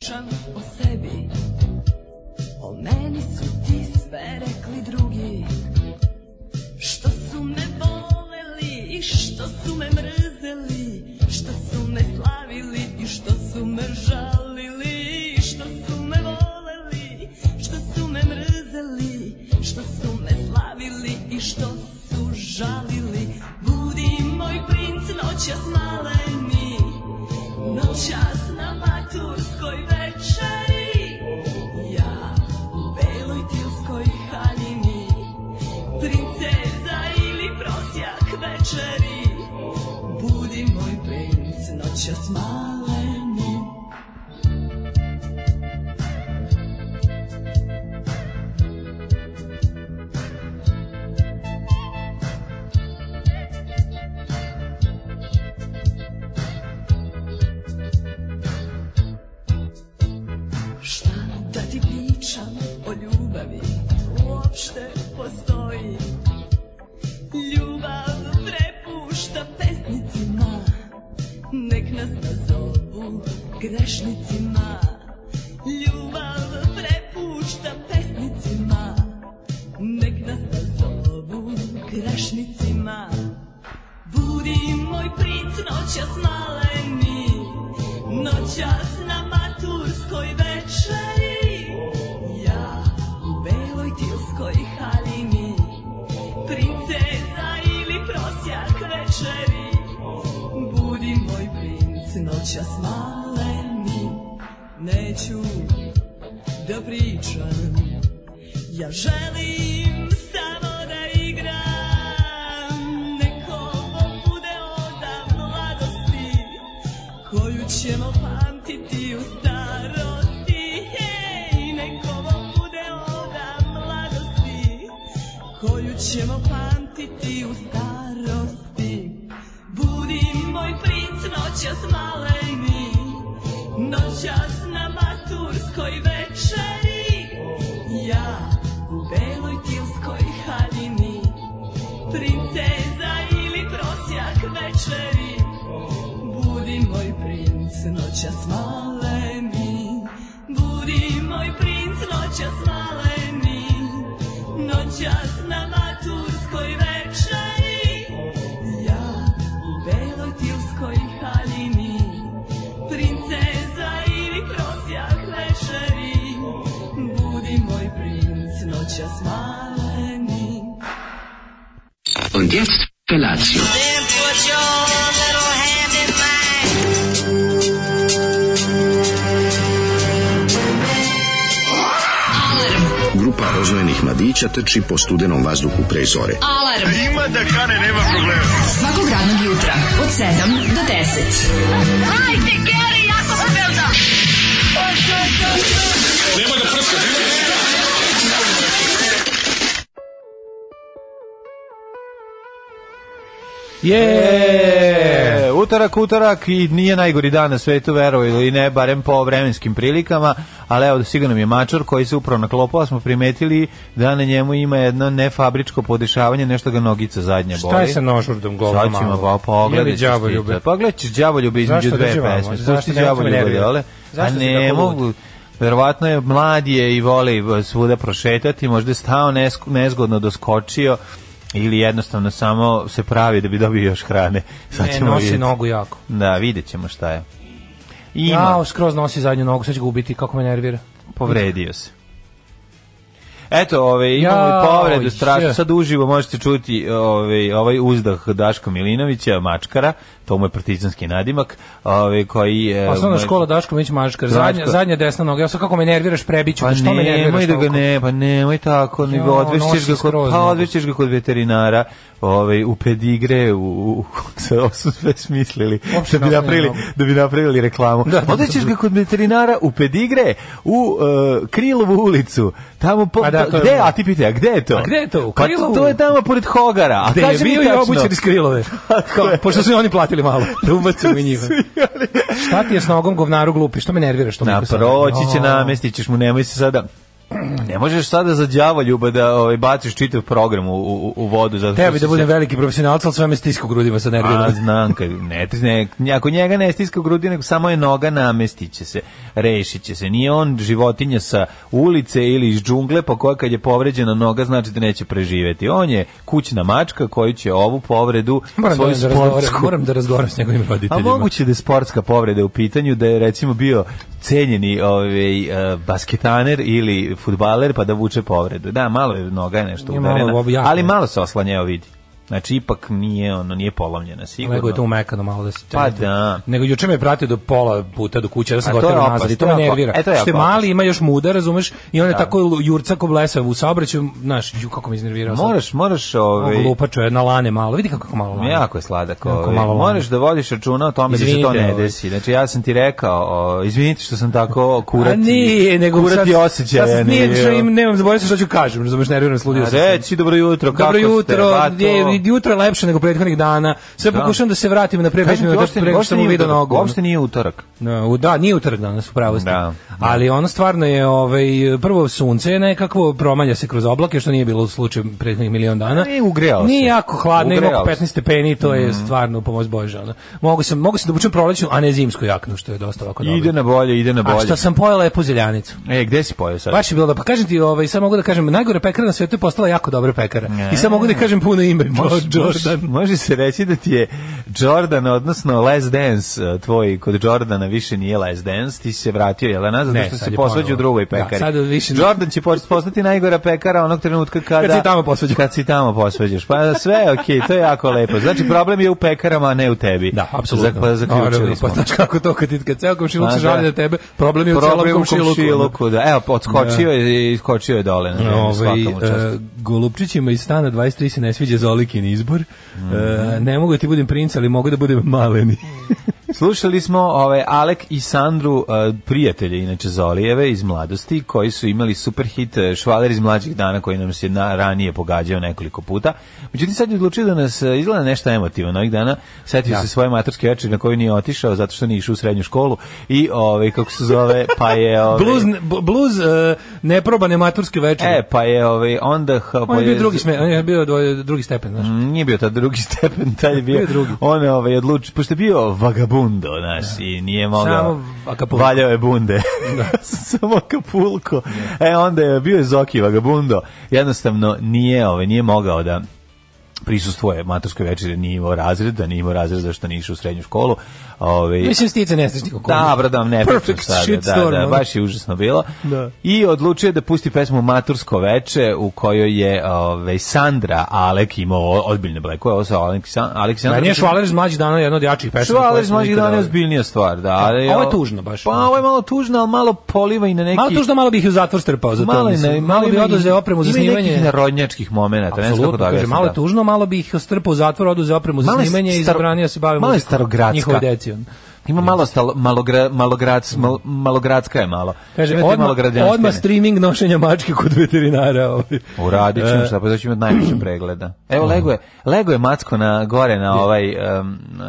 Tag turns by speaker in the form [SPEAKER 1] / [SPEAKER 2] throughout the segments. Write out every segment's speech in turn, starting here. [SPEAKER 1] pričam o sebi O meni su ti sve rekli drugi Što su me voleli i što su me mrzeli Što su me slavili i što su me žalili Što su me voleli, što su me mrzeli Što su me slavili i što su žalili Budi moj princ noćas maleni Noćas na maturskoj večeri Ja u beloj tilskoj haljini Princeza ili prosjak večeri Budi moj princ noćas maleni Šta da ti pričam o ljubavi Uopšte postoji Ljubav prepušta pesnicima Nek nas nazovu grešnicima Ljubav prepušta pesnicima Nek nas nazovu grešnicima Budi moj princ noćas maleni Noćas na maturskoj večeri Ja u beloj tilskoj halini Princeza ili prosjak večeri Budi moj princ noćas maleni Neću da pričam ja želim samo da igram Nek ovo bude oda mladosti Koju ćemo pamtiti u starosti Hej, nek ovo bude oda mladosti Koju ćemo pamtiti u starosti Budi moj princ noćas maleni Noćas na maturskoj večeri Ja u beloj tilskoj haljini Princeza ili prosjak večeri Budi moj princ noćas maleni Budi moj princ noćas maleni Noćas na maturskoj večeri Ja u beloj tilskoj halini Princeza ili prosjak večeri Budi moj princ noćas maleni
[SPEAKER 2] Und jetzt Felatio.
[SPEAKER 3] Then put your little hand in mine.
[SPEAKER 4] Grupa rozvojenih mladića trči po studenom vazduhu pre zore.
[SPEAKER 5] Alarm. A ima da kane, nema problema. Svakog radnog jutra, od 7 do 10. Hajde, Geri, jako se velda.
[SPEAKER 6] Je, E, utorak, utorak i nije najgori dan na svetu, verovo ili ne, barem po vremenskim prilikama, ali evo sigurno nam je mačor koji se upravo naklopao, smo primetili da na njemu ima jedno nefabričko podešavanje, nešto ga nogica zadnja boli.
[SPEAKER 7] Šta je sa nožurdom govna
[SPEAKER 6] Sad ćemo pa pogledati.
[SPEAKER 7] Ili đavoljube?
[SPEAKER 6] Pogledat ćeš Đavoljube između
[SPEAKER 7] Zašto
[SPEAKER 6] dve
[SPEAKER 7] drži vamo?
[SPEAKER 6] pesme.
[SPEAKER 7] Zašto
[SPEAKER 6] Pusti
[SPEAKER 7] nemojte me
[SPEAKER 6] Đavoljube,
[SPEAKER 7] nervirati?
[SPEAKER 6] jole? A
[SPEAKER 7] Zašto ste
[SPEAKER 6] ne
[SPEAKER 7] tako lud?
[SPEAKER 6] mogu, verovatno je mlad je i voli e, svuda prošetati, možda je stao nesk- nezgodno doskočio ili jednostavno samo se pravi da bi dobio još hrane. Sad
[SPEAKER 7] Ne,
[SPEAKER 6] ćemo
[SPEAKER 7] E, nosi
[SPEAKER 6] vidjeti.
[SPEAKER 7] nogu jako.
[SPEAKER 6] Da, vidjet ćemo šta je. Ima,
[SPEAKER 7] Ja, skroz nosi zadnju nogu, sad će ga ubiti, kako me nervira.
[SPEAKER 6] povredio se. Eto, ove, imamo
[SPEAKER 7] Jao,
[SPEAKER 6] i povredu strašno.
[SPEAKER 7] je.
[SPEAKER 6] Sad uživo možete čuti ove, ovaj uzdah Daška Milinovića, mačkara, to mu je partizanski nadimak, ove, koji... e,
[SPEAKER 7] Osnovna
[SPEAKER 6] moj-
[SPEAKER 7] škola Daško Mić Mažkar, zadnja,
[SPEAKER 6] Daško.
[SPEAKER 7] zadnja desna noga. Ja sad kako me nerviraš, prebiću,
[SPEAKER 6] Pa
[SPEAKER 7] te, što me nerviraš
[SPEAKER 6] nemoj da ga
[SPEAKER 7] toliko?
[SPEAKER 6] ne, pa nemoj tako, nego
[SPEAKER 7] Ja,
[SPEAKER 6] odvešćeš
[SPEAKER 7] Ono,
[SPEAKER 6] ga
[SPEAKER 7] nosi
[SPEAKER 6] kod,
[SPEAKER 7] skroz ono.
[SPEAKER 6] pa
[SPEAKER 7] nogu.
[SPEAKER 6] odvešćeš ga kod veterinara, ovaj u pedigre, u, u se ovo su sve smislili,
[SPEAKER 7] Uopšte
[SPEAKER 6] da bi
[SPEAKER 7] nosi
[SPEAKER 6] napravili,
[SPEAKER 7] nogu.
[SPEAKER 6] da bi napravili reklamu. Da, odvešćeš ga kod veterinara u pedigre, u uh, Krilovu ulicu. Tamo po,
[SPEAKER 7] Pa da, to je-
[SPEAKER 6] gde, a ti pitaj, a gde je to?
[SPEAKER 7] A gde je to? U
[SPEAKER 6] Pa
[SPEAKER 7] Krilovu?
[SPEAKER 6] to je tamo pored Hogara. A
[SPEAKER 7] Gde je
[SPEAKER 6] kaži mi
[SPEAKER 7] bio i
[SPEAKER 6] tačno.
[SPEAKER 7] obućer iz Krilove. Kao, pošto su i oni platili malo. Da ubacimo i njih. Šta ti je s nogom govnaru glupi? Što me nerviraš? toliko
[SPEAKER 6] Na
[SPEAKER 7] sad?
[SPEAKER 6] proći će
[SPEAKER 7] O.
[SPEAKER 6] namestićeš mu, nemoj se sada ne možeš sada za đava ljuba da ovaj, baciš čitav program u, u, u vodu. Zato što
[SPEAKER 7] Tebi
[SPEAKER 6] si
[SPEAKER 7] da
[SPEAKER 6] se-
[SPEAKER 7] budem veliki profesionalac, ali sve me stiska u grudima sa
[SPEAKER 6] A,
[SPEAKER 7] nervima.
[SPEAKER 6] znam, kad, ne, ne, ne, ako njega ne stiska u grudi, nego samo je noga namestit će se, rešit će se. Nije on životinja sa ulice ili iz džungle, pa koja kad je povređena noga, znači da neće preživeti. On je kućna mačka koju će ovu povredu,
[SPEAKER 7] Moram da,
[SPEAKER 6] svoju
[SPEAKER 7] da razgovaram,
[SPEAKER 6] sportsku...
[SPEAKER 7] moram da razgovaram s njegovim
[SPEAKER 6] A
[SPEAKER 7] roditeljima.
[SPEAKER 6] Pa moguće da je sportska povreda u pitanju, da je recimo bio cenjeni ovaj, e, basketaner ili futbaler pa da vuče povredu. Da, malo je noga je nešto
[SPEAKER 7] Nije
[SPEAKER 6] udarena,
[SPEAKER 7] malo, ovo jako
[SPEAKER 6] ali
[SPEAKER 7] je.
[SPEAKER 6] malo se oslanjao vidi. Znači, ipak nije, ono, nije polomljena, sigurno.
[SPEAKER 7] Nego je to umekano malo da se
[SPEAKER 6] Pa da.
[SPEAKER 7] Nego juče me je pratio do pola puta do kuće, ja sam
[SPEAKER 6] A to je
[SPEAKER 7] gotovo
[SPEAKER 6] opasno,
[SPEAKER 7] nazad i to
[SPEAKER 6] to
[SPEAKER 7] me
[SPEAKER 6] je opa-
[SPEAKER 7] nervira.
[SPEAKER 6] e, to je
[SPEAKER 7] Što je
[SPEAKER 6] jako
[SPEAKER 7] mali, ima još muda, razumeš, i on je tako jurca ko blesa u saobraćaju, znaš, ju kako me iznervirao. sad.
[SPEAKER 6] Moraš, moraš,
[SPEAKER 7] Ovo
[SPEAKER 6] ovaj,
[SPEAKER 7] glupačo je na lane malo, vidi kako, kako malo lane.
[SPEAKER 6] jako je sladak.
[SPEAKER 7] Jako
[SPEAKER 6] Ovaj.
[SPEAKER 7] malo
[SPEAKER 6] Moraš da vodiš računa o tome da se
[SPEAKER 7] Izvinite,
[SPEAKER 6] to ne
[SPEAKER 7] ovaj.
[SPEAKER 6] desi. Znači, ja sam ti rekao, o, izvinite što sam tako kurati,
[SPEAKER 7] A nije, nego
[SPEAKER 6] kurati
[SPEAKER 7] sad,
[SPEAKER 6] osjećaja.
[SPEAKER 7] sad
[SPEAKER 6] nije,
[SPEAKER 7] nije, što im,
[SPEAKER 6] ono.
[SPEAKER 7] nemam, zaboravio sam što ću kažem, razumeš, nerviram, sludio
[SPEAKER 6] A
[SPEAKER 7] sam. se.
[SPEAKER 6] Reci, dobro jutro, kako
[SPEAKER 7] Dobro jutro,
[SPEAKER 6] ste? Pa
[SPEAKER 7] je, jutro je lepše nego prethodnih dana. Sve
[SPEAKER 6] Da.
[SPEAKER 7] pokušavam da se vratim na pre pet
[SPEAKER 6] Kažem ti,
[SPEAKER 7] minuta
[SPEAKER 6] uopšte,
[SPEAKER 7] pre nego što
[SPEAKER 6] uopšte,
[SPEAKER 7] mu
[SPEAKER 6] nije
[SPEAKER 7] vidio
[SPEAKER 6] utorak,
[SPEAKER 7] nogu. ono.
[SPEAKER 6] uopšte nije utorak.
[SPEAKER 7] Da, u- da, nije utorak danas, u pravo ste.
[SPEAKER 6] Da, da.
[SPEAKER 7] Ali ono stvarno je, ovaj, prvo sunce je nekakvo, promanja se kroz oblake, što nije bilo u slučaju prethodnih milion dana.
[SPEAKER 6] Ne, ugrejao
[SPEAKER 7] Nije
[SPEAKER 6] E, se.
[SPEAKER 7] jako hladno, ima
[SPEAKER 6] Ugrejao
[SPEAKER 7] oko
[SPEAKER 6] se. Mhm.
[SPEAKER 7] 15 stepeni, i to je stvarno pomoć Bože. Ono. Mogu, sam, mogu sam da obučem prolećnu, a ne zimsku jaknu, što je dosta ovako dobro.
[SPEAKER 6] Ide na bolje, ide na
[SPEAKER 7] A
[SPEAKER 6] bolje.
[SPEAKER 7] što sam pojela je puzeljanicu.
[SPEAKER 6] E, gde si pojeo sad?
[SPEAKER 7] Baš je bilo da, pa kažem ti, ovaj, samo mogu da kažem, najgore pekara na svetu je postala jako dobra pekara. I samo mogu da kažem puno ime,
[SPEAKER 6] Može-
[SPEAKER 7] Pa, Jordan.
[SPEAKER 6] može- Može se reći da ti je Jordan, odnosno Les Dance, eh, tvoj kod Jordana više nije Les Dance, ti si se vratio, jel, nazad,
[SPEAKER 7] Ne,
[SPEAKER 6] zato što
[SPEAKER 7] sad
[SPEAKER 6] se
[SPEAKER 7] je
[SPEAKER 6] posvađa u
[SPEAKER 7] ponovo.
[SPEAKER 6] drugoj
[SPEAKER 7] Da,
[SPEAKER 6] pekari.
[SPEAKER 7] sad više ne-
[SPEAKER 6] Jordan će post- postati najgora pekara onog trenutka kada...
[SPEAKER 7] Kad se i tamo posvađa.
[SPEAKER 6] Kad se i tamo posvađaš. Pa sve je okej, to je jako lepo. Znači, problem je u pekarama, a ne u tebi.
[SPEAKER 7] Da, apsolutno.
[SPEAKER 6] Zak- zaključili
[SPEAKER 7] Naravno,
[SPEAKER 6] smo.
[SPEAKER 7] Pa znaš kako to, kad, ti- kad ceo komšiluk
[SPEAKER 6] A,
[SPEAKER 7] se
[SPEAKER 6] da.
[SPEAKER 7] žali na tebe, problem je u celom
[SPEAKER 6] Problem u
[SPEAKER 7] komšiluku.
[SPEAKER 6] komšiluku, da. Evo, odskočio je i skočio je dole. Na vreme,
[SPEAKER 7] Ovaj,
[SPEAKER 6] svaka mu čast.
[SPEAKER 7] e, Golubčićima iz stana 23 se ne sviđa Zolikin izbor. E,
[SPEAKER 6] Mhm.
[SPEAKER 7] ne mogu da ti budem princ, ali mogu da budem maleni.
[SPEAKER 6] Slušali smo ovaj Alek i Sandru, eh, prijatelje inače Zolijeve iz mladosti, koji su imali super hit eh, Švaler iz mlađih dana koji nam se na, ranije pogađao nekoliko puta. Međutim sad je odlučio da nas eh, izgleda nešto emotivno ovih dana. Setio se svoje maturske večeri na koju nije otišao zato što nije išao u srednju školu i ovaj kako se zove, pa je ovaj
[SPEAKER 7] Bluz, b- bluz e, neprobane maturske večere.
[SPEAKER 6] E, pa je ovaj onda h-
[SPEAKER 7] on
[SPEAKER 6] pa
[SPEAKER 7] je bio drugi, sme, on je bio dvoj- drugi stepen, znaš.
[SPEAKER 6] Mm, nije bio tad drugi stepen, taj je bio,
[SPEAKER 7] Bio je drugi.
[SPEAKER 6] on je ovaj, odluč, pošto je bio vagabundo, znaš, i nije mogao,
[SPEAKER 7] Samo Acapulco.
[SPEAKER 6] valjao je bunde, samo kapulko, e onda je bio je Zoki vagabundo, jednostavno nije, ovaj, nije mogao da prisustvuje maturskoj večeri, nije imao razreda, nije imao razreda zašto nije išao u srednju školu, ovaj,
[SPEAKER 7] Mislim, stice nestašnih okolnosti.
[SPEAKER 6] Dobro, da vam ne pričam
[SPEAKER 7] Perfect
[SPEAKER 6] sada. Da,
[SPEAKER 7] shitstorm,
[SPEAKER 6] da,
[SPEAKER 7] ono.
[SPEAKER 6] baš je užasno bilo.
[SPEAKER 7] Da.
[SPEAKER 6] I odlučio je da pusti pesmu Matursko veče u kojoj je ovaj, Sandra Alek imao o- ozbiljne blekove. Ovo sa Alek, San- Alek Sandra.
[SPEAKER 7] Meni je Švaler iz mlađih dana jedna od jačih pesama.
[SPEAKER 6] Švaler
[SPEAKER 7] koje
[SPEAKER 6] iz
[SPEAKER 7] smo
[SPEAKER 6] mlađih
[SPEAKER 7] nikada-
[SPEAKER 6] dana je ozbiljnija stvar. Da, ali,
[SPEAKER 7] Ovo je tužno baš. ono.
[SPEAKER 6] Pa ovo je malo tužno, ali malo poliva i na neki...
[SPEAKER 7] Malo tužno, malo bih ih u zatvor strpao za to.
[SPEAKER 6] malo, i na-
[SPEAKER 7] mislim. malo bi
[SPEAKER 6] ima i-
[SPEAKER 7] oduzeo opremu za
[SPEAKER 6] ima i
[SPEAKER 7] snimanje.
[SPEAKER 6] nekih narodnjačkih momenata. ne znam kako
[SPEAKER 7] Apsolutno,
[SPEAKER 6] da
[SPEAKER 7] kaže,
[SPEAKER 6] objasnim,
[SPEAKER 7] malo
[SPEAKER 6] da.
[SPEAKER 7] je tužno, malo bi ih strpao u zatvor, oduzeo opremu za
[SPEAKER 6] Malo je
[SPEAKER 7] snimanje i
[SPEAKER 6] staro-
[SPEAKER 7] zabranio se bavimo
[SPEAKER 6] malo je starogradska.
[SPEAKER 7] njihove deci. ono. on.
[SPEAKER 6] Ima malo stalo, malogra, malograc, mal, malogradska je malo.
[SPEAKER 7] Kaže,
[SPEAKER 6] Ima te
[SPEAKER 7] odmah,
[SPEAKER 6] malogradnjanštine.
[SPEAKER 7] odmah streaming nošenja mačke kod veterinara. ovaj.
[SPEAKER 6] Uradit ćemo
[SPEAKER 7] E,
[SPEAKER 6] šta, pa da ćemo imati najviše pregleda. Evo, lego je, lego je macko na gore na ovaj... Um, uh,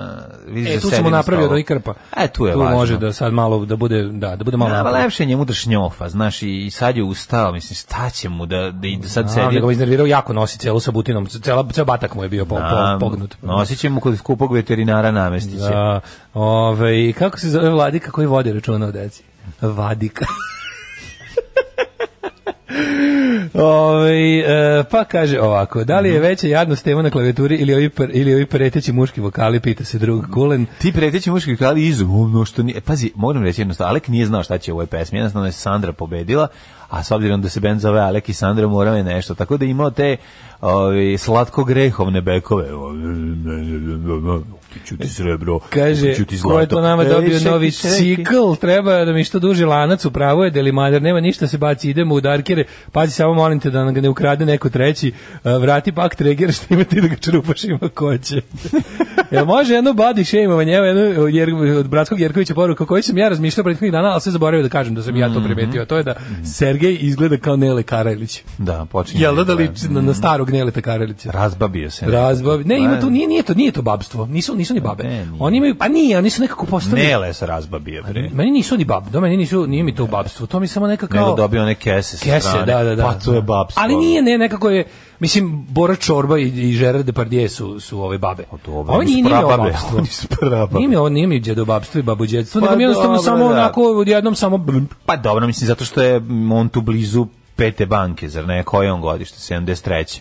[SPEAKER 6] vidiš
[SPEAKER 7] E,
[SPEAKER 6] da
[SPEAKER 7] tu
[SPEAKER 6] sedi
[SPEAKER 7] sam mu
[SPEAKER 6] na
[SPEAKER 7] napravio
[SPEAKER 6] stolu.
[SPEAKER 7] da ikrpa.
[SPEAKER 6] E, tu je važno.
[SPEAKER 7] može da sad malo, da bude, da, da bude malo.
[SPEAKER 6] Da, pa lepše je njemu da šnjofa, znaš, i, i sad je ustao, mislim, šta će mu da, da, i da sad
[SPEAKER 7] A,
[SPEAKER 6] sedi...
[SPEAKER 7] nego me iznervirao jako nosi celu sabutinom, cela, ceo batak mu je bio po, po,
[SPEAKER 6] A,
[SPEAKER 7] pognut.
[SPEAKER 6] Nosit će mu kod skupog veterinara namestiće.
[SPEAKER 7] Da, ove, kako se zove vladika koji vodi računa o deci? Vadika. Ovaj, e, pa kaže ovako, da li je veća jadnost tema na klavijaturi ili ovi, par- ili ovi preteći muški vokali, pita se drug Kulen.
[SPEAKER 6] Ti preteći muški krali izum, ono što nije... Pazi, moram reći jednostavno, Alek nije znao šta će u ovoj pesmi, jednostavno je Sandra pobedila, a s obzirom da se band zove Alek i Sandra morao je nešto, tako da je imao te ovi, slatko grehovne bekove. Ću ti srebro,
[SPEAKER 7] Kaže,
[SPEAKER 6] ću ti zlato.
[SPEAKER 7] ko je to nama
[SPEAKER 6] E,
[SPEAKER 7] dobio
[SPEAKER 6] čekaj,
[SPEAKER 7] novi
[SPEAKER 6] čekaj.
[SPEAKER 7] cikl, treba da mi što duži lanac, upravo je delimader, nema ništa se baci, idemo u darkere, pazi samo molim te da nam ga ne ukrade neko treći, e, vrati pak treger što ima ti da ga čerupaš ima ko će. Jel može jedno body shameovanje, evo jedno jer, od Bratskog Jerkovića poruka, koji sam ja razmišljao prethodnih dana, ali sve zaboravio da kažem da sam ja to
[SPEAKER 6] Mhm.
[SPEAKER 7] primetio, a to je da Sergej izgleda kao Nele Karajlić.
[SPEAKER 6] Da, počinje.
[SPEAKER 7] Jel da da liči na, na starog Neleta Karajlića?
[SPEAKER 6] Razbabio se.
[SPEAKER 7] Razbav. Ne, ima tu nije nije to nije to babstvo. Nisu nisu ni babe.
[SPEAKER 6] Ne, nije.
[SPEAKER 7] Oni imaju, pa nije, oni su nekako postali...
[SPEAKER 6] Nele sa razbabije, bre.
[SPEAKER 7] Meni nisu ni bab, do meni nisu, nije mi to babstvo, to mi samo nekako...
[SPEAKER 6] Nego dobio one kese sa
[SPEAKER 7] Kese,
[SPEAKER 6] strane.
[SPEAKER 7] da, da, da.
[SPEAKER 6] Pa to je babstvo.
[SPEAKER 7] Ali nije, ne, nekako je, mislim, Bora Čorba i, i Gerard Depardieu su, su ove babe.
[SPEAKER 6] Pa dobro,
[SPEAKER 7] Ovo
[SPEAKER 6] oni su
[SPEAKER 7] nije, nije mi ovo
[SPEAKER 6] prababe,
[SPEAKER 7] babstvo.
[SPEAKER 6] oni su prababe.
[SPEAKER 7] Nije mi ovo, nije mi djedobabstvo i babođedstvo,
[SPEAKER 6] Pa
[SPEAKER 7] nego mi jednostavno
[SPEAKER 6] dobro,
[SPEAKER 7] samo
[SPEAKER 6] da.
[SPEAKER 7] onako, odjednom samo... blm.
[SPEAKER 6] Pa dobro, mislim, zato što je mm, on tu blizu pete banke, zar ne? Koje je on godište? 73.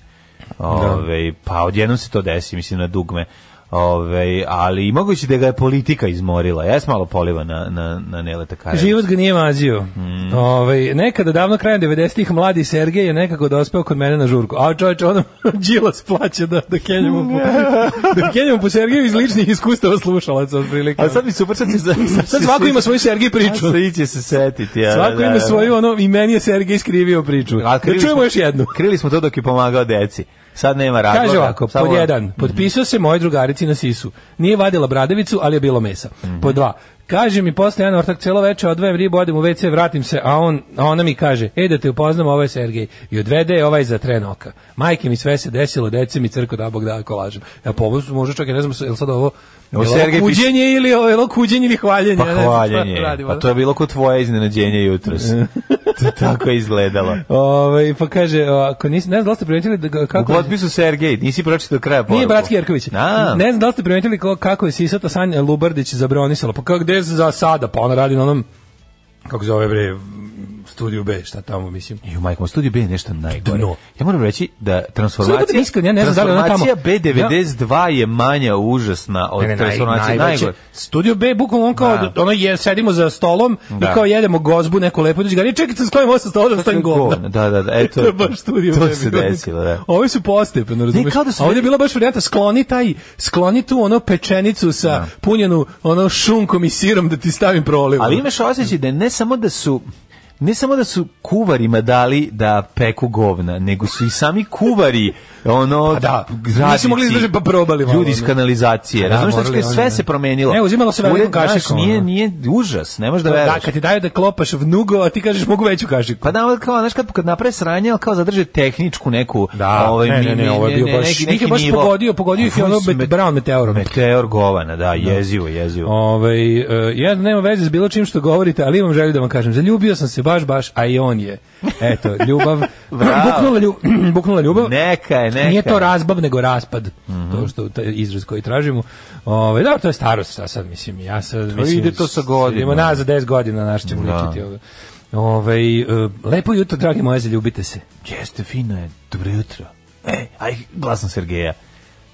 [SPEAKER 6] Ove, pa odjednom se to desi, mislim, na dugme. Ove, ali moguće da ga je politika izmorila. Ja sam malo poliva na, na, na Neleta Karadžića.
[SPEAKER 7] Život ga nije mazio.
[SPEAKER 6] Mm.
[SPEAKER 7] Ovaj, nekada davno krajem 90-ih mladi Sergej je nekako dospeo kod mene na žurku. A čovječe, ono Đilas plaće da, da kenjamo po, da kenjamo po Sergeju iz ličnih iskustava slušalaca otprilike. ono.
[SPEAKER 6] A sad mi super, sad, se, sad,
[SPEAKER 7] Sad svako ima svoju Sergej priču.
[SPEAKER 6] priču. Sad će se setiti. Ja,
[SPEAKER 7] Svako
[SPEAKER 6] da,
[SPEAKER 7] ima
[SPEAKER 6] da.
[SPEAKER 7] svoju ono i meni je Sergej skrivio priču.
[SPEAKER 6] A
[SPEAKER 7] Da
[SPEAKER 6] krili
[SPEAKER 7] čujemo
[SPEAKER 6] smo-
[SPEAKER 7] još jednu.
[SPEAKER 6] Krili smo to dok je pomagao deci. Sad nema razloga.
[SPEAKER 7] Kaže ovako,
[SPEAKER 6] Samo- ono.
[SPEAKER 7] pod jedan, potpisao se moje drugarici na sisu. Nije vadila bradavicu, ali je bilo mesa. Pod dva, kaže mi posle jedan ortak celo večer, odvojem ribu, odem u WC, vratim se, a, on, a ona mi kaže, e da te upoznam, ovo je Sergej. I odvede je ovaj za tren oka. Majke mi sve se desilo, deci mi crko da bog da ako lažem. Ja po ovo su možda čak i ne znam, je li sad ovo, je
[SPEAKER 6] Ovo
[SPEAKER 7] li ovo
[SPEAKER 6] Sergej pis-
[SPEAKER 7] kuđenje ili, ovo- je li ovo kuđenje ili hvaljenje?
[SPEAKER 6] Pa
[SPEAKER 7] Ja ne znam šta
[SPEAKER 6] hvaljenje.
[SPEAKER 7] radimo,
[SPEAKER 6] Pa
[SPEAKER 7] da.
[SPEAKER 6] to je bilo kod tvoje iznenađenje jutros. to tako je izgledalo.
[SPEAKER 7] Ove, pa kaže, ako nisi, ne znam da li ste primetili da, ga-
[SPEAKER 6] U
[SPEAKER 7] kako...
[SPEAKER 6] potpisu Sergej, nisi pročitao do kraja poruku.
[SPEAKER 7] Nije bratski Jerković.
[SPEAKER 6] A,
[SPEAKER 7] Ne znam da li ste primetili ko- kako je Sisata Sanja Lubardić zabronisala. Pa kako, gde za sada? Pa ona radi na onom, kako zove bre, studiju B, šta tamo, mislim.
[SPEAKER 6] Ju, majko, studiju B je nešto najgore.
[SPEAKER 7] Dno.
[SPEAKER 6] Ja moram reći da
[SPEAKER 7] Sada budem
[SPEAKER 6] transformacija,
[SPEAKER 7] iskren, ja ne znam da li ona tamo-
[SPEAKER 6] transformacija B92 je manja užasna od transformacije najgore.
[SPEAKER 7] Studio B, bukvalno on kao,
[SPEAKER 6] Da.
[SPEAKER 7] ono je, sedimo za stolom
[SPEAKER 6] Da.
[SPEAKER 7] i kao jedemo gozbu, neko lepo dođe, gari, čekajte, skojim ovo sa stola, da stavim govna.
[SPEAKER 6] Da, da, da, eto.
[SPEAKER 7] to je baš studio
[SPEAKER 6] To
[SPEAKER 7] B.
[SPEAKER 6] se desilo, da.
[SPEAKER 7] Ovi su postepeno, razumiješ?
[SPEAKER 6] kao da su-
[SPEAKER 7] A ovdje je bila baš varijanta, skloni taj, skloni tu ono pečenicu sa punjenu ono šunkom i sirom da ti stavim prolivu.
[SPEAKER 6] Ali imaš osjećaj da ne samo da su ne samo da su kuvarima dali da peku govna, nego su i sami kuvari ono
[SPEAKER 7] Pa da.
[SPEAKER 6] radnici,
[SPEAKER 7] Nisu mogli izdržati, pa probali malo,
[SPEAKER 6] Ljudi iz
[SPEAKER 7] ne.
[SPEAKER 6] kanalizacije.
[SPEAKER 7] Pa da,
[SPEAKER 6] Razumeš da,
[SPEAKER 7] morali oni,
[SPEAKER 6] sve
[SPEAKER 7] da.
[SPEAKER 6] se promenilo.
[SPEAKER 7] Ne, uzimalo se velikom
[SPEAKER 6] Ured, znaš,
[SPEAKER 7] kašikom,
[SPEAKER 6] Nije,
[SPEAKER 7] ono.
[SPEAKER 6] nije užas, ne možeš da
[SPEAKER 7] Da,
[SPEAKER 6] veruješ.
[SPEAKER 7] kad ti daju da klopaš vnugo, a ti kažeš mogu veću kašiku.
[SPEAKER 6] Pa da, ali kao, znaš, kad, kad naprave sranje, ali kao zadrže tehničku neku... ovaj,
[SPEAKER 7] ne,
[SPEAKER 6] mi-
[SPEAKER 7] ne,
[SPEAKER 6] mi-
[SPEAKER 7] ne, ovo je bio baš,
[SPEAKER 6] neki-
[SPEAKER 7] neki,
[SPEAKER 6] neki
[SPEAKER 7] je baš
[SPEAKER 6] nivo.
[SPEAKER 7] pogodio, pogodio ih je ono
[SPEAKER 6] Ovo je
[SPEAKER 7] met, brown meteorom.
[SPEAKER 6] Meteor govana, da, jezivo, jezivo.
[SPEAKER 7] Ove, Ovaj, e, ja nema veze s bilo čim što govorite, ali imam želju da vam kažem, zaljubio sam se baš, baš, a i on je. Eto, ljubav,
[SPEAKER 6] Bravo.
[SPEAKER 7] buknula, lju, buknula ljubav.
[SPEAKER 6] Neka je, neka
[SPEAKER 7] Nije to
[SPEAKER 6] je. Mhm.
[SPEAKER 7] razbav, nego raspad, to što, taj izraz koji tražimo. Ove, da, to je starost, šta sad, mislim, ja sad, mislim,
[SPEAKER 6] ide to sa godinama.
[SPEAKER 7] Idemo nazad 10 godina, naš ćemo
[SPEAKER 6] Da.
[SPEAKER 7] ličiti ovo. Ove, e, lepo jutro, dragi moje, zaljubite se.
[SPEAKER 6] Jeste, fino je, dobro jutro. Ej, aj, glasom Sergeja.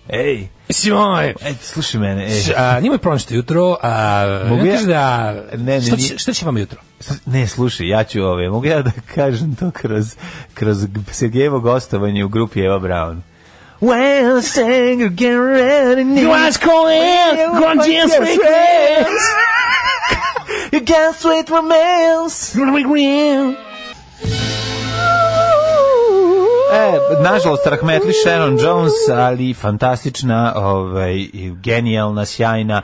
[SPEAKER 6] Ej,
[SPEAKER 7] Simone,
[SPEAKER 6] ej, slušaj mene, e, ej.
[SPEAKER 7] ovaj, A, njima je pronašto jutro, a
[SPEAKER 6] Mogu
[SPEAKER 7] ja
[SPEAKER 6] ja-
[SPEAKER 7] kažem da...
[SPEAKER 6] Ne, ne,
[SPEAKER 7] šta, će,
[SPEAKER 6] nije-
[SPEAKER 7] šta će vama jutro?
[SPEAKER 6] S- Ne, slušaj, ja ću ove, mogu ja da kažem to kroz, kroz g- Sergejevo gostovanje u grupi Eva Brown. Well, singer, get ready now. Well, yes, friends. You got sweet romance. E, nažalost, Rahmetli Sharon Jones, ali fantastična, ovaj, i genijalna, sjajna,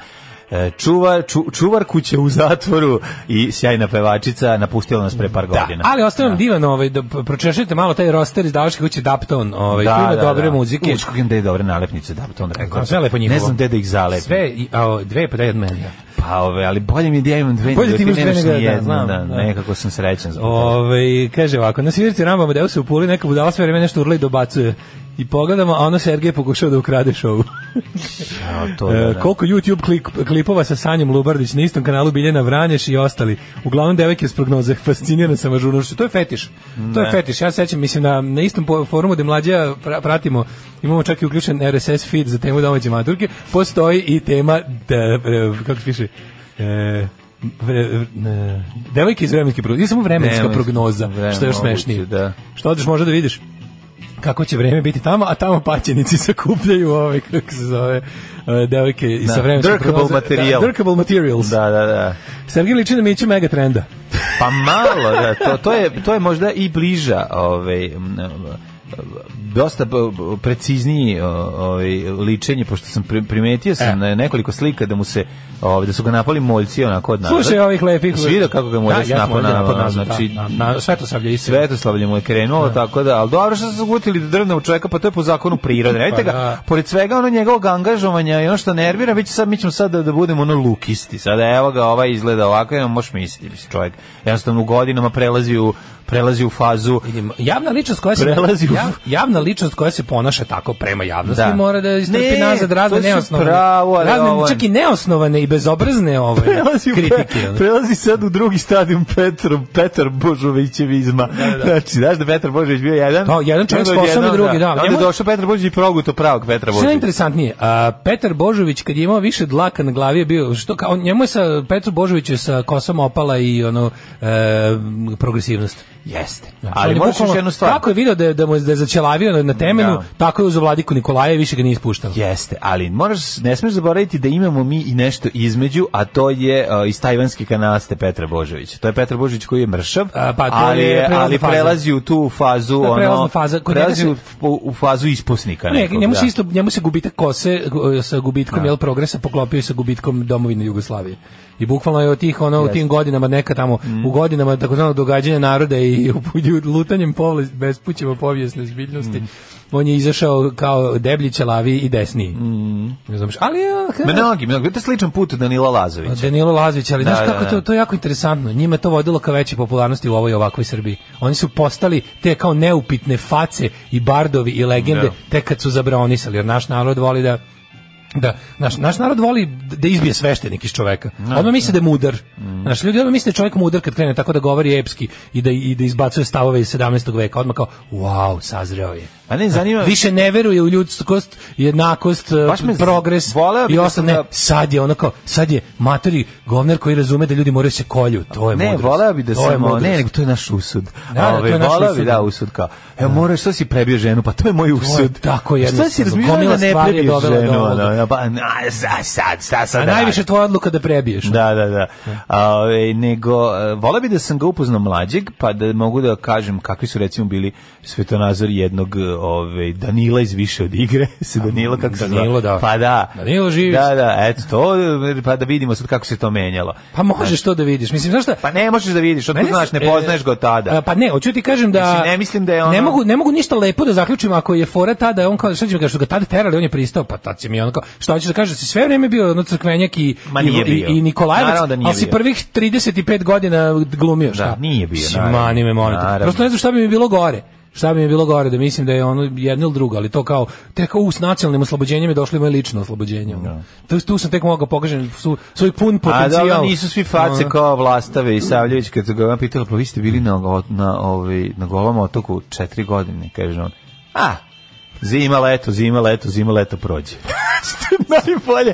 [SPEAKER 6] e, čuvar, ču, čuvar kuće u zatvoru i sjajna pevačica napustila nas pre par godina.
[SPEAKER 7] Ali ostaje vam divan ovaj, da p- pročešljate malo taj roster iz Davaške kuće Dapton, ovaj, da, ima dobre muzike.
[SPEAKER 6] Uš, kako da je dobre nalepnice, da bi to onda rekao.
[SPEAKER 7] A sve lepo njihovo.
[SPEAKER 6] Ne znam gde da ih zalepim.
[SPEAKER 7] Sve, i- a, o, dve pa daj od meni.
[SPEAKER 6] Pa, ove, ali bolje mi je da ja imam dve,
[SPEAKER 7] Bolje
[SPEAKER 6] nego
[SPEAKER 7] ti imaš dve
[SPEAKER 6] nemaš
[SPEAKER 7] nego
[SPEAKER 6] ni
[SPEAKER 7] ja, da,
[SPEAKER 6] jednu,
[SPEAKER 7] znam,
[SPEAKER 6] da,
[SPEAKER 7] da.
[SPEAKER 6] nekako sam srećan za to.
[SPEAKER 7] Ove, Ovaj, kaže ovako, na svirci Ramba Amadeus u Puli neka budala sve vreme nešto urla i dobacuje. I pogledamo, a ono Sergej pokušao da ukrade šovu.
[SPEAKER 6] Ja, to
[SPEAKER 7] E,
[SPEAKER 6] da, da.
[SPEAKER 7] koliko YouTube klik- klipova sa Sanjem Lubardić na istom kanalu Biljana Vranješ i ostali. Uglavnom devojke s prognoze, fascinirana sam ažurnošću. To je fetiš. To je fetiš. Ja se sećam, mislim, na, na istom po- forumu gde mlađa pra- pratimo, imamo čak i uključen RSS feed za temu domaće maturke, postoji i tema, da, e, kako se piše, e, vre- vre- e, devojke iz vremenske prognoze, nije samo vremenska
[SPEAKER 6] Vremenska,
[SPEAKER 7] prognoza,
[SPEAKER 6] vremen-
[SPEAKER 7] što je još
[SPEAKER 6] moguće,
[SPEAKER 7] smešnije.
[SPEAKER 6] da.
[SPEAKER 7] Što odeš možda da vidiš kako će vreme biti tamo, a tamo paćenici sakupljaju ove, kako se zove, e, devojke i sa vremenske
[SPEAKER 6] Dirkable
[SPEAKER 7] prognoze.
[SPEAKER 6] material.
[SPEAKER 7] Da, dirkable materials. Da.
[SPEAKER 6] Da, da, da.
[SPEAKER 7] Sergij Ličina Miću mega trenda.
[SPEAKER 6] Pa malo, da, to, to, je, to je možda i bliža ove, m, dosta b- b- precizniji o- ovaj ličenje pošto sam pri- primetio
[SPEAKER 7] E.
[SPEAKER 6] sam na nekoliko slika da mu se ovaj da su ga napali moljci onako od nazad.
[SPEAKER 7] Slušaj ovih lepih.
[SPEAKER 6] Jesi vidio kako ga
[SPEAKER 7] Da,
[SPEAKER 6] moljac
[SPEAKER 7] ja sam
[SPEAKER 6] napao
[SPEAKER 7] ovdje
[SPEAKER 6] na-
[SPEAKER 7] napao nazad,
[SPEAKER 6] znači
[SPEAKER 7] da, na, na Svetosavlje isto.
[SPEAKER 6] Svetoslavlje mu je krenulo tako da, ali dobro što su zagutili da drvne u čovjeka, pa to je po zakonu prirode. Vidite
[SPEAKER 7] Pa
[SPEAKER 6] ga,
[SPEAKER 7] da.
[SPEAKER 6] pored svega ono njegovog angažovanja i ono što nervira, bit će sad, mi ćemo sad da, da budemo ono lukisti. Sada evo ga, ovaj izgleda ovako, ja možeš misliti, mislim, čovjek jednostavno u godinama prelazi u, prelazi u fazu
[SPEAKER 7] Vidim, javna ličnost koja se
[SPEAKER 6] Prelazi u-
[SPEAKER 7] jav, javna ličnost koja se ponaša tako prema javnosti
[SPEAKER 6] Da.
[SPEAKER 7] mora da istrpi
[SPEAKER 6] Ne,
[SPEAKER 7] nazad razne
[SPEAKER 6] to si
[SPEAKER 7] neosnovane
[SPEAKER 6] pravo, ali
[SPEAKER 7] razne
[SPEAKER 6] ovo-
[SPEAKER 7] čak i neosnovane i bezobrazne ove
[SPEAKER 6] prelazi, u,
[SPEAKER 7] kritike. ono.
[SPEAKER 6] prelazi sad u drugi stadion Petro, Petar Božovićevizma. Znači, znaš da Petar Božović bio jedan?
[SPEAKER 7] Da, jedan čovjek
[SPEAKER 6] nego
[SPEAKER 7] sposoban,
[SPEAKER 6] odjednom,
[SPEAKER 7] drugi, da.
[SPEAKER 6] Onda
[SPEAKER 7] Njemu-
[SPEAKER 6] je došao Petar Božović i proguto pravog Petra
[SPEAKER 7] Što je
[SPEAKER 6] Božovića.
[SPEAKER 7] interesantnije, a, Petar Božović kad je imao više dlaka na glavi je bio, što kao, njemu je sa, Petru Božoviću je sa kosom opala i ono, e, progresivnost. Znači,
[SPEAKER 6] Jeste.
[SPEAKER 7] On
[SPEAKER 6] Ali
[SPEAKER 7] je
[SPEAKER 6] možeš još
[SPEAKER 7] bukvalno-
[SPEAKER 6] jednu stvar.
[SPEAKER 7] Kako je video da, je- da mu je, da je začelavio na- na temenu,
[SPEAKER 6] Da.
[SPEAKER 7] tako je uzeo vladiku Nikolaja i više ga nije ispuštao.
[SPEAKER 6] Jeste, ali moraš, ne smiješ zaboraviti da imamo mi i nešto između, a to je uh, iz tajvanske kanaste Petra Božovića. To je Petar Božović koji je mršav,
[SPEAKER 7] A, pa to
[SPEAKER 6] ali,
[SPEAKER 7] je prelazna
[SPEAKER 6] ali
[SPEAKER 7] faza.
[SPEAKER 6] prelazi u tu fazu,
[SPEAKER 7] To je prelazna
[SPEAKER 6] ono,
[SPEAKER 7] faza. Kod njega
[SPEAKER 6] prelazi
[SPEAKER 7] se-
[SPEAKER 6] u, u, u fazu ispusnika
[SPEAKER 7] Ne,
[SPEAKER 6] nekog,
[SPEAKER 7] njemu
[SPEAKER 6] da.
[SPEAKER 7] se isto njemu se gubitak kose e, sa gubitkom jel progresa poklopio i sa gubitkom domovine Jugoslavije. I bukvalno je od tih ono u tim godinama neka tamo
[SPEAKER 6] Mm.
[SPEAKER 7] u godinama takozvanog događanja naroda i u- u lutanjem povle bespućima povijesne zbiljnosti.
[SPEAKER 6] Mm.
[SPEAKER 7] On je izašao kao deblji ćelavi i desniji.
[SPEAKER 6] Mm.
[SPEAKER 7] Ne znam, šta- ali eh, je,
[SPEAKER 6] Mnogi, mnogi, to je sličan put Danila Lazovića.
[SPEAKER 7] Danilo Lazović, ali
[SPEAKER 6] Da,
[SPEAKER 7] znaš
[SPEAKER 6] da,
[SPEAKER 7] kako
[SPEAKER 6] da.
[SPEAKER 7] to, to je jako interesantno. Njima je to vodilo ka većoj popularnosti u ovoj i ovakvoj Srbiji. Oni su postali te kao neupitne face i bardovi i legende
[SPEAKER 6] Da.
[SPEAKER 7] tek kad su zabronisali, jer naš narod voli da da, naš, naš narod voli da izbije sveštenik iz čoveka. Odmah misle da je mudar.
[SPEAKER 6] Mm.
[SPEAKER 7] Znaš, ljudi odmah misle da je čovjek mudar kad krene tako da govori epski i da, i da izbacuje stavove iz 17. veka. Odmah kao, wow, sazreo je.
[SPEAKER 6] A ne, zanima me-
[SPEAKER 7] Više ne veruje u ljudskost, jednakost,
[SPEAKER 6] Baš me z-
[SPEAKER 7] progres
[SPEAKER 6] voleo bih
[SPEAKER 7] i
[SPEAKER 6] da
[SPEAKER 7] ostalo.
[SPEAKER 6] sam
[SPEAKER 7] Ne,
[SPEAKER 6] ga-
[SPEAKER 7] sad je onako, sad je matori govner koji razume da ljudi moraju se kolju, Pa, to je
[SPEAKER 6] Ne,
[SPEAKER 7] mudrost.
[SPEAKER 6] voleo bi da
[SPEAKER 7] To je
[SPEAKER 6] sam, o,
[SPEAKER 7] mudrost.
[SPEAKER 6] ne, nego to je naš usud.
[SPEAKER 7] Da, da, to
[SPEAKER 6] Ove,
[SPEAKER 7] je naš
[SPEAKER 6] voleo
[SPEAKER 7] usud.
[SPEAKER 6] bi, da, usud kao, evo, moraš, što si prebio ženu, pa to je moj usud. Što
[SPEAKER 7] tako
[SPEAKER 6] si
[SPEAKER 7] jednostavno.
[SPEAKER 6] razmišljao
[SPEAKER 7] Gomila
[SPEAKER 6] da ne
[SPEAKER 7] stvari je
[SPEAKER 6] prebiješ
[SPEAKER 7] dovela do
[SPEAKER 6] ženu?
[SPEAKER 7] ovoga.
[SPEAKER 6] ono, ja, pa, na, za sad, šta sad
[SPEAKER 7] A
[SPEAKER 6] da
[SPEAKER 7] najviše
[SPEAKER 6] radim?
[SPEAKER 7] tvoja odluka da prebiješ.
[SPEAKER 6] Da, da, da. A, ove, nego, e, voleo bi da sam ga upoznao mlađeg, pa da mogu da kažem kakvi su recimo bili svetonazor jednog e, ove, Danila iz više od igre. Se Danilo, kako se
[SPEAKER 7] Danilo,
[SPEAKER 6] zove?
[SPEAKER 7] da.
[SPEAKER 6] Pa da.
[SPEAKER 7] Danilo živi.
[SPEAKER 6] Da, da, eto to, e, pa da vidimo sad kako se to menjalo.
[SPEAKER 7] Pa možeš to da vidiš. Mislim, znaš šta?
[SPEAKER 6] Pa ne možeš da vidiš, otkud
[SPEAKER 7] Mene se-
[SPEAKER 6] znaš, ne
[SPEAKER 7] e,
[SPEAKER 6] poznaješ ga od tada.
[SPEAKER 7] a, Pa ne, hoću ti kažem da
[SPEAKER 6] Mislim, ne mislim da je ono-
[SPEAKER 7] Ne mogu ne mogu ništa lepo da zaključim ako je fora tada on kao šta ćemo kažu ga tada terali, on je pristao, pa tad si mi on kao šta hoćeš da kažeš da si sve vrijeme bio ono crkvenjak i
[SPEAKER 6] Ma
[SPEAKER 7] i,
[SPEAKER 6] nije
[SPEAKER 7] i,
[SPEAKER 6] bio.
[SPEAKER 7] i Nikolajevac,
[SPEAKER 6] Naravno da nije
[SPEAKER 7] ali si
[SPEAKER 6] bio.
[SPEAKER 7] prvih 35 godina glumio, šta?
[SPEAKER 6] Da, nije bio,
[SPEAKER 7] Si,
[SPEAKER 6] naravno.
[SPEAKER 7] mani me molim te.
[SPEAKER 6] Naravno.
[SPEAKER 7] Prosto ne znam šta bi mi bilo gore. Šta bi mi bilo gore da mislim da je ono jedno ili drugo, ali to kao tek kao u s nacionalnim oslobođenjem je došlo i moje lično oslobođenje. ono. Tu, tu sam tek mogao pokažem su, svoj pun
[SPEAKER 6] A
[SPEAKER 7] potencijal.
[SPEAKER 6] da, nisu svi face
[SPEAKER 7] Ono.
[SPEAKER 6] kao Vlastave i Savljević, kad su ga ona pitala, pa vi ste bili na, go- na, ovaj, na golom otoku četiri godine, kaže on. A, zima, leto, zima, leto, zima, leto prođe. Što je najbolje.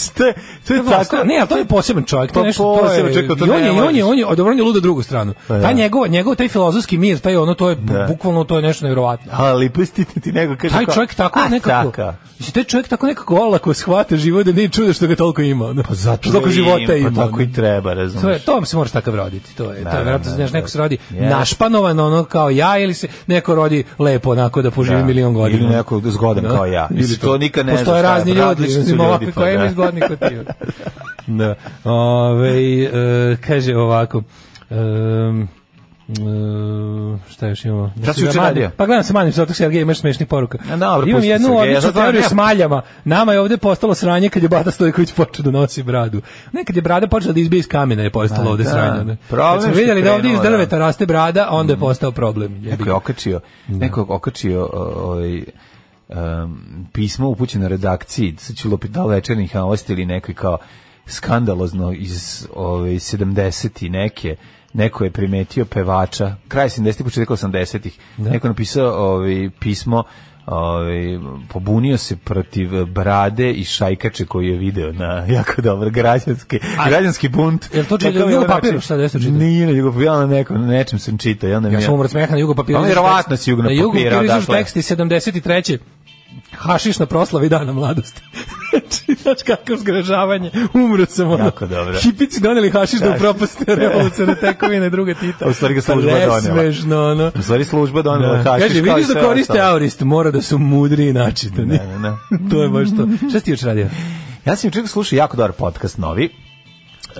[SPEAKER 6] Što je, to je tako...
[SPEAKER 7] Tako, ne, ali to je poseban čovjek, to je
[SPEAKER 6] Pa
[SPEAKER 7] nešto to je.
[SPEAKER 6] poseban čovjek, to
[SPEAKER 7] i on
[SPEAKER 6] ne
[SPEAKER 7] je, i on je,
[SPEAKER 6] možeš.
[SPEAKER 7] on je, dobro, on je lud na drugu stranu.
[SPEAKER 6] Pa
[SPEAKER 7] Ta
[SPEAKER 6] da.
[SPEAKER 7] njegov, njegov taj filozofski mir, taj ono to je bukvalno to je nešto nevjerovatno.
[SPEAKER 6] Ali pustite ti nego kaže
[SPEAKER 7] Taj
[SPEAKER 6] kao,
[SPEAKER 7] čovjek tako
[SPEAKER 6] "A,
[SPEAKER 7] nekako.
[SPEAKER 6] taka."
[SPEAKER 7] Mislim, taj čovjek tako nekako olako shvata život da nije čudo što ga toliko ima. ono.
[SPEAKER 6] Pa Zato
[SPEAKER 7] Što toliko
[SPEAKER 6] je
[SPEAKER 7] života ima.
[SPEAKER 6] Pa tako
[SPEAKER 7] ono.
[SPEAKER 6] i treba, razumiješ.
[SPEAKER 7] To je, to vam se moraš takav roditi. To je, to je
[SPEAKER 6] da,
[SPEAKER 7] verovatno
[SPEAKER 6] da,
[SPEAKER 7] znaš, neko
[SPEAKER 6] da.
[SPEAKER 7] se rodi
[SPEAKER 6] Yes.
[SPEAKER 7] našpanovan ono kao ja ili se neko rodi lepo onako da poživi milion godina.
[SPEAKER 6] Ili neko zgodan
[SPEAKER 7] Da.
[SPEAKER 6] kao ja.
[SPEAKER 7] Ili
[SPEAKER 6] Mislim, to nikad ne znaš
[SPEAKER 7] Postoje
[SPEAKER 6] šta je,
[SPEAKER 7] razni
[SPEAKER 6] različiti su
[SPEAKER 7] ljudi, ima
[SPEAKER 6] ljudi,
[SPEAKER 7] ovakvi
[SPEAKER 6] pa
[SPEAKER 7] koji
[SPEAKER 6] da.
[SPEAKER 7] ima zgodni kod ti. Da. Ove, e, kaže ovako, um, E, šta još imamo?
[SPEAKER 6] Šta si juče
[SPEAKER 7] Manim-
[SPEAKER 6] radio?
[SPEAKER 7] Pa gledam se manim, zato Sergej imaš smešnih poruka.
[SPEAKER 6] A dobro,
[SPEAKER 7] Imam
[SPEAKER 6] pusti e,
[SPEAKER 7] jednu
[SPEAKER 6] Sergeja,
[SPEAKER 7] odličnu
[SPEAKER 6] zato ja
[SPEAKER 7] teoriju
[SPEAKER 6] nemam-
[SPEAKER 7] s maljama. Nama je ovde postalo sranje kad je Bata Stojković počeo da nosi bradu. Nekad je brada počela da izbije iz kamena je postalo
[SPEAKER 6] Ma
[SPEAKER 7] ovde
[SPEAKER 6] da,
[SPEAKER 7] sranje. ne?
[SPEAKER 6] problem
[SPEAKER 7] Kad
[SPEAKER 6] što
[SPEAKER 7] smo
[SPEAKER 6] je
[SPEAKER 7] vidjeli da ovde iz
[SPEAKER 6] krenulo, da.
[SPEAKER 7] drveta raste brada, onda je postao problem. jebi
[SPEAKER 6] Neko
[SPEAKER 7] ga.
[SPEAKER 6] je okačio, neko je okačio ovaj em, pismo upućeno redakciji, sad ću lupiti da li večernjih novosti ili neki kao skandalozno iz ovaj 70 i neke neko je primetio pevača kraj 70-ih početak 80-ih neko je napisao ovaj pismo ovaj pobunio se protiv brade i šajkače koji je video na jako dobro građanski građanski bunt
[SPEAKER 7] Jel to čitao
[SPEAKER 6] Tako mi
[SPEAKER 7] Jugo
[SPEAKER 6] ono
[SPEAKER 7] Papiru,
[SPEAKER 6] način-
[SPEAKER 7] šta, gde ste čitali?
[SPEAKER 6] nije na Jugo- ja na nekom na nečem sam čitao ja
[SPEAKER 7] Ja sam umrat smeha na jugo papira.
[SPEAKER 6] Pa
[SPEAKER 7] izlazi
[SPEAKER 6] verovatno
[SPEAKER 7] tekst.
[SPEAKER 6] si Jugo na
[SPEAKER 7] Na jugo
[SPEAKER 6] papira,
[SPEAKER 7] papira izlazi
[SPEAKER 6] dakle.
[SPEAKER 7] tekst iz 73. hašiš na proslavi dana mladosti. Znači, znaš kako zgražavanje, umro sam ono.
[SPEAKER 6] Jako dobro.
[SPEAKER 7] Hipici doneli hašiš da upropaste revolucione tekovine druga Tita.
[SPEAKER 6] U stvari ga služba
[SPEAKER 7] Pa
[SPEAKER 6] donela.
[SPEAKER 7] Nesmežno, ono.
[SPEAKER 6] U stvari služba donela
[SPEAKER 7] Da.
[SPEAKER 6] Ono, hašiš
[SPEAKER 7] Kaže,
[SPEAKER 6] kao i
[SPEAKER 7] vidiš
[SPEAKER 6] sve
[SPEAKER 7] da koriste
[SPEAKER 6] ostalo.
[SPEAKER 7] aurist, mora da su mudri i načitani.
[SPEAKER 6] Ne, ne, ne.
[SPEAKER 7] to je baš to. Šta si ti još radio?
[SPEAKER 6] Ja sam čekao slušao jako dobar podcast novi.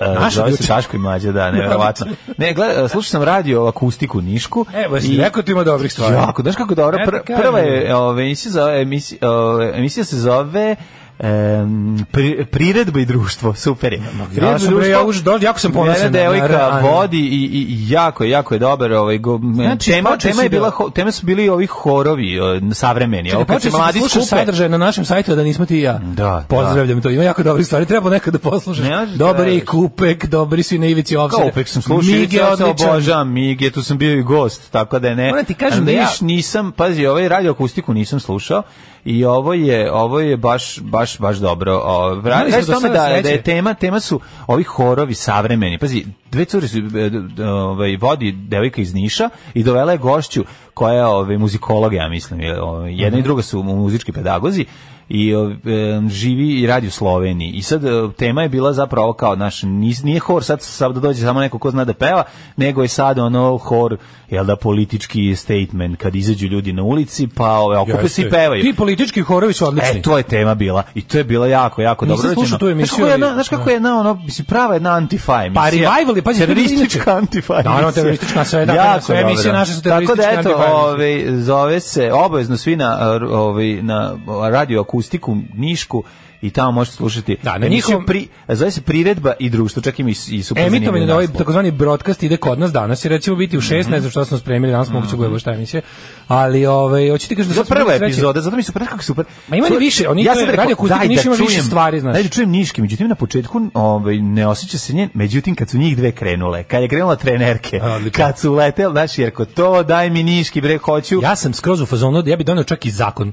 [SPEAKER 6] E,
[SPEAKER 7] Naš
[SPEAKER 6] Zove se
[SPEAKER 7] odličan.
[SPEAKER 6] Daško i Mlađa, da, nevjerovatno. Ne, gleda, e, slušao sam radio akustiku Nišku.
[SPEAKER 7] Evo,
[SPEAKER 6] i-
[SPEAKER 7] E, si rekao ti ima dobrih stvari.
[SPEAKER 6] Jako, znaš kako dobro.
[SPEAKER 7] Ja ti
[SPEAKER 6] Pr-
[SPEAKER 7] kažem.
[SPEAKER 6] prva je ove, emisija, zove, emisija, ove, emisija se zove em, pri, priredba i društvo, super je. Priredba i
[SPEAKER 7] sam, bre, ja už do- jako sam ponosan
[SPEAKER 6] Jedna
[SPEAKER 7] na- na-
[SPEAKER 6] devojka
[SPEAKER 7] na-
[SPEAKER 6] vodi i, i, i jako, je, jako je dobar. Ovaj, go,
[SPEAKER 7] Znači,
[SPEAKER 6] tema,
[SPEAKER 7] počeo
[SPEAKER 6] tema, je
[SPEAKER 7] si da-
[SPEAKER 6] bila, ho- tema su bili ovi horovi o, savremeni. Čekaj,
[SPEAKER 7] Počeo sam da slušaš sadržaj na našem sajtu, a da nismo ti i ja.
[SPEAKER 6] Da,
[SPEAKER 7] Pozdravljam to. Ima jako dobri stvari. Treba nekad da poslušaš.
[SPEAKER 6] Ne možeš da
[SPEAKER 7] Dobar je i
[SPEAKER 6] veruješ.
[SPEAKER 7] Kupek, dobri su i na Ivici Ovsere.
[SPEAKER 6] Kao opet sam slušao,
[SPEAKER 7] Mige
[SPEAKER 6] Mige odličan.
[SPEAKER 7] odličan.
[SPEAKER 6] Obožavam Mige, tu sam bio i gost, tako da je ne.
[SPEAKER 7] Moram ti kažem da
[SPEAKER 6] Niš
[SPEAKER 7] ja-
[SPEAKER 6] nisam, pazi, ovaj radio akustiku nisam slušao i ovo je, ovo je baš, baš, baš dobro. O, vra-
[SPEAKER 7] Imali smo
[SPEAKER 6] Radi se
[SPEAKER 7] do
[SPEAKER 6] o tome
[SPEAKER 7] sada
[SPEAKER 6] da, da
[SPEAKER 7] sreće.
[SPEAKER 6] je tema, tema su ovi horovi savremeni. Pazi, dve cure su, e, d- d- ovaj, vodi devojka iz Niša i dovela je gošću koja je ovaj, muzikolog, ja mislim. je, ovaj, Jedna
[SPEAKER 7] Mhm.
[SPEAKER 6] i druga su mu- muzički pedagozi i ov- em, živi i radi u Sloveniji. I sad e, tema je bila zapravo ovo kao naš nis- nije hor sad sad da dođe samo neko ko zna da peva, nego je sad ono hor jel da politički statement kad izađu ljudi na ulici pa ove okupe se i
[SPEAKER 7] Jeste.
[SPEAKER 6] pevaju.
[SPEAKER 7] Ti politički horovi su odlični.
[SPEAKER 6] E, to je tema bila. I to je bilo jako, jako
[SPEAKER 7] Nisam
[SPEAKER 6] dobro
[SPEAKER 7] slušao tu
[SPEAKER 6] urađeno. Znaš
[SPEAKER 7] emisiju,
[SPEAKER 6] kako je jedna,
[SPEAKER 7] ali-
[SPEAKER 6] znaš kako je jedna, ono, mislim, prava jedna antifa emisija.
[SPEAKER 7] Pa revival je, pazi, to je bilo
[SPEAKER 6] teroristička
[SPEAKER 7] inače.
[SPEAKER 6] antifa emisija.
[SPEAKER 7] Naravno, teroristička, sve, da,
[SPEAKER 6] Jako
[SPEAKER 7] sve emisije
[SPEAKER 6] dobro.
[SPEAKER 7] naše su terorističke
[SPEAKER 6] Tako da, eto,
[SPEAKER 7] antifa emisije.
[SPEAKER 6] ovaj, zove se, obavezno svi na, r- ovaj, na radio akustiku, Nišku, i tamo možete slušati.
[SPEAKER 7] Da, na
[SPEAKER 6] emisiju
[SPEAKER 7] njihovom-
[SPEAKER 6] Pri, zove se Priredba i društvo, čak ima i, s- i super
[SPEAKER 7] Emitovanje
[SPEAKER 6] zanimljiv
[SPEAKER 7] da ovaj
[SPEAKER 6] naslov. Mhm.
[SPEAKER 7] takozvani broadcast ide kod nas danas i recimo biti u 6, ne znam šta smo spremili danas, moguće gledamo šta emisije. Ali ovaj hoćete kažete
[SPEAKER 6] Za
[SPEAKER 7] da
[SPEAKER 6] prva
[SPEAKER 7] prve
[SPEAKER 6] epizoda, zato mi su kako super.
[SPEAKER 7] Ma ima li
[SPEAKER 6] Super.
[SPEAKER 7] više? Oni to je
[SPEAKER 6] sad rekao,
[SPEAKER 7] Radio Akustika
[SPEAKER 6] daj
[SPEAKER 7] Niš ima više
[SPEAKER 6] čujem-
[SPEAKER 7] stvari, znaš.
[SPEAKER 6] Daj da čujem Niški, međutim na početku ovaj, ne osjeća se njen, međutim kad su njih dve krenule, kad je krenula trenerke,
[SPEAKER 7] A, odlično.
[SPEAKER 6] kad su leteli, znaš, jer kod to daj mi Niški, bre, hoću.
[SPEAKER 7] Ja sam skroz u fazonu, da ja bih doneo čak i zakon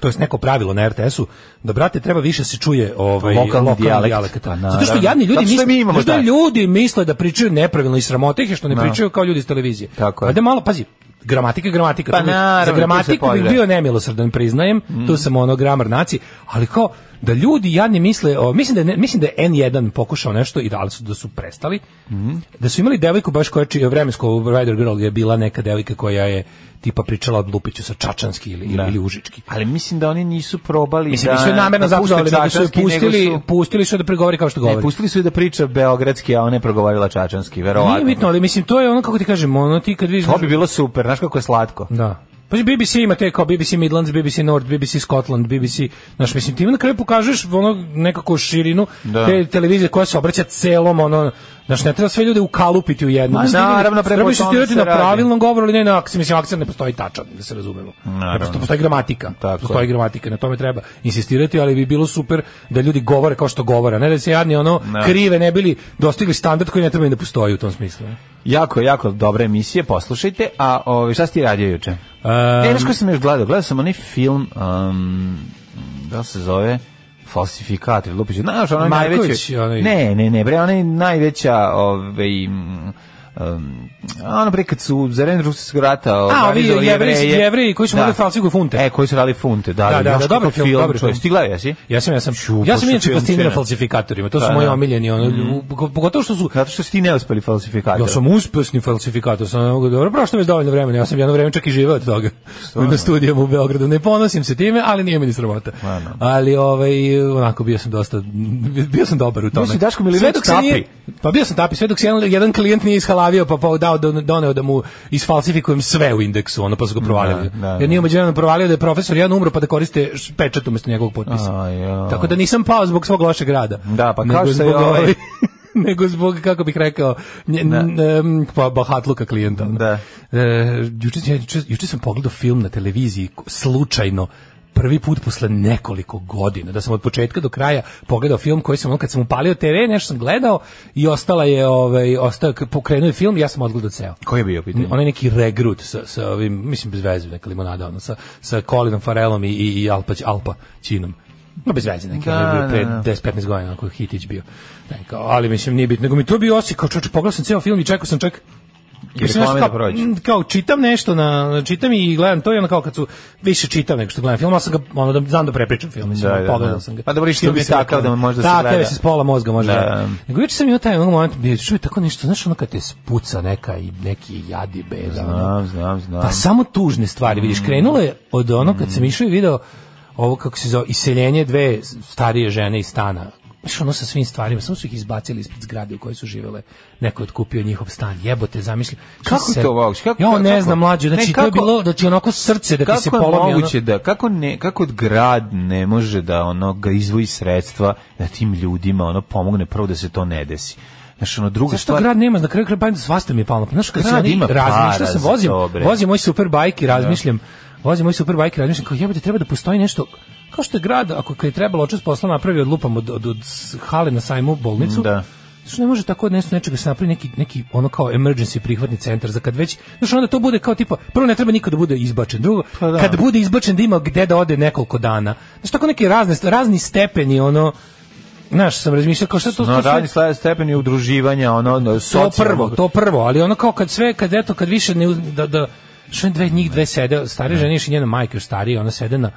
[SPEAKER 7] to jest neko pravilo na RTS-u da brate treba više se čuje ovaj
[SPEAKER 6] Lokalni
[SPEAKER 7] lokalni,
[SPEAKER 6] dijalekt.
[SPEAKER 7] dijalekt.
[SPEAKER 6] Pa,
[SPEAKER 7] Zato što
[SPEAKER 6] naravno.
[SPEAKER 7] jadni ljudi
[SPEAKER 6] Zato što
[SPEAKER 7] misle,
[SPEAKER 6] mi imamo
[SPEAKER 7] znaš da
[SPEAKER 6] taj.
[SPEAKER 7] ljudi misle da pričaju nepravilno i sramota ih je što ne pričaju kao ljudi iz televizije.
[SPEAKER 6] Tako je.
[SPEAKER 7] Pa da malo pazi, gramatika je gramatika.
[SPEAKER 6] Pa
[SPEAKER 7] Tu bi-
[SPEAKER 6] naravno,
[SPEAKER 7] za
[SPEAKER 6] tu se
[SPEAKER 7] gramatiku bih
[SPEAKER 6] podre.
[SPEAKER 7] bio nemilosrdan priznajem, tu sam ono gramar naci, ali kao da ljudi jadni misle, o, mislim da je ne- mislim da je N1 pokušao nešto i da ali su da su prestali. Da su imali devojku baš koja čije vremensko Rider Girl je bila neka devojka koja je tipa pričala od Lupiću sa Čačanski ili
[SPEAKER 6] Da.
[SPEAKER 7] ili Užički.
[SPEAKER 6] Ali mislim da oni nisu probali
[SPEAKER 7] Mislim,
[SPEAKER 6] da...
[SPEAKER 7] nisu je namerno
[SPEAKER 6] da puste
[SPEAKER 7] zapuzali, nego su je
[SPEAKER 6] Čačanski, nego
[SPEAKER 7] pustili,
[SPEAKER 6] su-
[SPEAKER 7] pustili su je da pregovori kao što
[SPEAKER 6] Ne,
[SPEAKER 7] govori.
[SPEAKER 6] pustili su je da priča beogradski, a ona je progovorila čačanski,
[SPEAKER 7] Nije
[SPEAKER 6] verovatno.
[SPEAKER 7] bitno, ali mislim, to je ono, kako ti kažem, ono ti kad vidiš...
[SPEAKER 6] To bi bilo super, znaš kako je slatko.
[SPEAKER 7] Da. Pa BBC ima te kao BBC Midlands, BBC North, BBC Scotland, BBC, znaš, mislim, ti na kraju pokažeš ono nekako širinu
[SPEAKER 6] Da.
[SPEAKER 7] te televizije koja se obraća celom, ono, znaš, ne treba sve ljude ukalupiti u jednu.
[SPEAKER 6] Ma,
[SPEAKER 7] Mislim, ti
[SPEAKER 6] naravno, prema
[SPEAKER 7] treba
[SPEAKER 6] tome
[SPEAKER 7] insistirati
[SPEAKER 6] se
[SPEAKER 7] na
[SPEAKER 6] radi.
[SPEAKER 7] pravilnom govoru, ali ne na akciju, mislim, akcija ne postoji tačan, da se razumemo.
[SPEAKER 6] Naravno.
[SPEAKER 7] Ne postoji, postoji gramatika,
[SPEAKER 6] Tako je.
[SPEAKER 7] postoji gramatika, na tome treba insistirati, ali bi bilo super da ljudi govore kao što govore, a ne da se jadni ono
[SPEAKER 6] Da.
[SPEAKER 7] krive ne bili dostigli standard koji ne treba ni da postoji u tom smislu. ne?
[SPEAKER 6] Jako, jako dobre emisije, poslušajte. A ovaj, šta si ti radio juče?
[SPEAKER 7] Um,
[SPEAKER 6] e, znaš koji sam još gledao? Gledao sam onaj film, um, da li se zove falsifikat ili lupić. Znaš, ono
[SPEAKER 7] Marković,
[SPEAKER 6] najveći...
[SPEAKER 7] onaj-
[SPEAKER 6] Ne, ne, ne, bre, ona je najveća... Ovaj, mm, um, ono bre kad su za vreme drugog svjetskog rata
[SPEAKER 7] A, ovi
[SPEAKER 6] organizovali
[SPEAKER 7] jevreji-
[SPEAKER 6] Jevreje.
[SPEAKER 7] jevreji koji su
[SPEAKER 6] Da.
[SPEAKER 7] morali falsifikuju funte.
[SPEAKER 6] E, koji su radili funte, da, da, da, da,
[SPEAKER 7] dobar film,
[SPEAKER 6] film,
[SPEAKER 7] dobar
[SPEAKER 6] čovječ.
[SPEAKER 7] film.
[SPEAKER 6] Ti gledao, jesi?
[SPEAKER 7] Ja sam, ja sam,
[SPEAKER 6] Ču,
[SPEAKER 7] ja sam
[SPEAKER 6] baš
[SPEAKER 7] inače
[SPEAKER 6] film
[SPEAKER 7] fasciniran
[SPEAKER 6] čudan.
[SPEAKER 7] falsifikatorima, to su
[SPEAKER 6] Pa,
[SPEAKER 7] moji
[SPEAKER 6] da. Mhm.
[SPEAKER 7] omiljeni, ono, u- pogotovo što su,
[SPEAKER 6] Zato što si ti neuspeli falsifikator.
[SPEAKER 7] ja sam uspešni falsifikator, sam ne mogu, dobro, prošlo mi je dovoljno vremena, ja sam jedno vreme čak i živeo od toga, na studijama u Beogradu, ne ponosim se time, ali nije mi ni sramota,
[SPEAKER 6] Stvarno.
[SPEAKER 7] ali, ovaj, onako, bio sam dosta, bio sam dobar u tome.
[SPEAKER 6] si Daško Milinović
[SPEAKER 7] Sve dok se nije-
[SPEAKER 6] tapi.
[SPEAKER 7] Pa bio sam tapi, sve dok se jedan, jedan klijent nije ishalavio, pa, pa dao, doneo da mu isfalsifikujem sve u indeksu, ono, pa su ga provalili.
[SPEAKER 6] Da, da,
[SPEAKER 7] Jer nije umeđu jedan provalio da je profesor jedan umro, pa da koriste š- pečat umesto njegovog potpisa.
[SPEAKER 6] A, ja.
[SPEAKER 7] Tako da nisam pao zbog svog lošeg rada.
[SPEAKER 6] Da, pa
[SPEAKER 7] Nego
[SPEAKER 6] kao što je
[SPEAKER 7] zbog
[SPEAKER 6] ovaj-
[SPEAKER 7] ove- nego zbog, kako bih rekao, nje, n, em, pa bahatluka klijenta. ono.
[SPEAKER 6] Da.
[SPEAKER 7] E, juče, ja juče, juče sam pogledao film na televiziji ko- slučajno prvi put posle nekoliko godina, da sam od početka do kraja pogledao film koji sam, ono, kad sam upalio TV, nešto sam gledao i ostala je, ovaj, ostao, pokrenuo je film i ja sam odgledao ceo.
[SPEAKER 6] Koji je bio pitanje?
[SPEAKER 7] Onaj neki regrut sa, sa ovim, mislim, bez veze, neka limonada, ono, sa, sa Colinom Farelom i, i, i Alpa, Alpa Činom. No, bez veze, neki,
[SPEAKER 6] Da,
[SPEAKER 7] ono je bio pre
[SPEAKER 6] da, da.
[SPEAKER 7] 10-15 godina, onako hitić bio. Taj, kao, ali, mislim, nije bitno, nego mi to bio osjećaj, kao čoče, pogledao sam ceo film i čekao sam čak Mislim,
[SPEAKER 6] reklame
[SPEAKER 7] znaš,
[SPEAKER 6] da prođu.
[SPEAKER 7] mm, kao čitam nešto, na, čitam i gledam to i ono kao kad su, više čitam nego što gledam film, ali sam ga, ono, da, znam da prepričam film, mislim,
[SPEAKER 6] Da,
[SPEAKER 7] ono,
[SPEAKER 6] da,
[SPEAKER 7] pogledao
[SPEAKER 6] da.
[SPEAKER 7] sam ga.
[SPEAKER 6] Pa dobro, i
[SPEAKER 7] Što
[SPEAKER 6] film
[SPEAKER 7] bi
[SPEAKER 6] je
[SPEAKER 7] se reklo,
[SPEAKER 6] takav da može da se
[SPEAKER 7] takav
[SPEAKER 6] gleda.
[SPEAKER 7] je, s pola mozga može
[SPEAKER 6] Da.
[SPEAKER 7] da. Nego juče sam imao taj onog moment, bio, čuj, tako nešto, znaš ono kad te spuca neka i neki jadi beda. ono.
[SPEAKER 6] Znam, znam, znam. Mm.
[SPEAKER 7] Pa samo tužne stvari, vidiš, krenulo je od ono kad sam išao i video ovo kako se zove, iseljenje dve starije žene iz stana. Znaš, ono sa svim stvarima, samo su ih izbacili ispred zgrade u kojoj su živele. Neko je otkupio njihov stan, jebote, zamisli.
[SPEAKER 6] Kako
[SPEAKER 7] se-
[SPEAKER 6] to moguće? Kako-
[SPEAKER 7] ja ne
[SPEAKER 6] kako?
[SPEAKER 7] znam, mlađe, znači
[SPEAKER 6] Ne,
[SPEAKER 7] to je
[SPEAKER 6] kako-
[SPEAKER 7] bilo, znači onako srce da ti se
[SPEAKER 6] kako je
[SPEAKER 7] polomi. ono-
[SPEAKER 6] moguće da kako ne kako grad ne može da ono ga izvoji sredstva da tim ljudima ono pomogne prvo da se to ne desi. Znaš, ono druga
[SPEAKER 7] Zašto
[SPEAKER 6] stvar,
[SPEAKER 7] grad nema, na kraju kraja pa svasta mi je palo. na pamet. Znaš, kad
[SPEAKER 6] Grad
[SPEAKER 7] se oni
[SPEAKER 6] ima para
[SPEAKER 7] razmišlja sam,
[SPEAKER 6] za
[SPEAKER 7] vozim,
[SPEAKER 6] to, bre.
[SPEAKER 7] vozim moj superbajk i razmišljam, vozim moj superbajk i razmišljam, kao jebote, treba da postoji nešto, kao što je grad, ako kad je trebalo očas posla napravi od lupam od, od, od s- hale na sajmu u bolnicu,
[SPEAKER 6] Da.
[SPEAKER 7] Što ne može tako od nešto nečega se napravi neki, neki ono kao emergency prihvatni centar za kad već, znaš onda to bude kao tipa, prvo ne treba niko da bude izbačen, drugo,
[SPEAKER 6] Pa da.
[SPEAKER 7] kad bude izbačen da ima gde da ode nekoliko dana. Znaš tako neki razne, razni stepeni ono, znaš sam razmišljao kao šta to,
[SPEAKER 6] no,
[SPEAKER 7] to sve-
[SPEAKER 6] ono, radni sla- stepen je udruživanja, ono, ono
[SPEAKER 7] to
[SPEAKER 6] socijalnog-
[SPEAKER 7] prvo, to prvo, ali ono kao kad sve, kad eto, kad više ne, uz- da, da, što je dve njih dve sede, stare žene još i njena majka još starija, ona sede na,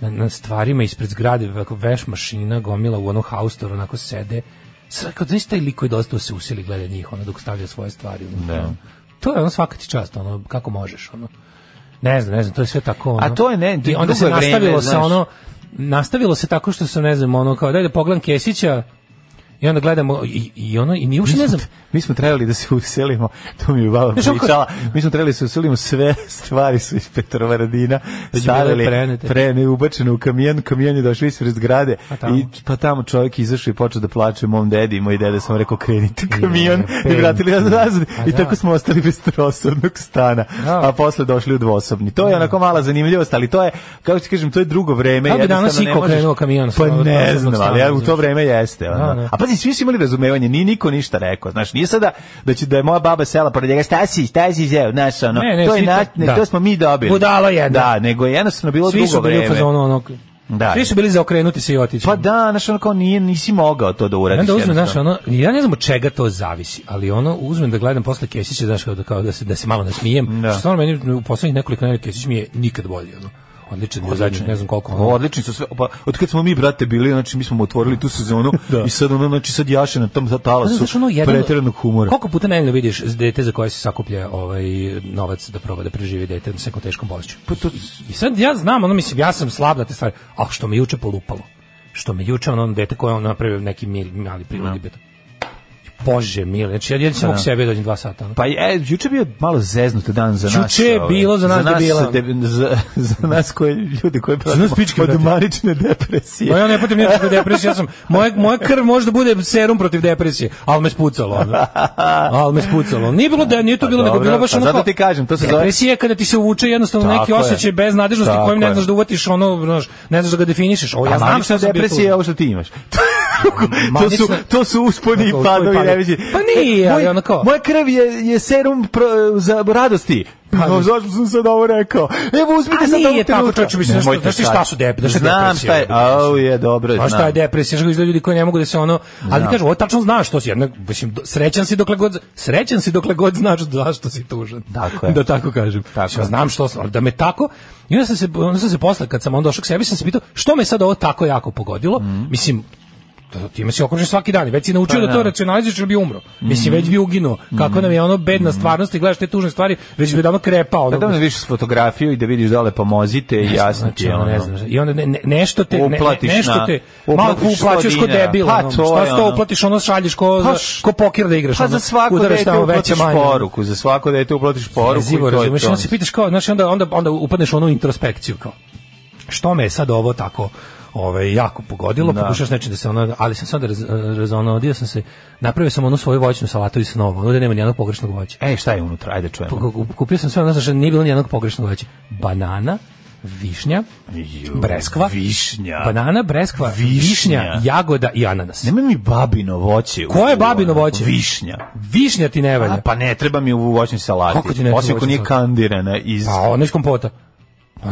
[SPEAKER 7] na, na stvarima ispred zgrade, ovako veš mašina, gomila u onom haustoru, onako sede, sad kao znaš taj lik koji dosta se usili gleda njih, ono dok stavlja svoje stvari. Ono,
[SPEAKER 6] Da.
[SPEAKER 7] To je ono svaka ti čast, ono, kako možeš, ono. Ne znam, ne znam, to je sve tako ono.
[SPEAKER 6] A to je, ne,
[SPEAKER 7] I onda se
[SPEAKER 6] drugo je vreme,
[SPEAKER 7] nastavilo sa
[SPEAKER 6] znaš.
[SPEAKER 7] ono, nastavilo se tako što sam, ne znam, ono, kao daj da pogledam Kesića, I onda gledamo i, i ono i ni uopšte ne znam
[SPEAKER 6] Mi smo trebali da se uselimo, to mi je baba
[SPEAKER 7] Znaš, ono
[SPEAKER 6] pričala, mi smo trebali da se uselimo, sve stvari su iz Petrovaradina
[SPEAKER 7] bile
[SPEAKER 6] stavili,
[SPEAKER 7] prenete.
[SPEAKER 6] prene, ubačene u kamion, kamion je došao ispred zgrade
[SPEAKER 7] tamo?
[SPEAKER 6] i pa tamo čovjek izašao i počeo da plače mom dedi, i moj dede sam rekao krenite u kamion
[SPEAKER 7] pen.
[SPEAKER 6] i vratili nas nazad
[SPEAKER 7] Pa
[SPEAKER 6] i
[SPEAKER 7] da.
[SPEAKER 6] tako smo ostali bez trosobnog stana,
[SPEAKER 7] Da.
[SPEAKER 6] a posle došli u dvosobni. To je onako mala zanimljivost, ali to je, kako ti kažem, to je drugo vreme.
[SPEAKER 7] Kako bi danas
[SPEAKER 6] jednostavno ne
[SPEAKER 7] Iko
[SPEAKER 6] možeš-
[SPEAKER 7] krenuo kamion sa
[SPEAKER 6] Pa
[SPEAKER 7] ovog
[SPEAKER 6] ne
[SPEAKER 7] trosobnog
[SPEAKER 6] znam, ali
[SPEAKER 7] stana,
[SPEAKER 6] ja u to
[SPEAKER 7] znaš.
[SPEAKER 6] vreme jeste. Ono.
[SPEAKER 7] Da, da.
[SPEAKER 6] A pazi, svi su imali razumevanje, nije niko ništa rekao. Znaš, nije sada da će da je moja baba sela pored njega, šta si, šta si zeo, znaš, ono,
[SPEAKER 7] Ne, ne,
[SPEAKER 6] to, je
[SPEAKER 7] svi to-
[SPEAKER 6] na, ne,
[SPEAKER 7] da.
[SPEAKER 6] to smo mi dobili.
[SPEAKER 7] Budalo jedna.
[SPEAKER 6] Da, nego je jednostavno bilo
[SPEAKER 7] Svi
[SPEAKER 6] drugo
[SPEAKER 7] su bili u
[SPEAKER 6] vreme.
[SPEAKER 7] fazonu onog.
[SPEAKER 6] Da.
[SPEAKER 7] Svi su bili za okrenuti se i otići.
[SPEAKER 6] Pa da, znaš, ono kao nije, nisi mogao to da
[SPEAKER 7] I
[SPEAKER 6] uradiš.
[SPEAKER 7] onda uzmem,
[SPEAKER 6] jednostavno.
[SPEAKER 7] znaš, ono, ja ne znam od čega to zavisi, ali ono, uzmem da gledam posle Kesića, znaš, kao da, kao da, se, da se malo nasmijem,
[SPEAKER 6] Da.
[SPEAKER 7] što stvarno meni u poslednjih nekoliko nedelja Kesić mi je nikad bolji, ono. Odličan je zajednik, ne znam koliko.
[SPEAKER 6] O,
[SPEAKER 7] Ono.
[SPEAKER 6] odlični su sve. Pa, od kad smo mi brate bili, znači mi smo mu otvorili tu sezonu i sad ono znači sad jaše na tom talasu
[SPEAKER 7] Znaš, ono, jedan-
[SPEAKER 6] preteranog humora.
[SPEAKER 7] Koliko puta nedeljno vidiš dete za koje se sakuplja ovaj novac da proba da preživi dete sa nekom teškom bolešću?
[SPEAKER 6] Pa to-
[SPEAKER 7] I sad ja znam, ono mislim, ja sam slab na te stvari, ali što me juče polupalo, što me juče ono dete koje on napravio neki mili, mali prilog no. Bože mili, znači ja jedin sam u sebe dođem dva sata. Ono.
[SPEAKER 6] Pa je, juče je bio malo zeznut dan za nas.
[SPEAKER 7] Juče je
[SPEAKER 6] ovaj,
[SPEAKER 7] bilo za nas debila.
[SPEAKER 6] de- za, za nas koje, ljudi koje pratimo
[SPEAKER 7] nas pičke,
[SPEAKER 6] od
[SPEAKER 7] brate.
[SPEAKER 6] manične
[SPEAKER 7] Ma
[SPEAKER 6] depresije.
[SPEAKER 7] Pa ja ne patim nikakve depresije, ja sam, moja, moja krv možda bude serum protiv depresije, ali me spucalo. Ono. Ali me spucalo. Nije bilo da, nije to
[SPEAKER 6] Pa
[SPEAKER 7] bilo, nego
[SPEAKER 6] dobro,
[SPEAKER 7] bilo baš
[SPEAKER 6] pa
[SPEAKER 7] ono
[SPEAKER 6] zato
[SPEAKER 7] kao-
[SPEAKER 6] ti kažem, to se zove-
[SPEAKER 7] Depresija je kada ti se uvuče jednostavno
[SPEAKER 6] Tako
[SPEAKER 7] neki
[SPEAKER 6] je.
[SPEAKER 7] osjećaj beznadežnosti
[SPEAKER 6] Tako
[SPEAKER 7] kojim ne
[SPEAKER 6] je.
[SPEAKER 7] znaš da uvatiš ono, znaš, ne znaš da ga definišeš. Ovo, ja
[SPEAKER 6] A
[SPEAKER 7] znam
[SPEAKER 6] manična
[SPEAKER 7] što sam bio
[SPEAKER 6] depresija je
[SPEAKER 7] tužan.
[SPEAKER 6] ovo što ti imaš. to,
[SPEAKER 7] Manična-
[SPEAKER 6] su, to su usponi i
[SPEAKER 7] Tako, usponi i
[SPEAKER 6] padovi.
[SPEAKER 7] padovi.
[SPEAKER 6] ne vidim.
[SPEAKER 7] Pa nije, ali
[SPEAKER 6] Moj-
[SPEAKER 7] ono kao-
[SPEAKER 6] Moja krv je, je serum pro- za radosti. Pa, zašto sam sad ovo rekao? Evo, uzmite
[SPEAKER 7] A
[SPEAKER 6] sad ovo
[SPEAKER 7] nije tako,
[SPEAKER 6] trenutka.
[SPEAKER 7] čovječe, mislim, znaš što-
[SPEAKER 6] Nemojte
[SPEAKER 7] znaš ti
[SPEAKER 6] sad.
[SPEAKER 7] šta su dep- znaš šta je
[SPEAKER 6] Znam šta
[SPEAKER 7] depresija,
[SPEAKER 6] je,
[SPEAKER 7] ono,
[SPEAKER 6] au je, dobro, znam.
[SPEAKER 7] Pa šta je depresija, što izgleda ljudi koji ne mogu da se ono, ali ti kažu, ovo tačno znaš što si, jednak, mislim, do- srećan si dokle god, srećan si dokle god znaš zašto si tužan.
[SPEAKER 6] Tako je.
[SPEAKER 7] Da tako kažem.
[SPEAKER 6] Tako
[SPEAKER 7] ja
[SPEAKER 6] je.
[SPEAKER 7] znam što sam, ali da me tako, i onda sam se, onda sam se posle, kad sam onda došao k sebi, sam se pitao, što me sad ovo tako jako pogodilo,
[SPEAKER 6] Mhm.
[SPEAKER 7] mislim, to- time si okružen svaki dan i već si naučio
[SPEAKER 6] Pa
[SPEAKER 7] da, to racionalizuješ ili bi umro.
[SPEAKER 6] Mhm.
[SPEAKER 7] Mislim, već bi uginuo. Kako nam je ono bedna stvarnost i gledaš te tužne stvari, već bi davno krepao.
[SPEAKER 6] Pa
[SPEAKER 7] Ono,
[SPEAKER 6] da me vidiš fotografiju i da vidiš dole pomozite i jasno ti
[SPEAKER 7] znači,
[SPEAKER 6] je
[SPEAKER 7] ono,
[SPEAKER 6] ono.
[SPEAKER 7] ne znam, i onda ne, ne, nešto te, ne,
[SPEAKER 6] Uplatiš
[SPEAKER 7] ne, nešto
[SPEAKER 6] na-
[SPEAKER 7] te, malo
[SPEAKER 6] uplatiš sto
[SPEAKER 7] uplaćuješ ko
[SPEAKER 6] dinara.
[SPEAKER 7] debil,
[SPEAKER 6] Pa,
[SPEAKER 7] ono,
[SPEAKER 6] to
[SPEAKER 7] šta
[SPEAKER 6] je
[SPEAKER 7] se to
[SPEAKER 6] ono.
[SPEAKER 7] uplatiš, ono šaljiš ko,
[SPEAKER 6] Pa
[SPEAKER 7] za-
[SPEAKER 6] š-
[SPEAKER 7] ko pokir da igraš,
[SPEAKER 6] Pa
[SPEAKER 7] ono,
[SPEAKER 6] za svako
[SPEAKER 7] udaraš
[SPEAKER 6] dete
[SPEAKER 7] tamo veće,
[SPEAKER 6] uplatiš
[SPEAKER 7] manje, ono.
[SPEAKER 6] poruku, za svako dete uplatiš poruku
[SPEAKER 7] Jezivo,
[SPEAKER 6] i to je
[SPEAKER 7] razumeš,
[SPEAKER 6] to.
[SPEAKER 7] onda se pitaš kao, znači onda, onda, onda upadneš u onu introspekciju, kao, što me je sad ovo tako ovaj jako pogodilo,
[SPEAKER 6] Da.
[SPEAKER 7] pokušaš nečim da se ono, ali sam sad raz, razonodio sam se, napravio sam onu svoju voćnu salatu iz snova, ovde nema nijednog pogrešnog voća.
[SPEAKER 6] E, šta je unutra? Ajde čujemo.
[SPEAKER 7] Ku- Kupio sam sve ono, znači nije bilo nijednog pogrešnog voća. Banana, višnja, breskva,
[SPEAKER 6] Višnja.
[SPEAKER 7] banana, breskva,
[SPEAKER 6] Višnja.
[SPEAKER 7] višnja, jagoda i ananas.
[SPEAKER 6] Nema mi babino voće. u- ono,
[SPEAKER 7] Koje je babino voće?
[SPEAKER 6] Višnja. pa-
[SPEAKER 7] Višnja ti ne valja.
[SPEAKER 6] A, pa ne treba mi u voćnoj salati.
[SPEAKER 7] Kako ti ne treba
[SPEAKER 6] Osim ako
[SPEAKER 7] voćnoj
[SPEAKER 6] nije
[SPEAKER 7] salati?
[SPEAKER 6] kandirana iz...
[SPEAKER 7] Pa, ono iz kompota.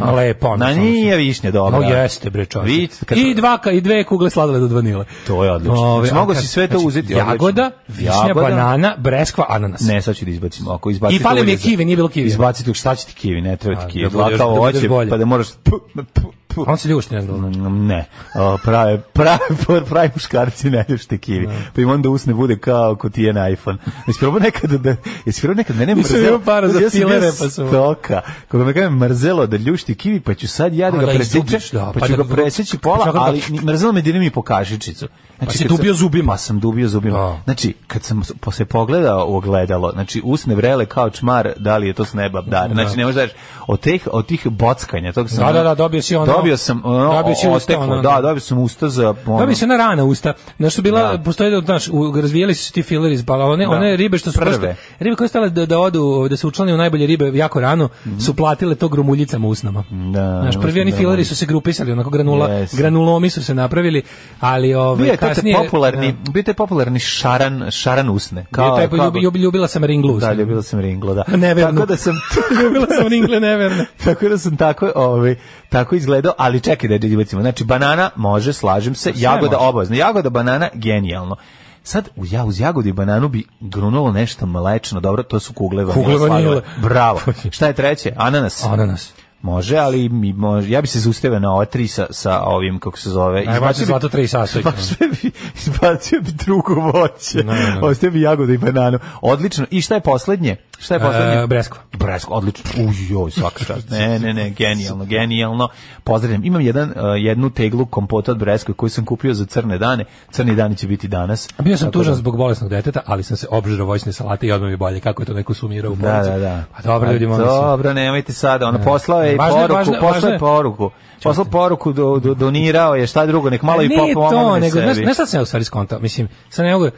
[SPEAKER 7] A lepo, ono.
[SPEAKER 6] Na
[SPEAKER 7] samo
[SPEAKER 6] nije višnja dobra.
[SPEAKER 7] No jeste bre čoveče.
[SPEAKER 6] Vi- kad-
[SPEAKER 7] I dva ka- i dve kugle sladoleda od vanile.
[SPEAKER 6] To je odlično.
[SPEAKER 7] Ove,
[SPEAKER 6] Znači, mogu
[SPEAKER 7] a kad-
[SPEAKER 6] si sve to uzeti, odlično.
[SPEAKER 7] Jagoda, višnja,
[SPEAKER 6] Jagoda.
[SPEAKER 7] banana, breskva, ananas.
[SPEAKER 6] Ne, pa sad ću da izbacim. Ako izbacite
[SPEAKER 7] I fali mi je
[SPEAKER 6] ulje za-
[SPEAKER 7] kiwi, nije bilo kiwi.
[SPEAKER 6] Izbacite, šta će ti kiwi, ne treba
[SPEAKER 7] A,
[SPEAKER 6] ti
[SPEAKER 7] da
[SPEAKER 6] kiwi.
[SPEAKER 7] budeš- da
[SPEAKER 6] Zlata
[SPEAKER 7] budeš
[SPEAKER 6] ovoće,
[SPEAKER 7] bolje.
[SPEAKER 6] pa da moraš... Pu, pu, pu.
[SPEAKER 7] On se ljušti, ne znam.
[SPEAKER 6] Mm, Ne, O, prave, prave, prave muškarci ne ljušte kiwi. Pa im onda usne bude kao ko ti je na iPhone. Jesi probao nekada da... Jesi probao nekada mene
[SPEAKER 7] Nisam
[SPEAKER 6] mrzelo...
[SPEAKER 7] imao para za
[SPEAKER 6] ja sam bio
[SPEAKER 7] filere, pa sam-
[SPEAKER 6] Stoka. Kada me kaže mrzelo da ljušti kiwi, pa ću sad ja da
[SPEAKER 7] A,
[SPEAKER 6] ga
[SPEAKER 7] da
[SPEAKER 6] preseći,
[SPEAKER 7] izdubiš, da,
[SPEAKER 6] pa
[SPEAKER 7] pa
[SPEAKER 6] ću
[SPEAKER 7] da-
[SPEAKER 6] ga preseći
[SPEAKER 7] pa
[SPEAKER 6] pola,
[SPEAKER 7] ću ga-
[SPEAKER 6] ali ni- mrzelo me dinim i po kašičicu. Znači,
[SPEAKER 7] si
[SPEAKER 6] kad sam-
[SPEAKER 7] dubio zubima?
[SPEAKER 6] Pa sam dubio zubima.
[SPEAKER 7] Da.
[SPEAKER 6] Znači, kad sam s- po- se pogledao u ogledalo, znači usne vrele kao čmar, da li je to s neba dar. Znači, ne možeš da reš, od tih, od tih bockanja, tog sam...
[SPEAKER 7] Da, da, da, dobio si ono-
[SPEAKER 6] Dobio sam, ono,
[SPEAKER 7] Dobio si usta,
[SPEAKER 6] oteklo,
[SPEAKER 7] ono,
[SPEAKER 6] da,
[SPEAKER 7] da.
[SPEAKER 6] dobio sam usta za... Ono,
[SPEAKER 7] Dobio se na rana usta. Na što bila
[SPEAKER 6] Da.
[SPEAKER 7] postoji da znaš, u, razvijali su se ti fileri iz bala, one,
[SPEAKER 6] Da.
[SPEAKER 7] one ribe što su
[SPEAKER 6] Prve.
[SPEAKER 7] prosto- ribe koje su stale da, da odu da se učlane u najbolje ribe jako rano, su platile to grumuljicama usnama.
[SPEAKER 6] Mhm. Da,
[SPEAKER 7] znaš, prvi oni
[SPEAKER 6] da.
[SPEAKER 7] fileri su se grupisali, onako granula,
[SPEAKER 6] Yes.
[SPEAKER 7] granulomi su se napravili, ali
[SPEAKER 6] Bio
[SPEAKER 7] ove
[SPEAKER 6] je taj
[SPEAKER 7] ono kasnije
[SPEAKER 6] popularni, bio je taj popularni šaran, šaran usne.
[SPEAKER 7] Da, bio
[SPEAKER 6] Kao,
[SPEAKER 7] je taj,
[SPEAKER 6] kao-
[SPEAKER 7] ljubi- ljubi- ljubila sam ringlu.
[SPEAKER 6] Da, ljubila sam ringlo, da.
[SPEAKER 7] Neverno.
[SPEAKER 6] Tako da sam...
[SPEAKER 7] ljubila sam ringle neverno.
[SPEAKER 6] tako da sam tako, ovaj, tako izgledao, ali čekaj da izbacimo. Znači, banana može, slažem se, jagoda
[SPEAKER 7] Pa može.
[SPEAKER 6] obavezno. Jagoda, banana, genijalno. Sad u ja uz jagodu i bananu bi grunulo nešto mlečno, dobro, to su kugle vanile.
[SPEAKER 7] Kugle vanile.
[SPEAKER 6] sladole. Bravo. Šta je treće? Ananas.
[SPEAKER 7] Ananas.
[SPEAKER 6] Može, ali mi može, ja bi se zaustavio na ova tri sa, sa ovim, kako se zove.
[SPEAKER 7] Najvače
[SPEAKER 6] izbacio bi-
[SPEAKER 7] zlato tri sastojka.
[SPEAKER 6] Pa sve bi, izbacio bi drugo voće.
[SPEAKER 7] Ne, ne, ne.
[SPEAKER 6] Ostavio bi jagodu i bananu. Odlično. I šta je poslednje? Šta je poslednje?
[SPEAKER 7] E, breskva.
[SPEAKER 6] Bresko, odlično. Uj, joj, svaka čast. Ne, ne, ne, genijalno, genijalno. Pozdravljam. Imam jedan, eh, jednu teglu kompota od Breskve koju sam kupio za crne dane. Crni dani će biti danas.
[SPEAKER 7] Bio sam
[SPEAKER 6] Tako
[SPEAKER 7] tužan
[SPEAKER 6] da-
[SPEAKER 7] zbog bolesnog deteta, ali sam se obžirao voćne salate i odmah mi je bolje kako je to neko sumirao u
[SPEAKER 6] Da,
[SPEAKER 7] bolnici.
[SPEAKER 6] da, da.
[SPEAKER 7] Pa dobro, ljudi, molim se.
[SPEAKER 6] Dobro, nemojte sada. Ono, poslao je i
[SPEAKER 7] Važno je,
[SPEAKER 6] poruku,
[SPEAKER 7] važno je,
[SPEAKER 6] poslao
[SPEAKER 7] važno
[SPEAKER 6] je
[SPEAKER 7] je.
[SPEAKER 6] poruku. Poslao poruku, do, do, donirao je, šta drugo, nek malo i
[SPEAKER 7] Ne
[SPEAKER 6] popa
[SPEAKER 7] to,
[SPEAKER 6] pomogne
[SPEAKER 7] nego,
[SPEAKER 6] sebi.
[SPEAKER 7] znaš, znaš šta sam ja u stvari skontao? Mislim, sad ne mogu,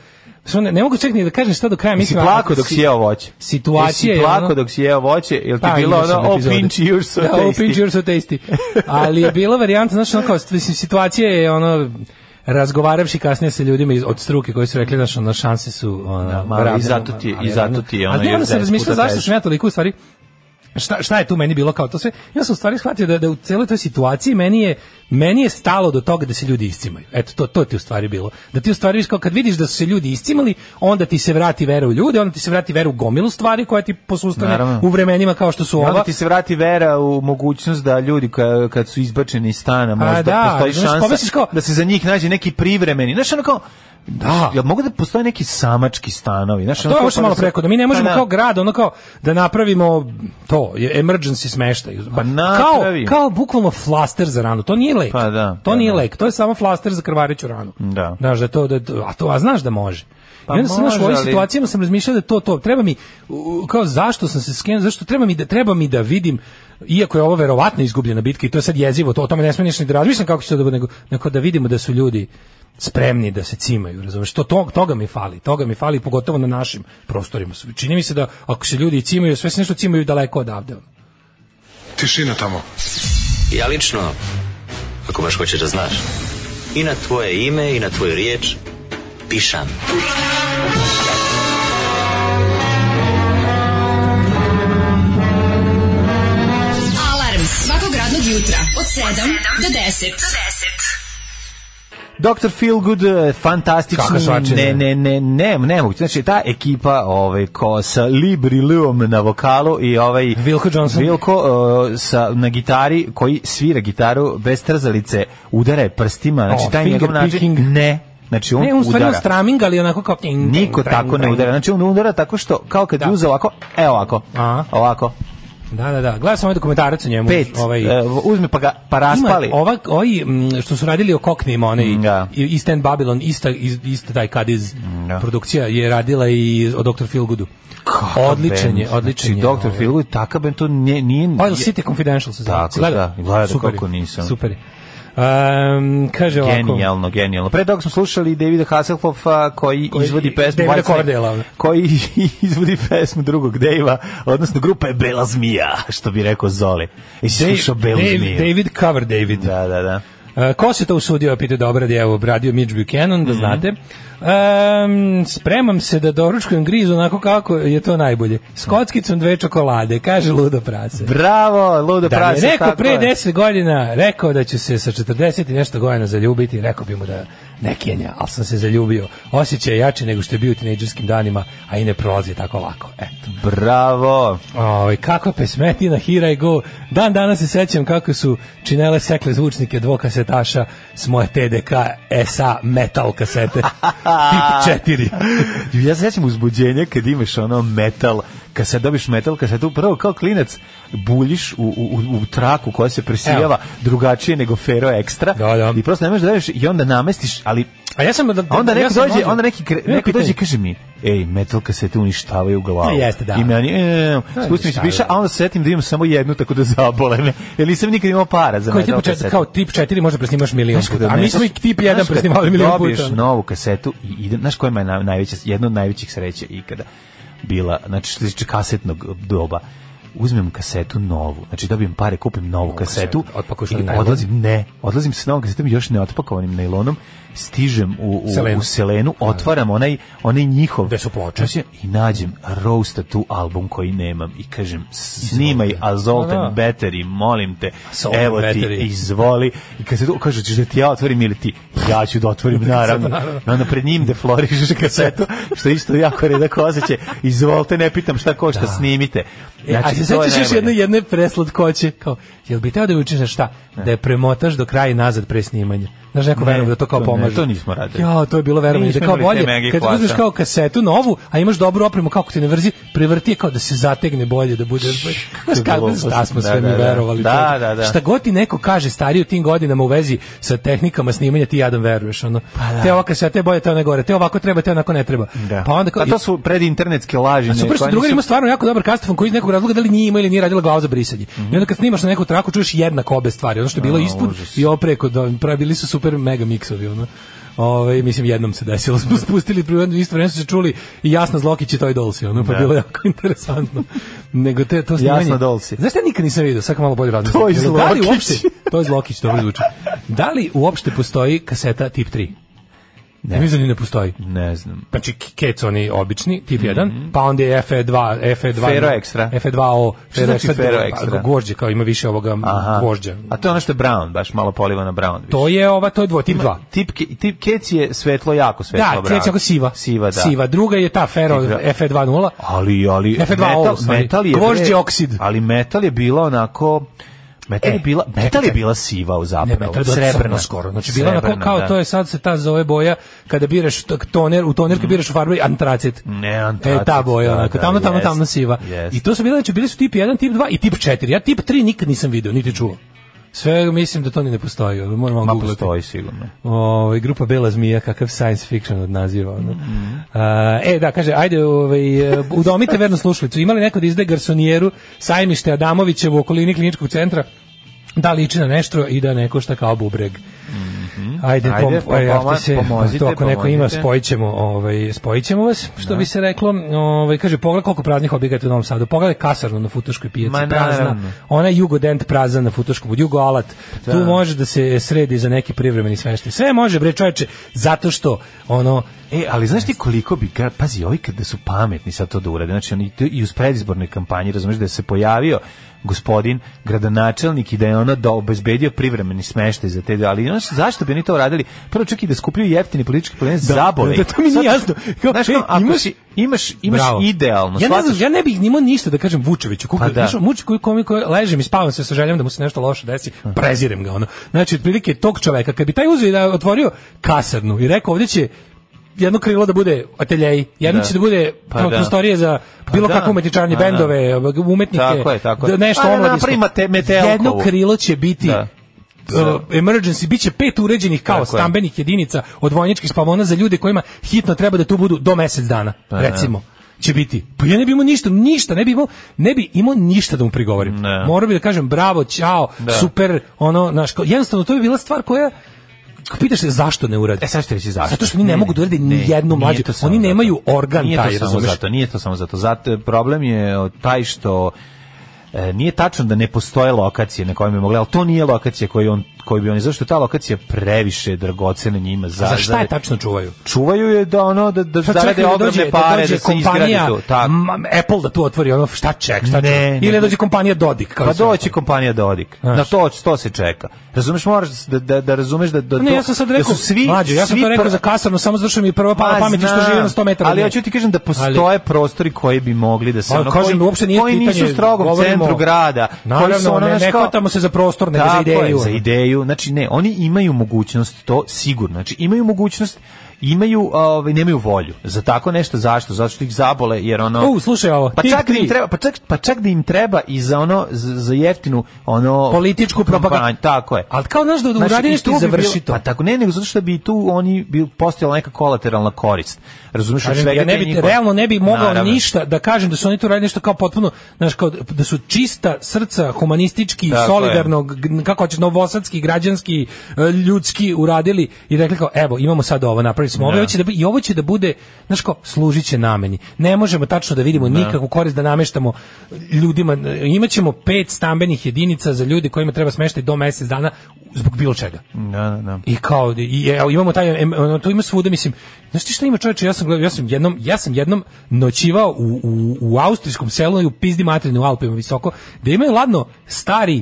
[SPEAKER 7] sad ne, ne mogu čak ni da kažem šta do kraja
[SPEAKER 6] Jesi
[SPEAKER 7] mislim.
[SPEAKER 6] plako
[SPEAKER 7] ali
[SPEAKER 6] dok
[SPEAKER 7] si-
[SPEAKER 6] si jeo voće?
[SPEAKER 7] situacija
[SPEAKER 6] Jesi
[SPEAKER 7] je
[SPEAKER 6] plako
[SPEAKER 7] ono-
[SPEAKER 6] dok si jeo voće? Jel ti
[SPEAKER 7] Pa,
[SPEAKER 6] bilo
[SPEAKER 7] imao sam
[SPEAKER 6] ono, oh,
[SPEAKER 7] epizode.
[SPEAKER 6] pinch you're so
[SPEAKER 7] da,
[SPEAKER 6] tasty?
[SPEAKER 7] oh, pinch you're so tasty. Ali je bila varijanta, znaš, ono kao, mislim, situacija je ono, razgovaravši kasnije sa ljudima iz, od struke koji su rekli, znaš, ono, šanse su... Ono,
[SPEAKER 6] Da, malo,
[SPEAKER 7] ravne,
[SPEAKER 6] i zato ti je-
[SPEAKER 7] ali
[SPEAKER 6] i zato ti je, ono,
[SPEAKER 7] Ali
[SPEAKER 6] još
[SPEAKER 7] onda sam
[SPEAKER 6] deset
[SPEAKER 7] razmišljao
[SPEAKER 6] puta
[SPEAKER 7] zašto
[SPEAKER 6] teže.
[SPEAKER 7] sam ja toliko u stvari šta, šta je tu meni bilo kao to sve? Ja sam u stvari shvatio da, da u celoj toj situaciji meni je, meni je stalo do toga da se ljudi iscimaju. Eto, to, to ti u stvari bilo. Da ti u stvari, viš kao kad vidiš da su se ljudi iscimali, onda ti se vrati vera u ljude, onda ti se vrati vera u gomilu stvari koja ti posustane
[SPEAKER 6] Naravno.
[SPEAKER 7] u vremenima kao što su
[SPEAKER 6] I onda
[SPEAKER 7] ova.
[SPEAKER 6] ti se vrati vera u mogućnost da ljudi ka- kad su izbačeni iz stana možda
[SPEAKER 7] Pa da,
[SPEAKER 6] postoji
[SPEAKER 7] znaš,
[SPEAKER 6] šansa
[SPEAKER 7] pomisliš kao-
[SPEAKER 6] da se za njih nađe neki privremeni. Znaš, ono kao, da. jel mogu da postoje neki samački stanovi? Znaš,
[SPEAKER 7] To
[SPEAKER 6] ono
[SPEAKER 7] je
[SPEAKER 6] kao
[SPEAKER 7] ovo što
[SPEAKER 6] pa
[SPEAKER 7] malo
[SPEAKER 6] da se-
[SPEAKER 7] preko, da mi ne možemo
[SPEAKER 6] Pa da.
[SPEAKER 7] kao grad, ono kao da napravimo to, je- emergency smeštaj.
[SPEAKER 6] Pa
[SPEAKER 7] kao,
[SPEAKER 6] napravi.
[SPEAKER 7] kao bukvalno flaster za ranu, to nije lek.
[SPEAKER 6] Pa da,
[SPEAKER 7] to
[SPEAKER 6] pa
[SPEAKER 7] nije
[SPEAKER 6] da.
[SPEAKER 7] lek, to je samo flaster za krvariću ranu.
[SPEAKER 6] Da.
[SPEAKER 7] Znaš, da to, da, to- a to, a znaš da može.
[SPEAKER 6] Pa
[SPEAKER 7] I onda sam znaš, u
[SPEAKER 6] može,
[SPEAKER 7] ovoj
[SPEAKER 6] ali-
[SPEAKER 7] situacijama sam razmišljao da to, to, treba mi, u- u- kao zašto sam se skenuo, zašto treba mi da, treba mi da vidim, iako je ovo verovatno izgubljena bitka i to je sad jezivo, to, o tome ne smijem ništa ni da razmišljam kako će to da bude, nego, nego da vidimo da su ljudi spremni da se cimaju, razumeš? To, to, toga mi fali, toga mi fali, pogotovo na našim prostorima. Čini mi se da ako se ljudi cimaju, sve se nešto cimaju daleko odavde. ono.
[SPEAKER 8] Tišina tamo.
[SPEAKER 2] Ja lično, ako baš hoćeš da znaš, i na tvoje ime i na tvoju riječ pišam.
[SPEAKER 5] Alarm svakog radnog jutra od 7 do 10.
[SPEAKER 6] Dr. Feelgood, eh, fantastično,
[SPEAKER 7] Kakva svačina.
[SPEAKER 6] ne, ne, ne, ne, ne mogu, znači ta ekipa ovaj, ko sa Libri Luom na vokalu i ovaj
[SPEAKER 7] Wilco Johnson.
[SPEAKER 6] Wilco, eh, sa, na gitari koji svira gitaru bez trzalice, udara je prstima, znači
[SPEAKER 7] O,
[SPEAKER 6] taj
[SPEAKER 7] finger
[SPEAKER 6] njegov način,
[SPEAKER 7] picking.
[SPEAKER 6] ne, znači on,
[SPEAKER 7] Ne, on stvari
[SPEAKER 6] udara.
[SPEAKER 7] on straming, ali onako kao... ting, ting,
[SPEAKER 6] Niko
[SPEAKER 7] trang,
[SPEAKER 6] tako ne
[SPEAKER 7] trang.
[SPEAKER 6] udara, znači on udara tako što, kao kad da.
[SPEAKER 7] Da.
[SPEAKER 6] uze ovako, evo ovako,
[SPEAKER 7] Aha.
[SPEAKER 6] ovako,
[SPEAKER 7] Da, da, da. Gledao sam ovaj dokumentarac o njemu.
[SPEAKER 6] pet,
[SPEAKER 7] Ovaj,
[SPEAKER 6] eh, uzme pa ga, pa raspali.
[SPEAKER 7] Ima ova, ovi mm, što su radili o Koknijima, onaj
[SPEAKER 6] Mm, da. Mm,
[SPEAKER 7] i East End Babylon, ista, is- ista taj Kadiz
[SPEAKER 6] da.
[SPEAKER 7] produkcija je radila i o Dr. Feelgoodu.
[SPEAKER 6] Kakav
[SPEAKER 7] Odličan je,
[SPEAKER 6] bend.
[SPEAKER 7] odličan je.
[SPEAKER 6] Znači, Dr.
[SPEAKER 7] ovaj.
[SPEAKER 6] Feelgood, takav bend, to nije... nije
[SPEAKER 7] Oil City Confidential se zove.
[SPEAKER 6] Tako,
[SPEAKER 7] Si gledao?
[SPEAKER 6] da, gledao,
[SPEAKER 7] Super je,
[SPEAKER 6] kako nisam.
[SPEAKER 7] Super je. Um, kaže ovako.
[SPEAKER 6] Genijalno, genijalno. Pre toga smo slušali Davida Hasselhoffa koji,
[SPEAKER 7] Koji-
[SPEAKER 6] izvodi pesmu
[SPEAKER 7] Davida
[SPEAKER 6] White Snake-
[SPEAKER 7] Cordella.
[SPEAKER 6] koji izvodi pesmu drugog Dejva, odnosno grupa je Bela zmija, što bi rekao Zoli. I si
[SPEAKER 7] Dave-
[SPEAKER 6] slušao Belu
[SPEAKER 7] Dave-
[SPEAKER 6] zmiju.
[SPEAKER 7] David cover David.
[SPEAKER 6] Da, da, da.
[SPEAKER 7] E, ko se to usudio, pita da obradi, evo, obradio Mitch Buchanan,
[SPEAKER 6] Mhm.
[SPEAKER 7] da znate. Em, spremam se da doručkujem grizu onako kako je to najbolje. S
[SPEAKER 6] Mhm.
[SPEAKER 7] kockicom dve čokolade, kaže ludo prase.
[SPEAKER 6] Bravo, ludo
[SPEAKER 7] Da mi
[SPEAKER 6] prase.
[SPEAKER 7] je rekao
[SPEAKER 6] Pa tako
[SPEAKER 7] pre
[SPEAKER 6] je.
[SPEAKER 7] 10 godina, rekao da ću se sa 40 i nešto godina zaljubiti, rekao bi mu da ne Kenja, ali sam se zaljubio. Osjećaj je jači nego što je bio u tinejdžerskim danima, a i ne prolazi tako lako. Eto.
[SPEAKER 6] Bravo.
[SPEAKER 7] Oj, kako pesmetina, here I go. Dan danas se sećam kako su činele sekle zvučnike dvokasetaša s moje TDK SA metal kasete. Tip 4.
[SPEAKER 6] Ja se sećam uzbuđenja kad imaš ono metal, kad se dobiš metal, kad se tu prvo kao klinac buljiš u, u, u- u traku koja se presijava drugačije nego Fero Ekstra
[SPEAKER 7] Da, da.
[SPEAKER 6] i prosto ne možeš da veruješ i onda namestiš, ali
[SPEAKER 7] A ja sam... Da,
[SPEAKER 6] a onda
[SPEAKER 7] ja
[SPEAKER 6] neko
[SPEAKER 7] sam
[SPEAKER 6] dođe,
[SPEAKER 7] mlađi.
[SPEAKER 6] onda neki, kre-
[SPEAKER 7] Imam
[SPEAKER 6] neko dođe i
[SPEAKER 7] pitanje.
[SPEAKER 6] kaže mi, ej, metal kasete uništavaju glavu.
[SPEAKER 7] To jeste, da.
[SPEAKER 6] I meni, e, e, e,
[SPEAKER 7] je
[SPEAKER 6] spusti mi se
[SPEAKER 7] uništavaju.
[SPEAKER 6] piša, a onda se setim da imam samo jednu tako da zabole me. Jer nisam nikad imao para za
[SPEAKER 7] Koji tip
[SPEAKER 6] metal
[SPEAKER 7] četiri,
[SPEAKER 6] kasetu.
[SPEAKER 7] kao tip 4 može presnimaš milion
[SPEAKER 6] Znaš
[SPEAKER 7] puta.
[SPEAKER 6] kada
[SPEAKER 7] A mi
[SPEAKER 6] ometeš-
[SPEAKER 7] smo i tip
[SPEAKER 6] znaš
[SPEAKER 7] 1
[SPEAKER 6] kada
[SPEAKER 7] presnimali milion puta. ono.
[SPEAKER 6] Dobiješ novu kasetu i ide, znaš koja je naj- najveća, jedna od najvećih sreća ikada bila, znači što se tiče kasetnog doba uzmem kasetu novu, znači dobijem pare, kupim novu kasetu,
[SPEAKER 7] kasetu, otpakuješ
[SPEAKER 6] i
[SPEAKER 7] na najlon.
[SPEAKER 6] odlazim, ne, odlazim sa novom kasetom još neotpakovanim najlonom, stižem u, u,
[SPEAKER 7] Selenu.
[SPEAKER 6] u selenu, otvaram onaj, onaj njihov
[SPEAKER 7] Gde su ploče.
[SPEAKER 6] Znači, i nađem Roasta tu album koji nemam i kažem, snimaj Azolten
[SPEAKER 7] Da, da.
[SPEAKER 6] Battery, molim te,
[SPEAKER 7] Assault
[SPEAKER 6] evo
[SPEAKER 7] and
[SPEAKER 6] ti,
[SPEAKER 7] Battery.
[SPEAKER 6] izvoli. I kad se to kaže, ćeš da ti ja otvorim ili ti, ja ću da otvorim, naravno. I onda pred njim deflorišeš kasetu, što je isto jako redak osjećaj. Izvolite, ne pitam šta košta, snimite.
[SPEAKER 7] Znači, a se
[SPEAKER 6] to je
[SPEAKER 7] sećaš još
[SPEAKER 6] najbolje.
[SPEAKER 7] jedne, jedne preslatkoće, kao, jel bi teo da učiš na šta? Da je premotaš do kraja i nazad pre snimanja. Znaš, neko
[SPEAKER 6] Ne,
[SPEAKER 7] verujem da to kao
[SPEAKER 6] to ne,
[SPEAKER 7] pomaže.
[SPEAKER 6] to nismo radili.
[SPEAKER 7] Ja, to je bilo verovanje.
[SPEAKER 6] Nismo
[SPEAKER 7] Da kao
[SPEAKER 6] imali te
[SPEAKER 7] bolje,
[SPEAKER 6] mega
[SPEAKER 7] kad
[SPEAKER 6] kvasa.
[SPEAKER 7] uzmeš kao kasetu novu, a imaš dobru opremu, kako ti ne vrzi, prevrti je kao da se zategne bolje, da bude... Znaš, kako
[SPEAKER 6] glupost.
[SPEAKER 7] šta smo
[SPEAKER 6] Da,
[SPEAKER 7] sve
[SPEAKER 6] da,
[SPEAKER 7] mi
[SPEAKER 6] da.
[SPEAKER 7] verovali.
[SPEAKER 6] Da,
[SPEAKER 7] čovječe.
[SPEAKER 6] da, da.
[SPEAKER 7] Šta god ti neko kaže stariji u tim godinama u vezi sa tehnikama snimanja, ti jadom veruješ. Ono. Te ova kaseta je bolje, te ona je gore. Te ovako treba, te onako ne treba.
[SPEAKER 6] Pa Da.
[SPEAKER 7] Pa onda kao,
[SPEAKER 6] a to su predinternetske laži.
[SPEAKER 7] a super
[SPEAKER 6] ne,
[SPEAKER 7] što
[SPEAKER 6] koje
[SPEAKER 7] drugar
[SPEAKER 6] nisu-
[SPEAKER 7] ima stvarno jako dobar kastafon koji iz nekog razloga da li nije imao ili nije radila glava za brisanje. I onda kad snimaš na neku traku čuješ jednako obe stvari. Ono što je bilo ispod i ovo preko. Da, pravi- bili su super mega miksovi. Ono. Ove, mislim, jednom se desilo. Smo spustili, pri- isto vreme su se čuli i Jasna Zlokić i Toj Dolsi. Ono, pa bilo jako interesantno. Nego te, to snimanje...
[SPEAKER 6] Jasna Dolsi.
[SPEAKER 7] Znaš šta nikad nisam vidio? Sad malo bolje razmišljam.
[SPEAKER 6] Toj
[SPEAKER 7] Da li
[SPEAKER 6] Zlokić.
[SPEAKER 7] uopšte, to je Zlokić, dobro zvuči. Da li uopšte postoji kaseta tip 3? Ne. Mislim da ni ne postoji
[SPEAKER 6] Ne znam.
[SPEAKER 7] znači k- kec oni obični tip 1 pa onda je FE2 FE2
[SPEAKER 6] Mhm. Fero Extra.
[SPEAKER 7] FE2O
[SPEAKER 6] Šta znači Fero Extra?
[SPEAKER 7] gvožđe kao ima više ovoga
[SPEAKER 6] Aha.
[SPEAKER 7] gvožđa
[SPEAKER 6] A to je ono što je Brown, baš malo poliva na Brown. više.
[SPEAKER 7] to je ova to je dvo tip 2
[SPEAKER 6] Tip, ke- tip kec je svetlo, jako svetlo
[SPEAKER 7] da
[SPEAKER 6] Brown.
[SPEAKER 7] kec je jako siva
[SPEAKER 6] Siva, da.
[SPEAKER 7] siva druga je ta Fero E
[SPEAKER 6] Tip dva.
[SPEAKER 7] FE20
[SPEAKER 6] Ali, ali,
[SPEAKER 7] F2O,
[SPEAKER 6] metal,
[SPEAKER 7] sorry.
[SPEAKER 6] metal je...
[SPEAKER 7] Gvožđe
[SPEAKER 6] bre-
[SPEAKER 7] oksid.
[SPEAKER 6] Ali metal je bila onako... Metal,
[SPEAKER 7] E,
[SPEAKER 6] je, bila, metal je
[SPEAKER 7] čekaj.
[SPEAKER 6] bila siva u
[SPEAKER 7] Ne,
[SPEAKER 6] zapravo.
[SPEAKER 7] metal je bila crna skoro. Znači bila onako
[SPEAKER 6] Srebrna,
[SPEAKER 7] kao
[SPEAKER 6] da.
[SPEAKER 7] to je sad se ta zove boja kada biraš t- toner, u toner kad biraš u farbi antracit.
[SPEAKER 6] Mhm. Ne, antracit,
[SPEAKER 7] E, ta boja
[SPEAKER 6] da,
[SPEAKER 7] onako,
[SPEAKER 6] da,
[SPEAKER 7] tamno, tamno,
[SPEAKER 6] jest,
[SPEAKER 7] tamno siva.
[SPEAKER 6] jest.
[SPEAKER 7] I to su bili, znači bili su tip 1, tip 2 i tip 4. Ja tip 3 nikad nisam video, niti čuo. Sve mislim da to ni ne postoji, ali moram
[SPEAKER 6] Ma
[SPEAKER 7] vam googlati.
[SPEAKER 6] postoji sigurno.
[SPEAKER 7] Ovaj grupa Bela zmija kakav science fiction od naziva ono. A, e da kaže ajde ovaj e, udomite vernu slušalicu. Imali neko da izde garsonijeru sajmište Adamovića u okolini kliničkog centra? Da liči na nešto i da neko šta kao bubreg. Ajde,
[SPEAKER 6] Mhm. Ajde,
[SPEAKER 7] pom,
[SPEAKER 6] poma-
[SPEAKER 7] ajde se, pa
[SPEAKER 6] pomozite,
[SPEAKER 7] to ako neko ima,
[SPEAKER 6] pomozite.
[SPEAKER 7] spojićemo, ovaj, spojićemo vas, što bi se reklo. Ovaj, kaže, pogledaj koliko praznih objekata u Novom Sadu. Pogledaj kasarnu na Futoškoj pijaci,
[SPEAKER 6] Ma,
[SPEAKER 7] prazna.
[SPEAKER 6] naravno.
[SPEAKER 7] Ona je jugodent prazna na Futoškom, od jugoalat. Tu može da se sredi za neki privremeni smeštaj. Sve može, bre, čoveče, zato što, ono,
[SPEAKER 6] E, ali znaš ti koliko bi, gra- pazi, ovi kada su pametni sad to da urade, znači oni to i uz predizbornoj kampanji, razumiješ, da je se pojavio gospodin gradonačelnik i da je ono da obezbedio privremeni smeštaj za te, ali znaš, zašto bi oni to uradili? Prvo čak i da skupljaju jeftini politički plan za zabole.
[SPEAKER 7] da, to mi nije jasno. Kao,
[SPEAKER 6] znaš,
[SPEAKER 7] e,
[SPEAKER 6] kao, ako
[SPEAKER 7] imaš-
[SPEAKER 6] si, imaš, imaš
[SPEAKER 7] Bravo.
[SPEAKER 6] idealno,
[SPEAKER 7] Ja ne, znam,
[SPEAKER 6] shvataš-
[SPEAKER 7] ja ne bih nimao ništa da kažem Vučeviću. Kuka,
[SPEAKER 6] Pa
[SPEAKER 7] pa
[SPEAKER 6] da.
[SPEAKER 7] da. muči koji komi koji ležem i spavam se sa željom da mu se nešto loše desi. Prezirem ga ono. Znači otprilike tog čoveka kad bi taj uzeo i da otvorio kasarnu i rekao ovdje će jedno krilo da bude ateljeji, jedno
[SPEAKER 6] Da.
[SPEAKER 7] će da bude
[SPEAKER 6] Pa
[SPEAKER 7] pro-
[SPEAKER 6] da.
[SPEAKER 7] prostorije za bilo
[SPEAKER 6] da.
[SPEAKER 7] kakve umetničarne
[SPEAKER 6] Pa da.
[SPEAKER 7] bendove, umetnike,
[SPEAKER 6] Tako je, tako je.
[SPEAKER 7] da nešto
[SPEAKER 6] Pa da
[SPEAKER 7] omladinsko.
[SPEAKER 6] napravi mate- Metelkovu.
[SPEAKER 7] Jedno krilo će biti
[SPEAKER 6] Da.
[SPEAKER 7] uh, emergency, bit će pet uređenih kao
[SPEAKER 6] Tako je.
[SPEAKER 7] stambenih jedinica od vojničkih spavona za ljude kojima hitno treba da tu budu do mesec dana,
[SPEAKER 6] Pa ne.
[SPEAKER 7] recimo će biti. Pa ja ne bi imao ništa, ništa, ne bi imao, ne bi imao ništa da mu prigovorim.
[SPEAKER 6] Ne.
[SPEAKER 7] Morao bi da kažem bravo, ćao,
[SPEAKER 6] Da.
[SPEAKER 7] super, ono, znaš, kao- jednostavno to bi bila stvar koja pitaš se zašto ne uradi.
[SPEAKER 6] E sad ću ti reći zašto.
[SPEAKER 7] Zato što oni ne mogu da urade ni jednu mlađu.
[SPEAKER 6] nije to samo
[SPEAKER 7] Oni
[SPEAKER 6] zato.
[SPEAKER 7] nemaju organ
[SPEAKER 6] nije
[SPEAKER 7] taj,
[SPEAKER 6] to samo
[SPEAKER 7] razumeš?
[SPEAKER 6] zato, nije to samo zato. Zato problem je o, taj što e, e, nije tačno da ne postoje lokacije na kojima je mogla, ali to nije lokacija koju on koji bi oni zašto je ta lokacija previše dragocena njima za
[SPEAKER 7] Za šta je tačno čuvaju?
[SPEAKER 6] čuvaju je da ono da da
[SPEAKER 7] Šta
[SPEAKER 6] zarade
[SPEAKER 7] čekaju da
[SPEAKER 6] ogromne
[SPEAKER 7] dođe-
[SPEAKER 6] pare da,
[SPEAKER 7] dođe
[SPEAKER 6] se izgradi
[SPEAKER 7] kompanija,
[SPEAKER 6] to. Tako.
[SPEAKER 7] m- Apple da tu otvori ono šta ček,
[SPEAKER 6] Ne,
[SPEAKER 7] šta ček.
[SPEAKER 6] ne,
[SPEAKER 7] Ili
[SPEAKER 6] ne.
[SPEAKER 7] da dođe kompanija Dodik. Kao
[SPEAKER 6] Pa
[SPEAKER 7] sve.
[SPEAKER 6] doći kompanija Dodik.
[SPEAKER 7] Znaš.
[SPEAKER 6] Na to, to se čeka. Razumeš, moraš da, da, da razumeš da, da,
[SPEAKER 7] Pa Ne,
[SPEAKER 6] to-
[SPEAKER 7] ja sam sad
[SPEAKER 6] da
[SPEAKER 7] rekao,
[SPEAKER 6] su svi,
[SPEAKER 7] mlađo, ja sam
[SPEAKER 6] svi
[SPEAKER 7] to rekao
[SPEAKER 6] pr-
[SPEAKER 7] za kasarno, samo zašto mi je prva pala
[SPEAKER 6] Pa,
[SPEAKER 7] pamet i što
[SPEAKER 6] znam,
[SPEAKER 7] živim na 100 metara. od
[SPEAKER 6] Ali
[SPEAKER 7] nje.
[SPEAKER 6] hoću ti kažem da postoje prostori koji bi mogli da se
[SPEAKER 7] Pa,
[SPEAKER 6] ono,
[SPEAKER 7] kažem,
[SPEAKER 6] koji,
[SPEAKER 7] uopšte nije
[SPEAKER 6] koji
[SPEAKER 7] pitanje,
[SPEAKER 6] nisu strogo u
[SPEAKER 7] govorimo-
[SPEAKER 6] centru grada. koji su
[SPEAKER 7] Naravno,
[SPEAKER 6] ono,
[SPEAKER 7] ne,
[SPEAKER 6] znaš,
[SPEAKER 7] ne
[SPEAKER 6] kao-
[SPEAKER 7] hvatamo se za prostor, nego za
[SPEAKER 6] Tako
[SPEAKER 7] ideju,
[SPEAKER 6] je, za
[SPEAKER 7] ono.
[SPEAKER 6] ideju. Znači ne, oni imaju mogućnost to sigurno. Znači imaju mogućnost imaju ovaj nemaju volju za tako nešto zašto zato što ih zabole jer ono
[SPEAKER 7] U, slušaj ovo,
[SPEAKER 6] pa
[SPEAKER 7] tip
[SPEAKER 6] čak da im
[SPEAKER 7] tri.
[SPEAKER 6] treba pa čak pa čak da im treba i za ono za, za jeftinu ono
[SPEAKER 7] Političku propagandu.
[SPEAKER 6] kampanju, tako je
[SPEAKER 7] Ali kao, znaš, da
[SPEAKER 6] Znači,
[SPEAKER 7] uradi
[SPEAKER 6] i
[SPEAKER 7] nešto
[SPEAKER 6] tu
[SPEAKER 7] i
[SPEAKER 6] bi
[SPEAKER 7] završi
[SPEAKER 6] bilo-
[SPEAKER 7] to.
[SPEAKER 6] Pa tako ne, nego zato što bi tu oni bi postojala neka kolateralna korist. Razumeš od
[SPEAKER 7] Kažem,
[SPEAKER 6] svega
[SPEAKER 7] ja ne
[SPEAKER 6] te
[SPEAKER 7] bi
[SPEAKER 6] njihove-
[SPEAKER 7] realno ne bi mogao
[SPEAKER 6] Naravno.
[SPEAKER 7] ništa da kažem da su oni tu radili nešto kao potpuno znaš kao da su čista srca humanistički
[SPEAKER 6] Tako je.
[SPEAKER 7] solidarnog g- kako hoćeš novosadski građanski e, ljudski uradili i rekli kao evo imamo sad ovo napravili smo ovo
[SPEAKER 6] Da.
[SPEAKER 7] ovo će da bu- i ovo će da bude znaš kao služiće nameni ne možemo tačno da vidimo nikakvu korist da nameštamo ljudima E, imaćemo pet stambenih jedinica za ljude kojima treba smeštaj do mjesec dana zbog bilo čega
[SPEAKER 6] Da, da, da.
[SPEAKER 7] i kao i evo imamo taj em, ono, to ima svuda mislim znaš ti šta ima čoveče ja sam gledao ja sam jednom ja sam jednom noćivao u, u, u austrijskom selu i u pizdi materinu u Alpima visoko da imaju ladno stari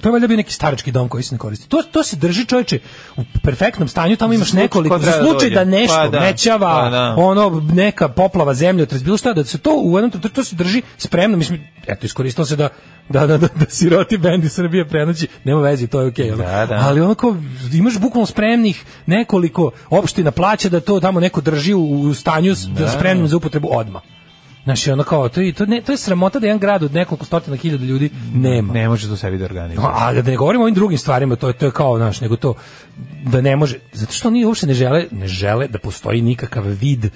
[SPEAKER 7] To je valjda bio neki starački dom koji se ne koristi. To, to se drži čoveče u perfektnom stanju, tamo imaš
[SPEAKER 6] slučaj
[SPEAKER 7] nekoliko,
[SPEAKER 6] ko
[SPEAKER 7] za
[SPEAKER 6] treba
[SPEAKER 7] slučaj
[SPEAKER 6] dođe.
[SPEAKER 7] da nešto
[SPEAKER 6] Pa da,
[SPEAKER 7] mećava,
[SPEAKER 6] pa da.
[SPEAKER 7] ono neka poplava zemlje, otres bilo šta, da se to u jednom trenutku- to se drži spremno, mislim, eto iskoristilo se da da da da, da siroti bendi Srbije prenoći, nema veze, to je okej. ono.
[SPEAKER 6] Da, da.
[SPEAKER 7] Ali onako imaš bukvalno spremnih nekoliko opština plaća da to tamo neko drži u, u stanju s- da. spremnom za upotrebu odma. Znači, ono kao, to je, to, ne, to je sramota da jedan grad od nekoliko stotina hiljada ljudi nema.
[SPEAKER 6] Ne može to sebi da organizuje.
[SPEAKER 7] No, a da ne govorimo o ovim drugim stvarima, to je to je kao naš, nego to da ne može, zato što oni uopšte ne žele, ne žele da postoji nikakav vid e,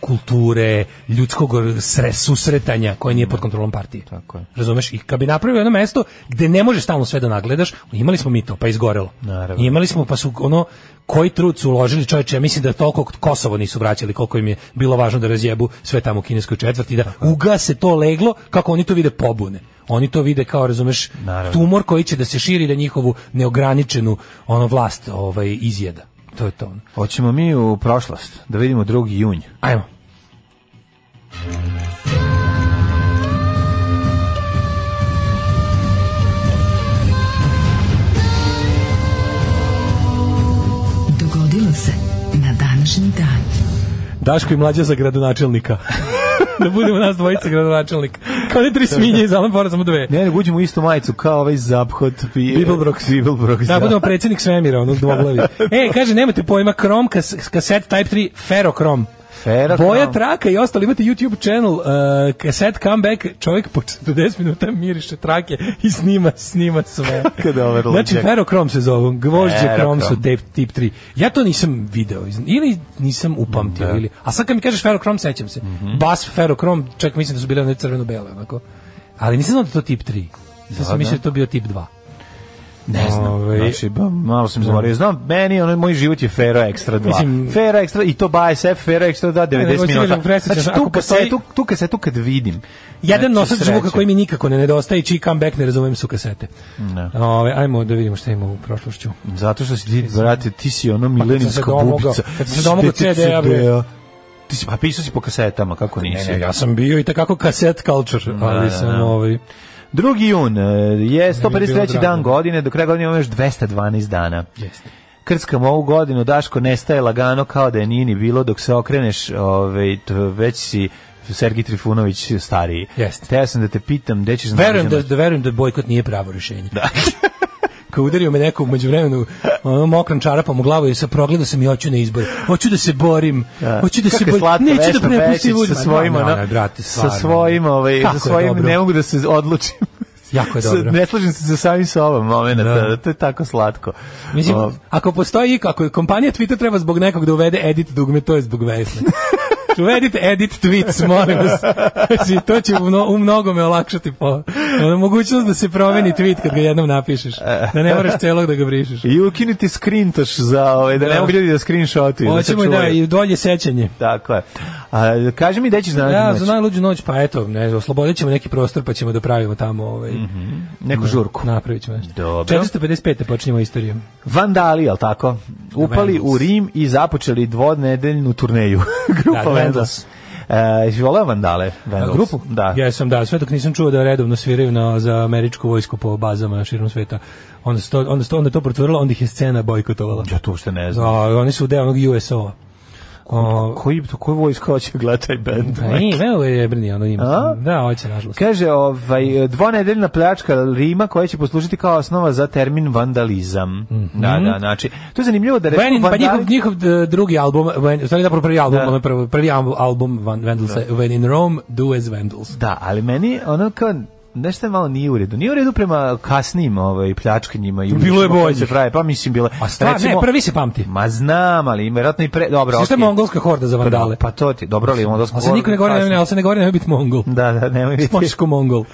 [SPEAKER 7] kulture, ljudskog sre, susretanja koje nije pod kontrolom partije.
[SPEAKER 6] Tako je.
[SPEAKER 7] Razumeš? I kad bi napravio jedno mesto gde ne može stalno sve da nagledaš, imali smo mi to, pa izgorelo.
[SPEAKER 6] Naravno.
[SPEAKER 7] Imali smo, pa su ono, koji trud su uložili čovječe, ja mislim da toliko Kosovo nisu vraćali, koliko im je bilo važno da razjebu sve tamo u kineskoj četvrti, da ugase to leglo, kako oni to vide pobune. Oni to vide kao, razumeš,
[SPEAKER 6] Naravno.
[SPEAKER 7] tumor koji će da se širi da njihovu neograničenu ono vlast ovaj, izjeda. To je to. ono.
[SPEAKER 6] Hoćemo mi u prošlost, da vidimo drugi junj.
[SPEAKER 7] Ajmo.
[SPEAKER 5] Dogodilo se na današnji dan.
[SPEAKER 7] Daško i mlađa za gradonačelnika. da budemo nas dvojica gradonačelnika. Kao ne tri sminje iz Alan Fora, samo dve.
[SPEAKER 6] Ne, ne, uđemo u istu majicu kao ovaj zaphod. Bibelbrox. Bibelbrox,
[SPEAKER 7] Da, budemo predsjednik svemira, ono dvoglavi. e, kaže, nemate pojma, Chrome, kas, kaset Type 3, Ferrochrome.
[SPEAKER 6] Ferrochrome.
[SPEAKER 7] Boja traka i ostalo, imate YouTube channel, uh, kaset comeback, čovjek po 40 minuta miriše trake i snima, snima sve.
[SPEAKER 6] Kako dobar
[SPEAKER 7] znači,
[SPEAKER 6] luđak.
[SPEAKER 7] Ferrochrome se zove, gvožđe Chrome
[SPEAKER 6] Ferrochrome.
[SPEAKER 7] su tape, tip 3. Ja to nisam video, iz- ili nisam upamtio, ili, a sad kad mi kažeš Ferrochrome, sećam se.
[SPEAKER 6] Mhm.
[SPEAKER 7] Bas Ferrochrome, čak mislim da su bile one crveno-bele, onako. Ali nisam znao da je to tip 3. Sad sam mislio da je to bio tip 2.
[SPEAKER 6] Ne znam,
[SPEAKER 7] Ovaj-
[SPEAKER 6] znači, ba, malo sam zamorio. Znam, meni, ono, moj život je Fero Extra 2.
[SPEAKER 7] Mislim-
[SPEAKER 6] Fero Extra, i to by SF, Fero Extra 2, 90
[SPEAKER 7] hoću ti
[SPEAKER 6] minuta.
[SPEAKER 7] kažem, presjećam,
[SPEAKER 6] Znači, tu
[SPEAKER 7] ako postoji-
[SPEAKER 6] kasetu, tu kasetu kad vidim.
[SPEAKER 7] Jedan
[SPEAKER 6] znači,
[SPEAKER 7] nosač zvuka
[SPEAKER 6] sreće.
[SPEAKER 7] koji mi nikako ne nedostaje, čiji comeback ne razumem su kasete. Ove, ajmo da vidimo šta ima u prošlošću.
[SPEAKER 6] Zato što si ti, brate, ti si ono
[SPEAKER 7] Pa
[SPEAKER 6] milenijska
[SPEAKER 7] domogao-
[SPEAKER 6] bubica.
[SPEAKER 7] kad sam se domogao
[SPEAKER 6] Ti si
[SPEAKER 7] CD-a, bre.
[SPEAKER 6] CD-a. Ti si, pa pisao si po kasetama, kako nisi?
[SPEAKER 7] sam bio i takako kaset culture, ali sam ovaj...
[SPEAKER 6] Drugi jun e, je
[SPEAKER 7] bilo
[SPEAKER 6] 153.
[SPEAKER 7] drago.
[SPEAKER 6] dan godine, do kraja godine imamo još 212 dana.
[SPEAKER 7] Jeste.
[SPEAKER 6] Krckamo ovu godinu, Daško nestaje lagano kao da je nije ni bilo, dok se okreneš, ovaj, t- već si Sergi Trifunović stariji.
[SPEAKER 7] Jeste.
[SPEAKER 6] Teo sam da te pitam, gde ćeš
[SPEAKER 7] Verujem da,
[SPEAKER 6] nađeno-
[SPEAKER 7] da, verujem da bojkot nije pravo rješenje. Da. Kao udario me neko umeđu vremenu ono, mokran čarapom u glavu i sa progledao sam i hoću na izbor. Hoću da se borim. Hoću da se
[SPEAKER 6] Kako je
[SPEAKER 7] borim.
[SPEAKER 6] slatko,
[SPEAKER 7] Neću da
[SPEAKER 6] Vesna
[SPEAKER 7] prepustim
[SPEAKER 6] Pešić
[SPEAKER 7] uzma.
[SPEAKER 6] sa svojim,
[SPEAKER 7] Ne, ne,
[SPEAKER 6] ono,
[SPEAKER 7] ne, brate,
[SPEAKER 6] sa
[SPEAKER 7] stvarno. ono.
[SPEAKER 6] svojim, ovaj,
[SPEAKER 7] Kako
[SPEAKER 6] sa
[SPEAKER 7] je
[SPEAKER 6] svojim
[SPEAKER 7] dobro.
[SPEAKER 6] ne mogu da se odlučim.
[SPEAKER 7] Jako je
[SPEAKER 6] Sa-
[SPEAKER 7] dobro.
[SPEAKER 6] Ne slažem se sa samim sobom momenata,
[SPEAKER 7] Da.
[SPEAKER 6] to je tako slatko.
[SPEAKER 7] Mislim,
[SPEAKER 6] O,
[SPEAKER 7] ako postoji, ako je kompanija Twitter treba zbog nekog da uvede edit dugme, to je zbog Vesne. Znači, Uvedite edit tweets, molim vas. Znači, to će u, mno, u mnogome olakšati po, ono, mogućnost da se promeni tweet kad ga jednom napišeš. Da ne moraš celog da ga brišeš.
[SPEAKER 6] I ukinuti skrintaš za ove, da ne
[SPEAKER 7] Da.
[SPEAKER 6] mogu ljudi da screenshotuju. da se
[SPEAKER 7] Hoćemo i da,
[SPEAKER 6] čuvaju.
[SPEAKER 7] i dolje sećanje.
[SPEAKER 6] Tako je. A, kaži mi gde ćeš naći
[SPEAKER 7] Da,
[SPEAKER 6] noć?
[SPEAKER 7] za najluđu noć, pa eto, ne znam, oslobodit ćemo neki prostor pa ćemo da pravimo tamo ovaj,
[SPEAKER 6] neku Mhm. žurku.
[SPEAKER 7] napravit ćemo nešto.
[SPEAKER 6] Dobro.
[SPEAKER 7] 455. počinjemo istoriju.
[SPEAKER 6] Vandali, jel tako? Upali
[SPEAKER 7] Vandals.
[SPEAKER 6] u Rim i započeli dvodnedeljnu turneju. Grupa
[SPEAKER 7] Da,
[SPEAKER 6] da,
[SPEAKER 7] Vandals.
[SPEAKER 6] Vandals. E, jesi voleo Vandale?
[SPEAKER 7] A,
[SPEAKER 6] Vandals?
[SPEAKER 7] grupu?
[SPEAKER 6] Da.
[SPEAKER 7] Ja sam, da, sve dok nisam čuo da redovno sviraju na, za američku vojsku po bazama širom sveta. Onda, se to, onda, se to, onda je to potvrdilo, onda ih je scena bojkotovala.
[SPEAKER 6] Ja to uopšte ne znam.
[SPEAKER 7] A, oni su deo onog USO-a. O,
[SPEAKER 6] Koji, koji vojska hoće gledati taj band?
[SPEAKER 7] pa i, evo je jebrini, ono
[SPEAKER 6] A?
[SPEAKER 7] ima. Da, hoće, nažalost.
[SPEAKER 6] Kaže, ovaj, dvonedeljna pljačka Rima koja će poslužiti kao osnova za termin vandalizam. Da, da, znači, to je zanimljivo da
[SPEAKER 7] Venin,
[SPEAKER 6] recimo
[SPEAKER 7] Mhm. pa njihov,
[SPEAKER 6] vandali...
[SPEAKER 7] njihov d- drugi album, Ven, stvari zapravo prvi album,
[SPEAKER 6] Da.
[SPEAKER 7] ono prvo- prvi album, album Van, Vandals, When in Rome, Do as Vandals.
[SPEAKER 6] Da, ali meni ono kao nešto malo nije u redu. Nije u redu prema kasnim ovaj, pljačkanjima. I
[SPEAKER 7] Bilo je
[SPEAKER 6] uličima koje
[SPEAKER 7] boljih.
[SPEAKER 6] se Pravi, pa mislim, bilo je.
[SPEAKER 7] A stvar, ne, prvi se pamti.
[SPEAKER 6] Ma znam, ali vjerojatno i pre... Dobro,
[SPEAKER 7] Sve što je
[SPEAKER 6] okej.
[SPEAKER 7] mongolska horda za vandale.
[SPEAKER 6] Pa to ti, dobro li je onda
[SPEAKER 7] Ali se niko ne govori, ne, ne, ali se ne govori, nemoj biti mongol.
[SPEAKER 6] Da, da, nemoj biti.
[SPEAKER 7] Spočiš ko mongol. Uh,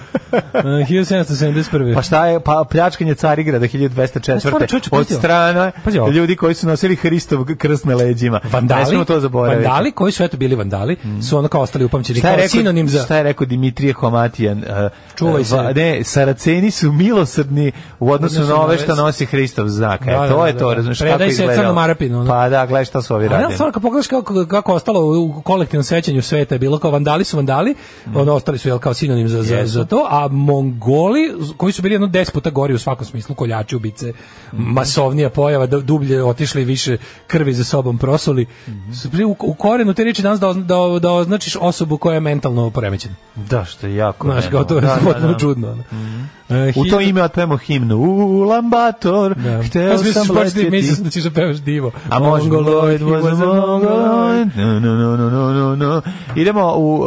[SPEAKER 7] 1771.
[SPEAKER 6] Pa šta je, pa pljačkanje Carigrada
[SPEAKER 7] Pa stvarno,
[SPEAKER 6] 1204.
[SPEAKER 7] čovječe,
[SPEAKER 6] od
[SPEAKER 7] pazi ovo.
[SPEAKER 6] strane
[SPEAKER 7] Pazi ovo.
[SPEAKER 6] ljudi koji su nosili Hristov krst na leđima. Ne smemo to zaboraviti. Mhm.
[SPEAKER 7] vandali koji su eto bili vandali, su ono kao ostali upamćeni
[SPEAKER 6] Šta je,
[SPEAKER 7] kao
[SPEAKER 6] rekao,
[SPEAKER 7] sinonim za...
[SPEAKER 6] šta je rekao Dimitrije Komatijan? eh,
[SPEAKER 7] Čuvaj se.
[SPEAKER 6] va- ne, Saraceni su milosrdni u odnosu
[SPEAKER 7] Odnosu
[SPEAKER 6] na
[SPEAKER 7] na
[SPEAKER 6] ove
[SPEAKER 7] ove
[SPEAKER 6] što
[SPEAKER 7] se-
[SPEAKER 6] nosi Hristov znak. E,
[SPEAKER 7] Da, da,
[SPEAKER 6] to
[SPEAKER 7] da,
[SPEAKER 6] je
[SPEAKER 7] da,
[SPEAKER 6] to,
[SPEAKER 7] da.
[SPEAKER 6] razumiješ
[SPEAKER 7] Predaj
[SPEAKER 6] kako
[SPEAKER 7] se
[SPEAKER 6] izgleda.
[SPEAKER 7] crnom Arapinu, ono.
[SPEAKER 6] Pa da, gledaj šta su ovi
[SPEAKER 7] Ali ja
[SPEAKER 6] radili.
[SPEAKER 7] stvarno, kad pogledaš kako, kako ostalo u kolektivnom sećanju sveta je bilo kao vandali su vandali,
[SPEAKER 6] Mhm.
[SPEAKER 7] ono, ostali su jel, kao sinonim za, za, za to, a mongoli, z- koji su bili jedno deset puta gori u svakom smislu, koljači, ubice,
[SPEAKER 6] Mhm.
[SPEAKER 7] masovnija pojava, da, dublje otišli više krvi za sobom prosuli,
[SPEAKER 6] Mhm.
[SPEAKER 7] su bili u, u korenu te reči danas da, ozna- da, o- da označiš osobu koja je mentalno poremećena.
[SPEAKER 6] Da, što je jako.
[SPEAKER 7] Znaš, kao to je
[SPEAKER 6] Da, da,
[SPEAKER 7] potpuno
[SPEAKER 6] da. Mhm.
[SPEAKER 7] čudno. ono. E,
[SPEAKER 6] U to
[SPEAKER 7] hiljadu-
[SPEAKER 6] ime otpevamo himnu. Ulan Bator,
[SPEAKER 7] Da.
[SPEAKER 6] hteo
[SPEAKER 7] Pa misliš,
[SPEAKER 6] sam
[SPEAKER 7] baš ti
[SPEAKER 6] letjeti.
[SPEAKER 7] misliš da ćeš da pevaš divo.
[SPEAKER 6] A može
[SPEAKER 7] Mongoloid was a mongoloid.
[SPEAKER 6] No, no, no, no, no, no, no. Idemo u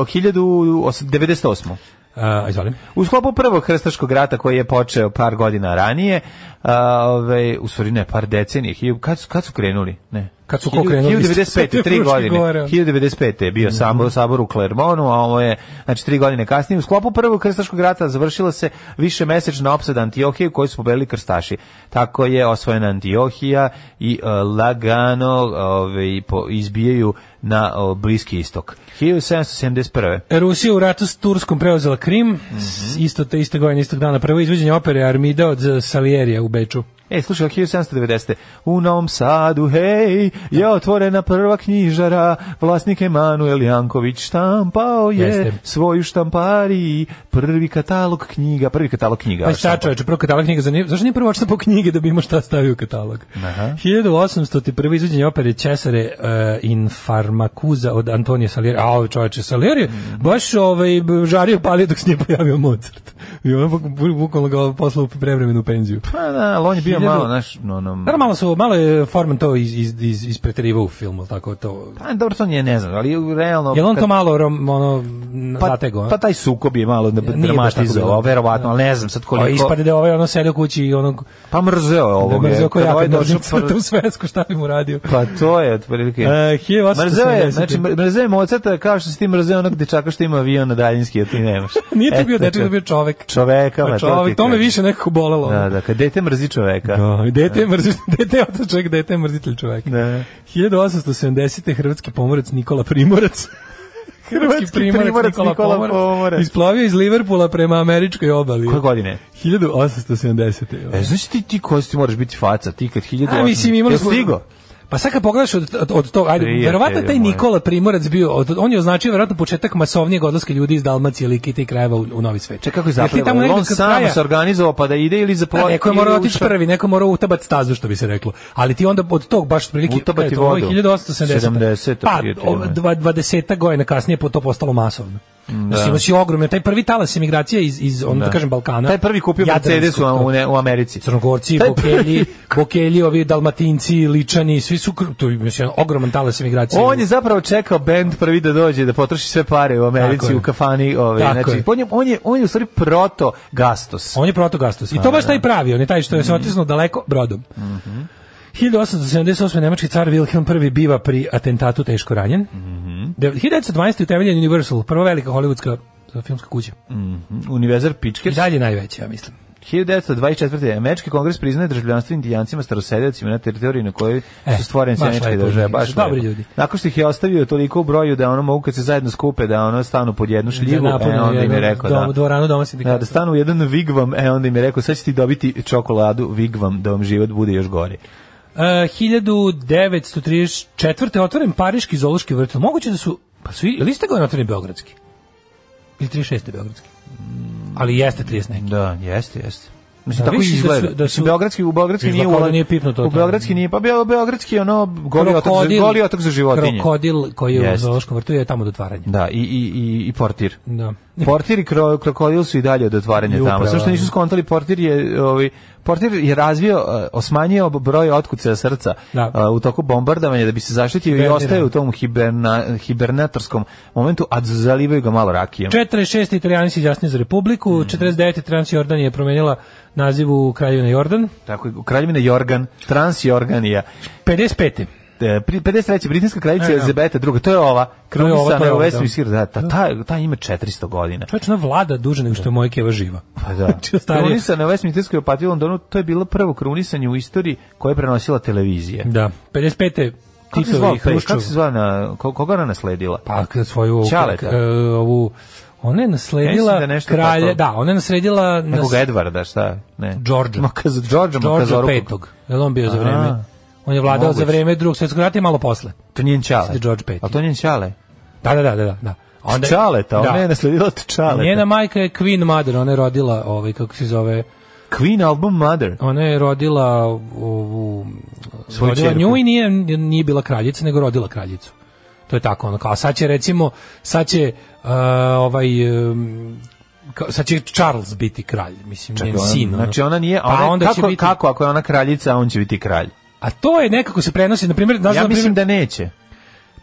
[SPEAKER 6] 1098.
[SPEAKER 7] A, E, izvolim.
[SPEAKER 6] U sklopu prvog hrstaškog rata koji je počeo par godina ranije, a, ovaj, u stvari ne, par decenije, hilju- kad, su- kad su krenuli? Ne.
[SPEAKER 7] Kad su ko krenuli?
[SPEAKER 6] 1095. tri
[SPEAKER 7] Prošle
[SPEAKER 6] godine.
[SPEAKER 7] gore.
[SPEAKER 6] 1095. je bio
[SPEAKER 7] Mhm.
[SPEAKER 6] sabor, sabor u Clermontu, a ovo je, znači, tri godine kasnije. U sklopu prvog krstaškog rata završila se više mesečna opsada Antiohije koju su pobedili krstaši. Tako je osvojena Antiohija i e, lagano ovaj, po, izbijaju na o, Bliski istok. 1771.
[SPEAKER 7] E, Rusija u ratu s Turskom preuzela Krim,
[SPEAKER 6] Mhm.
[SPEAKER 7] s- isto te iste godine, istog dana. Prvo izvođenje opere Armida od eh, Salierija u Beču.
[SPEAKER 6] E, slušaj, 1790. U Novom Sadu, hej, je otvorena prva knjižara, vlasnik Emanuel Janković štampao je
[SPEAKER 7] Jeste.
[SPEAKER 6] svoju štampari, prvi katalog knjiga, prvi katalog knjiga.
[SPEAKER 7] Pa šta
[SPEAKER 6] štampao.
[SPEAKER 7] čoveče, prvo katalog knjiga, za nije- zašto nije prvo očitao po knjige da bi imao šta stavio u katalog? Aha. 1800. prvo izvođenje opere Cesare eh, in Farmacuza od Antonija Salieri. A ovo čoveče, Salieri, baš ovaj, b- žario palio dok se nije pojavio Mozart. I ono buk- bukvalno ga poslao u prevremenu penziju.
[SPEAKER 6] Pa da, ali on je bio
[SPEAKER 7] Hiljadu-
[SPEAKER 6] malo, znaš, ono, no, no,
[SPEAKER 7] Naravno, malo, su, malo je Forman to iz, iz, iz, ispreterivao u filmu, tako to...
[SPEAKER 6] Pa, dobro, to nije, ne znam, ali realno...
[SPEAKER 7] Je li on
[SPEAKER 6] kad-
[SPEAKER 7] to malo rom, ono, n-
[SPEAKER 6] pa,
[SPEAKER 7] zatego? a?
[SPEAKER 6] pa taj sukob je malo
[SPEAKER 7] baš tako bilo.
[SPEAKER 6] dramatizovao, verovatno, ali ne znam sad
[SPEAKER 7] Pa
[SPEAKER 6] koliko...
[SPEAKER 7] ispade da je ovaj ono sedio kući i ono
[SPEAKER 6] Pa mrzeo je
[SPEAKER 7] da
[SPEAKER 6] ovog.
[SPEAKER 7] mrzio oko
[SPEAKER 6] kad
[SPEAKER 7] jaka
[SPEAKER 6] ovaj došao
[SPEAKER 7] nožnica
[SPEAKER 6] prvi-
[SPEAKER 7] tu svesku šta bi mu radio.
[SPEAKER 6] Pa to je otprilike.
[SPEAKER 7] E, 1870.
[SPEAKER 6] Mrzeo je, znači mr- mrzeo je Mozarta kao što si ti mrzeo onog dečaka što ima avion na daljinski, a ti nemaš. E, znači,
[SPEAKER 7] Nije to
[SPEAKER 6] Eto,
[SPEAKER 7] bio dečak, to je bio čovek.
[SPEAKER 6] Čoveka,
[SPEAKER 7] Pa
[SPEAKER 6] ma, to
[SPEAKER 7] čovek,
[SPEAKER 6] ti
[SPEAKER 7] to me
[SPEAKER 6] kažem.
[SPEAKER 7] više nekako bolelo.
[SPEAKER 6] Da, da, kad dete mrzi čoveka.
[SPEAKER 7] Da, dete je mrzitelj, dete je otac čovjek, dete je mrzitelj čovjeka.
[SPEAKER 6] Da.
[SPEAKER 7] 1870. hrvatski pomorac Nikola Primorac. hrvatski primorac, Nikola, Pomorac, Isplavio iz Liverpula prema američkoj obali.
[SPEAKER 6] Koje godine?
[SPEAKER 7] 1870.
[SPEAKER 6] E, znači ti, ti koji ti moraš biti faca, ti kad 1000...
[SPEAKER 7] A mislim imali smo
[SPEAKER 6] stigo?
[SPEAKER 7] Pa sad kad pogledaš od, od, od tog, ajde,
[SPEAKER 6] Prijatelju
[SPEAKER 7] verovatno je taj
[SPEAKER 6] moj.
[SPEAKER 7] Nikola Primorac bio, od, on je označio verovatno početak masovnijeg odlaska ljudi iz Dalmacije, Like i tih krajeva u, u Novi Svet.
[SPEAKER 6] Čekaj, kako je
[SPEAKER 7] Jer ti tamo
[SPEAKER 6] zapravo?
[SPEAKER 7] negde
[SPEAKER 6] On
[SPEAKER 7] kod
[SPEAKER 6] sam
[SPEAKER 7] kraja-
[SPEAKER 6] se organizovao pa da ide ili za
[SPEAKER 7] Da,
[SPEAKER 6] plot-
[SPEAKER 7] neko je
[SPEAKER 6] ili
[SPEAKER 7] morao
[SPEAKER 6] u
[SPEAKER 7] otići
[SPEAKER 6] šta-
[SPEAKER 7] prvi, neko je morao utabat stazu, što bi se reklo. Ali ti onda od tog baš prilike...
[SPEAKER 6] Utabati
[SPEAKER 7] eto, ovo je
[SPEAKER 6] vodu.
[SPEAKER 7] 1870.
[SPEAKER 6] 70,
[SPEAKER 7] Pa,
[SPEAKER 6] prijatelju
[SPEAKER 7] o,
[SPEAKER 6] moj.
[SPEAKER 7] dva, 20 godina kasnije po to postalo masovno. Da. Znači, imao si ogromne, taj prvi talas emigracije iz, iz ono, da. kažem, Balkana.
[SPEAKER 6] Taj prvi kupio
[SPEAKER 7] Jadranskog
[SPEAKER 6] Mercedes u, u,
[SPEAKER 7] tog-
[SPEAKER 6] ne- u Americi.
[SPEAKER 7] Crnogorci,
[SPEAKER 6] Taj
[SPEAKER 7] Bokelji, Bokelji, ovi Dalmatinci, Ličani, svi su, kr- to je mislim, ogroman talas emigracije.
[SPEAKER 6] On je zapravo čekao bend prvi da dođe da potroši sve pare u
[SPEAKER 7] Tako
[SPEAKER 6] Americi
[SPEAKER 7] je.
[SPEAKER 6] u kafani, ovaj
[SPEAKER 7] Tako je.
[SPEAKER 6] znači on je on je on je u stvari proto Gastos.
[SPEAKER 7] On je protogastos. I to baš taj pravi, on je taj što je se otisnuo daleko brodom. Mhm. 1878. nemački car Wilhelm I biva pri atentatu teško ranjen. De- 1912. utemeljen Universal, prva velika hollywoodska e, filmska kuća.
[SPEAKER 6] Univerzar
[SPEAKER 7] I
[SPEAKER 6] Pičkers.
[SPEAKER 7] dalje najveća, ja mislim.
[SPEAKER 6] 1924. Američki kongres priznaje državljanstvo indijancima staroseljacima na teritoriji na kojoj
[SPEAKER 7] E,
[SPEAKER 6] su stvorene
[SPEAKER 7] baš
[SPEAKER 6] sjeničke
[SPEAKER 7] lepo,
[SPEAKER 6] države.
[SPEAKER 7] ljudi,
[SPEAKER 6] Baš
[SPEAKER 7] dobri
[SPEAKER 6] lepo.
[SPEAKER 7] ljudi.
[SPEAKER 6] Nakon što ih je ostavio toliko u broju da ono mogu kad se zajedno skupe da ono stanu pod jednu šljivu,
[SPEAKER 7] napune
[SPEAKER 6] e, onda im je
[SPEAKER 7] jednu
[SPEAKER 6] rekao
[SPEAKER 7] dom-
[SPEAKER 6] da,
[SPEAKER 7] dvoranu doma sindikata.
[SPEAKER 6] da, da stanu u jedan vigvam, e onda im je rekao sad ćete dobiti čokoladu vigvam da vam život bude još gori.
[SPEAKER 7] E, 1934. je otvoren Pariški zoološki vrt. Moguće da su, pa su, ili ste godine otvoreni Beogradski? Ili 36. Beogradski? Ali jeste 30 neki.
[SPEAKER 6] Da, jeste, jeste. Mislim,
[SPEAKER 7] Da,
[SPEAKER 6] tako
[SPEAKER 7] vidiš da
[SPEAKER 6] izgleda.
[SPEAKER 7] su-
[SPEAKER 6] Mislim,
[SPEAKER 7] da su-
[SPEAKER 6] Beogradski, u Beogradski
[SPEAKER 7] Vidiš
[SPEAKER 6] nije...
[SPEAKER 7] da kao da
[SPEAKER 6] ulaz-
[SPEAKER 7] nije pipno to
[SPEAKER 6] U
[SPEAKER 7] tamo.
[SPEAKER 6] Beogradski nije, pa Beo- Beogradski je ono goli otak, za,
[SPEAKER 7] Krokodil-
[SPEAKER 6] goli otak za životinje.
[SPEAKER 7] Krokodil koji je u
[SPEAKER 6] Jeste.
[SPEAKER 7] zoološkom vrtu je tamo do otvaranja.
[SPEAKER 6] Da, i, i, i, i portir.
[SPEAKER 7] Da.
[SPEAKER 6] Portir i kro, krokodil su i dalje od otvaranja
[SPEAKER 7] Upravo.
[SPEAKER 6] tamo. Samo što nisu skontali, portir je, ovaj, portir je razvio, eh, osmanjio broj otkuca srca
[SPEAKER 7] Da.
[SPEAKER 6] eh, u toku bombardovanja da bi se zaštitio i
[SPEAKER 7] Hibernira.
[SPEAKER 6] ostaje u tom hiberna, hibernatorskom momentu, a zalivaju ga malo rakijom.
[SPEAKER 7] 46. Italijani se izjasnili za republiku,
[SPEAKER 6] Mhm.
[SPEAKER 7] 49. Transjordan je promenila naziv u kraljevina Jordan,
[SPEAKER 6] Tako je, Kraljevina Jorgan, Transjorganija.
[SPEAKER 7] 55.
[SPEAKER 6] E, pri- 53. britanska kraljica
[SPEAKER 7] E, da.
[SPEAKER 6] Elizabeta II. To je ova.
[SPEAKER 7] je ova, to
[SPEAKER 6] Krunisana
[SPEAKER 7] je
[SPEAKER 6] je u
[SPEAKER 7] ova, da.
[SPEAKER 6] Westminster. Sir, Da, ta, ta, ta ima 400 godina.
[SPEAKER 7] Čovječ, ona vlada duže nego što je moja keva živa.
[SPEAKER 6] Pa da.
[SPEAKER 7] Znači, starije.
[SPEAKER 6] Krunisana u Westminsterskoj opatiji u Londonu, to je bilo prvo krunisanje u istoriji koje je prenosila televizija.
[SPEAKER 7] Da. 55.
[SPEAKER 6] Kako se zvao, Pe-
[SPEAKER 7] Titovi
[SPEAKER 6] kako
[SPEAKER 7] Hruščov.
[SPEAKER 6] se zvao na, ko- koga ona nasledila?
[SPEAKER 7] Pa k- svoju ovu-
[SPEAKER 6] Ćaleta.
[SPEAKER 7] k- e, ovu ona je nasledila
[SPEAKER 6] Ja mislim da nešto
[SPEAKER 7] kralje,
[SPEAKER 6] tako.
[SPEAKER 7] da, ona je nasledila nas,
[SPEAKER 6] Nekoga Edvarda, šta? Ne.
[SPEAKER 7] Đorđa.
[SPEAKER 6] Makaz, Đorđa
[SPEAKER 7] George
[SPEAKER 6] Makazoruka.
[SPEAKER 7] petog. Jel on bio za
[SPEAKER 6] A,
[SPEAKER 7] vreme? On je vladao
[SPEAKER 6] moguće.
[SPEAKER 7] za vreme drugog svjetskog rata i malo posle.
[SPEAKER 6] To njen čale.
[SPEAKER 7] Mislim da je George peti.
[SPEAKER 6] A to njen čale.
[SPEAKER 7] Da, da, da, da, da. A
[SPEAKER 6] Onda, čaleta, ona
[SPEAKER 7] da.
[SPEAKER 6] je nasledila od čaleta.
[SPEAKER 7] Njena majka je Queen Mother, ona je rodila, ovaj, kako se zove,
[SPEAKER 6] Queen album Mother.
[SPEAKER 7] ona je rodila ovu,
[SPEAKER 6] Svoju
[SPEAKER 7] rodila
[SPEAKER 6] ćerku.
[SPEAKER 7] nju i nije, nije bila kraljica, nego rodila kraljicu. To je tako, ono kao, a sad će recimo, sad će uh, ovaj, um, kao, sad će Charles biti kralj, mislim, njen
[SPEAKER 6] Ona-
[SPEAKER 7] sin. ono.
[SPEAKER 6] Znači ona nije,
[SPEAKER 7] Pa
[SPEAKER 6] ona,
[SPEAKER 7] onda će
[SPEAKER 6] kako,
[SPEAKER 7] biti-
[SPEAKER 6] kako ako je ona kraljica, a on će biti kralj?
[SPEAKER 7] A to je nekako se prenosi, na primjer, znaš,
[SPEAKER 6] Ja
[SPEAKER 7] na
[SPEAKER 6] mislim
[SPEAKER 7] primjer,
[SPEAKER 6] da neće.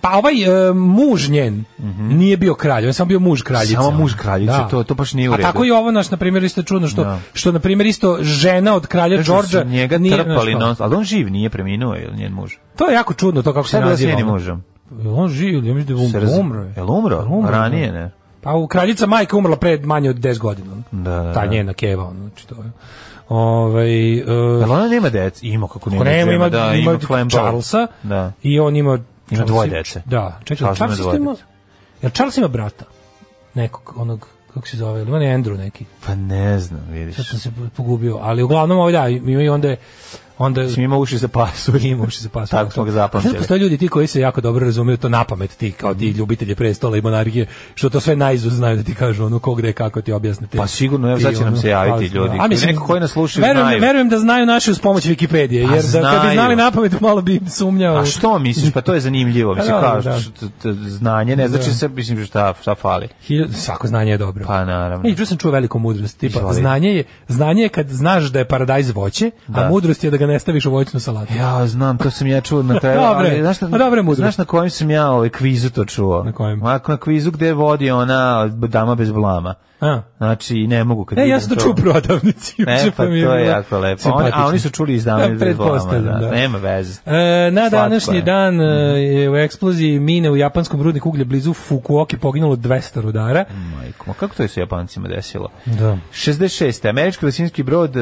[SPEAKER 7] pa ovaj e, muž njen nije bio kralj, on je samo bio muž kraljice.
[SPEAKER 6] Mhm. Samo
[SPEAKER 7] ono.
[SPEAKER 6] muž kraljice, to- to baš nije u
[SPEAKER 7] A
[SPEAKER 6] redu.
[SPEAKER 7] tako i ovo naš, na primjer, isto je čudno, što,
[SPEAKER 6] Da.
[SPEAKER 7] što na primjer, isto žena od kralja
[SPEAKER 6] Kažu da Znači, su
[SPEAKER 7] Đorđa...
[SPEAKER 6] njega
[SPEAKER 7] nije- znaš
[SPEAKER 6] trpali
[SPEAKER 7] kao,
[SPEAKER 6] non, ali on živ nije preminuo je li njen muž.
[SPEAKER 7] To je jako čudno, to kako
[SPEAKER 6] Šta
[SPEAKER 7] se
[SPEAKER 6] je bilo s
[SPEAKER 7] naziva.
[SPEAKER 6] njenim
[SPEAKER 7] ono.
[SPEAKER 6] mužem?
[SPEAKER 7] On živ, ja mislim da
[SPEAKER 6] Se
[SPEAKER 7] je
[SPEAKER 6] raz-
[SPEAKER 7] um- umro. je.
[SPEAKER 6] Jel umro?
[SPEAKER 7] Umro,
[SPEAKER 6] Ranije,
[SPEAKER 7] da.
[SPEAKER 6] ne?
[SPEAKER 7] Pa u kraljica majka umrla pred manje od 10 godina. ono.
[SPEAKER 6] Da, da,
[SPEAKER 7] Ta
[SPEAKER 6] da.
[SPEAKER 7] njena keva, ono, znači to je. Ovaj, e,
[SPEAKER 6] Jel ona nema dece? Ima kako nema.
[SPEAKER 7] Ako nema,
[SPEAKER 6] džema,
[SPEAKER 7] ima,
[SPEAKER 6] da,
[SPEAKER 7] ima,
[SPEAKER 6] Flambeau.
[SPEAKER 7] Charlesa
[SPEAKER 6] Da.
[SPEAKER 7] i on ima... Charles
[SPEAKER 6] dvoje dece.
[SPEAKER 7] Da, čekaj,
[SPEAKER 6] Charles ima
[SPEAKER 7] Charles, Charles
[SPEAKER 6] dvoje
[SPEAKER 7] ima...
[SPEAKER 6] dece.
[SPEAKER 7] Jel Charles ima brata? Nekog, onog, kako se zove, ili on je Andrew neki?
[SPEAKER 6] Pa ne znam, vidiš.
[SPEAKER 7] Sad sam se pogubio, ali uglavnom ovaj da, ima i onda je... Onda
[SPEAKER 6] Mislim, ima uši za pasu.
[SPEAKER 7] ima uopšte se pas.
[SPEAKER 6] Tako smo ga
[SPEAKER 7] Znaš,
[SPEAKER 6] zapamćili.
[SPEAKER 7] postoje ljudi ti koji se jako dobro razumeju to na pamet, ti kao
[SPEAKER 6] Mm.
[SPEAKER 7] ti ljubitelji prestola i monarhije, što to sve naizuz znaju da ti kažu ono ko gde, kako ti objasnite.
[SPEAKER 6] Pa sigurno, evo,
[SPEAKER 7] I
[SPEAKER 6] sad će nam
[SPEAKER 7] ono,
[SPEAKER 6] se javiti
[SPEAKER 7] pa,
[SPEAKER 6] ljudi.
[SPEAKER 7] a mislim,
[SPEAKER 6] Neko koji nas slušaju
[SPEAKER 7] verujem,
[SPEAKER 6] znaju.
[SPEAKER 7] Verujem da znaju naše uz pomoć Wikipedije,
[SPEAKER 6] Pa
[SPEAKER 7] jer da, kad bi
[SPEAKER 6] znaju.
[SPEAKER 7] znali na pamet malo bi im sumnjao.
[SPEAKER 6] A što misliš? Pa to je zanimljivo. Mislim,
[SPEAKER 7] Pa da,
[SPEAKER 6] kao,
[SPEAKER 7] da.
[SPEAKER 6] što- t- t- znanje, ne znači se, mislim, šta, šta fali.
[SPEAKER 7] Hiljadu- svako znanje je dobro.
[SPEAKER 6] Pa naravno.
[SPEAKER 7] I tu sam čuo veliku mudrost, tipa
[SPEAKER 6] Izvoli.
[SPEAKER 7] znanje je, znanje je kad znaš da je paradajz voće, a
[SPEAKER 6] Da.
[SPEAKER 7] mudrost je da ga ne staviš u voćnu salatu.
[SPEAKER 6] Ja znam, to sam ja čuo na kraju.
[SPEAKER 7] Dobre,
[SPEAKER 6] ali znaš, na,
[SPEAKER 7] a dobre mudrost.
[SPEAKER 6] znaš na kojem sam ja ovaj kvizu to čuo?
[SPEAKER 7] Na kojem?
[SPEAKER 6] Onako Na kvizu gde vodi ona dama bez blama.
[SPEAKER 7] A.
[SPEAKER 6] Znači, ne mogu kad
[SPEAKER 7] Ne, E, ja
[SPEAKER 6] vidim
[SPEAKER 7] sam to čuo u prodavnici.
[SPEAKER 6] Ne,
[SPEAKER 7] juče,
[SPEAKER 6] pa to
[SPEAKER 7] mi bilo
[SPEAKER 6] je jako lepo. Oni,
[SPEAKER 7] simpatično.
[SPEAKER 6] a oni su čuli iz dame
[SPEAKER 7] Ja,
[SPEAKER 6] bez blama.
[SPEAKER 7] pretpostavljam,
[SPEAKER 6] Da.
[SPEAKER 7] da.
[SPEAKER 6] Nema veze.
[SPEAKER 7] E, na
[SPEAKER 6] Slatko
[SPEAKER 7] današnji
[SPEAKER 6] je. Mhm.
[SPEAKER 7] dan e, je u eksploziji mine u japanskom rudniku uglja blizu Fukuoki poginulo 200 rudara.
[SPEAKER 6] Majko, ma kako to je se Japancima desilo?
[SPEAKER 7] Da.
[SPEAKER 6] 66. Američki vasinski brod uh,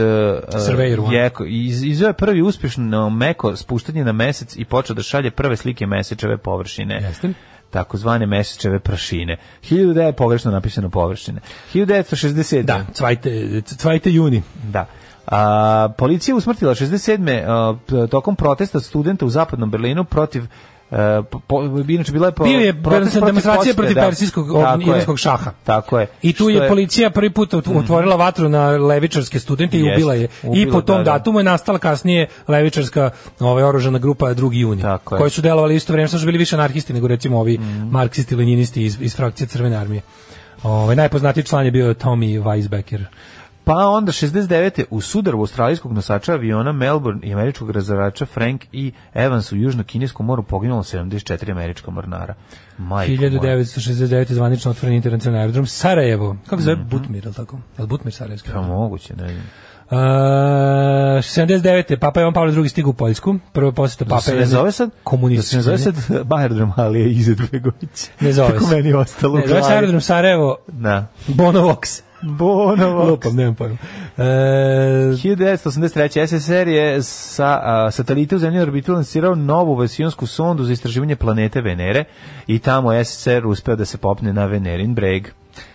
[SPEAKER 7] Surveyor one.
[SPEAKER 6] Jeko, iz, izveo je prvi uspješno meko spuštanje na mesec i počeo da šalje prve slike mesečeve površine.
[SPEAKER 7] Jeste.
[SPEAKER 6] takozvane mesečeve prašine. 1900 je pogrešno napisano površine. 1960.
[SPEAKER 7] Da, cvajte, cvajte juni.
[SPEAKER 6] Da. A, policija je usmrtila 67. a, p- tokom protesta studenta u zapadnom Berlinu protiv e, po, po, inače bila je po,
[SPEAKER 7] Bio je
[SPEAKER 6] protest protiv
[SPEAKER 7] demonstracija
[SPEAKER 6] posjete,
[SPEAKER 7] protiv
[SPEAKER 6] da.
[SPEAKER 7] persijskog od-
[SPEAKER 6] Tako je.
[SPEAKER 7] iranskog šaha.
[SPEAKER 6] Tako je.
[SPEAKER 7] I tu
[SPEAKER 6] Što
[SPEAKER 7] je policija prvi put ot- otvorila vatru na levičarske studente i
[SPEAKER 6] Jeste,
[SPEAKER 7] ubila je. I
[SPEAKER 6] ubila,
[SPEAKER 7] po tom
[SPEAKER 6] da, da.
[SPEAKER 7] datumu je nastala kasnije levičarska ovaj, oružana grupa 2. juni,
[SPEAKER 6] Tako je. Mhm.
[SPEAKER 7] koji su delovali isto vreme, samo što su bili više anarhisti nego recimo ovi marksisti, leninisti iz, iz frakcije Crvene armije. Ovaj, najpoznatiji član je bio Tommy Weisbecker.
[SPEAKER 6] Pa onda 69. u sudaru australijskog nosača aviona Melbourne i američkog razarača Frank i Evans u južno-kineskom moru poginulo 74 američka mornara. Majko moja.
[SPEAKER 7] 1969. je zvanično
[SPEAKER 6] Mhm.
[SPEAKER 7] otvoren internacionalni aerodrom Sarajevo. Kako se zove Butmir, je li tako? Je li Butmir Sarajevski?
[SPEAKER 6] Pa moguće, ne znam.
[SPEAKER 7] Uh, Uh, 79. Papa Ivan Pavle II stigu u Poljsku. Prva poseta Papa
[SPEAKER 6] Da se ne zove sad? Da se ne zove sad Bajerdrom Alija Izetbegović.
[SPEAKER 7] Ne zove
[SPEAKER 6] Tako
[SPEAKER 7] se.
[SPEAKER 6] meni je ostalo
[SPEAKER 7] Ne,
[SPEAKER 6] u
[SPEAKER 7] zove se
[SPEAKER 6] glavi.
[SPEAKER 7] aerodrom Sarajevo
[SPEAKER 6] Da.
[SPEAKER 7] Bonovox.
[SPEAKER 6] Bonovo.
[SPEAKER 7] Lupam, nemam pojma. E,
[SPEAKER 6] 1983. SSR je sa a, satelite u zemlji orbitu lansirao novu vasionsku sondu za istraživanje planete Venere i tamo je SSR uspeo da se popne na Venerin breg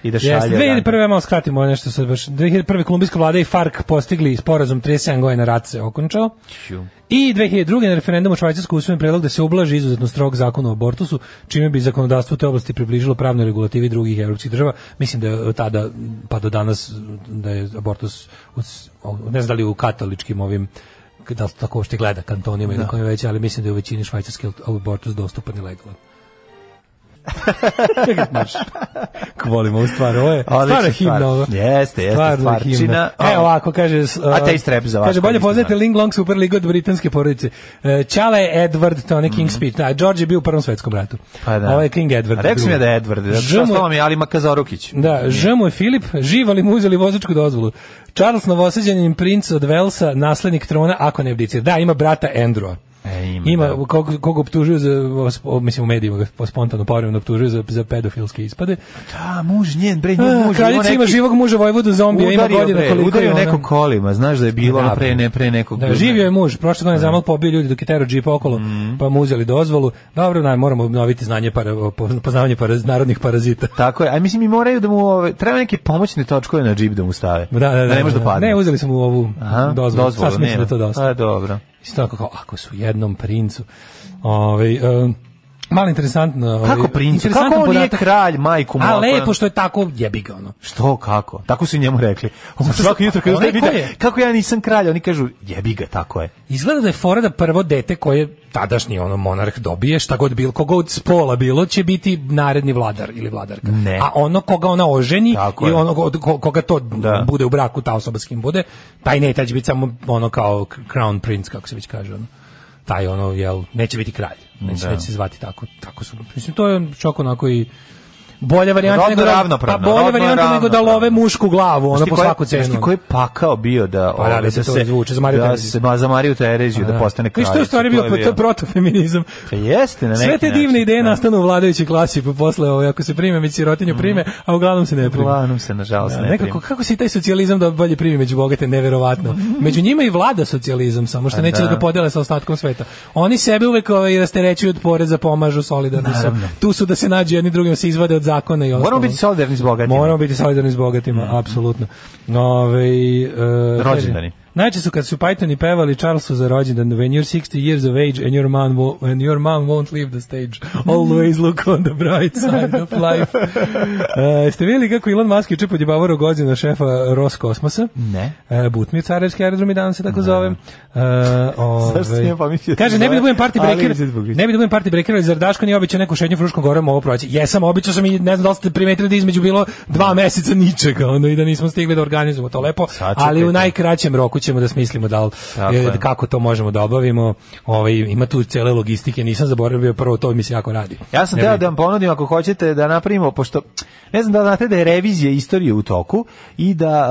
[SPEAKER 6] i da šalje...
[SPEAKER 7] Jeste,
[SPEAKER 6] radar.
[SPEAKER 7] 2001. ja malo skratimo ovo nešto sad baš. 2001. kolumbijska vlada i FARC postigli sporazum 37 godina rat se okončao.
[SPEAKER 6] Ću.
[SPEAKER 7] I 2002. na referendumu u Švajcarskoj usvojen predlog da se ublaži izuzetno strog zakon o abortusu, čime bi zakonodavstvo u te oblasti približilo pravnoj regulativi drugih evropskih država. Mislim da je od tada, pa do danas, da je abortus, u s- ne znam da li u katoličkim ovim da li se tako uopšte gleda kantonima i na kojim već, ali mislim da je u većini švajcarske abortus dostupan i legalan. Maš. Volimo ovu stvar, ovo je
[SPEAKER 6] Odlična stvar.
[SPEAKER 7] stara himna ovo.
[SPEAKER 6] Jeste, jeste,
[SPEAKER 7] Stvarno je
[SPEAKER 6] stvarčina.
[SPEAKER 7] himna. E, ovako, kaže... s- uh,
[SPEAKER 6] A taste rap za vas,
[SPEAKER 7] Kaže,
[SPEAKER 6] koji
[SPEAKER 7] bolje
[SPEAKER 6] niste
[SPEAKER 7] poznajete
[SPEAKER 6] znali.
[SPEAKER 7] Ling Long Superligu od britanske porodice. E, Čala je Edward, to je King Speed. Da, George je bio u Prvom svetskom ratu.
[SPEAKER 6] Mhm. Pa da.
[SPEAKER 7] Ovo je King Edward.
[SPEAKER 6] A Rekao sam ja da je
[SPEAKER 7] drugi.
[SPEAKER 6] Edward, da
[SPEAKER 7] Ž mu
[SPEAKER 6] što
[SPEAKER 7] je-
[SPEAKER 6] ostalo mi je Ali Makazorukić.
[SPEAKER 7] Da, Ž mu je Filip, živ ali mu uzeli vozačku dozvolu. Charles Novoseđanin, princ od Velsa, naslednik trona, ako ne abdicira. Da, ima brata Andrewa.
[SPEAKER 6] E, ima,
[SPEAKER 7] ima
[SPEAKER 6] da.
[SPEAKER 7] kog, kog optužuju za, o, mislim u medijima ga po- spontano povremeno optužuju za, za pedofilske ispade.
[SPEAKER 6] Da, muž njen, bre, njen
[SPEAKER 7] A,
[SPEAKER 6] Pa, muž.
[SPEAKER 7] kraljica ima živog muža Vojvodu zombija, ima
[SPEAKER 6] Udario,
[SPEAKER 7] godina
[SPEAKER 6] bre,
[SPEAKER 7] koliko
[SPEAKER 6] udario
[SPEAKER 7] je ona.
[SPEAKER 6] neko kolima, znaš da je bilo
[SPEAKER 7] Da,
[SPEAKER 6] ono pre, ne, pre nekog.
[SPEAKER 7] Da, živio je muž, prošle godine zamal pobio ljudi dok je tero džip okolo,
[SPEAKER 6] Mhm.
[SPEAKER 7] pa mu uzeli dozvolu. Dobro, naj, moramo obnoviti znanje para, po- poznavanje paraz, narodnih parazita.
[SPEAKER 6] Tako je, a mislim i moraju da mu, ove, treba neke pomoćne točkove na džip da mu stave.
[SPEAKER 7] Da, da, da.
[SPEAKER 6] ne može da padne.
[SPEAKER 7] Ne, uzeli smo mu ovu
[SPEAKER 6] Aha,
[SPEAKER 7] dozvolu. dozvolu Sad mislim da
[SPEAKER 6] nema.
[SPEAKER 7] je to dosta.
[SPEAKER 6] A, dobro.
[SPEAKER 7] Isto tako kao, ako su jednom princu. Ovaj em, malo interesantno. ovaj,
[SPEAKER 6] Kako princu?
[SPEAKER 7] interesantan
[SPEAKER 6] Kako on nije
[SPEAKER 7] podatak.
[SPEAKER 6] kralj, majku moja?
[SPEAKER 7] A lepo što je tako jebi ga ono.
[SPEAKER 6] Što, kako? Tako su i njemu rekli. On svako jutro kada
[SPEAKER 7] onaj
[SPEAKER 6] ustaje pita,
[SPEAKER 7] ko je? Ono
[SPEAKER 6] kako ja nisam kralj, oni kažu, jebi ga, tako je.
[SPEAKER 7] Izgleda da je fora da prvo dete koje tadašnji ono monarh dobije, šta god bilo, koga od spola bilo, će biti naredni vladar ili vladarka.
[SPEAKER 6] Ne.
[SPEAKER 7] A ono koga ona oženi
[SPEAKER 6] Tako
[SPEAKER 7] i
[SPEAKER 6] je.
[SPEAKER 7] ono od ko- koga to bude u braku, ta osoba s kim bude, taj ne, taj će biti samo ono kao k- crown prince, kako se već kaže. Ono. Taj ono, jel, neće biti kralj. Neće, neće se zvati tako. tako su, mislim, to je čak onako i bolja varijanta
[SPEAKER 6] Rodno
[SPEAKER 7] nego da,
[SPEAKER 6] ravnopravno,
[SPEAKER 7] pa bolja
[SPEAKER 6] rodno
[SPEAKER 7] varijanta nego da
[SPEAKER 6] ravnopravno.
[SPEAKER 7] love mušku glavu, ono
[SPEAKER 6] Znaš ti
[SPEAKER 7] po
[SPEAKER 6] ko je-
[SPEAKER 7] svaku cenu.
[SPEAKER 6] znaš ti ko znači, je pakao bio da...
[SPEAKER 7] Pa da,
[SPEAKER 6] ove,
[SPEAKER 7] da se to izvuče za Mariju
[SPEAKER 6] da
[SPEAKER 7] Tereziju.
[SPEAKER 6] se, ma, za Mariju Tereziju, da, postane kralj.
[SPEAKER 7] I što je u stvari bio, pa to je protofeminizam.
[SPEAKER 6] Pa Jeste, na neki
[SPEAKER 7] Sve te divne
[SPEAKER 6] način,
[SPEAKER 7] ideje
[SPEAKER 6] da. Mhm.
[SPEAKER 7] nastanu u vladajućoj klasi, pa posle ovo, ako se prime, već sirotinju prime, a uglavnom se ne prime.
[SPEAKER 6] Uglavnom se, nažalost,
[SPEAKER 7] Da,
[SPEAKER 6] ne
[SPEAKER 7] nekako,
[SPEAKER 6] primi.
[SPEAKER 7] kako se i taj socijalizam da bolje primi među bogate, neverovatno. Među njima i vlada socijalizam, samo što neće da.
[SPEAKER 6] Pa da.
[SPEAKER 7] ga podele sa ostatkom sveta. Oni sebe uvek ovaj, rasterećuju od poreza, pomažu, solidarni su.
[SPEAKER 6] Naravno.
[SPEAKER 7] Tu su da se nađu jedni drugima, se izvade od zakona i ostalo.
[SPEAKER 6] Moramo biti solidarni s bogatima.
[SPEAKER 7] Moramo biti solidarni s bogatima, apsolutno. Nove, e,
[SPEAKER 6] Mhm. Rođendani.
[SPEAKER 7] kaže, Najče su kad su Pythoni pevali Charlesu za rođendan When you're 60 years of age and your, man wo- and your mom won't leave the stage Always look on the bright side of life e, Ste vidjeli kako Elon Musk je čepo djebavo rogođena šefa Roskosmosa?
[SPEAKER 6] Ne.
[SPEAKER 7] E, Butmir, carevski aerodrom i danas se tako zove. E,
[SPEAKER 6] Zašto sam
[SPEAKER 7] ovaj,
[SPEAKER 6] ja pomislio da se
[SPEAKER 7] Kaže, ne bi
[SPEAKER 6] zove
[SPEAKER 7] da budem party
[SPEAKER 6] Ali
[SPEAKER 7] breaker,
[SPEAKER 6] Izetbegović?
[SPEAKER 7] ne bi da budem party breaker, ali zar Daško nije običao neku šednju fruškom gorom ovo proći? Jesam, običao sam i ne znam da li ste primetili da između bilo dva meseca ničega, ono, i da nismo stigli da organizujemo to lepo,
[SPEAKER 6] Sačekajte.
[SPEAKER 7] ali u najkraćem roku ćemo da smislimo da li,
[SPEAKER 6] Tako
[SPEAKER 7] e,
[SPEAKER 6] je.
[SPEAKER 7] kako to možemo da obavimo. Ovaj, ima tu cele logistike, nisam zaboravio, prvo to mi se jako radi.
[SPEAKER 6] Ja sam
[SPEAKER 7] Ne
[SPEAKER 6] teo
[SPEAKER 7] brinite.
[SPEAKER 6] da vam ponudim ako hoćete da napravimo, pošto ne znam da li znate da je revizija istorije u toku i da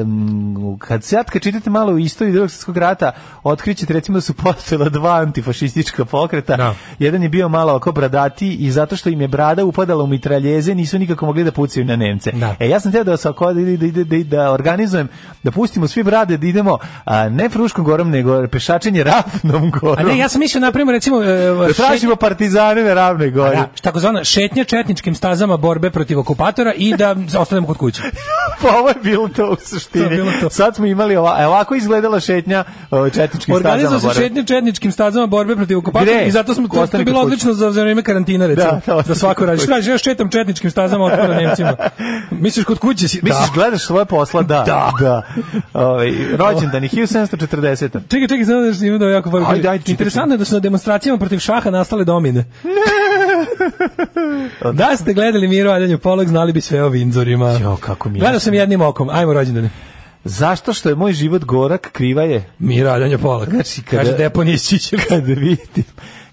[SPEAKER 6] em, kad sad kad čitate malo u istoriji drugog svjetskog rata, otkrićete recimo da su postojala dva antifašistička pokreta.
[SPEAKER 7] Da.
[SPEAKER 6] Jedan je bio malo oko bradati i zato što im je brada upadala u mitraljeze nisu nikako mogli da pucaju na Nemce.
[SPEAKER 7] Da.
[SPEAKER 6] E, ja sam teo da, se oko- da, ide- da, ide- da, da organizujem, da pustimo svi brade, da idemo a, ne fruškom gorom, nego pešačenje ravnom
[SPEAKER 7] A
[SPEAKER 6] gorom.
[SPEAKER 7] ne, ja sam mislio, na primjer, recimo, e,
[SPEAKER 6] Da
[SPEAKER 7] šetnja-
[SPEAKER 6] tražimo partizane na ravnoj gori.
[SPEAKER 7] Da, šta takozvana šetnja četničkim stazama borbe protiv okupatora i da ostanemo kod kuće.
[SPEAKER 6] Pa ovo je bilo to u suštini.
[SPEAKER 7] To je bilo to.
[SPEAKER 6] Sad smo imali ova, e, ovako izgledala šetnja o, četničkim
[SPEAKER 7] Organizovao
[SPEAKER 6] stazama.
[SPEAKER 7] se
[SPEAKER 6] Bora.
[SPEAKER 7] šetnja četničkim stazama borbe protiv okupatora
[SPEAKER 6] Gde?
[SPEAKER 7] i zato smo to, to je
[SPEAKER 6] Ostani kod
[SPEAKER 7] bilo
[SPEAKER 6] kuće.
[SPEAKER 7] odlično za, za vreme karantina recimo.
[SPEAKER 6] Da, da,
[SPEAKER 7] Da,
[SPEAKER 6] ostani
[SPEAKER 7] svako
[SPEAKER 6] kod
[SPEAKER 7] radi.
[SPEAKER 6] kuće.
[SPEAKER 7] Šta, ja šetam četničkim stazama otpora Nemcima. Misliš kod kuće si?
[SPEAKER 6] Misliš,
[SPEAKER 7] da.
[SPEAKER 6] gledaš svoje posla? Da.
[SPEAKER 7] Da.
[SPEAKER 6] da. Ovaj, rođendan je 1740.
[SPEAKER 7] Čekaj, čekaj, znam da što ima da jako fajn.
[SPEAKER 6] Ajde, ajde, čitaj,
[SPEAKER 7] Interesantno je da su na demonstracijama protiv šaha nastale domine. da ste gledali Miro Adenju Polog, znali bi sve o Vindzorima.
[SPEAKER 6] Jo, kako mi je
[SPEAKER 7] Gledao
[SPEAKER 6] jasno.
[SPEAKER 7] sam jednim okom. Ajmo rođendane.
[SPEAKER 6] Zašto što je moj život gorak, kriva je
[SPEAKER 7] Miro Adenju Polog. Znači,
[SPEAKER 6] kada-
[SPEAKER 7] Kaže, deponije iz Ćićevca.
[SPEAKER 6] kad vidim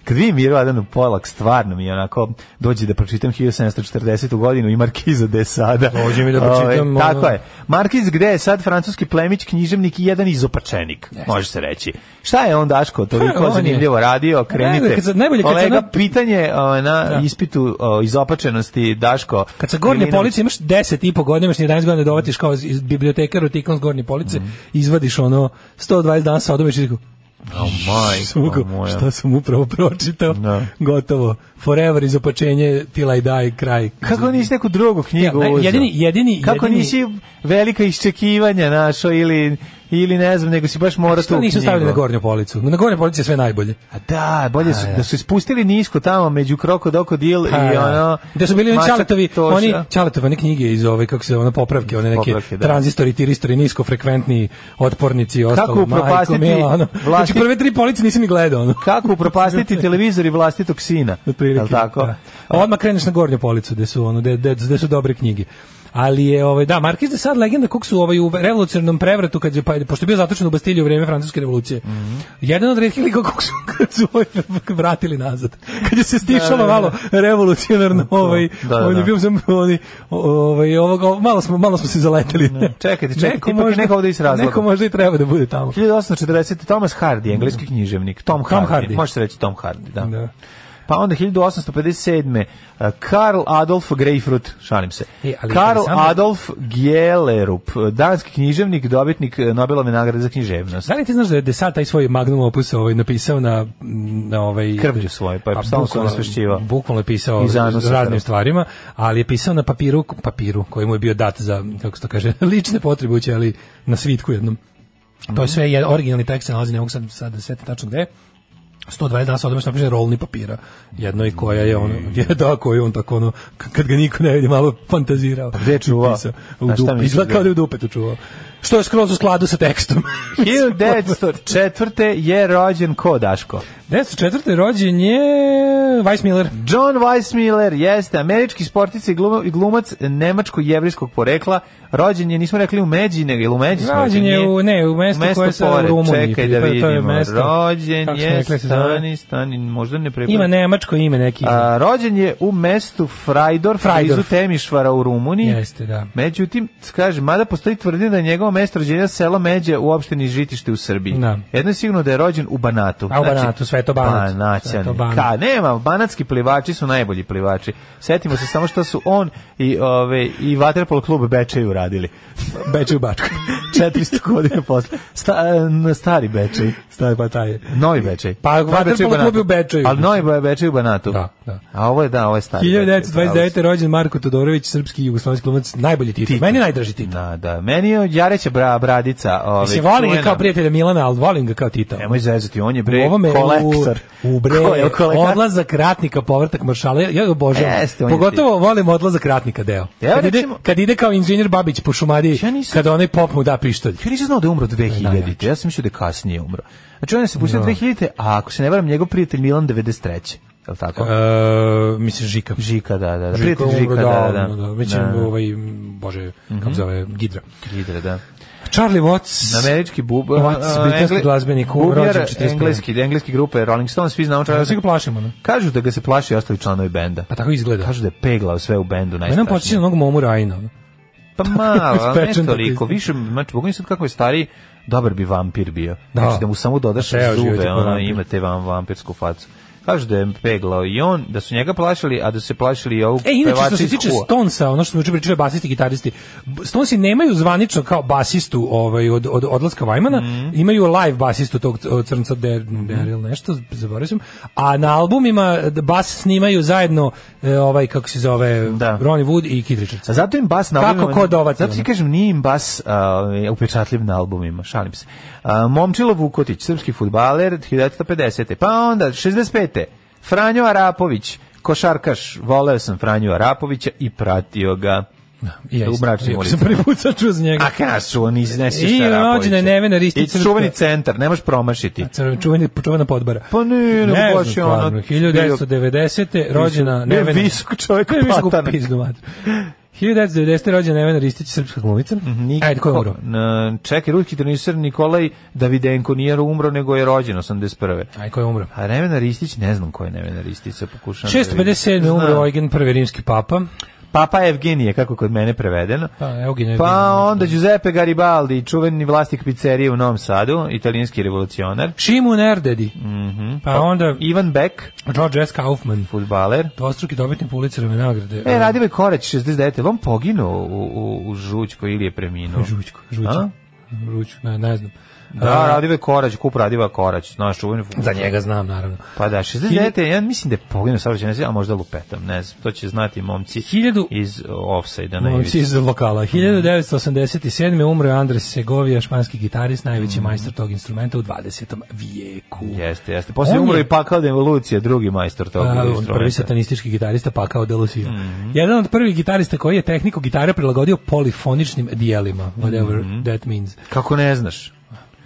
[SPEAKER 6] Kad vidim Miru Adanu Polak, stvarno mi je onako, dođe da pročitam 1740. godinu i Markiza gde je sada.
[SPEAKER 7] Dođe mi da pročitam,
[SPEAKER 6] Ove, tako
[SPEAKER 7] ono-
[SPEAKER 6] je. Markiz gde je sad francuski plemić, književnik i jedan izopačenik, može se reći. Šta je on, Daško,
[SPEAKER 7] Pa on
[SPEAKER 6] toliko
[SPEAKER 7] je-
[SPEAKER 6] zanimljivo radio, krenite.
[SPEAKER 7] Najbolje kad se- najbolje kad se
[SPEAKER 6] Kolega,
[SPEAKER 7] ona-
[SPEAKER 6] pitanje o, na
[SPEAKER 7] Da.
[SPEAKER 6] ispitu o, izopačenosti, Daško.
[SPEAKER 7] Kad sa gornje
[SPEAKER 6] Milinović-
[SPEAKER 7] police imaš 10 i po godina, imaš 11 godina, dovatiš kao iz- iz biblioteka rotikom s gornje police,
[SPEAKER 6] Mhm.
[SPEAKER 7] izvadiš ono 120 dana sa odobeš i tako,
[SPEAKER 6] O, majko
[SPEAKER 7] sugo,
[SPEAKER 6] Pa, moja.
[SPEAKER 7] šta sam upravo pročitao,
[SPEAKER 6] Da.
[SPEAKER 7] gotovo, forever izopačenje, till I die, kraj.
[SPEAKER 6] Kako nisi neku drugu knjigu
[SPEAKER 7] Ja, ne,
[SPEAKER 6] uzeo?
[SPEAKER 7] jedini- jedini-
[SPEAKER 6] Kako
[SPEAKER 7] jedini-
[SPEAKER 6] nisi velika iščekivanja našo ili, ili ne znam, nego si baš mora tu
[SPEAKER 7] Što nisu
[SPEAKER 6] knjigu.
[SPEAKER 7] stavili na gornju policu? Na gornju policu je sve najbolje.
[SPEAKER 6] A da, bolje su, da su ispustili nisko tamo među krokodil
[SPEAKER 7] Pa,
[SPEAKER 6] i ono...
[SPEAKER 7] gde su bili oni
[SPEAKER 6] mačak
[SPEAKER 7] Čaletovi,
[SPEAKER 6] Toša.
[SPEAKER 7] oni Čaletove one knjige iz ove kako se zove, one popravke, one neke
[SPEAKER 6] Popravke, da.
[SPEAKER 7] tranzistori, tiristori, niskofrekventni otpornici i ostalo.
[SPEAKER 6] upropastiti
[SPEAKER 7] Milano.
[SPEAKER 6] vlasti-
[SPEAKER 7] Znači prve tri police nisam ni gledao. Ono.
[SPEAKER 6] Kako upropastiti televizor i vlastitog sina.
[SPEAKER 7] Otprilike,
[SPEAKER 6] Jel tako?
[SPEAKER 7] Da. A Odmah kreneš na gornju policu gde su ono gde, gde, gde su dobre knjige. Ali je ovaj da Markiz de Sade legenda kog su ovaj u revolucionarnom prevratu kad je pa pošto je bio zatočen u Bastilju u vrijeme francuske revolucije.
[SPEAKER 6] Mhm.
[SPEAKER 7] Jedan od retkih likova kog su kad su ovaj vratili nazad. Kad je se stišalo
[SPEAKER 6] da, da.
[SPEAKER 7] malo revolucionarno ovaj
[SPEAKER 6] da, da.
[SPEAKER 7] on je bio sam oni ovaj ovog malo smo malo smo se zaleteli.
[SPEAKER 6] Čekajte, čekajte, ipak je neko ovde iz razloga.
[SPEAKER 7] Neko možda i treba da bude tamo.
[SPEAKER 6] 1840. Thomas Hardy, engleski književnik. Tom,
[SPEAKER 7] Tom
[SPEAKER 6] Hardy.
[SPEAKER 7] Hardy.
[SPEAKER 6] Može se reći Tom Hardy, da.
[SPEAKER 7] Da.
[SPEAKER 6] Pa onda 1857. eh, Karl Adolf Greifrut, šalim se.
[SPEAKER 7] E, ali
[SPEAKER 6] Karl
[SPEAKER 7] Aleksandar-
[SPEAKER 6] Adolf Gjellerup, danski književnik, dobitnik eh, Nobelove nagrade za književnost.
[SPEAKER 7] Da li ti znaš da je Desat taj svoj magnum opus ovaj, napisao na, na ovaj...
[SPEAKER 6] Krvlju svoje, pa je stalno se
[SPEAKER 7] bukvalno-
[SPEAKER 6] rasvešćivao.
[SPEAKER 7] Bukvalno je pisao
[SPEAKER 6] I zajedno sa krvlju.
[SPEAKER 7] raznim stvarima, ali je pisao na papiru, papiru koji mu je bio dat za, kako se to kaže, lične potrebe u ali na svitku jednom. To je sve, je, originalni tekst se nalazi, ne mogu sad, sad da se setim tačno gde, 120 dana sa odmah napiše rolni papira. Jedno i koja je ono,
[SPEAKER 6] Mm.
[SPEAKER 7] je da, koju je on tako ono, k- kad ga niko ne vidi, malo fantazirao.
[SPEAKER 6] Pa gde je čuvao?
[SPEAKER 7] Pisao. U
[SPEAKER 6] A šta
[SPEAKER 7] dupe,
[SPEAKER 6] misliš
[SPEAKER 7] izgleda kao
[SPEAKER 6] da-
[SPEAKER 7] da je u dupetu čuvao. Što je skroz u skladu sa tekstom.
[SPEAKER 6] 1904. je rođen ko, Daško?
[SPEAKER 7] 1904. rođen je Weissmiller.
[SPEAKER 6] John Weissmuller jeste američki sportica i gluma- i glumac nemačko-jevrijskog porekla. Rođen je, nismo rekli u Međi, nego ili u Međi smo
[SPEAKER 7] Rođen
[SPEAKER 6] rekli,
[SPEAKER 7] je
[SPEAKER 6] nije?
[SPEAKER 7] u- ne, u mestu koje se u
[SPEAKER 6] pored,
[SPEAKER 7] Rumuniji,
[SPEAKER 6] Čekaj da
[SPEAKER 7] pa to je
[SPEAKER 6] vidimo.
[SPEAKER 7] mesto-
[SPEAKER 6] Rođen
[SPEAKER 7] kako smo
[SPEAKER 6] je
[SPEAKER 7] rekli, se zove?
[SPEAKER 6] Stani, Stani, možda ne prepravim.
[SPEAKER 7] Ima nemačko ime neki.
[SPEAKER 6] A, rođen je u mestu Frajdor,
[SPEAKER 7] Frajdorf.
[SPEAKER 6] blizu Temišvara u Rumuniji.
[SPEAKER 7] Jeste, da.
[SPEAKER 6] Međutim, kaže, mada postoji tvrdnja da je njegovo mesto rođenja selo Međe u opštini Žitište u Srbiji.
[SPEAKER 7] Da.
[SPEAKER 6] Jedno je sigurno da je rođen u Banatu. Znači,
[SPEAKER 7] A, u Banatu, Sveto Banac.
[SPEAKER 6] Banaćani.
[SPEAKER 7] Sveto Banac.
[SPEAKER 6] Ka, nema, banatski plivači su najbolji plivači. Setimo se samo što su on i, ove, i Vaterpolo klub Bečeju radili.
[SPEAKER 7] Beče u Bačku.
[SPEAKER 6] 400 godina posle. Sta, e, stari Bečej.
[SPEAKER 7] Stavi pa taj. je.
[SPEAKER 6] Novi Bečej.
[SPEAKER 7] Pa,
[SPEAKER 6] Novi
[SPEAKER 7] vaterpolo
[SPEAKER 6] Bečej u
[SPEAKER 7] klub
[SPEAKER 6] Banatu.
[SPEAKER 7] je u Bečeju.
[SPEAKER 6] Ali novi Bečej u Banatu.
[SPEAKER 7] Da, da.
[SPEAKER 6] A ovo je, da, ovo je stari Bečej, pravo si.
[SPEAKER 7] 1929. rođen Marko Todorović, srpski i jugoslovenski glumac, najbolji titul. Meni je najdraži titul.
[SPEAKER 6] Da, da. Meni je Jareća bra, bradica. Ove,
[SPEAKER 7] Mislim, volim ga
[SPEAKER 6] čuvena.
[SPEAKER 7] kao prijatelja Milana, ali volim ga kao Tita.
[SPEAKER 6] Nemoj zezati, on je bre
[SPEAKER 7] U ovome,
[SPEAKER 6] kolektor.
[SPEAKER 7] U, u bre,
[SPEAKER 6] Ko je kolektor?
[SPEAKER 7] odlazak ratnika, povratak maršala, ja, ja ga obožavam.
[SPEAKER 6] Jeste, on je
[SPEAKER 7] Pogotovo volim odlazak ratnika deo.
[SPEAKER 6] Ja,
[SPEAKER 7] kad,
[SPEAKER 6] recimo-
[SPEAKER 7] ide, kad ide kao inženjer Babić po šumadiji,
[SPEAKER 6] Ja nisam- Hm.
[SPEAKER 7] kada onaj pop mu da pištolj.
[SPEAKER 6] Ja nisam znao da je umro 2000. Ja sam mislio da je kasnije umro. Znači, on je se pustio 2000, a ako se ne varam, njegov prijatelj Milan 93. Je li tako?
[SPEAKER 7] E, mislim, Žika.
[SPEAKER 6] Žika, da, da. da.
[SPEAKER 7] Žika
[SPEAKER 6] Prijatelj Žika,
[SPEAKER 7] umro
[SPEAKER 6] da,
[SPEAKER 7] davno,
[SPEAKER 6] da.
[SPEAKER 7] da. Mislim,
[SPEAKER 6] Da. Mhm.
[SPEAKER 7] ovaj, m, bože, kako se zove, Gidra.
[SPEAKER 6] Idre, da.
[SPEAKER 7] Charlie Watts.
[SPEAKER 6] Američki bub,
[SPEAKER 7] Watts,
[SPEAKER 6] a,
[SPEAKER 7] britanski
[SPEAKER 6] engle-
[SPEAKER 7] glazbenik, u-
[SPEAKER 6] bubnjar
[SPEAKER 7] rođen 45.
[SPEAKER 6] engleski, engleski grupe Rolling Stones, svi znamo
[SPEAKER 7] Ja se
[SPEAKER 6] čega.
[SPEAKER 7] ga plašimo, ne?
[SPEAKER 6] Kažu da ga se plaši ostali članovi benda.
[SPEAKER 7] Pa tako izgleda.
[SPEAKER 6] Kažu da je peglao sve u bendu
[SPEAKER 7] Mene nam
[SPEAKER 6] najstrašnije.
[SPEAKER 7] počinje na onog Momu Rajna. ono.
[SPEAKER 6] Pa malo, ali ne
[SPEAKER 7] Ispečen
[SPEAKER 6] toliko.
[SPEAKER 7] tako iz-
[SPEAKER 6] Više, znači, pogledaj sad kako je stariji, dobar bi vampir bio.
[SPEAKER 7] Da.
[SPEAKER 6] Znači da mu samo dodaš
[SPEAKER 7] Pa ceo život je
[SPEAKER 6] zube,
[SPEAKER 7] kao
[SPEAKER 6] ono,
[SPEAKER 7] vampir.
[SPEAKER 6] ima te vam, vampirsku facu. Kažu da je peglao i on, da su njega plašili, a da su se plašili i ovog
[SPEAKER 7] E, inače, što se
[SPEAKER 6] iz
[SPEAKER 7] tiče
[SPEAKER 6] Hua.
[SPEAKER 7] Stonesa, ono što smo juče pričali, basisti, gitaristi, B- Stonesi nemaju zvanično kao basistu ovaj, od, od odlaska Vajmana,
[SPEAKER 6] Mhm.
[SPEAKER 7] imaju live basistu tog c- od crnca Der, Deril nešto, zaboravio sam, a na albumima d- bas snimaju zajedno e, ovaj, kako se zove,
[SPEAKER 6] Da.
[SPEAKER 7] Ronnie Wood i Kid Richards.
[SPEAKER 6] A zato im bas na
[SPEAKER 7] Kako
[SPEAKER 6] albumima...
[SPEAKER 7] ko dovaci,
[SPEAKER 6] Zato ti
[SPEAKER 7] ono.
[SPEAKER 6] kažem, nije im bas uh, upečatljiv na albumima, šalim se. Uh, Momčilo Vukotić, srpski futbaler, 1950. Pa onda, 65. Franjo Arapović, košarkaš, voleo sam Franju Arapovića i pratio ga.
[SPEAKER 7] I ja
[SPEAKER 6] u
[SPEAKER 7] isto.
[SPEAKER 6] mračnim
[SPEAKER 7] Ja sam
[SPEAKER 6] ulicama.
[SPEAKER 7] prvi put sad čuo za njega.
[SPEAKER 6] A kaš, on iznesi
[SPEAKER 7] I
[SPEAKER 6] šta
[SPEAKER 7] rođena je Nevena Ristić
[SPEAKER 6] I čuveni centar, nemaš promašiti.
[SPEAKER 7] Crven- Čuveni, čuvena podbara.
[SPEAKER 6] Pa nije,
[SPEAKER 7] Znači, ne
[SPEAKER 6] ne,
[SPEAKER 7] znam,
[SPEAKER 6] baš je ono...
[SPEAKER 7] stvarno, 1990. rođena
[SPEAKER 6] Bio
[SPEAKER 7] Nevena.
[SPEAKER 6] visok čovjek
[SPEAKER 7] Ne, visok
[SPEAKER 6] patanak.
[SPEAKER 7] u pizdu, mater. 1990. rođena Nevena Ristić, srpska glumica.
[SPEAKER 6] Niko-
[SPEAKER 7] Ajde, ko je umro?
[SPEAKER 6] Na- Čekaj, ruski tenisir Nikolaj Davidenko nije umro, nego je rođen 81.
[SPEAKER 7] Ajde, ko je umro?
[SPEAKER 6] A Nevena Ristić, ne znam ko je Nevena Ristić, sad pokušavam. da vidim.
[SPEAKER 7] 657. umro
[SPEAKER 6] Znam.
[SPEAKER 7] Eugen, prvi rimski papa.
[SPEAKER 6] Papa Evgenije, kako kod mene prevedeno.
[SPEAKER 7] Pa, Eugen je
[SPEAKER 6] Pa
[SPEAKER 7] bio-
[SPEAKER 6] onda Giuseppe Garibaldi, čuveni vlasnik pizzerije u Novom Sadu, italijanski revolucionar.
[SPEAKER 7] Šimun Erdedi.
[SPEAKER 6] Mhm.
[SPEAKER 7] Pa onda
[SPEAKER 6] Ivan Beck,
[SPEAKER 7] George S. Kaufman.
[SPEAKER 6] futbaler.
[SPEAKER 7] Dvostruki dobitnik Pulicerove nagrade.
[SPEAKER 6] E, Radivoj Korać, 69. Vam poginuo u, u, u Žućko ili je preminuo?
[SPEAKER 7] Žućko,
[SPEAKER 6] A?
[SPEAKER 7] žućko. Žućko, ne, ne znam.
[SPEAKER 6] Da, Radivoj Korać, kup Radivoj Korać, znaš, čuveni
[SPEAKER 7] Za
[SPEAKER 6] futbaler.
[SPEAKER 7] njega znam, naravno.
[SPEAKER 6] Pa da, 69. Ja mislim da je poginuo savršeno, ne znam, a možda lupetam, ne znam. To će znati momci
[SPEAKER 7] Hiljadu-
[SPEAKER 6] iz Offside-a na
[SPEAKER 7] Momci
[SPEAKER 6] Ivici.
[SPEAKER 7] iz lokala. 1987. umro je Andres Segovia, španski gitarist, najveći majstor tog instrumenta u 20. vijeku.
[SPEAKER 6] Mm. Jeste, jeste. Posle
[SPEAKER 7] On
[SPEAKER 6] umro
[SPEAKER 7] je-
[SPEAKER 6] i pakao da evolucija, drugi majstor tog
[SPEAKER 7] A, on
[SPEAKER 6] instrumenta.
[SPEAKER 7] prvi satanistički gitarista Pakao de Lucia.
[SPEAKER 6] Mm-hmm.
[SPEAKER 7] Jedan od prvih gitarista koji je tehniku gitare prilagodio polifoničnim dijelima,
[SPEAKER 6] Mm-hmm.
[SPEAKER 7] whatever that means.
[SPEAKER 6] Kako ne znaš?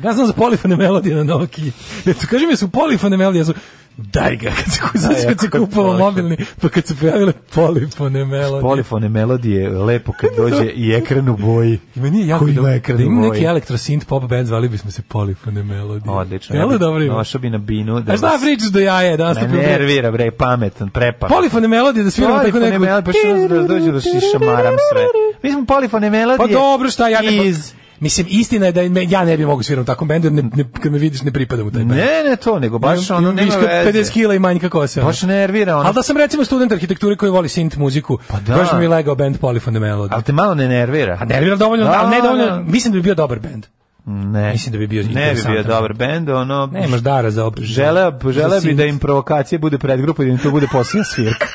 [SPEAKER 7] Ja znam za polifone melodije na Nokia. Eto, kaži mi su polifone melodije, ja su daj ga, kad se, kad se, kad se
[SPEAKER 6] jako je
[SPEAKER 7] kupovao
[SPEAKER 6] polifon.
[SPEAKER 7] mobilni, pa kad su pojavile polifone melodije.
[SPEAKER 6] Polifone melodije, lepo kad dođe i ekran u boji.
[SPEAKER 7] I meni je jako
[SPEAKER 6] Koji ovaj? ima
[SPEAKER 7] da, da
[SPEAKER 6] ekran u
[SPEAKER 7] ima
[SPEAKER 6] boji?
[SPEAKER 7] neki elektro synth pop band, zvali bismo se polifone melodije.
[SPEAKER 6] Odlično.
[SPEAKER 7] Jel
[SPEAKER 6] ja
[SPEAKER 7] da
[SPEAKER 6] bih
[SPEAKER 7] dobro ima?
[SPEAKER 6] Nošao bi na binu da
[SPEAKER 7] A šta
[SPEAKER 6] vas-
[SPEAKER 7] pričaš do jaje, da
[SPEAKER 6] Me
[SPEAKER 7] ostaje
[SPEAKER 6] nervira, bre, pametan, prepametan.
[SPEAKER 7] Polifone melodije da sviramo tako
[SPEAKER 6] Polifone
[SPEAKER 7] neko.
[SPEAKER 6] melodije, pa što nas da dođe da si šamaram sve. Mi smo polifone melodije.
[SPEAKER 7] Pa dobro, šta ja ne...
[SPEAKER 6] iz...
[SPEAKER 7] Mislim, istina je da me- ja ne bi mogu svirati u takvom bendu, jer ne, ne, kad me vidiš ne pripadam u taj bend.
[SPEAKER 6] Ne, ne to, nego baš
[SPEAKER 7] Imam-
[SPEAKER 6] ono
[SPEAKER 7] imam
[SPEAKER 6] nema
[SPEAKER 7] viška od
[SPEAKER 6] veze.
[SPEAKER 7] 50 kila i manjka kose. ono.
[SPEAKER 6] Baš nervira ono.
[SPEAKER 7] Ali da sam recimo student arhitekture koji voli synth muziku,
[SPEAKER 6] Pa da.
[SPEAKER 7] baš bi mi legao band Polyphone Melody.
[SPEAKER 6] Ali te malo ne nervira.
[SPEAKER 7] A nervira dovoljno,
[SPEAKER 6] Da,
[SPEAKER 7] ali ne dovoljno,
[SPEAKER 6] da.
[SPEAKER 7] mislim da bi bio dobar band.
[SPEAKER 6] Ne.
[SPEAKER 7] Mislim da bi bio
[SPEAKER 6] Ne bi
[SPEAKER 7] interesantan.
[SPEAKER 6] bio dobar bend, ono...
[SPEAKER 7] Nemaš dara za opet.
[SPEAKER 6] Želeo, želeo bi
[SPEAKER 7] synth.
[SPEAKER 6] da im provokacija bude predgrupa i da im to bude posljedna svirka.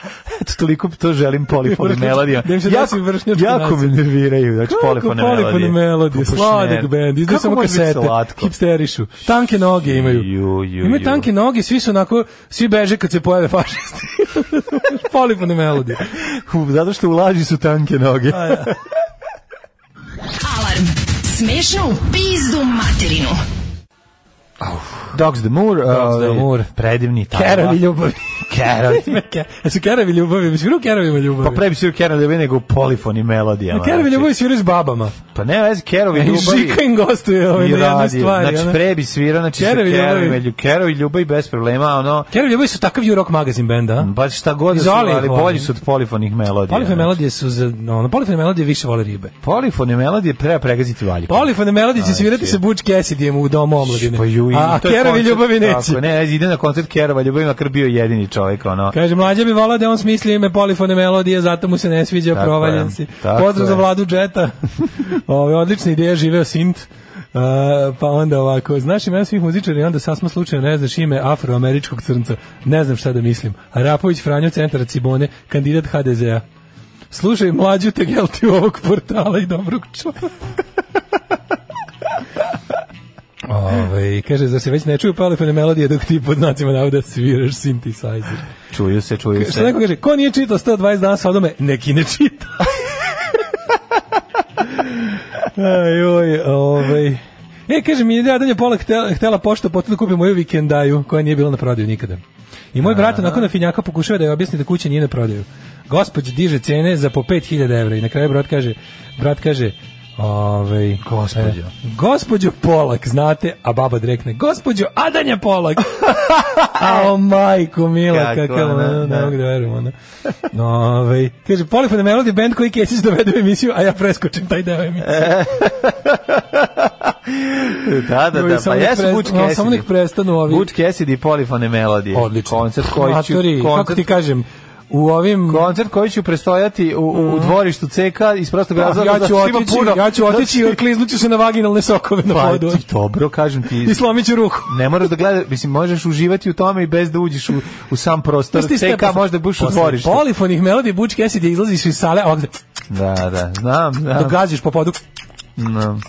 [SPEAKER 6] Eto, toliko to želim polifone
[SPEAKER 7] Vršnjački-
[SPEAKER 6] melodija.
[SPEAKER 7] da im se desi vršnjački
[SPEAKER 6] jako me
[SPEAKER 7] naziv.
[SPEAKER 6] nerviraju, znači
[SPEAKER 7] Kako
[SPEAKER 6] polifone melodije.
[SPEAKER 7] Polyphone Melody,
[SPEAKER 6] Popušner.
[SPEAKER 7] sladak band, izdaju
[SPEAKER 6] Kako
[SPEAKER 7] samo
[SPEAKER 6] može biti
[SPEAKER 7] kasete,
[SPEAKER 6] slatko?
[SPEAKER 7] hipsterišu, tanke noge imaju.
[SPEAKER 6] Ju, ju, ju.
[SPEAKER 7] Imaju tanke noge, svi su onako, svi beže kad se pojave fašisti. Polyphone Melody.
[SPEAKER 6] Hu, Zato što ulaži su tanke noge.
[SPEAKER 5] Alarm. Smešno u pizdu materinu.
[SPEAKER 6] Dogs the Moor,
[SPEAKER 7] Dogs the
[SPEAKER 6] ovaj,
[SPEAKER 7] Moor.
[SPEAKER 6] predivni tamo.
[SPEAKER 7] Kerovi ljubavi.
[SPEAKER 6] Kerovi.
[SPEAKER 7] Ke- Jesu kerovi ljubavi, mi sviru kerovima ljubavi.
[SPEAKER 6] Pa pre bi svirao Kerovi ljubavi nego u polifoni melodijama.
[SPEAKER 7] Kerovi
[SPEAKER 6] znači.
[SPEAKER 7] ljubavi sviraju s babama.
[SPEAKER 6] Pa ne, vezi, Kerovi
[SPEAKER 7] I
[SPEAKER 6] ljubavi.
[SPEAKER 7] Žika im gostuje ovaj,
[SPEAKER 6] I
[SPEAKER 7] na jednoj
[SPEAKER 6] radi.
[SPEAKER 7] stvari.
[SPEAKER 6] Znači,
[SPEAKER 7] ono.
[SPEAKER 6] pre bi svirao, znači,
[SPEAKER 7] Kerovi
[SPEAKER 6] Kerovi
[SPEAKER 7] ljubavi.
[SPEAKER 6] ljubavi. Kerovi ljubavi bez problema, ono,
[SPEAKER 7] Kerovi ljubavi su takav ju rock magazin band, a?
[SPEAKER 6] Pa šta god da su,
[SPEAKER 7] Izoli ih
[SPEAKER 6] ali
[SPEAKER 7] volim.
[SPEAKER 6] bolji su od polifonih melodija.
[SPEAKER 7] Polifone melodije su za, ono, polifone melodije više vole ribe.
[SPEAKER 6] Polifone melodije treba pregaziti valjikom.
[SPEAKER 7] Polifone melodije će
[SPEAKER 6] Znači.
[SPEAKER 7] svirati sa Butch Cassidyjem u domu omladine.
[SPEAKER 6] Pa ju, i
[SPEAKER 7] A
[SPEAKER 6] to je
[SPEAKER 7] Kerovi
[SPEAKER 6] koncert,
[SPEAKER 7] ljubavi
[SPEAKER 6] tako je,
[SPEAKER 7] neće.
[SPEAKER 6] ne, ide na koncert Kerova ljubavi, makar bio jedini čovjek, ono.
[SPEAKER 7] Kaže, mlađa bi volao da je on smisli ime polifone melodije, zato mu se ne sviđa
[SPEAKER 6] Tako
[SPEAKER 7] provaljen
[SPEAKER 6] je,
[SPEAKER 7] si.
[SPEAKER 6] tako
[SPEAKER 7] Pozdrav
[SPEAKER 6] je.
[SPEAKER 7] za vladu džeta. Ove, odlična ideja, živeo sint. Uh, pa onda ovako, znaš imena svih muzičara i onda sasma slučajno ne znaš ime afroameričkog crnca, ne znam šta da mislim. Arapović Franjo Centar Cibone, kandidat HDZ-a. Slušaj mlađu te gelti ovog portala i dobrog čovjeka. Ove, kaže, zar se već ne čuju polifone melodije dok ti pod znacima navoda sviraš synthesizer?
[SPEAKER 6] Čuju se, čuju
[SPEAKER 7] Što
[SPEAKER 6] se.
[SPEAKER 7] neko kaže, ko nije čitao 120 dana Sodome, neki ne čita. Aj, oj, ovaj. E, kaže mi, ja dalje pola htela, htela pošta potpuno kupi moju vikendaju, koja nije bila na prodaju nikada. I moj brat onako na finjaka pokušava da je objasni da kuća nije na prodaju. Gospod diže cene za po 5000 evra i na kraju brat kaže, brat kaže, ovaj,
[SPEAKER 6] Gospođo.
[SPEAKER 7] e, gospođo Polak, znate, a baba drekne, gospođo Adanja Polak. a o majko mila,
[SPEAKER 6] Kako
[SPEAKER 7] kakav,
[SPEAKER 6] ona,
[SPEAKER 7] ono, ne
[SPEAKER 6] da.
[SPEAKER 7] mogu da verujem, ono. Ovaj, kaže, Polifone Melody band koji Kesić dovede u emisiju, a ja preskočim taj deo emisije.
[SPEAKER 6] E, Da, da, da, pa
[SPEAKER 7] Samo nek
[SPEAKER 6] jesu
[SPEAKER 7] prest-
[SPEAKER 6] Butch
[SPEAKER 7] no,
[SPEAKER 6] Cassidy.
[SPEAKER 7] Samo nek prestanu ovi.
[SPEAKER 6] Butch Cassidy i polifone melodije.
[SPEAKER 7] Odlično.
[SPEAKER 6] Koncert koji ću...
[SPEAKER 7] Matori, kako
[SPEAKER 6] koncert-
[SPEAKER 7] ti kažem, u ovim...
[SPEAKER 6] Koncert koji ću prestojati u, u, u dvorištu CK iz prostog
[SPEAKER 7] Mm. Pa, ja,
[SPEAKER 6] razloga zato
[SPEAKER 7] ću
[SPEAKER 6] što ima
[SPEAKER 7] otići,
[SPEAKER 6] puno-
[SPEAKER 7] ja ću otići i kliznuću se na vaginalne sokove na
[SPEAKER 6] Pa,
[SPEAKER 7] podu.
[SPEAKER 6] ti dobro, kažem ti.
[SPEAKER 7] I slomit ću ruku.
[SPEAKER 6] Ne moraš da gledaš, mislim, možeš uživati u tome i bez da uđeš u, u sam prostor.
[SPEAKER 7] Jeste iste-
[SPEAKER 6] CK možda buš u
[SPEAKER 7] posle
[SPEAKER 6] dvorištu.
[SPEAKER 7] Polifonih melodija Butch Cassidy izlaziš iz sale, ovdje,
[SPEAKER 6] Da, da, znam, znam.
[SPEAKER 7] dogaziš po podu.
[SPEAKER 6] znam.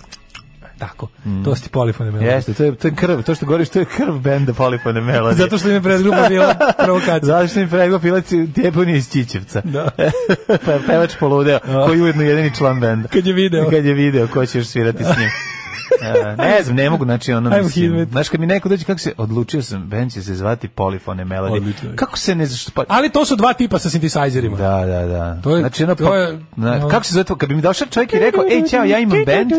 [SPEAKER 7] Tako, to su ti polifone melodije.
[SPEAKER 6] Jeste, to je, to je krv, to što govoriš, to je krv benda Polifone Melodije.
[SPEAKER 7] Zato što im je predgrupa bila provokacija.
[SPEAKER 6] Zato što mi prego pilac Djebun iz Čičevca.
[SPEAKER 7] Da.
[SPEAKER 6] pa je pevač poludeo, koji je ujedno jedini član benda.
[SPEAKER 7] Kad je video.
[SPEAKER 6] Kad je video ko će još svirati s njim. E, ne znam, ne mogu, znači ono
[SPEAKER 7] Ajmo
[SPEAKER 6] mislim.
[SPEAKER 7] Hidmet.
[SPEAKER 6] Znaš, kad mi neko dođe, kako se, odlučio sam, band će se zvati Polifone Melody.
[SPEAKER 7] Odlično je.
[SPEAKER 6] Kako se ne znaš, pa,
[SPEAKER 7] Ali to su dva tipa sa sintesajzerima.
[SPEAKER 6] Da, da, da.
[SPEAKER 7] To je-
[SPEAKER 6] znači, ono,
[SPEAKER 7] to
[SPEAKER 6] pa,
[SPEAKER 7] je-
[SPEAKER 6] na-
[SPEAKER 7] no.
[SPEAKER 6] kako se zove to? Kad bi mi došao čovjek i rekao, ej, ćao, ja imam band,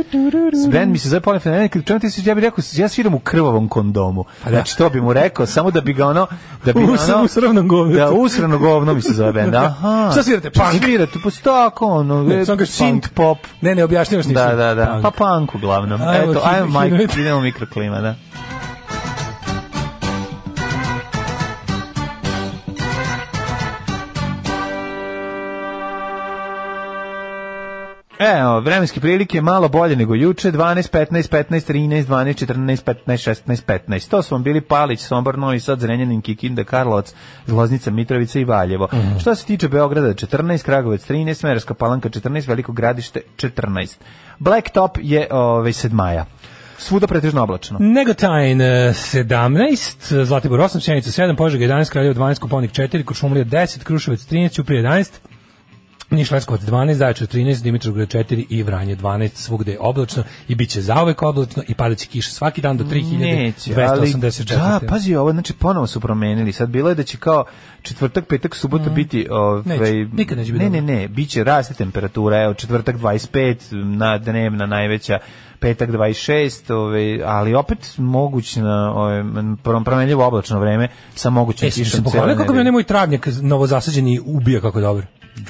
[SPEAKER 6] s band mi se zove Polifon Melody, kad čemu ti se, ja bih rekao, ja sviram u krvavom kondomu.
[SPEAKER 7] Pa
[SPEAKER 6] Znači, to bi mu rekao, samo da bi ga ono, da bi
[SPEAKER 7] U sr-
[SPEAKER 6] ono,
[SPEAKER 7] u sravnom govnetu.
[SPEAKER 6] Da, usrano govno mi se zove band, aha.
[SPEAKER 7] Šta svirate, punk?
[SPEAKER 6] Svirate, pa stako, ono,
[SPEAKER 7] Ne, samo kažeš
[SPEAKER 6] synth
[SPEAKER 7] punk.
[SPEAKER 6] pop.
[SPEAKER 7] Ne, ne, objašnjavaš ništa.
[SPEAKER 6] Da, da, da.
[SPEAKER 7] Punk.
[SPEAKER 6] Pa punk uglavnom.
[SPEAKER 7] Ajmo,
[SPEAKER 6] Eto,
[SPEAKER 7] Hidmet,
[SPEAKER 6] ajmo, Mike,
[SPEAKER 7] Hidmet.
[SPEAKER 6] idemo mikroklima, da. Evo, vremenske prilike malo bolje nego juče, 12, 15, 15, 13, 12, 14, 15, 16, 15. To su vam bili Palić, Sombor, Novi Sad, Zrenjanin, Kikinda, Karlovac, Zloznica, Mitrovica i Valjevo. Što se tiče Beograda 14, Kragovac 13, Smerska Palanka 14, Veliko Gradište 14. Blacktop je ovaj, 7 maja. Svuda pretežno oblačno.
[SPEAKER 7] Negotajn e, 17, eh, Zlatibor 8, Sjenica 7, Požega 11, Kraljevo 12, Koponik 4, Kočumlija 10, Kruševac 13, Ćuprije 11, Niš Leskovac 12, Zaječar 13, Dimitrovgrad 4 i Vranje 12, svugde je oblačno i bit će zaovek oblačno i padaće kiša svaki dan do 3284.
[SPEAKER 6] da, pazi ovo, znači ponovo su promenili. Sad bilo je da će kao četvrtak, petak, subota biti ovaj
[SPEAKER 7] Mm. Neće, nikad neće biti
[SPEAKER 6] Ne, ne,
[SPEAKER 7] dobro.
[SPEAKER 6] ne, biće raste temperatura, evo četvrtak 25, na dnevna najveća petak 26, ovaj, ali opet moguće na ovaj, pro- promenljivo oblačno vreme sa mogućim
[SPEAKER 7] E, sam se
[SPEAKER 6] kišom
[SPEAKER 7] pohvalio
[SPEAKER 6] cele
[SPEAKER 7] kako mi onaj
[SPEAKER 6] nedelje.
[SPEAKER 7] moj travnjak novozasađeni ubija kako je dobar.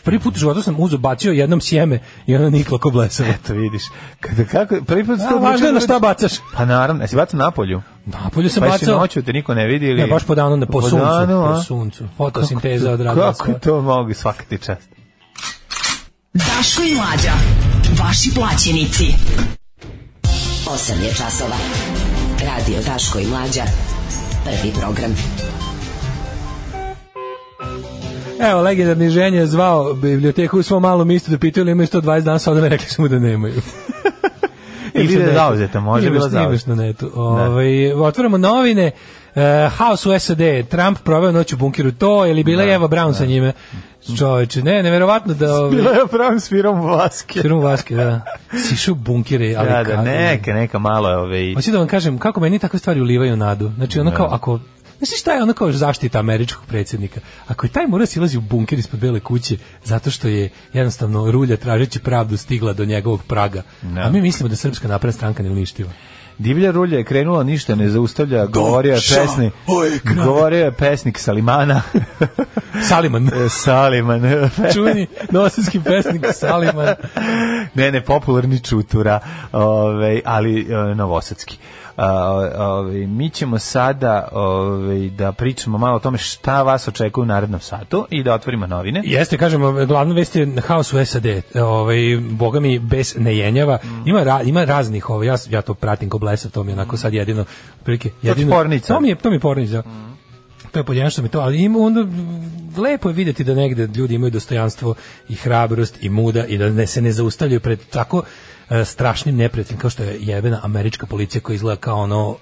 [SPEAKER 7] Prvi put u životu sam uzo bacio jednom sjeme i ono niklo ko blesava.
[SPEAKER 6] Eto vidiš, kada kako, prvi put ste
[SPEAKER 7] A, važno je na šta bacaš.
[SPEAKER 6] E, Pa naravno, jesi bacao na polju?
[SPEAKER 7] Napolju sam
[SPEAKER 6] Pa jesi
[SPEAKER 7] bacao.
[SPEAKER 6] noću, te niko ne vidi ili...
[SPEAKER 7] Ne, baš po danu, ne, po, suncu,
[SPEAKER 6] danu, a?
[SPEAKER 7] po suncu. Fotosinteza odradila
[SPEAKER 6] Kako je to mogu, svaka ti čast.
[SPEAKER 5] Daško i Mlađa. Vaši plaćenici. 8 je časova. Radio Daško i Mlađa. Prvi program.
[SPEAKER 7] Evo, legendarni ženje je zvao biblioteku u svom malom istu da pitaju li imaju 120 dana, sada me rekli su mu da nemaju.
[SPEAKER 6] Ili da
[SPEAKER 7] Imaš
[SPEAKER 6] je
[SPEAKER 7] na netu.
[SPEAKER 6] zauzeta, može
[SPEAKER 7] Imaš-
[SPEAKER 6] bila zauzeta.
[SPEAKER 7] Imaš na netu. Ovaj, Otvoramo novine. Uh, House u SAD, Trump proveo noć u bunkiru, to, ili bila je Eva Brown sa njime? Čoveče, ne, neverovatno da... Ovaj,
[SPEAKER 6] Bilo je pravim svirom vaske.
[SPEAKER 7] Sirom vaske, da. Sišu u bunkire, ali
[SPEAKER 6] Da, da,
[SPEAKER 7] kako?
[SPEAKER 6] neka, neka malo je ove i...
[SPEAKER 7] Hoću da vam kažem kako meni takve stvari ulivaju nadu. Znači ono kao ako Znaš šta je ono kao zaštita američkog predsjednika? Ako je taj mora silazi u bunker ispod bele kuće zato što je jednostavno rulja tražeći pravdu stigla do njegovog praga. A mi mislimo da je srpska napredna stranka neuništiva.
[SPEAKER 6] Divlja rulja je krenula, ništa ne zaustavlja, govorio je pesnik,
[SPEAKER 7] ovaj
[SPEAKER 6] govorio je pesnik Salimana, E,
[SPEAKER 7] Saliman,
[SPEAKER 6] Saliman, e,
[SPEAKER 7] čuveni nosinski pesnik Saliman.
[SPEAKER 6] ne, ne, popularni čutura, ove, ali e, novosadski. A, ove, mi ćemo sada ove, da pričamo malo o tome šta vas očekuje u narednom satu i da otvorimo novine.
[SPEAKER 7] Jeste, kažem, glavna vest je haos u SAD. E, Ovaj, boga mi, bez nejenjava. Ima, ra- ima raznih, ovaj, ja, s- ja to pratim ko blesav, to mi je onako sad jedino, prilike, jedino.
[SPEAKER 6] pornica.
[SPEAKER 7] To mi je, to mi je pornica. Mm. To je podjedno što mi to, ali ima onda lepo je vidjeti da negde ljudi imaju dostojanstvo i hrabrost i muda i da ne, se ne zaustavljaju pred tako e, strašnim neprijateljem kao što je jebena američka policija koja izgleda kao ono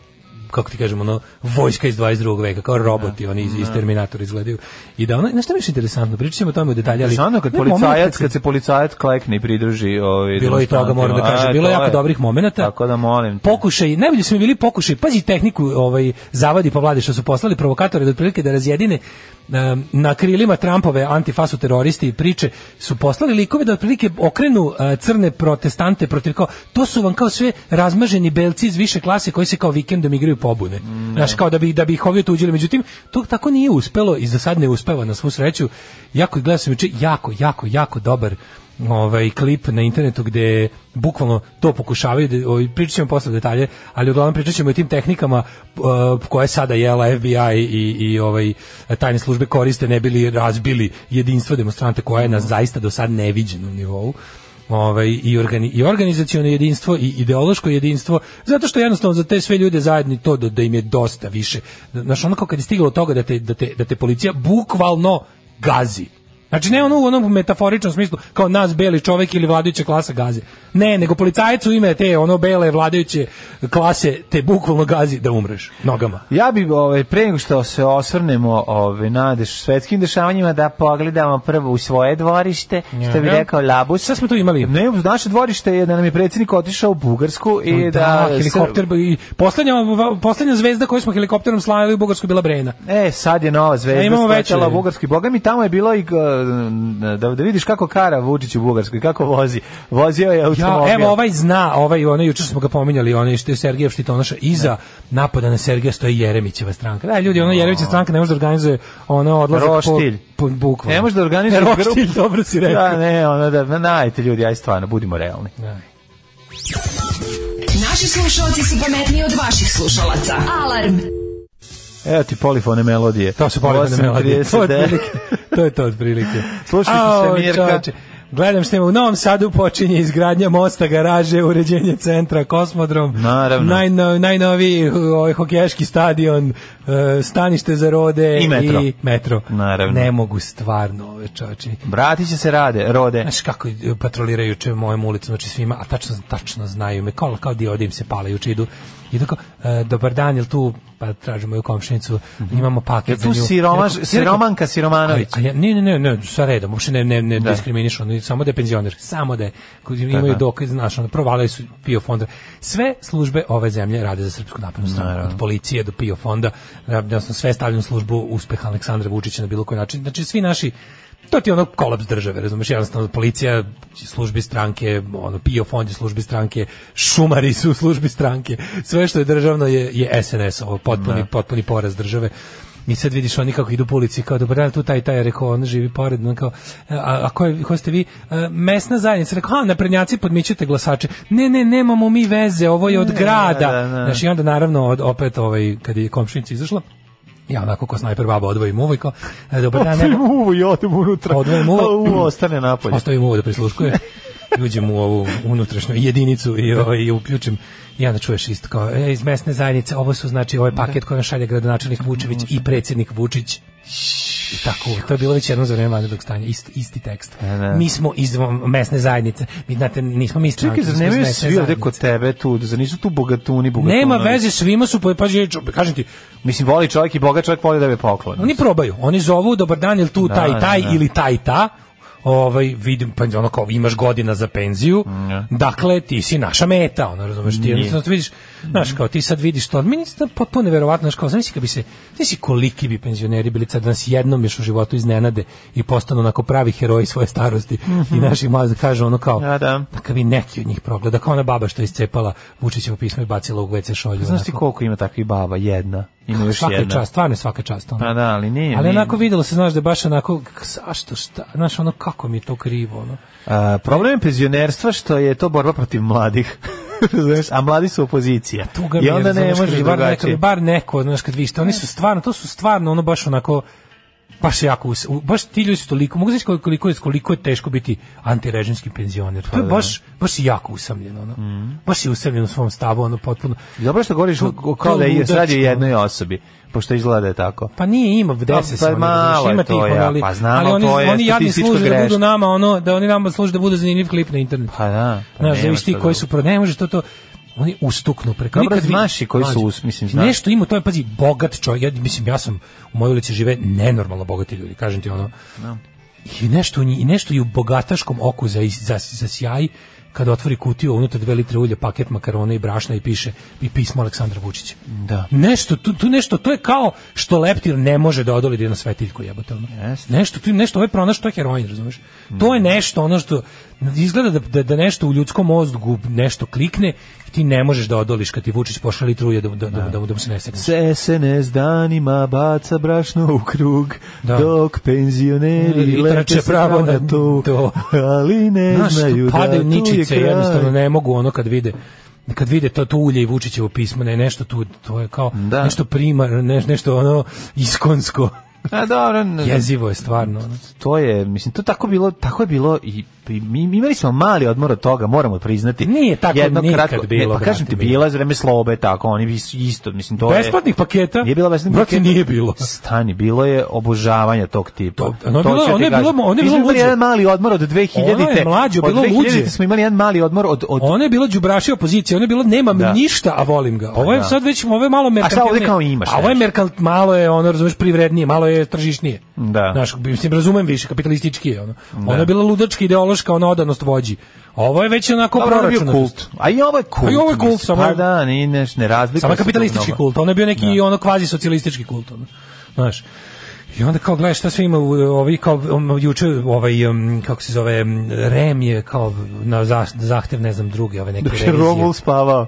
[SPEAKER 7] kako ti kažemo, ono, vojska iz 22. veka, kao roboti, oni iz, iz Terminatora izgledaju. I da ono, znaš što mi je još interesantno, pričat ćemo o tome u detalji, ali...
[SPEAKER 6] Znaš ono kad
[SPEAKER 7] Ne, moment
[SPEAKER 6] policajac,
[SPEAKER 7] se-
[SPEAKER 6] kad se policajac klekne i pridruži ovaj
[SPEAKER 7] Bilo je i toga, moram da kažem.
[SPEAKER 6] E,
[SPEAKER 7] Bilo je
[SPEAKER 6] to
[SPEAKER 7] jako dobrih momenata.
[SPEAKER 6] Tako da molim. te.
[SPEAKER 7] Pokušaj, najbolji su mi bili pokušaj, pazi tehniku ovaj, zavadi pa vlade što su poslali provokatore da otprilike da razjedine em, na krilima Trumpove antifasu teroristi i priče su poslali likove da otprilike okrenu eh, crne protestante protiv kao, to su vam kao sve razmaženi belci iz više klase koji se kao vikendom igraju pobune. Znaš, kao da bi, da bi ih ovi otuđili. Međutim, to tako nije uspelo i za sad ne uspeva na svu sreću. Jako, gledao sam juče, jako, jako, jako dobar ovaj klip na internetu gde bukvalno to pokušavaju da, ovaj, pričat ćemo posle detalje, ali uglavnom pričat ćemo o tim tehnikama uh, koje sada jela FBI i, i ovaj, tajne službe koriste ne bili razbili jedinstvo demonstrante koje je na zaista do sad neviđenom nivou ovaj, i, organi, i organizacijono jedinstvo i ideološko jedinstvo, zato što jednostavno za te sve ljude zajedni to da, da im je dosta više. Znaš, ono kao kad je stiglo do toga da te, da te, da te policija bukvalno gazi Znači ne ono u onom metaforičnom smislu kao nas beli čovek ili vladajuća klasa gazi. Ne, nego policajac u ime te ono bele vladajuće klase te bukvalno gazi da umreš nogama.
[SPEAKER 6] Ja bi ovaj pre nego što se osvrnemo ovaj na deš, svetskim dešavanjima da pogledamo prvo u svoje dvorište, što bi
[SPEAKER 7] Ja.
[SPEAKER 6] rekao Labus.
[SPEAKER 7] Šta smo tu imali?
[SPEAKER 6] Ne, naše dvorište je da nam je predsjednik otišao u Bugarsku i da,
[SPEAKER 7] helikopter i poslednja poslednja zvezda koju smo helikopterom slavili u Bugarskoj bila Brena.
[SPEAKER 6] E, sad je nova
[SPEAKER 7] A
[SPEAKER 6] zvezda
[SPEAKER 7] imamo
[SPEAKER 6] skočila
[SPEAKER 7] veće.
[SPEAKER 6] u Bugarski. Boga mi tamo je bilo i g- da, da vidiš kako kara Vučić u Bugarskoj, kako vozi. Vozio je
[SPEAKER 7] Ja,
[SPEAKER 6] automobil.
[SPEAKER 7] evo ovaj zna, ovaj onaj juče smo ga pominjali, onaj što je Sergej Štitonoša iza napada na Sergeja stoji Jeremićeva stranka. Da, ljudi, ona Jeremićeva stranka ne može da organizuje ono odlazak
[SPEAKER 6] Roštilj.
[SPEAKER 7] po, po bukvalno.
[SPEAKER 6] Ne može da organizuje grupu.
[SPEAKER 7] Roštilj, dobro si rekao.
[SPEAKER 6] Da, ne, ono da, na, najte ljudi, aj stvarno, budimo realni.
[SPEAKER 5] Naši slušalci su pametniji od vaših slušalaca. Alarm.
[SPEAKER 6] Evo ti polifone melodije.
[SPEAKER 7] To su polifone melodije. To je
[SPEAKER 6] 8.39.
[SPEAKER 7] otprilike. To je to otprilike.
[SPEAKER 6] Slušali smo
[SPEAKER 7] Au,
[SPEAKER 6] Svemirka.
[SPEAKER 7] čoveče. Gledam što ima u Novom Sadu počinje izgradnja mosta, garaže, uređenje centra, kosmodrom,
[SPEAKER 6] Naravno.
[SPEAKER 7] najno, najnoviji uh, ovaj, hokejaški stadion, uh, stanište za rode
[SPEAKER 6] I metro.
[SPEAKER 7] I metro.
[SPEAKER 6] Naravno.
[SPEAKER 7] Ne mogu stvarno ove čoče.
[SPEAKER 6] Bratiće se rade, rode.
[SPEAKER 7] Znaš kako eh, patroliraju juče mojom ulicom, znači svima, a tačno, tačno znaju me, kao, kao diode im se pale juče, idu, idu kao, e, dobar dan, jel tu, pa tražimo moju komšinicu, imamo paket
[SPEAKER 6] Mhm. Jel tu
[SPEAKER 7] za nju.
[SPEAKER 6] siromaš,
[SPEAKER 7] Ja rekao-
[SPEAKER 6] siromanka Siromanović?
[SPEAKER 7] a ja, ne, ne, ne, ne, sa redom, uopšte ne, ne, ne diskriminiš, ono, samo da je penzioner, samo da je, koji imaju
[SPEAKER 6] da.
[SPEAKER 7] dokaz, znaš, ono, provalili su PIO fonda. Sve službe ove zemlje rade za srpsku naprednu stranu, od policije do PIO fonda, odnosno sve stavljam službu uspeha Aleksandra Vučića na bilo koji način. Znači, svi naši, to ti je ono kolaps države, razumeš, jednostavno policija, službi stranke, ono, PIO fond je službi stranke, šumari su u službi stranke, sve što je državno je, je SNS, ovo, potpuni, potpuni poraz države. I sad vidiš oni kako idu po ulici, kao dobar dan, tu taj i taj, je rekao, on živi pored, on kao, a, a ko, je, ko ste vi? E, mesna zajednica, rekao, a, naprednjaci podmićete glasače. Ne, ne, nemamo mi veze, ovo je od grada.
[SPEAKER 6] da, da.
[SPEAKER 7] Znaš, i onda naravno od, opet, ovaj, kad je komšinica izašla, ja onako ko snajper baba odvojim uvoj, kao, e, dobar dan,
[SPEAKER 6] Otvim
[SPEAKER 7] nema,
[SPEAKER 6] uvo i odem unutra.
[SPEAKER 7] Odvojim uvo.
[SPEAKER 6] A uvo ostane napolje.
[SPEAKER 7] ostavim uvo da prisluškuje. I uđem u ovu unutrašnju jedinicu i, ovaj, i uključim i onda čuješ isto kao, e, iz mesne zajednice, ovo su znači ovaj paket koji nam šalje gradonačelnik Vučević i predsjednik Vučić. I tako, to je bilo već jedno za vreme vanrednog stanja, isti, isti tekst.
[SPEAKER 6] E, da.
[SPEAKER 7] Mi smo iz vam- mesne zajednice, mi znate, nismo mi stranke,
[SPEAKER 6] Čekaj,
[SPEAKER 7] mi
[SPEAKER 6] zar
[SPEAKER 7] smo iz
[SPEAKER 6] nemaju
[SPEAKER 7] mesne
[SPEAKER 6] svi ovde
[SPEAKER 7] zajednice.
[SPEAKER 6] kod tebe tu, zar nisu tu bogatuni, bogatuni?
[SPEAKER 7] Nema veze, svima su, po- pazi, čo- kažem ti,
[SPEAKER 6] Mislim, voli čovjek i bogat čovjek voli da bi poklon.
[SPEAKER 7] Oni probaju. Oni zovu dobar dan ili tu
[SPEAKER 6] Da,
[SPEAKER 7] taj i taj
[SPEAKER 6] da, da.
[SPEAKER 7] ili taj i ta. Ovaj vidim pa ono kao imaš godina za penziju.
[SPEAKER 6] ja.
[SPEAKER 7] Dakle ti si naša meta, ono razumeš ti. Jednostavno to vidiš, znaš kao ti sad vidiš to. Meni je to potpuno neverovatno, znaš kao zamisli kad bi se, zamisli koliki bi penzioneri bili sad da nas jednom još u životu iznenade i postanu onako pravi heroji svoje starosti i naših mlađih kaže ono kao
[SPEAKER 6] Da, Mhm. da.
[SPEAKER 7] kad bi neki od njih progleda kao ona baba što je iscepala Vučićevo pismo i bacila u WC šolju.
[SPEAKER 6] Pa Znaš ti
[SPEAKER 7] onako.
[SPEAKER 6] koliko ima takvih baba? Jedna. Ima još
[SPEAKER 7] svaka
[SPEAKER 6] jedna.
[SPEAKER 7] čast, stvarno je svaka čast. ono.
[SPEAKER 6] Pa da, ali nije.
[SPEAKER 7] Ali
[SPEAKER 6] nije.
[SPEAKER 7] onako videlo se, znaš, da je baš onako, k- zašto, šta, znaš, ono, kako mi je to krivo, ono.
[SPEAKER 6] A, problem je penzionerstva što je to borba protiv mladih. Razumeš? a mladi su opozicija.
[SPEAKER 7] Tuga mi
[SPEAKER 6] I
[SPEAKER 7] je,
[SPEAKER 6] onda ne
[SPEAKER 7] razumeš, kad
[SPEAKER 6] možeš
[SPEAKER 7] bi bar neko,
[SPEAKER 6] drugačije.
[SPEAKER 7] bar neko, znaš, kad vište, oni su stvarno, to su stvarno, ono, baš onako, baš je jako, us- u- baš ti ljudi su toliko, mogu znaš koliko, koliko, je, koliko je teško biti antirežimski penzioner,
[SPEAKER 6] Pa
[SPEAKER 7] to je baš, baš je jako usamljeno, ono,
[SPEAKER 6] Mm.
[SPEAKER 7] baš je usamljen u svom stavu, ono, potpuno,
[SPEAKER 6] Dobro je što govoriš o- o- kao
[SPEAKER 7] to
[SPEAKER 6] da je
[SPEAKER 7] ludačko.
[SPEAKER 6] radi o jednoj osobi, pošto izgleda da je tako.
[SPEAKER 7] Pa nije ima gde
[SPEAKER 6] Pa,
[SPEAKER 7] se
[SPEAKER 6] pa
[SPEAKER 7] sve
[SPEAKER 6] malo je
[SPEAKER 7] ima
[SPEAKER 6] to,
[SPEAKER 7] tih ono,
[SPEAKER 6] ja,
[SPEAKER 7] ali,
[SPEAKER 6] pa znamo,
[SPEAKER 7] ali oni,
[SPEAKER 6] to je
[SPEAKER 7] oni jadni
[SPEAKER 6] statistička
[SPEAKER 7] služe da
[SPEAKER 6] greška.
[SPEAKER 7] budu nama ono da oni nama služe da bude zanimljiv klip na internetu.
[SPEAKER 6] Pa da, pa
[SPEAKER 7] Znaš,
[SPEAKER 6] nema
[SPEAKER 7] vidiš ti
[SPEAKER 6] šta
[SPEAKER 7] koji
[SPEAKER 6] drugo.
[SPEAKER 7] su pro ne može to to oni ustuknu preko
[SPEAKER 6] Dobro,
[SPEAKER 7] nikad vi-
[SPEAKER 6] znaš i koji su
[SPEAKER 7] Mlađe,
[SPEAKER 6] us- mislim, znaš.
[SPEAKER 7] Nešto ima to je pazi bogat čovjek. Ja mislim ja sam u mojoj ulici žive nenormalno bogati ljudi, kažem ti ono. I nešto u nji- i nešto i u bogataškom oku za za, za sjaj kada otvori kutiju, a unutar dve litre ulja, paket makarona i brašna i piše i pismo Aleksandra Vučića.
[SPEAKER 6] Da.
[SPEAKER 7] Nešto, tu, tu nešto, to je kao što leptir ne može da odoli da je na svetiljku jebote. ono.
[SPEAKER 6] Jeste.
[SPEAKER 7] Nešto, tu nešto, ovaj pronaš, to je heroin, razumeš? To je nešto, ono što, izgleda da, da, da nešto u ljudskom mozgu nešto klikne, i ti ne možeš da odoliš kad ti Vučić pošalje litru ulja da, mu- da, da, mu- da, mu- da mu se ne segneš.
[SPEAKER 6] S SNS danima baca brašno u krug,
[SPEAKER 7] Da.
[SPEAKER 6] dok penzioneri
[SPEAKER 7] I
[SPEAKER 6] lepe
[SPEAKER 7] trče
[SPEAKER 6] se pravo
[SPEAKER 7] pravo
[SPEAKER 6] na
[SPEAKER 7] na
[SPEAKER 6] to,
[SPEAKER 7] to.
[SPEAKER 6] ali ne
[SPEAKER 7] Znaš,
[SPEAKER 6] znaju
[SPEAKER 7] tu padaju
[SPEAKER 6] da tu je
[SPEAKER 7] ničice,
[SPEAKER 6] kraj.
[SPEAKER 7] jednostavno ne mogu ono kad vide kad vide to, to ulje i Vučićevo pismo, ne, nešto tu, to je kao
[SPEAKER 6] Da.
[SPEAKER 7] nešto primar, ne, nešto ono iskonsko.
[SPEAKER 6] A dobro, ne-
[SPEAKER 7] Jezivo je stvarno. Ono.
[SPEAKER 6] to je, mislim, to tako bilo, tako je bilo i pri- mi, mi imali smo mali odmor od toga, moramo priznati.
[SPEAKER 7] Nije tako nikad bilo,
[SPEAKER 6] Ne, pa kažem ti,
[SPEAKER 7] brate mili.
[SPEAKER 6] bila je za vreme slobe tako, oni bi isto, mislim, to je...
[SPEAKER 7] Besplatnih paketa?
[SPEAKER 6] Nije bilo besplatnih
[SPEAKER 7] Brate,
[SPEAKER 6] paketa.
[SPEAKER 7] nije bilo.
[SPEAKER 6] Stani, bilo je obožavanja tog tipa.
[SPEAKER 7] To- ono je bilo-
[SPEAKER 6] ću ti
[SPEAKER 7] ono je
[SPEAKER 6] kažem.
[SPEAKER 7] bilo- ono je
[SPEAKER 6] Mi smo
[SPEAKER 7] bilo
[SPEAKER 6] imali
[SPEAKER 7] luđe.
[SPEAKER 6] jedan mali odmor od 2000-te.
[SPEAKER 7] Ono je mlađo
[SPEAKER 6] Od
[SPEAKER 7] bilo
[SPEAKER 6] 2000-te
[SPEAKER 7] luđe.
[SPEAKER 6] smo imali jedan mali odmor od... od
[SPEAKER 7] Ono je bilo đubraši opozicije, ono je bilo nemam
[SPEAKER 6] Da. Pa
[SPEAKER 7] ništa, a volim ga. Ovo je
[SPEAKER 6] da.
[SPEAKER 7] sad već ovo je malo
[SPEAKER 6] sad
[SPEAKER 7] merkantilnije.
[SPEAKER 6] ovdje kao imaš
[SPEAKER 7] A ovo je
[SPEAKER 6] nešto.
[SPEAKER 7] merkant malo je ono razumeš privrednije, malo je tržišnije.
[SPEAKER 6] Da.
[SPEAKER 7] Znaš, mislim razumem više kapitalistički je ono. Ono je bila ludačka ideološka ona odanost vođi. A Ovo je već onako
[SPEAKER 6] Dobro, ono je bio
[SPEAKER 7] proračunato.
[SPEAKER 6] kult. A i ovo je kult.
[SPEAKER 7] A i ovo je kult,
[SPEAKER 6] mislim.
[SPEAKER 7] samo
[SPEAKER 6] Pa
[SPEAKER 7] je-
[SPEAKER 6] da, ni, neš, ne razlikuje
[SPEAKER 7] Samo je
[SPEAKER 6] se to
[SPEAKER 7] kapitalistički
[SPEAKER 6] mnogo.
[SPEAKER 7] kult, ono je bio neki ono kvazi socijalistički kult, ono. Znaš. I onda kao gledaš šta sve ima u, ovi kao um, juče ovaj um, kako se zove um, Rem je kao na za, zahtev ne znam druge ove neke
[SPEAKER 6] Dok je
[SPEAKER 7] revizije.
[SPEAKER 6] Romul spavao.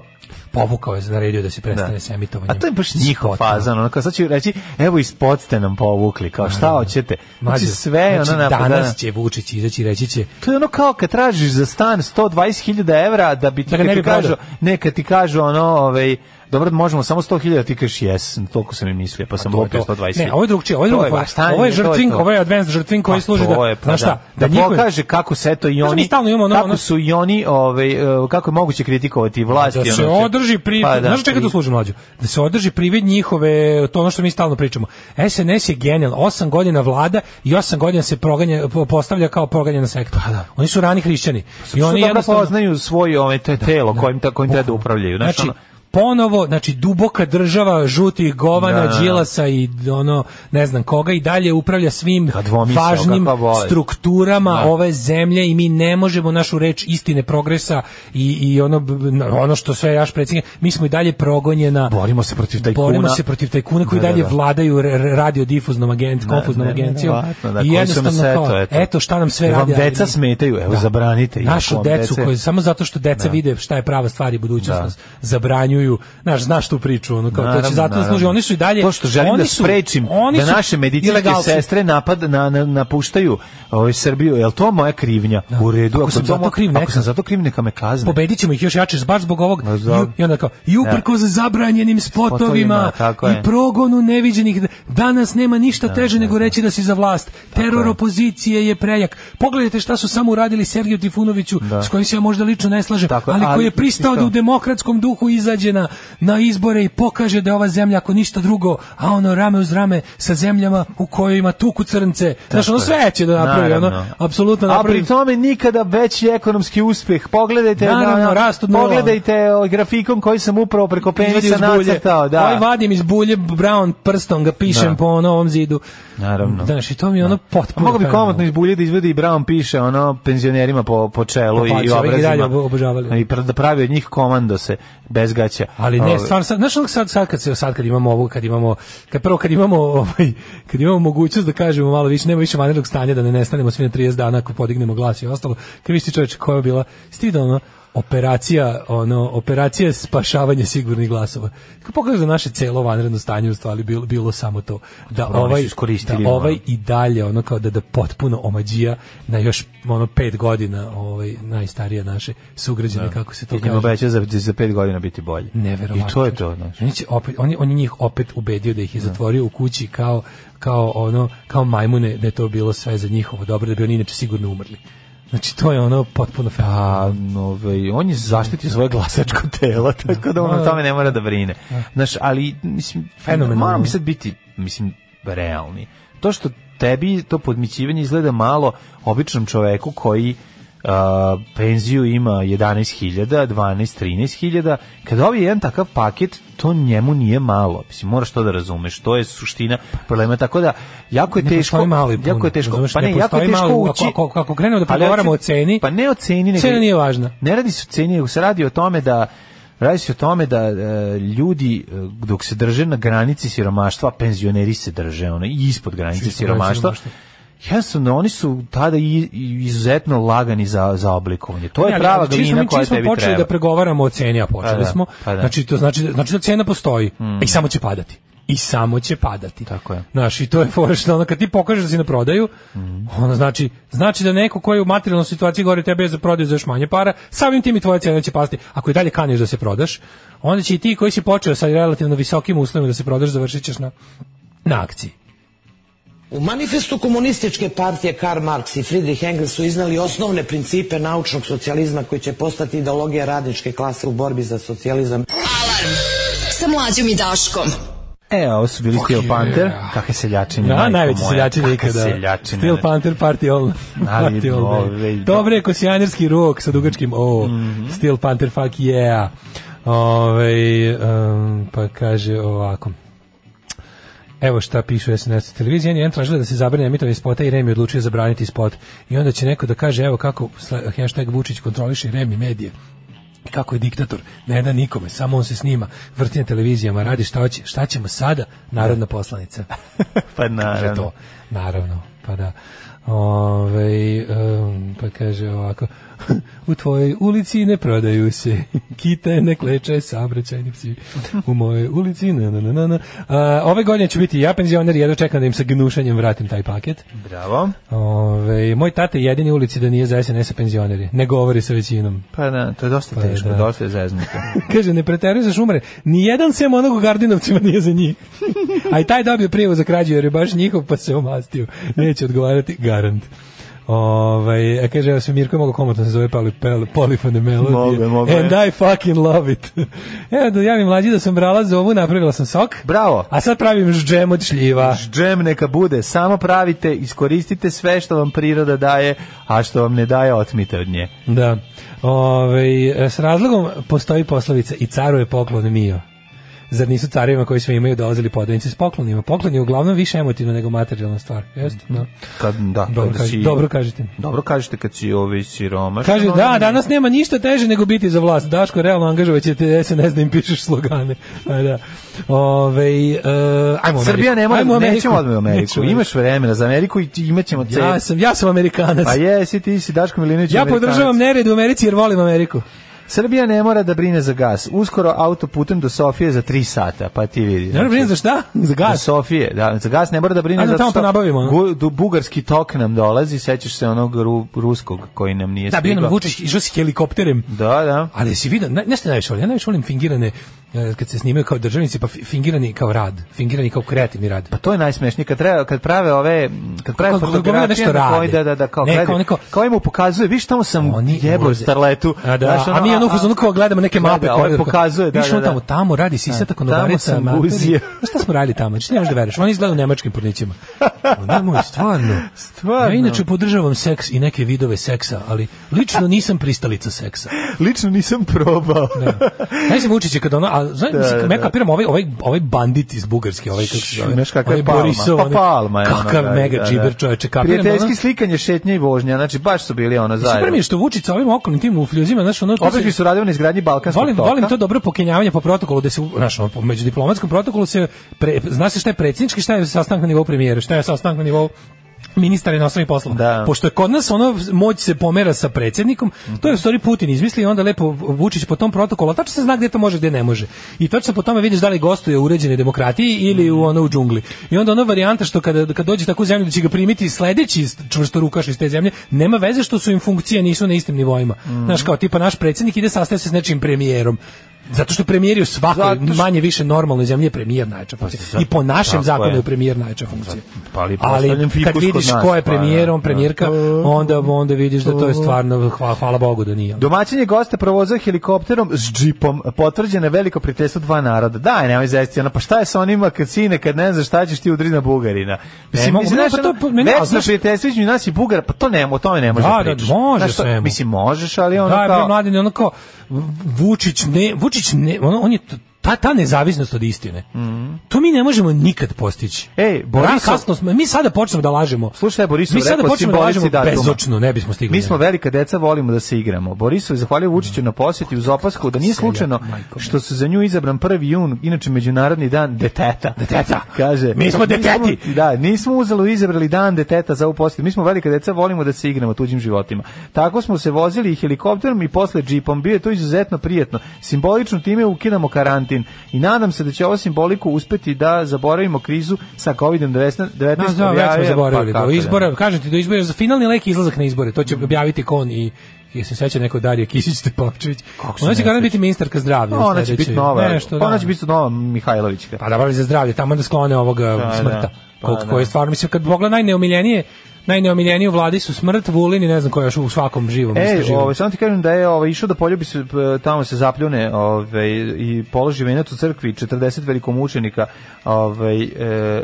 [SPEAKER 7] povukao je na radio da se prestane
[SPEAKER 6] Da.
[SPEAKER 7] s emitovanjem.
[SPEAKER 6] A to je baš njihov
[SPEAKER 7] Skotama.
[SPEAKER 6] fazan, ono kao sad ću reći, evo ispod ste nam povukli, kao šta hoćete. Znači
[SPEAKER 7] Mlađe,
[SPEAKER 6] sve
[SPEAKER 7] znači,
[SPEAKER 6] ono napada.
[SPEAKER 7] Danas će Vučić izaći i reći će
[SPEAKER 6] To je ono kao kad tražiš za stan 120.000 evra da bi ti,
[SPEAKER 7] Da ga
[SPEAKER 6] kad
[SPEAKER 7] ne
[SPEAKER 6] ti
[SPEAKER 7] bi prodao.
[SPEAKER 6] kažu, ne, kad ti kažu ono, ovaj, dobro, možemo samo 100.000, ti kažeš jes, toliko sam i mislio, pa sam
[SPEAKER 7] to je
[SPEAKER 6] lopio
[SPEAKER 7] to.
[SPEAKER 6] 120.000.
[SPEAKER 7] Ne, ovo je drugčije, ovo je
[SPEAKER 6] To
[SPEAKER 7] drugo.
[SPEAKER 6] baš stanje,
[SPEAKER 7] Ovo je
[SPEAKER 6] to
[SPEAKER 7] žrtvin,
[SPEAKER 6] to.
[SPEAKER 7] ovo je advanced žrtvin koji
[SPEAKER 6] Pa
[SPEAKER 7] služi
[SPEAKER 6] to
[SPEAKER 7] da,
[SPEAKER 6] je, pa
[SPEAKER 7] znaš šta,
[SPEAKER 6] da,
[SPEAKER 7] da njihove-
[SPEAKER 6] pokaže kako se to i
[SPEAKER 7] Znaš,
[SPEAKER 6] oni
[SPEAKER 7] mi stalno imamo ono-
[SPEAKER 6] kako
[SPEAKER 7] ono-
[SPEAKER 6] su i oni ovaj e, kako je moguće kritikovati vlast i
[SPEAKER 7] da se
[SPEAKER 6] ono-
[SPEAKER 7] održi pri
[SPEAKER 6] Pa da,
[SPEAKER 7] znaš čega to
[SPEAKER 6] pri-
[SPEAKER 7] služi mlađo da se održi privid njihove to ono što mi stalno pričamo SNS je genijal 8 godina vlada i 8 godina se proganja po- postavlja kao proganjena sekta
[SPEAKER 6] Pa
[SPEAKER 7] oni su rani hrišćani i
[SPEAKER 6] Što
[SPEAKER 7] oni
[SPEAKER 6] Pa dobro
[SPEAKER 7] jednostavno
[SPEAKER 6] poznaju svoj ovaj to je telo kojim ta kojim treba da
[SPEAKER 7] Bukvalno.
[SPEAKER 6] upravljaju znači,
[SPEAKER 7] Znači, ponovo, znači duboka država žutih govana,
[SPEAKER 6] Da, da, da.
[SPEAKER 7] Đilasa i ono, ne znam koga i dalje upravlja svim
[SPEAKER 6] Kad dvomisao,
[SPEAKER 7] važnim
[SPEAKER 6] kakva bolest.
[SPEAKER 7] strukturama
[SPEAKER 6] Da.
[SPEAKER 7] ove zemlje i mi ne možemo našu reč istine progresa i, i ono, b- b- ono što sve jaš predsjednik, mi smo i dalje progonjena
[SPEAKER 6] Borimo se protiv tajkuna.
[SPEAKER 7] Borimo se protiv tajkuna koji
[SPEAKER 6] Da, da,
[SPEAKER 7] dalje
[SPEAKER 6] da.
[SPEAKER 7] vladaju r- r- radiodifuznom agent, konfuznom
[SPEAKER 6] ne,
[SPEAKER 7] agencijom.
[SPEAKER 6] nevjerovatno, da,
[SPEAKER 7] I
[SPEAKER 6] koji su nas
[SPEAKER 7] jednostavno kao,
[SPEAKER 6] eto,
[SPEAKER 7] eto,
[SPEAKER 6] eto.
[SPEAKER 7] šta nam sve
[SPEAKER 6] Jer vam
[SPEAKER 7] radi. ali
[SPEAKER 6] deca
[SPEAKER 7] mi-
[SPEAKER 6] smetaju, evo, zabranite ih, ako
[SPEAKER 7] Našu
[SPEAKER 6] vam
[SPEAKER 7] decu,
[SPEAKER 6] dece-
[SPEAKER 7] koju, samo zato što deca vide šta je prava stvar i budućnost
[SPEAKER 6] Da.
[SPEAKER 7] nas zabranjuju. Znaš, znaš tu priču, ono kao to
[SPEAKER 6] Naravno,
[SPEAKER 7] će zato
[SPEAKER 6] naravno.
[SPEAKER 7] služi. Oni su i dalje
[SPEAKER 6] To što želim
[SPEAKER 7] oni
[SPEAKER 6] da
[SPEAKER 7] su-
[SPEAKER 6] sprečim
[SPEAKER 7] oni
[SPEAKER 6] da
[SPEAKER 7] su
[SPEAKER 6] naše medicinske
[SPEAKER 7] ilegalci.
[SPEAKER 6] sestre napad na, na napuštaju ovaj Srbiju. Jel to moja krivnja? U redu,
[SPEAKER 7] Ako sam
[SPEAKER 6] to
[SPEAKER 7] zato
[SPEAKER 6] mo-
[SPEAKER 7] kriv,
[SPEAKER 6] ako
[SPEAKER 7] neka.
[SPEAKER 6] sam zato kriv, neka me kazne.
[SPEAKER 7] Pobedit ćemo ih još jače baš zbog ovog
[SPEAKER 6] Ma,
[SPEAKER 7] i,
[SPEAKER 6] da.
[SPEAKER 7] i onda kao i uprkos zabranjenim spotovima,
[SPEAKER 6] Spotovima, tako je.
[SPEAKER 7] i progonu neviđenih danas nema ništa teže nego reći da si za vlast teror
[SPEAKER 6] je.
[SPEAKER 7] opozicije je prejak pogledajte šta su samo uradili Sergiju Trifunoviću s kojim se ja možda lično ne slažem
[SPEAKER 6] Tako je,
[SPEAKER 7] ali
[SPEAKER 6] ali
[SPEAKER 7] koji je pristao
[SPEAKER 6] isto-
[SPEAKER 7] da u demokratskom duhu izađe na, na izbore i pokaže da je ova zemlja ako ništa drugo a ono rame uz rame sa zemljama u kojima tuku crnce znaš ono sve će da napravi ono
[SPEAKER 6] Naravno.
[SPEAKER 7] apsolutno
[SPEAKER 6] A
[SPEAKER 7] napravi
[SPEAKER 6] pri tome nikada veći ekonomski uspeh. Pogledajte,
[SPEAKER 7] Naravno, rast od nula.
[SPEAKER 6] pogledajte o, grafikom koji sam upravo preko
[SPEAKER 7] Izvadim
[SPEAKER 6] penisa
[SPEAKER 7] iz bulje.
[SPEAKER 6] nacrtao. Da.
[SPEAKER 7] Ovaj vadim iz bulje brown prstom ga pišem
[SPEAKER 6] Da.
[SPEAKER 7] po novom zidu.
[SPEAKER 6] Naravno.
[SPEAKER 7] Znaš, i to mi je ono
[SPEAKER 6] A
[SPEAKER 7] potpuno.
[SPEAKER 6] mogu bi
[SPEAKER 7] fenomenalno.
[SPEAKER 6] komotno iz bulje da izvedi i Brown piše ono penzionerima po, po čelu
[SPEAKER 7] Pa, pa,
[SPEAKER 6] i
[SPEAKER 7] će ovaj i
[SPEAKER 6] obrazima.
[SPEAKER 7] dalje obo- obožavali.
[SPEAKER 6] I pra- da pravi od njih komando se bez gaća.
[SPEAKER 7] Ali ne,
[SPEAKER 6] Ovaj,
[SPEAKER 7] stvarno sad, znaš ono sad, sad kad se sad kad imamo ovo, kad imamo kad prvo kad imamo ovaj kad imamo mogućnost da kažemo malo više, nema više vanrednog stanja da ne nestanemo svi na 30 dana ako podignemo glas i ostalo. Kad vidiš ti čoveče koja je bila stigla ono operacija, ono, operacija spašavanja sigurnih glasova. Kako pokaže da naše celo vanredno stanje u stvari bilo, bilo samo to. Da
[SPEAKER 6] Dobro, oni su
[SPEAKER 7] ovaj,
[SPEAKER 6] iskoristili,
[SPEAKER 7] da ovaj
[SPEAKER 6] ono.
[SPEAKER 7] i dalje ono kao da da potpuno omađija na još ono pet godina ovaj najstarije naše sugrađane kako se to
[SPEAKER 6] Im
[SPEAKER 7] kaže.
[SPEAKER 6] obećao za, za pet godina biti bolje.
[SPEAKER 7] Neverovatno.
[SPEAKER 6] I to je to. Znaš.
[SPEAKER 7] Oni će opet, oni, on je njih opet ubedio da ih je zatvorio u kući kao, kao ono, kao majmune, da je to bilo sve za njihovo dobro, da bi oni inače sigurno umrli. Znači, to je ono potpuno fenomenalno.
[SPEAKER 6] A, ovaj, on je zaštitio svoje glasačko telo, tako da on o tome ne mora da brine. Znaš, ali, mislim,
[SPEAKER 7] Fenomenalno.
[SPEAKER 6] moramo sad biti, mislim, realni. To što tebi to podmićivanje izgleda malo običnom čoveku koji a, penziju ima 11.000, 12, 13.000, kad dobije jedan takav paket, to njemu nije malo. Mislim, moraš to da razumeš. To je suština problema. Tako da, jako je
[SPEAKER 7] Ne
[SPEAKER 6] teško...
[SPEAKER 7] postoji mali puno,
[SPEAKER 6] jako je teško.
[SPEAKER 7] razumeš?
[SPEAKER 6] Pa ne,
[SPEAKER 7] Ne
[SPEAKER 6] jako je
[SPEAKER 7] postoji
[SPEAKER 6] teško
[SPEAKER 7] mali,
[SPEAKER 6] ući.
[SPEAKER 7] ako- ako- ako krenemo da
[SPEAKER 6] Ali
[SPEAKER 7] pregovaramo
[SPEAKER 6] hoću-
[SPEAKER 7] o ceni,
[SPEAKER 6] Pa ne o ceni, nego...
[SPEAKER 7] Cena nije važna.
[SPEAKER 6] Ne radi se o ceni, nego se radi o tome da radi se o tome da e, ljudi e, dok se drže na granici siromaštva, penzioneri se drže ono i ispod granice
[SPEAKER 7] Ispod granice
[SPEAKER 6] siromaštva.
[SPEAKER 7] siromaštva.
[SPEAKER 6] Jednostavno, oni su tada i, i izuzetno lagani za, za oblikovanje. To je
[SPEAKER 7] Ne, ali-
[SPEAKER 6] prava
[SPEAKER 7] ali čim smo
[SPEAKER 6] glavnina
[SPEAKER 7] mi-
[SPEAKER 6] koja
[SPEAKER 7] čim smo
[SPEAKER 6] tebi
[SPEAKER 7] počeli
[SPEAKER 6] treba.
[SPEAKER 7] da pregovaramo o ceni, a počeli
[SPEAKER 6] Pa da,
[SPEAKER 7] smo,
[SPEAKER 6] pa da. Hmm.
[SPEAKER 7] znači, to znači, znači da cena postoji i samo će padati. I samo će padati.
[SPEAKER 6] Tako je.
[SPEAKER 7] Znaš, i to je fora što ono, kad ti pokažeš da si na prodaju,
[SPEAKER 6] Hmm.
[SPEAKER 7] ono znači, znači da neko koji je u materijalnoj situaciji govori tebe je za prodaju za još manje para, samim tim i tvoja cena će pasti. Ako i dalje kaniš da se prodaš, onda će i ti koji si počeo sa relativno visokim uslovima da se prodaš, završit ćeš na, na akciji.
[SPEAKER 9] U manifestu komunističke partije Karl Marx i Friedrich Engels su iznali osnovne principe naučnog socijalizma koji će postati ideologija radničke klase u borbi za socijalizam.
[SPEAKER 5] Alarm sa mlađom i Daškom.
[SPEAKER 6] E, a ovo su bili Steel Panther, kakve seljačine.
[SPEAKER 7] Da,
[SPEAKER 6] majko
[SPEAKER 7] najveće
[SPEAKER 6] moja,
[SPEAKER 7] seljačine
[SPEAKER 6] kakve
[SPEAKER 7] ikada.
[SPEAKER 6] seljačine,
[SPEAKER 7] Steel Pa-
[SPEAKER 6] znači.
[SPEAKER 7] Panther Party All.
[SPEAKER 6] Ali,
[SPEAKER 7] Party all
[SPEAKER 6] ove,
[SPEAKER 7] day.
[SPEAKER 6] da. Mhm.
[SPEAKER 7] Dobre je kosijanerski rok sa dugačkim O. Steel Panther fuck yeah. Ove, um, pa kaže ovako. Evo šta pišu u SNS televiziji, N1 tražila da se zabrane emitovanje spota i Remi odlučio zabraniti spot. I onda će neko da kaže evo kako sla- hashtag Vučić kontroliše Remi medije i kako je diktator, ne da nikome, samo on se snima, vrti na televizijama, radi šta hoće, šta ćemo sada, narodna poslanica.
[SPEAKER 6] Pa
[SPEAKER 7] Kaže
[SPEAKER 6] naravno.
[SPEAKER 7] to, naravno, pa da. Ove, um, pa kaže ovako, u tvojoj ulici ne prodaju se kite, ne kleče, saobraćajni psi. U mojoj ulici, na, na, na, na, na. A, ove godine ću biti ja penzioner, jedno čekam da im sa gnušanjem vratim taj paket.
[SPEAKER 6] Bravo.
[SPEAKER 7] Ove, moj tata je jedini u ulici da nije za SNS-a penzioneri, ne govori sa većinom.
[SPEAKER 6] Pa da, to je dosta
[SPEAKER 7] Pa
[SPEAKER 6] teško,
[SPEAKER 7] da.
[SPEAKER 6] dosta je zeznuto.
[SPEAKER 7] Kaže, ne preteruj za šumare. Nijedan sem onog u Gardinovcima nije za njih. A i taj dobio prijevu za krađu jer je baš njihov pa se omastio. Neće odgovarati, garant. Ovaj, a kaže, evo se Mirko mogu komotno se zove Pali, Pel- Polifone Melodije.
[SPEAKER 6] Mogu, mogu.
[SPEAKER 7] And I fucking love it. evo, da javim mlađi da sam brala za ovu, napravila sam sok.
[SPEAKER 6] Bravo.
[SPEAKER 7] A sad pravim džem od šljiva.
[SPEAKER 6] Džem neka bude, samo pravite, iskoristite sve što vam priroda daje, a što vam ne daje, otmite od nje.
[SPEAKER 7] Da. Ove, e, s razlogom postoji poslovica i caru je poklon mio. Zar nisu carima koji sve imaju dolazili podanici s poklonima? Poklon je uglavnom više emotivno nego materijalna stvar. Jeste? Da.
[SPEAKER 6] Kad, da, kada
[SPEAKER 7] Dobro, kaž-
[SPEAKER 6] Mhm. si-
[SPEAKER 7] dobro kažete.
[SPEAKER 6] Dobro kažete kad si ovi siromaš.
[SPEAKER 7] Kaže, da, danas nema ništa teže nego biti za vlast. Daško, realno angažovat će te SNS da im pišeš slogane. A, da. Ove, e, ajmo u
[SPEAKER 6] Srbija
[SPEAKER 7] Ameriku.
[SPEAKER 6] ne mora,
[SPEAKER 7] Ajmo u Ameriku.
[SPEAKER 6] nećemo odmah u Ameriku.
[SPEAKER 7] Nećemo.
[SPEAKER 6] Imaš vremena za Ameriku i ti- imat ćemo cel.
[SPEAKER 7] Ja sam, ja sam Amerikanac.
[SPEAKER 6] Pa jesi, ti si Daško Milinović.
[SPEAKER 7] ja
[SPEAKER 6] Amerikanac.
[SPEAKER 7] podržavam nered u Americi jer volim Ameriku.
[SPEAKER 6] Srbija ne mora da brine za gas. Uskoro autoputem do Sofije za 3 sata, pa ti vidi.
[SPEAKER 7] Ne moram brinuti za šta? Za
[SPEAKER 6] Do
[SPEAKER 7] gas.
[SPEAKER 6] Sofije, da, za gas ne mora da brine
[SPEAKER 7] Ajde,
[SPEAKER 6] zato
[SPEAKER 7] tamo
[SPEAKER 6] što
[SPEAKER 7] ponabavimo, ono.
[SPEAKER 6] gu- du- bugarski tok nam dolazi, sećaš se onog ru- ruskog koji nam nije
[SPEAKER 7] Da, bio nam
[SPEAKER 6] stigao.
[SPEAKER 7] Vučić, išao si helikopterem.
[SPEAKER 6] Da, da.
[SPEAKER 7] Ali si vidio, ne, nešto najviše volim, ja najviše volim fingirane, e, kad se snimaju kao državnici, pa fi- fingirani kao rad, fingirani kao kreativni rad.
[SPEAKER 6] Pa to je najsmešnije kad treba kad prave ove mm, kad prave
[SPEAKER 7] Kako- kako gomila
[SPEAKER 6] fotografije
[SPEAKER 7] nešto
[SPEAKER 6] na koji-
[SPEAKER 7] rade.
[SPEAKER 6] da da da kao
[SPEAKER 7] Ne,
[SPEAKER 6] ne,
[SPEAKER 7] kao
[SPEAKER 6] kao,
[SPEAKER 7] neko-
[SPEAKER 6] kao im mu pokazuje viš tamo sam
[SPEAKER 7] Oni
[SPEAKER 6] jebao
[SPEAKER 7] ulaze.
[SPEAKER 6] starletu
[SPEAKER 7] A, da,
[SPEAKER 6] Znaš,
[SPEAKER 7] a mi je
[SPEAKER 6] ono,
[SPEAKER 7] nufus ono kao gledamo neke
[SPEAKER 6] Da,
[SPEAKER 7] mape
[SPEAKER 6] da,
[SPEAKER 7] koje
[SPEAKER 6] ovaj pokazuje da, da, da.
[SPEAKER 7] tamo tamo radi sisata konobarica
[SPEAKER 6] sam
[SPEAKER 7] amatori.
[SPEAKER 6] guzio.
[SPEAKER 7] Znaš šta smo radili tamo znači ne možeš da veruješ oni izgledaju u nemačkim pornićima ne moj stvarno
[SPEAKER 6] Stvarno.
[SPEAKER 7] ja inače podržavam seks i neke vidove seksa ali lično nisam pristalica seksa
[SPEAKER 6] lično nisam probao
[SPEAKER 7] Znaš se Vučić je kad ono, a znaš,
[SPEAKER 6] Da,
[SPEAKER 7] mislim,
[SPEAKER 6] da,
[SPEAKER 7] ja
[SPEAKER 6] da.
[SPEAKER 7] kapiram ovaj, ovaj, ovaj bandit iz Bugarske, ovaj kako se zove.
[SPEAKER 6] Znaš kakva je
[SPEAKER 7] ovaj
[SPEAKER 6] palma.
[SPEAKER 7] Borisov,
[SPEAKER 6] pa
[SPEAKER 7] onaj-
[SPEAKER 6] palma je. ono,
[SPEAKER 7] Kakav
[SPEAKER 6] da,
[SPEAKER 7] mega
[SPEAKER 6] da, da.
[SPEAKER 7] džiber čoveče, kapiram.
[SPEAKER 6] Prijateljski
[SPEAKER 7] ono-
[SPEAKER 6] slikanje, šetnje i vožnja, znači baš su bili ono
[SPEAKER 7] Super mi
[SPEAKER 6] zajedno.
[SPEAKER 7] je što Vučić sa ovim okolnim tim ufljuzima, znaš, ono... to
[SPEAKER 6] Opet
[SPEAKER 7] se-
[SPEAKER 6] bi su radili na izgradnji Balkanskog
[SPEAKER 7] volim,
[SPEAKER 6] toka.
[SPEAKER 7] volim to dobro pokenjavanje po protokolu da se u- znaš, ono, po- među diplomatskom protokolu se pre, zna se šta je predsjednički, šta je sastanak na nivou premijera, šta je sastanak na nivou ministara inostranih poslova.
[SPEAKER 6] Da.
[SPEAKER 7] Pošto je kod nas ono moć se pomera sa predsjednikom, to je u stvari Putin izmislio i onda lepo Vučić po tom protokolu, a tačno se zna gdje to može, gdje ne može. I tačno se po tome vidiš da li gostuje u uređenoj demokratiji ili u ono u džungli. I onda ona varijanta što kada kad dođe u takvu zemlju da će ga primiti sledeći čvrsto rukaš iz te zemlje, nema veze što su im funkcije nisu na istim nivoima. Znaš kao tipa naš predsjednik ide sastaje se s nečim premijerom. Zato što premijer je u svakoj
[SPEAKER 6] Zato što-
[SPEAKER 7] manje više normalnoj zemlji je premijer najjača funkcija. I po našem
[SPEAKER 6] tako
[SPEAKER 7] zakonu
[SPEAKER 6] je.
[SPEAKER 7] je premijer najjača funkcija.
[SPEAKER 6] Pa, ali
[SPEAKER 7] Ali
[SPEAKER 6] postavljam fikus
[SPEAKER 7] kad
[SPEAKER 6] kod
[SPEAKER 7] vidiš
[SPEAKER 6] nas,
[SPEAKER 7] ko je
[SPEAKER 6] pa,
[SPEAKER 7] premijer,
[SPEAKER 6] da,
[SPEAKER 7] on
[SPEAKER 6] da.
[SPEAKER 7] premijerka, onda onda vidiš da to je stvarno hvala, hvala Bogu da nije.
[SPEAKER 6] Domaćin je goste provozao helikopterom s džipom, potvrđeno je veliko prijateljstvo dva naroda. Daj, nemoj zesti, ono, pa šta je sa onima kad sine, kad ne znaš šta ćeš ti udri na Bugarina?
[SPEAKER 7] Mislim, mogu- ne, pa
[SPEAKER 6] ono,
[SPEAKER 7] to- pa meni- a
[SPEAKER 6] večno
[SPEAKER 7] znaš-
[SPEAKER 6] prijateljstvo između nas i Bugara, pa to ne, o tome ne može
[SPEAKER 7] Da, da,
[SPEAKER 6] pričaš.
[SPEAKER 7] može
[SPEAKER 6] Znaš što,
[SPEAKER 7] svemu.
[SPEAKER 6] Mislim, možeš, ali ono
[SPEAKER 7] Da, je bre
[SPEAKER 6] kao...
[SPEAKER 7] mladen je ono kao Vučić ne, Vučić ne, ono, on je t- ta, ta nezavisnost od istine. To mi ne možemo nikad postići.
[SPEAKER 6] Mhm. Ej, Borisov-
[SPEAKER 7] Ra- kasno smo, mi sada počnemo da lažemo.
[SPEAKER 6] Slušaj, Borisov,
[SPEAKER 7] mi sada
[SPEAKER 6] rekao si
[SPEAKER 7] počnemo da
[SPEAKER 6] Boris
[SPEAKER 7] lažemo
[SPEAKER 6] i datuma.
[SPEAKER 7] bezočno, ne bismo stigli.
[SPEAKER 6] Mi smo
[SPEAKER 7] negde.
[SPEAKER 6] velika deca, volimo da se igramo. Borisov je zahvalio Vučiću na posjeti uz opasku da nije slučajno što su za nju izabran 1. jun, inače Međunarodni dan deteta.
[SPEAKER 7] Deteta.
[SPEAKER 6] Kaže,
[SPEAKER 7] Mi smo deteti.
[SPEAKER 6] Nismo- da, nismo uzelo izabrali dan deteta za ovu posjetu. Mi smo velika deca, volimo da se igramo tuđim životima. Tako smo se vozili i helikopterom i posle džipom. Bio je to izuzetno prijetno. Simbolično time ukidamo karantin i nadam se da će ovo simboliku uspeti da zaboravimo krizu sa COVID-19.
[SPEAKER 7] Da, da, već smo
[SPEAKER 6] objavio-
[SPEAKER 7] zaboravili.
[SPEAKER 6] pa kako
[SPEAKER 7] do
[SPEAKER 6] da.
[SPEAKER 7] izbora, kažem ti, do izbora, za finalni lek i izlazak na izbore, to će objaviti kon i Ja se sećam neko Darija Kisić Tepavčević.
[SPEAKER 6] Kako se
[SPEAKER 7] Ona
[SPEAKER 6] ne
[SPEAKER 7] će garant
[SPEAKER 6] sećam?
[SPEAKER 7] biti ministarka zdravlja. u
[SPEAKER 6] Ona će
[SPEAKER 7] sledećoj-
[SPEAKER 6] biti nova.
[SPEAKER 7] Nešto,
[SPEAKER 6] Ona
[SPEAKER 7] da.
[SPEAKER 6] će biti nova Mihajlovićka.
[SPEAKER 7] Pa da bavili za zdravlje, tamo da sklone ovoga
[SPEAKER 6] da.
[SPEAKER 7] smrta.
[SPEAKER 6] Pa
[SPEAKER 7] kog,
[SPEAKER 6] da.
[SPEAKER 7] koje stvarno, mislim, kad pogleda najneomiljenije, najneomiljenije u vladi su smrt, Vulin i ne znam ko još u svakom živom. isto
[SPEAKER 6] Ej,
[SPEAKER 7] živom.
[SPEAKER 6] ovaj, samo ti kažem da je ovaj, išao da poljubi se, p- tamo se zapljune ovaj, i položi venac u crkvi 40 velikomučenika ovaj, e, e,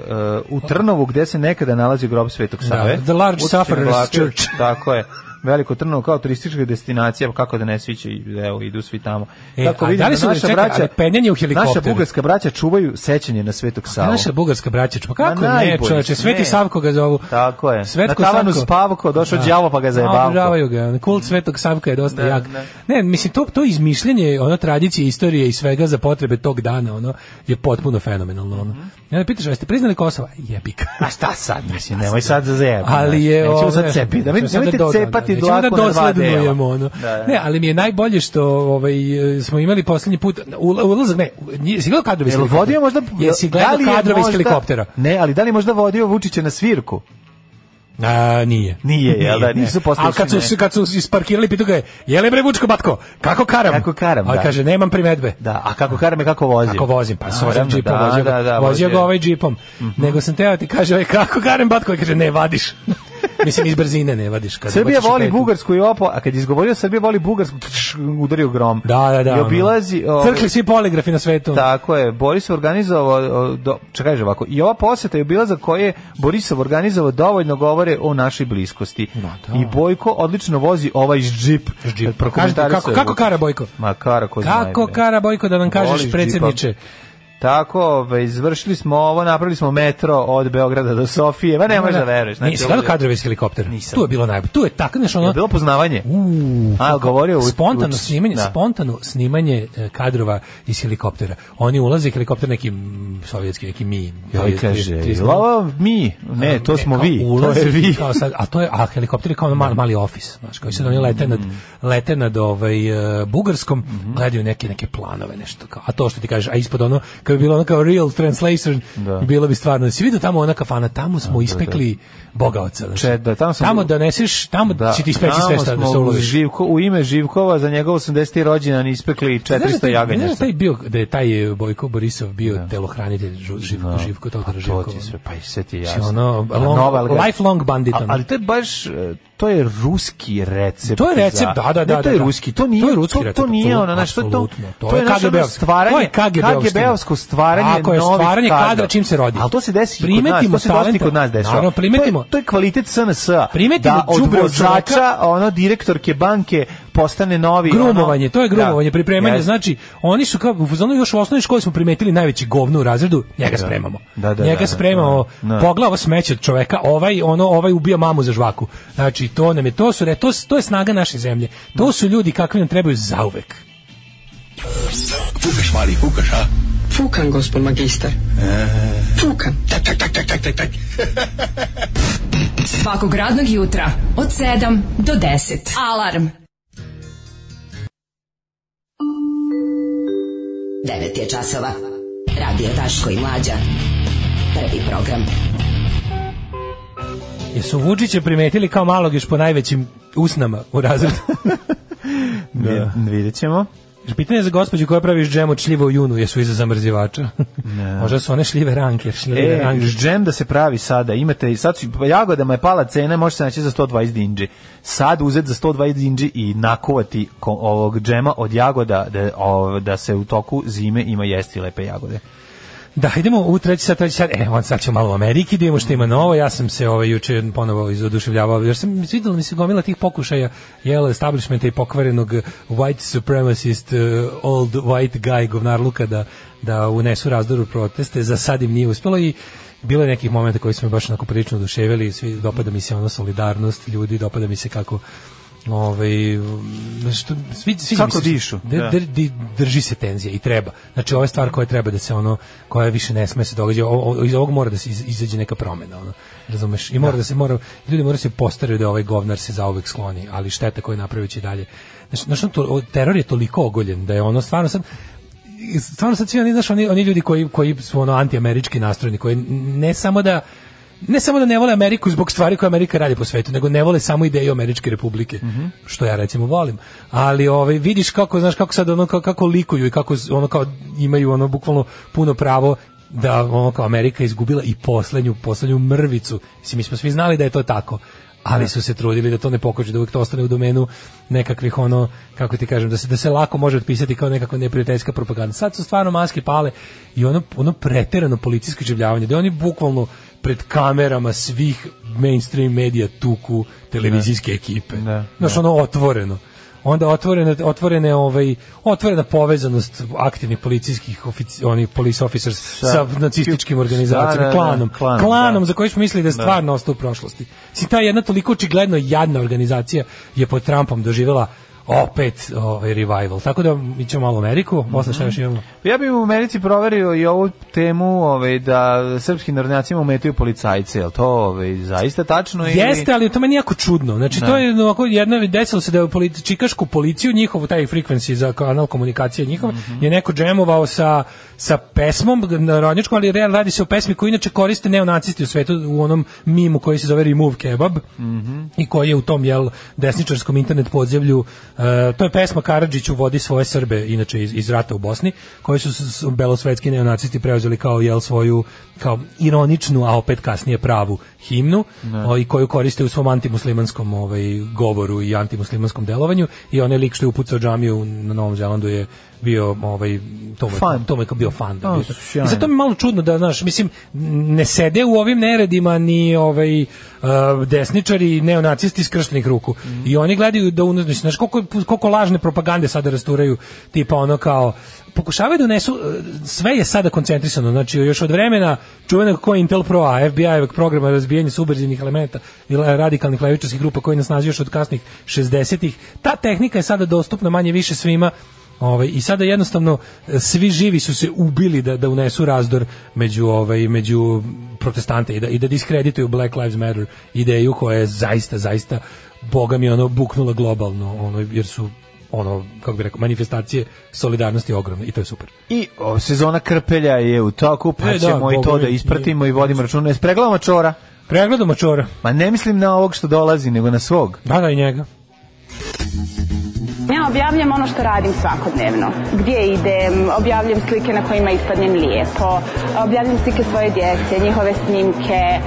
[SPEAKER 6] u Trnovu gde se nekada nalazi grob Svetog Save.
[SPEAKER 7] the large
[SPEAKER 6] Utvrđen
[SPEAKER 7] sufferer's
[SPEAKER 6] vlakar-
[SPEAKER 7] church.
[SPEAKER 6] Tako je. Veliko Trnovo kao turistička destinacija, pa kako da ne svi će, evo, idu svi tamo.
[SPEAKER 7] E,
[SPEAKER 6] Tako
[SPEAKER 7] a da li su- čekaj, ali penjanje u helikopteru?
[SPEAKER 6] Naša bugarska braća čuvaju sećanje na Svetog Savu.
[SPEAKER 7] Naša bugarska braća, pa kako
[SPEAKER 6] Ma
[SPEAKER 7] ne,
[SPEAKER 6] najbolji
[SPEAKER 7] čoveče,
[SPEAKER 6] su,
[SPEAKER 7] Sveti
[SPEAKER 6] ne.
[SPEAKER 7] Savko ga zovu.
[SPEAKER 6] Tako je.
[SPEAKER 7] Svetko
[SPEAKER 6] Na tavanu
[SPEAKER 7] Savko.
[SPEAKER 6] Spavko, došao đavo pa ga zajebavko.
[SPEAKER 7] Obožavaju ga. Kult Svetog Savka je dosta
[SPEAKER 6] Da,
[SPEAKER 7] jak.
[SPEAKER 6] da.
[SPEAKER 7] Ne, mislim to to izmišljanje ono tradicije, istorije i svega za potrebe tog dana, ono je potpuno fenomenalno. Ono.
[SPEAKER 6] Mhm.
[SPEAKER 7] Ja me pitaš, jeste priznali Kosovo? Jebika.
[SPEAKER 6] A šta sad, mislim, nemoj sad za zajebanje.
[SPEAKER 7] ali je
[SPEAKER 6] Nećemo
[SPEAKER 7] ove-
[SPEAKER 6] sad cepi, da mi,
[SPEAKER 7] nećemo sad
[SPEAKER 6] nemojte
[SPEAKER 7] dodam,
[SPEAKER 6] cepati
[SPEAKER 7] nećemo
[SPEAKER 6] dlaku na dva
[SPEAKER 7] dosledno
[SPEAKER 6] dela.
[SPEAKER 7] jemo, ono.
[SPEAKER 6] Da, da.
[SPEAKER 7] Ne, ali mi je najbolje što ovaj smo imali poslednji put ula- ulazak ne, nije si gledao kadrove iz
[SPEAKER 6] Jel
[SPEAKER 7] helikoptera?
[SPEAKER 6] vodio možda...
[SPEAKER 7] Jesi gledao
[SPEAKER 6] li je
[SPEAKER 7] kadrove iz
[SPEAKER 6] možda-
[SPEAKER 7] helikoptera?
[SPEAKER 6] Ne, ali da li je možda vodio Vučića na svirku?
[SPEAKER 7] A, nije.
[SPEAKER 6] Nije, jel da, nisu postavili
[SPEAKER 7] Ali kad su,
[SPEAKER 6] šine.
[SPEAKER 7] kad su isparkirali, pitu ga je, je li bre Vučko Batko, kako karam?
[SPEAKER 6] Kako karam,
[SPEAKER 7] Ali
[SPEAKER 6] da.
[SPEAKER 7] kaže, nemam primedbe.
[SPEAKER 6] Da, a kako karme, kako vozio?
[SPEAKER 7] Kako vozim, pa sa ovim
[SPEAKER 6] Naravno,
[SPEAKER 7] džipom
[SPEAKER 6] da,
[SPEAKER 7] vozio,
[SPEAKER 6] da, da,
[SPEAKER 7] vozio ga
[SPEAKER 6] vozio. Mhm.
[SPEAKER 7] ovaj džipom. Nego sam teo ti kaže, ovaj, kako karam Batko? I kaže, ne vadiš. Mislim, iz brzine ne vadiš. Kad
[SPEAKER 6] Srbija
[SPEAKER 7] baciš
[SPEAKER 6] voli
[SPEAKER 7] petu.
[SPEAKER 6] Bugarsku i opo, a kad je izgovorio Srbija voli Bugarsku, tš, udario grom.
[SPEAKER 7] Da, da, da.
[SPEAKER 6] I
[SPEAKER 7] ono.
[SPEAKER 6] obilazi... ovaj,
[SPEAKER 7] Crkli svi poligrafi na svetu.
[SPEAKER 6] Tako je, Boris je organizovao, o, do, čekaj kaže ovako, i ova poseta je bila za koje je Borisov organizovao dovoljno govore o našoj bliskosti. I Bojko odlično vozi ovaj džip.
[SPEAKER 7] Džip. Kažete,
[SPEAKER 6] Prokomentarisao
[SPEAKER 7] kako,
[SPEAKER 6] je
[SPEAKER 7] kako
[SPEAKER 6] Vučić.
[SPEAKER 7] kara Bojko?
[SPEAKER 6] Ma kara ko zna,
[SPEAKER 7] Kako
[SPEAKER 6] bre.
[SPEAKER 7] kara Bojko da nam
[SPEAKER 6] Voliš
[SPEAKER 7] kažeš,
[SPEAKER 6] džipa.
[SPEAKER 7] predsjedniče?
[SPEAKER 6] Tako, ove, izvršili smo ovo, napravili smo metro od Beograda do Sofije, ma ne možeš da veruješ. znači,
[SPEAKER 7] Nisi
[SPEAKER 6] ovo
[SPEAKER 7] gledao
[SPEAKER 6] je-
[SPEAKER 7] kadrove iz helikoptera?
[SPEAKER 6] Nisam.
[SPEAKER 7] Tu je bilo najbolje. Tu je tako, znaš, ono...
[SPEAKER 6] Je bilo poznavanje?
[SPEAKER 7] Uuu,
[SPEAKER 6] A, govorio u-
[SPEAKER 7] spontano
[SPEAKER 6] u-
[SPEAKER 7] snimanje,
[SPEAKER 6] da.
[SPEAKER 7] spontano snimanje e, kadrova iz helikoptera. Oni ulaze helikopter neki mm, sovjetski, neki mi.
[SPEAKER 6] Joj,
[SPEAKER 7] ovi
[SPEAKER 6] kaže,
[SPEAKER 7] 30.
[SPEAKER 6] jel ovo mi, ne, to smo
[SPEAKER 7] kao
[SPEAKER 6] vi, to
[SPEAKER 7] ulaze,
[SPEAKER 6] je vi.
[SPEAKER 7] kao sad, a to je a helikopter je kao ono mali, mali ofis, znaš, koji sad oni lete nad
[SPEAKER 6] Mm-hmm.
[SPEAKER 7] lete nad ovaj e, bugarskom, gledaju neke neke planove nešto kao. A to što ti kažeš, a ispod ono kad bi bilo ono kao real translation, bilo bi stvarno. Si vidio tamo ona kafana, tamo smo ispekli bogaoca, znači.
[SPEAKER 6] Če- da, tamo sam-
[SPEAKER 7] doneseš, tamo
[SPEAKER 6] Da,
[SPEAKER 7] će ti ispeći sve
[SPEAKER 6] tamo
[SPEAKER 7] šta da
[SPEAKER 6] smo
[SPEAKER 7] se
[SPEAKER 6] u
[SPEAKER 7] uloviš.
[SPEAKER 6] Živko, u ime Živkova za njegov 80. rođendan ispekli 400 jaganja.
[SPEAKER 7] Znaš da
[SPEAKER 6] sa-
[SPEAKER 7] taj bio, da je taj e, Bojko Borisov bio telohranitelj žu, živko, živko, to
[SPEAKER 6] Pa to ti sve, pa i sve ti jasno.
[SPEAKER 7] ono,
[SPEAKER 6] A
[SPEAKER 7] long-
[SPEAKER 6] nova Algarve-
[SPEAKER 7] lifelong bandit,
[SPEAKER 6] A-
[SPEAKER 7] ono.
[SPEAKER 6] Ali to je baš, e, to je ruski recept.
[SPEAKER 7] To je recept,
[SPEAKER 6] za-
[SPEAKER 7] da, da, da,
[SPEAKER 6] Ne, to je
[SPEAKER 7] da, da.
[SPEAKER 6] ruski, to nije,
[SPEAKER 7] To je ruski
[SPEAKER 6] to,
[SPEAKER 7] recept,
[SPEAKER 6] nije ono, znaš, to, to,
[SPEAKER 7] apsolutno.
[SPEAKER 6] to, je naš ono
[SPEAKER 7] KGB-ovski.
[SPEAKER 6] stvaranje,
[SPEAKER 7] To je KGB-ovski.
[SPEAKER 6] KGB-ovsko stvaranje
[SPEAKER 7] Tako je,
[SPEAKER 6] novih
[SPEAKER 7] stvaranje kadra čim se rodi.
[SPEAKER 6] Ali to se desi i kod nas,
[SPEAKER 7] Primetimo
[SPEAKER 6] to se dosta i
[SPEAKER 7] talenta.
[SPEAKER 6] kod nas dešava.
[SPEAKER 7] Naravno, primetimo.
[SPEAKER 6] To je, to je kvalitet SNS-a.
[SPEAKER 7] Primetimo
[SPEAKER 6] da od
[SPEAKER 7] đubre od
[SPEAKER 6] vozača,
[SPEAKER 7] čoveka.
[SPEAKER 6] ono, direktorke banke postane novi... ono-
[SPEAKER 7] Grumovanje, to je grumovanje,
[SPEAKER 6] Da,
[SPEAKER 7] pripremanje.
[SPEAKER 6] jeste.
[SPEAKER 7] Znači, oni su kao u fazonu još u osnovnoj školi smo primetili najveći govno u razredu, njega spremamo.
[SPEAKER 6] Da, da,
[SPEAKER 7] njega
[SPEAKER 6] da, da,
[SPEAKER 7] spremamo.
[SPEAKER 6] da, da.
[SPEAKER 7] Pogleda ovo smeće od čoveka, ovaj ono, ovaj ubija mamu za žvaku. Znači, to nam je to su re- to, to je snaga naše zemlje. To su ljudi kakvi nam trebaju zauvek.
[SPEAKER 5] Fukan, gospod magister.
[SPEAKER 10] Eh.
[SPEAKER 5] Fukan.
[SPEAKER 10] Svakog radnog jutra od 7 do 10. Alarm.
[SPEAKER 11] 9 je časova. Radio Daško i Mlađa. Prvi program.
[SPEAKER 7] Jesu Vučića primetili kao malog još po najvećim usnama u razredu.
[SPEAKER 6] Da. Vidjet ćemo.
[SPEAKER 7] Znači, Pitanje za gospođu koja praviš džem od šljiva u junu, jesu iza zamrzivača? Možda su one šljive ranke, šljive
[SPEAKER 6] E,
[SPEAKER 7] ranke.
[SPEAKER 6] džem da se pravi sada, imate, i sad su, jagodama je pala cena, može se naći za 120 dinđi. Sad uzet za 120 dinđi i nakovati ko- ovog džema od jagoda da, o, da se u toku zime ima jesti lepe jagode.
[SPEAKER 7] Da, idemo u treći sat, treći sat. E, on sad ćemo malo u Ameriki, da vidimo što ima novo. Ja sam se ovaj, juče ponovo izoduševljavao, jer sam vidjela mi se gomila tih pokušaja jel, establishmenta i pokvarenog eh, white supremacist, eh, old white guy govnarluka da, da unesu razdor u proteste. Za sad im nije uspelo i bilo je nekih momenta koji su me baš onako prilično oduševili. Svi, dopada mi se ono solidarnost ljudi, dopada mi se kako ovaj što svi svi
[SPEAKER 6] Kako dišu, da.
[SPEAKER 7] di- drži se tenzija i treba. Znači ovo je stvar koja treba da se ono koja više ne sme se događa. O- o- iz ovog mora da se iz- izađe neka promena, ono. Razumeš? I mora da, se mora ljudi moraju se postaraju da ovaj govnar se zauvek skloni, ali šteta koju napravi će i dalje. Znači, znači to, o- teror je toliko ogoljen da je ono stvarno sad stvarno sad svi oni, znaš, oni, oni ljudi koji, koji su ono antiamerički nastrojeni, koji ne samo da ne samo da ne vole Ameriku zbog stvari koje Amerika radi po svetu, nego ne vole samo ideju Američke republike, što ja recimo volim. Ali ovaj vidiš kako znaš kako sad ono kako, kako likuju i kako z- ono kao imaju ono bukvalno puno pravo da ono kao Amerika izgubila i poslednju, poslednju mrvicu. Mislim, mi smo svi znali da je to tako ali su se trudili da to ne pokoče, da uvek to ostane u domenu nekakvih ono, kako ti kažem, da se, da se lako može otpisati kao nekakva neprijateljska propaganda. Sad su stvarno maske pale i ono, ono preterano policijsko življavanje, da oni bukvalno pred kamerama svih mainstream medija tuku televizijske ekipe.
[SPEAKER 6] Da,
[SPEAKER 7] Znaš, ono otvoreno. Onda otvorene, otvorene ovaj, otvorena povezanost aktivnih policijskih ofici, onih police officers sa, nacističkim organizacijama,
[SPEAKER 6] Da, da, da,
[SPEAKER 7] klanom,
[SPEAKER 6] klanom,
[SPEAKER 7] klanom
[SPEAKER 6] da.
[SPEAKER 7] za koji smo mislili da je
[SPEAKER 6] Da.
[SPEAKER 7] stvarno ostao u prošlosti. Si ta jedna toliko očigledno jadna organizacija je pod Trumpom doživjela opet ovaj revival. Tako da mi ćemo malo u Ameriku,
[SPEAKER 6] Mhm.
[SPEAKER 7] posle šta još imamo?
[SPEAKER 6] Ja bih u Americi proverio i ovu temu ovaj, da srpski narodnjacima umetuju policajce, je li to ovaj, zaista tačno? ili-
[SPEAKER 7] Jeste, ali to meni je jako čudno. Znači,
[SPEAKER 6] Da.
[SPEAKER 7] to je ovako, jedno, desilo se da je u politi- čikašku policiju, njihov taj frequency za kanal komunikacije njihov,
[SPEAKER 6] Mhm.
[SPEAKER 7] je neko džemovao sa, sa pesmom narodničkom, ali real radi se o pesmi koju inače koriste neonacisti u svetu u onom mimu koji se zove Remove Kebab
[SPEAKER 6] Mhm.
[SPEAKER 7] i koji je u tom jel, desničarskom internet podzemlju. e, to je pesma Karadžiću vodi svoje Srbe, inače iz, iz rata u Bosni, koji su, s- s- belosvetski neonacisti preuzeli kao jel svoju kao ironičnu, a opet kasnije pravu himnu o, i koju koriste u svom antimuslimanskom ovaj, govoru i antimuslimanskom delovanju i onaj lik što je upucao džamiju na Novom Zelandu je bio ovaj to mu je-
[SPEAKER 6] Fan.
[SPEAKER 7] to mu je kao bio fan da,
[SPEAKER 6] A,
[SPEAKER 7] bio to.
[SPEAKER 6] sjajno.
[SPEAKER 7] I zato mi je malo čudno da znaš mislim ne sede u ovim neredima ni ovaj eh, desničari neonacisti skrštenih ruku i oni gledaju da unutra mislim, znaš koliko koliko lažne propagande sada rasturaju tipa ono kao pokušavaju da unesu eh, sve je sada koncentrisano znači još od vremena čuvenog koji Intel Pro a FBI programa razbijanja subverzivnih elemenata i la- radikalnih levičarskih grupa koji nas naziva još od kasnih 60-ih ta tehnika je sada dostupna manje više svima Ovaj i sada jednostavno e, svi živi su se ubili da da unesu razdor među ovaj među protestante i da i da diskredituju Black Lives Matter ideju koja je zaista zaista boga mi ono buknula globalno ono jer su ono kako bih rekao manifestacije solidarnosti ogromne i to je super.
[SPEAKER 6] I o, sezona krpelja je u toku, pa
[SPEAKER 7] E, da,
[SPEAKER 6] ćemo i to
[SPEAKER 7] Boga
[SPEAKER 6] da
[SPEAKER 7] mi,
[SPEAKER 6] ispratimo i vodimo računa. Jes pregledamo čora?
[SPEAKER 7] Pregledamo čora.
[SPEAKER 6] Ma ne mislim na ovog što dolazi, nego na svog.
[SPEAKER 7] Da, da, i njega.
[SPEAKER 12] Ja objavljam ono što radim svakodnevno. Gdje idem, objavljam slike na kojima ispadnem lijepo, objavljam slike svoje djece, njihove snimke, eh,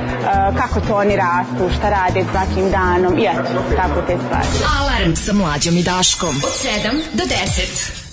[SPEAKER 12] kako to oni rastu, šta rade svakim danom, i eto, tako te stvari.
[SPEAKER 10] Alarm sa mlađom i Daškom. Od 7 do 10.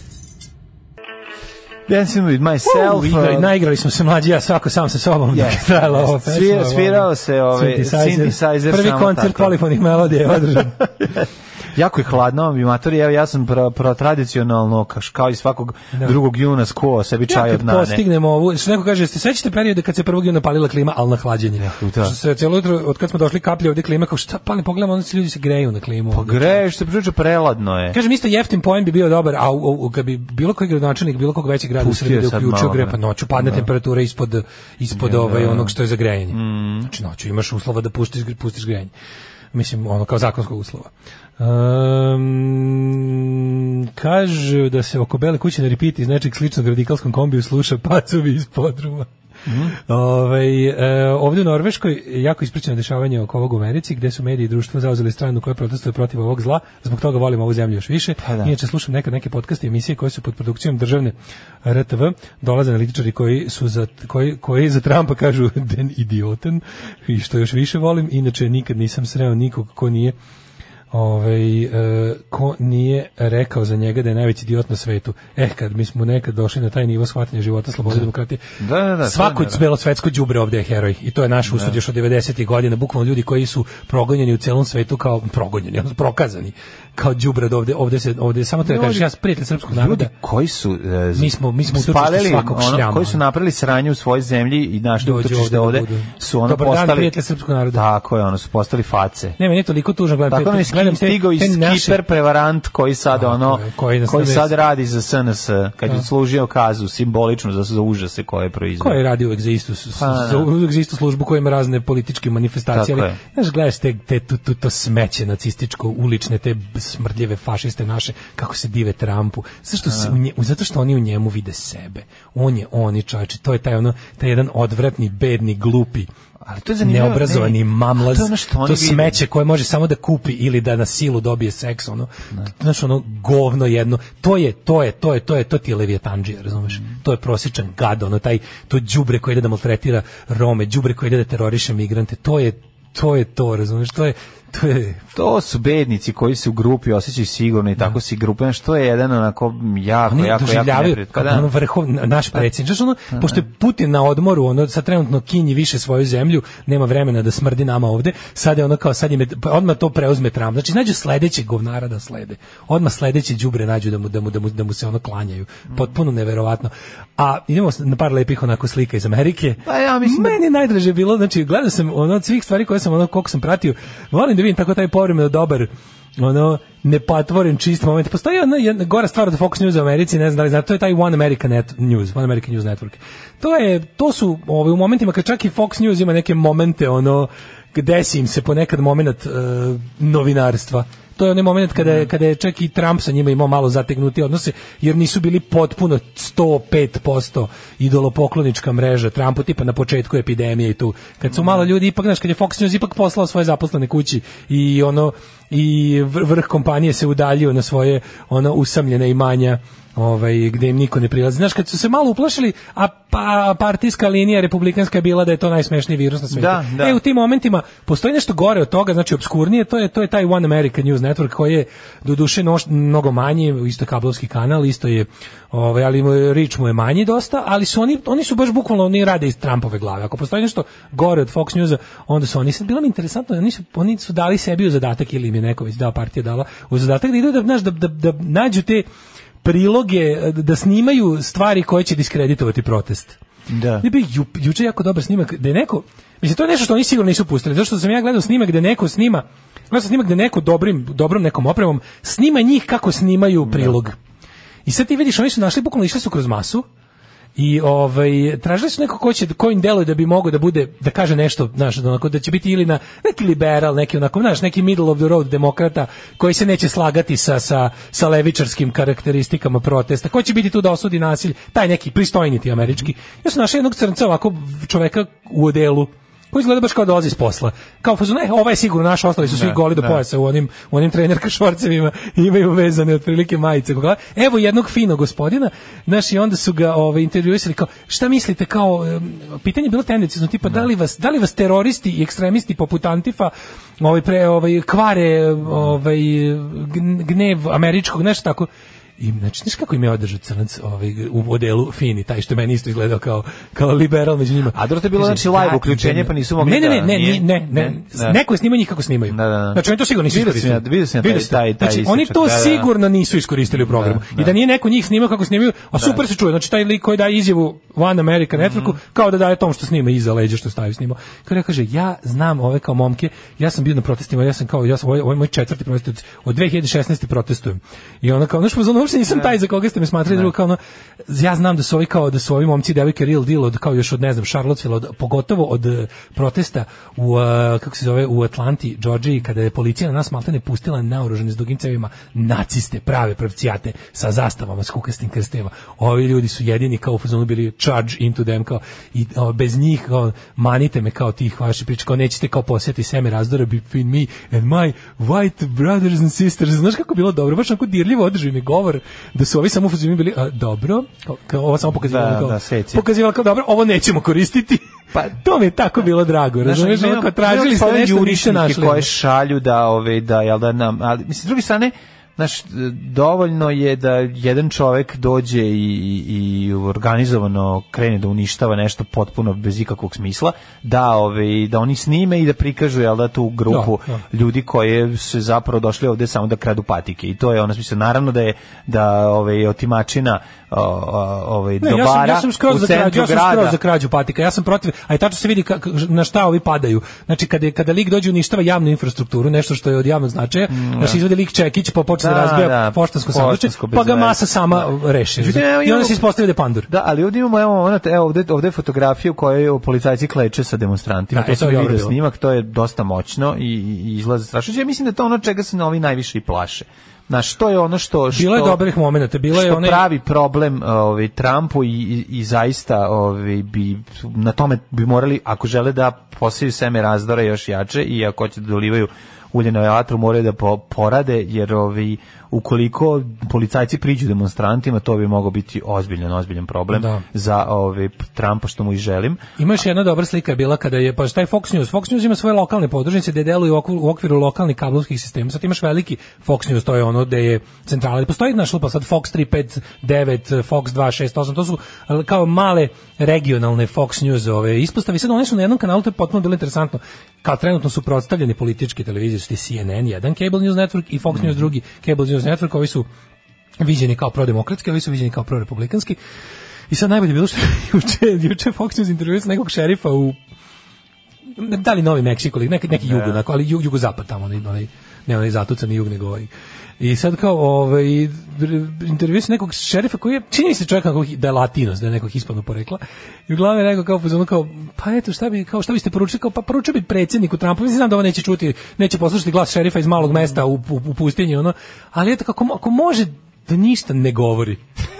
[SPEAKER 6] Dancing with myself.
[SPEAKER 7] U, igra-
[SPEAKER 6] uh,
[SPEAKER 7] naigrali smo se mlađi ja svako sam sa sobom.
[SPEAKER 6] Yes,
[SPEAKER 7] dok je trajala
[SPEAKER 6] yes.
[SPEAKER 7] ova
[SPEAKER 6] Svira-
[SPEAKER 7] pesma,
[SPEAKER 6] svirao
[SPEAKER 7] ono.
[SPEAKER 6] se, ovaj, synthesizer
[SPEAKER 7] Prvi
[SPEAKER 6] samo
[SPEAKER 7] koncert
[SPEAKER 6] tako.
[SPEAKER 7] polifonih melodija je održan.
[SPEAKER 6] uh, jako je hladno, bi matori, evo ja sam pro, pro tradicionalno, kaš, kao i svakog
[SPEAKER 7] Da.
[SPEAKER 6] drugog juna skuo sebi
[SPEAKER 7] Ja
[SPEAKER 6] čaj
[SPEAKER 7] kad
[SPEAKER 6] od nane.
[SPEAKER 7] postignemo ovu, što neko kaže, ste sećate perioda kad se prvog juna palila klima, ali na hlađenje.
[SPEAKER 6] Eh, da.
[SPEAKER 7] Što se cijelo jutro, od kad smo došli kaplje ovdje klima, kao šta palim, pogledamo, onda se ljudi se greju na klimu.
[SPEAKER 6] Pa greš, se priča preladno je.
[SPEAKER 7] Kažem, isto jeftin poen bi bio dobar, a u, u, kad bi bilo koji gradonačelnik bilo kog većeg grada u
[SPEAKER 6] Pustio
[SPEAKER 7] Srbiji da
[SPEAKER 6] je sad
[SPEAKER 7] uključio
[SPEAKER 6] malo,
[SPEAKER 7] gre,
[SPEAKER 6] ne.
[SPEAKER 7] pa noću padne
[SPEAKER 6] Da.
[SPEAKER 7] temperatura ispod, ispod
[SPEAKER 6] Ja,
[SPEAKER 7] ovaj,
[SPEAKER 6] da. Mm.
[SPEAKER 7] onog što je za grejanje. Znači, noću imaš uslova da pustiš, gr- pustiš grejanje. Mislim, ono, kao zakonskog uslova. Um, kaže da se oko bele kuće na repeat iz nečeg sličnog radikalskom kombiju sluša pacovi iz podruma. Mhm. Ovaj, e, ovdje u Norveškoj jako ispričano dešavanje oko ovog u Americi gdje su mediji i društvo zauzeli stranu koja protestuje protiv ovog zla, zbog toga volim ovu zemlju još više.
[SPEAKER 6] da.
[SPEAKER 7] Inače slušam nekad neke podcaste i emisije koje su pod produkcijom državne RTV, dolaze analitičari koji su za, koji, koji za Trumpa kažu den idioten i što još više volim, inače nikad nisam sreo nikog ko nije ovaj, e, ko nije rekao za njega da je najveći idiot na svetu. Eh, kad mi smo nekad došli na taj nivo shvatanja života, slobode, demokratije,
[SPEAKER 6] Da, da, da, to
[SPEAKER 7] svako
[SPEAKER 6] je naravno.
[SPEAKER 7] belosvetsko đubre ovde je heroj i to je naš usud još od 90-ih godina bukvalno ljudi koji su progonjeni u celom svetu kao progonjeni odnosno prokazani kao đubre od ovde ovde se ovde samo treba
[SPEAKER 6] Ljudi-
[SPEAKER 7] kažeš ja sam prijatelj srpskog
[SPEAKER 6] Ljudi
[SPEAKER 7] naroda
[SPEAKER 6] koji su e,
[SPEAKER 7] Mi smo- mi smo utočište
[SPEAKER 6] spalili ono,
[SPEAKER 7] svakog šljama.
[SPEAKER 6] koji su napravili sranje u svojoj zemlji i našli
[SPEAKER 7] Dođu
[SPEAKER 6] utočište
[SPEAKER 7] ovde
[SPEAKER 6] ovde,
[SPEAKER 7] da budu.
[SPEAKER 6] su ono
[SPEAKER 7] Dobar dan,
[SPEAKER 6] postali
[SPEAKER 7] prijatelj srpskog naroda.
[SPEAKER 6] Tako je, ono su postali face.
[SPEAKER 7] ne meni je toliko tužno gledam
[SPEAKER 6] Tako nam je
[SPEAKER 7] gledam te-
[SPEAKER 6] stigao i
[SPEAKER 7] te naše-
[SPEAKER 6] skiper prevarant koji sad
[SPEAKER 7] Tako
[SPEAKER 6] ono
[SPEAKER 7] je, koji
[SPEAKER 6] koji,
[SPEAKER 7] nas nam je-
[SPEAKER 6] sad radi za SNS kad
[SPEAKER 7] Da.
[SPEAKER 6] je služio kaznu simbolično za, za užase koje je proizveo.
[SPEAKER 7] Koja je radi uvek za istu, s-
[SPEAKER 6] Pa, da.
[SPEAKER 7] za uvek za istu službu koja ima razne političke manifestacije.
[SPEAKER 6] Tako
[SPEAKER 7] Ali,
[SPEAKER 6] je.
[SPEAKER 7] znaš, gledaš te, te, tu, tu, to smeće nacističko, ulične, te b- smrdljive fašiste naše, kako se dive Trumpu. Zašto se u nje- u- zato što oni u njemu vide sebe. On je oni, čovječe. To je taj, ono, taj jedan odvratni, bedni, glupi
[SPEAKER 6] ali to je zanimljivo.
[SPEAKER 7] Neobrazovani
[SPEAKER 6] ne,
[SPEAKER 7] mamlaz,
[SPEAKER 6] a to je ono što
[SPEAKER 7] to,
[SPEAKER 6] oni vide.
[SPEAKER 7] smeće koje može samo da kupi ili da na silu dobije seks, ono, znaš, ono, govno jedno, to je, to je, to je, to je, to ti je levijatanđija, razumeš?
[SPEAKER 6] Mm.
[SPEAKER 7] To je prosječan gad, ono, taj, to đubre koje ide da maltretira Rome, đubre koje ide da teroriše migrante, to je, to je to, razumeš? To je, to je,
[SPEAKER 6] To su bednici koji se u grupi osjećaju sigurno i tako si grupe, što je jedan onako jako,
[SPEAKER 7] oni
[SPEAKER 6] jako, jako
[SPEAKER 7] doživljavaju
[SPEAKER 6] neprijatno. Pa
[SPEAKER 7] kao
[SPEAKER 6] Da.
[SPEAKER 7] ono vrhov, naš predsjednik. Znaš, ono, pošto je Putin na odmoru, ono, sad trenutno kinji više svoju zemlju, nema vremena da smrdi nama ovde, sad je ono kao, sad je, odmah to preuzme Trump. Znači, nađu sledećeg govnara da slede. Odmah sledeće đubre nađu da mu, da, mu, da, mu, da mu se ono klanjaju.
[SPEAKER 6] Mm.
[SPEAKER 7] Potpuno neverovatno. A idemo na par lepih onako slika iz Amerike.
[SPEAKER 6] Pa ja mislim da-
[SPEAKER 7] Meni je najdraže bilo, znači, gledao sam ono od svih stvari koje sam ono, koliko sam pratio, volim da vidim tako taj povremeno dobar ono nepatvoren čist moment. Postoji jedna, jedna gora stvar od Fox News u Americi, ne znam da li znate, to je taj One America Net News, One American News Network. To je to su ovaj u momentima kad čak i Fox News ima neke momente ono gde im se ponekad momenat eh, novinarstva. To je onaj moment kada
[SPEAKER 6] Mhm.
[SPEAKER 7] je, kada je čak i Trump sa njima imao malo zategnuti odnose, jer nisu bili potpuno 105% idolopoklonička mreža Trumpu, tipa na početku epidemije i tu. Kad
[SPEAKER 6] Mhm.
[SPEAKER 7] su malo ljudi, ipak, znaš, kad je Fox News ipak poslao svoje zaposlene kući i ono, i vr- vrh kompanije se udaljio na svoje ono usamljene imanja ovaj, gde im niko ne prilazi. Znaš, kad su se malo uplašili, a pa, partijska linija republikanska je bila da je to najsmešniji virus na svetu.
[SPEAKER 6] Da, da.
[SPEAKER 7] E, u tim momentima postoji nešto gore od toga, znači obskurnije, to je to je taj One America News Network koji je doduše noš, mnogo manji, isto je kablovski kanal, isto je ovaj ali mu je- reach mu je manji dosta, ali su oni oni su baš bukvalno oni rade iz Trumpove glave. Ako postoji nešto gore od Fox Newsa, onda su oni sad bilo mi interesantno, oni su oni su dali sebi u zadatak ili im je neko već dao partija dala u zadatak da idu da znaš, da, da, da nađu te priloge da snimaju stvari koje će diskreditovati protest.
[SPEAKER 6] Da.
[SPEAKER 7] Ne bi ju, juče jako dobar snimak da je neko Mislim, to je nešto što oni sigurno nisu pustili. Zašto sam ja gledao snimak gde neko snima, gledao sam snimak gde neko dobrim, dobrom nekom opremom snima njih kako snimaju prilog. I sad ti vidiš, oni su našli, bukvalno išli su kroz masu, i ovaj tražili su neko ko će ko im deluje da bi mogao da bude da kaže nešto znaš onako da će biti ili na neki liberal neki onako znaš neki middle of the road demokrata koji se neće slagati sa sa sa levičarskim karakteristikama protesta ko će biti tu da osudi nasilje taj neki pristojni ti američki ja sam našao jednog crnca ovako čoveka u odelu koji izgleda baš kao dolazi iz posla. Kao fazon, e, ovaj je sigurno naš, ostali su svi
[SPEAKER 6] Da,
[SPEAKER 7] goli do
[SPEAKER 6] da.
[SPEAKER 7] pojasa u onim, u onim trenerka šorcevima, imaju vezane otprilike majice. Kako- Evo jednog finog gospodina, znaš, i onda su ga ovaj, intervjuisali kao, šta mislite, kao, em, pitanje je bilo tendencijno, tipa, da li, vas, da li vas teroristi i ekstremisti poput Antifa ovaj, pre, ovaj, kvare ovaj, gn- gnev američkog, nešto tako, i znači znaš kako im je održao crnac ovaj, u modelu fini taj što je meni isto izgledao kao kao liberal među njima
[SPEAKER 6] A dobro, to je bilo,
[SPEAKER 7] Kaže,
[SPEAKER 6] znači, live
[SPEAKER 7] "Da,
[SPEAKER 6] uključenje, pa nisu mogli
[SPEAKER 7] ne, ne, ne,
[SPEAKER 6] da-
[SPEAKER 7] ne,
[SPEAKER 6] nije-
[SPEAKER 7] ne, ne, ne,
[SPEAKER 6] ne, da.
[SPEAKER 7] neko je snimao njih kako snimaju.
[SPEAKER 6] Da, da, da.
[SPEAKER 7] Znači oni to sigurno nisu
[SPEAKER 6] Vidio sam
[SPEAKER 7] iskoristili.
[SPEAKER 6] ja- vidio sam ja taj-
[SPEAKER 7] ste.
[SPEAKER 6] taj- taj
[SPEAKER 7] Znači oni
[SPEAKER 6] isječak,
[SPEAKER 7] to
[SPEAKER 6] da, da.
[SPEAKER 7] sigurno nisu iskoristili u programu. I da nije neko njih snimao kako snimaju, a super se čuje. Znači taj lik koji daje izjavu One America
[SPEAKER 6] Mhm.
[SPEAKER 7] Networku kao da daje tom što snima iza leđa što stavi snima. Kad ja kaže ja znam ove kao momke, ja sam bio na protestima, ja sam kao ja sam ovo je- ovo je moj četvrti protest od- od 2016 protestujem. I ona kao znači pozvano uopšte nisam taj za koga ste me smatrali drugo kao ono, ja znam da su ovi kao da su ovi momci i devojke real deal od kao još od ne znam Charlottesville od, pogotovo od eh, protesta u eh, kako se zove u Atlanti, Georgiji kada je policija na nas maltene pustila naoružane s dugim cevima naciste, prave pravcijate sa zastavama, s kukastim krstima. Ovi ljudi su jedini kao u fazonu bili charge into them kao i o, bez njih kao, manite me kao tih vaših priča, kao nećete kao posjeti seme razdora between me and my white brothers and sisters. Znaš kako je bilo dobro, baš onako dirljivo održi mi govor da su ovi samo u fazonu bili a, dobro, kao, kao, ovo samo pokazivalo
[SPEAKER 6] Da,
[SPEAKER 7] kao,
[SPEAKER 6] da, seci.
[SPEAKER 7] pokazivalo kao dobro, ovo nećemo koristiti. Pa, to mi je tako bilo drago, razumiješ,
[SPEAKER 6] ima-
[SPEAKER 7] ono kao
[SPEAKER 6] ima
[SPEAKER 7] tražili ste
[SPEAKER 6] svoje
[SPEAKER 7] nešto, niste
[SPEAKER 6] jurišnike
[SPEAKER 7] našli.
[SPEAKER 6] koje šalju da ove da jel da nam ali mislim s druge strane Znaš, dovoljno je da jedan čovek dođe i, i, i organizovano krene da uništava nešto potpuno bez ikakvog smisla, da, ove, da oni snime i da prikažu jel, da, tu grupu
[SPEAKER 7] Da,
[SPEAKER 6] ljudi koje su zapravo došli ovde samo da kradu patike. I to je ono smisla. Naravno da je da, ove, otimačina o, o, ove,
[SPEAKER 7] Ne, ja sam,
[SPEAKER 6] dobara
[SPEAKER 7] ja sam skroz
[SPEAKER 6] u
[SPEAKER 7] za krađu,
[SPEAKER 6] centru
[SPEAKER 7] ja sam
[SPEAKER 6] grada.
[SPEAKER 7] skroz za krađu patika. Ja sam protiv, a i tačno se vidi kako- na šta ovi padaju. Znači kada je- kada lik dođe i uništava javnu infrastrukturu, nešto što je od javnog značaja, znači izvadi lik čekić pa počne da,
[SPEAKER 6] Mm, Da,
[SPEAKER 7] razbija
[SPEAKER 6] da,
[SPEAKER 7] poštansko sanduče,
[SPEAKER 6] poštansko bez
[SPEAKER 7] pa ga
[SPEAKER 6] veze.
[SPEAKER 7] masa sama reši.
[SPEAKER 6] Međutim, evo
[SPEAKER 7] I onda
[SPEAKER 6] imamo-
[SPEAKER 7] se ispostavi da je pandur.
[SPEAKER 6] Da, ali ovdje imamo, evo, ona, evo ovdje, ovdje je fotografija u kojoj policajci kleče sa demonstrantima.
[SPEAKER 7] Da,
[SPEAKER 6] to
[SPEAKER 7] e, to
[SPEAKER 6] sam
[SPEAKER 7] je dobro
[SPEAKER 6] video
[SPEAKER 7] bilo.
[SPEAKER 6] snimak, to je dosta moćno i, i izlaze strašujuće. Ja mislim da je to ono čega se novi najviše i plaše. Na što je ono što što
[SPEAKER 7] Bilo je dobrih momenata, bilo je
[SPEAKER 6] što
[SPEAKER 7] onaj-
[SPEAKER 6] pravi problem ovaj Trumpu i, i, i zaista ovaj bi na tome bi morali ako žele da poseju seme razdora još jače i ako hoće da dolivaju ulje na vatru moraju da po- porade jer ovi ukoliko policajci priđu demonstrantima to bi mogao biti ozbiljan ozbiljan problem
[SPEAKER 7] Da.
[SPEAKER 6] za ovaj Trumpa što mu i želim.
[SPEAKER 7] Ima još jedna dobra slika je bila kada je pa taj Fox News, Fox News ima svoje lokalne podružnice gde deluju u okviru, u okviru lokalnih kablovskih sistema. Sad imaš veliki Fox News, to je ono gde je centrala, ali postoji naš lupa sad Fox 359, Fox 268, to su al, kao male regionalne Fox News ove ispostave. I sad one su na jednom kanalu, to je potpuno bilo interesantno. Kao trenutno su protstavljeni politički televizije, su ti CNN, jedan Cable News Network i Fox News drugi Cable News Network, ovi su viđeni kao prodemokratski, ovi su viđeni kao prorepublikanski. I sad najbolje je bilo što je juče, juče Fox News intervjuisao nekog šerifa u ne, da li Novi Meksiko ili neki neki jug onako, ali jug jugozapad tamo onaj onaj ne onaj zatucani jug nego ovaj. I sad kao ovaj intervju sa nekog šerifa koji je čini mi se čovjek kako da je latinos, da je nekog hispanog porekla. I uglavnom je rekao kao pozvano kao pa eto šta bi kao šta biste poručili kao pa poručio bi predsjedniku Trumpu, mislim znam da ovo neće čuti, neće poslušati glas šerifa iz malog mesta u, u, u pustinji ono, ali eto kako mo- ako može da ništa ne govori.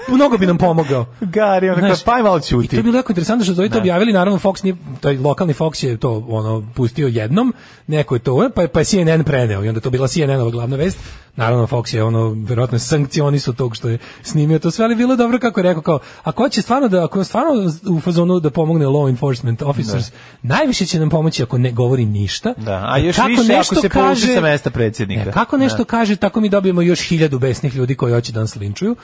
[SPEAKER 7] Mnogo bi nam pomogao.
[SPEAKER 6] Gari, ono kao,
[SPEAKER 7] Znaš,
[SPEAKER 6] pa i malo
[SPEAKER 7] I to je
[SPEAKER 6] ćuti.
[SPEAKER 7] bilo jako interesantno što su oni to
[SPEAKER 6] Da.
[SPEAKER 7] objavili, naravno Fox nije, taj lokalni Fox je to ono pustio jednom, neko je to, pa, je- pa je CNN preneo i onda je to bila CNN-ova glavna vest. Naravno Fox je ono verovatno sankcioni su tog što je snimio to sve, ali bilo je dobro kako je rekao kao ako hoće stvarno da ako je stvarno u fazonu da pomogne law enforcement officers, najviše će nam pomoći ako ne govori ništa.
[SPEAKER 6] Da, a još više ako se povuče sa mesta predsjednika.
[SPEAKER 7] Ne, kako nešto
[SPEAKER 6] Da.
[SPEAKER 7] kaže, tako mi dobijemo još hiljadu besnih ljudi koji hoće da nas linčuju.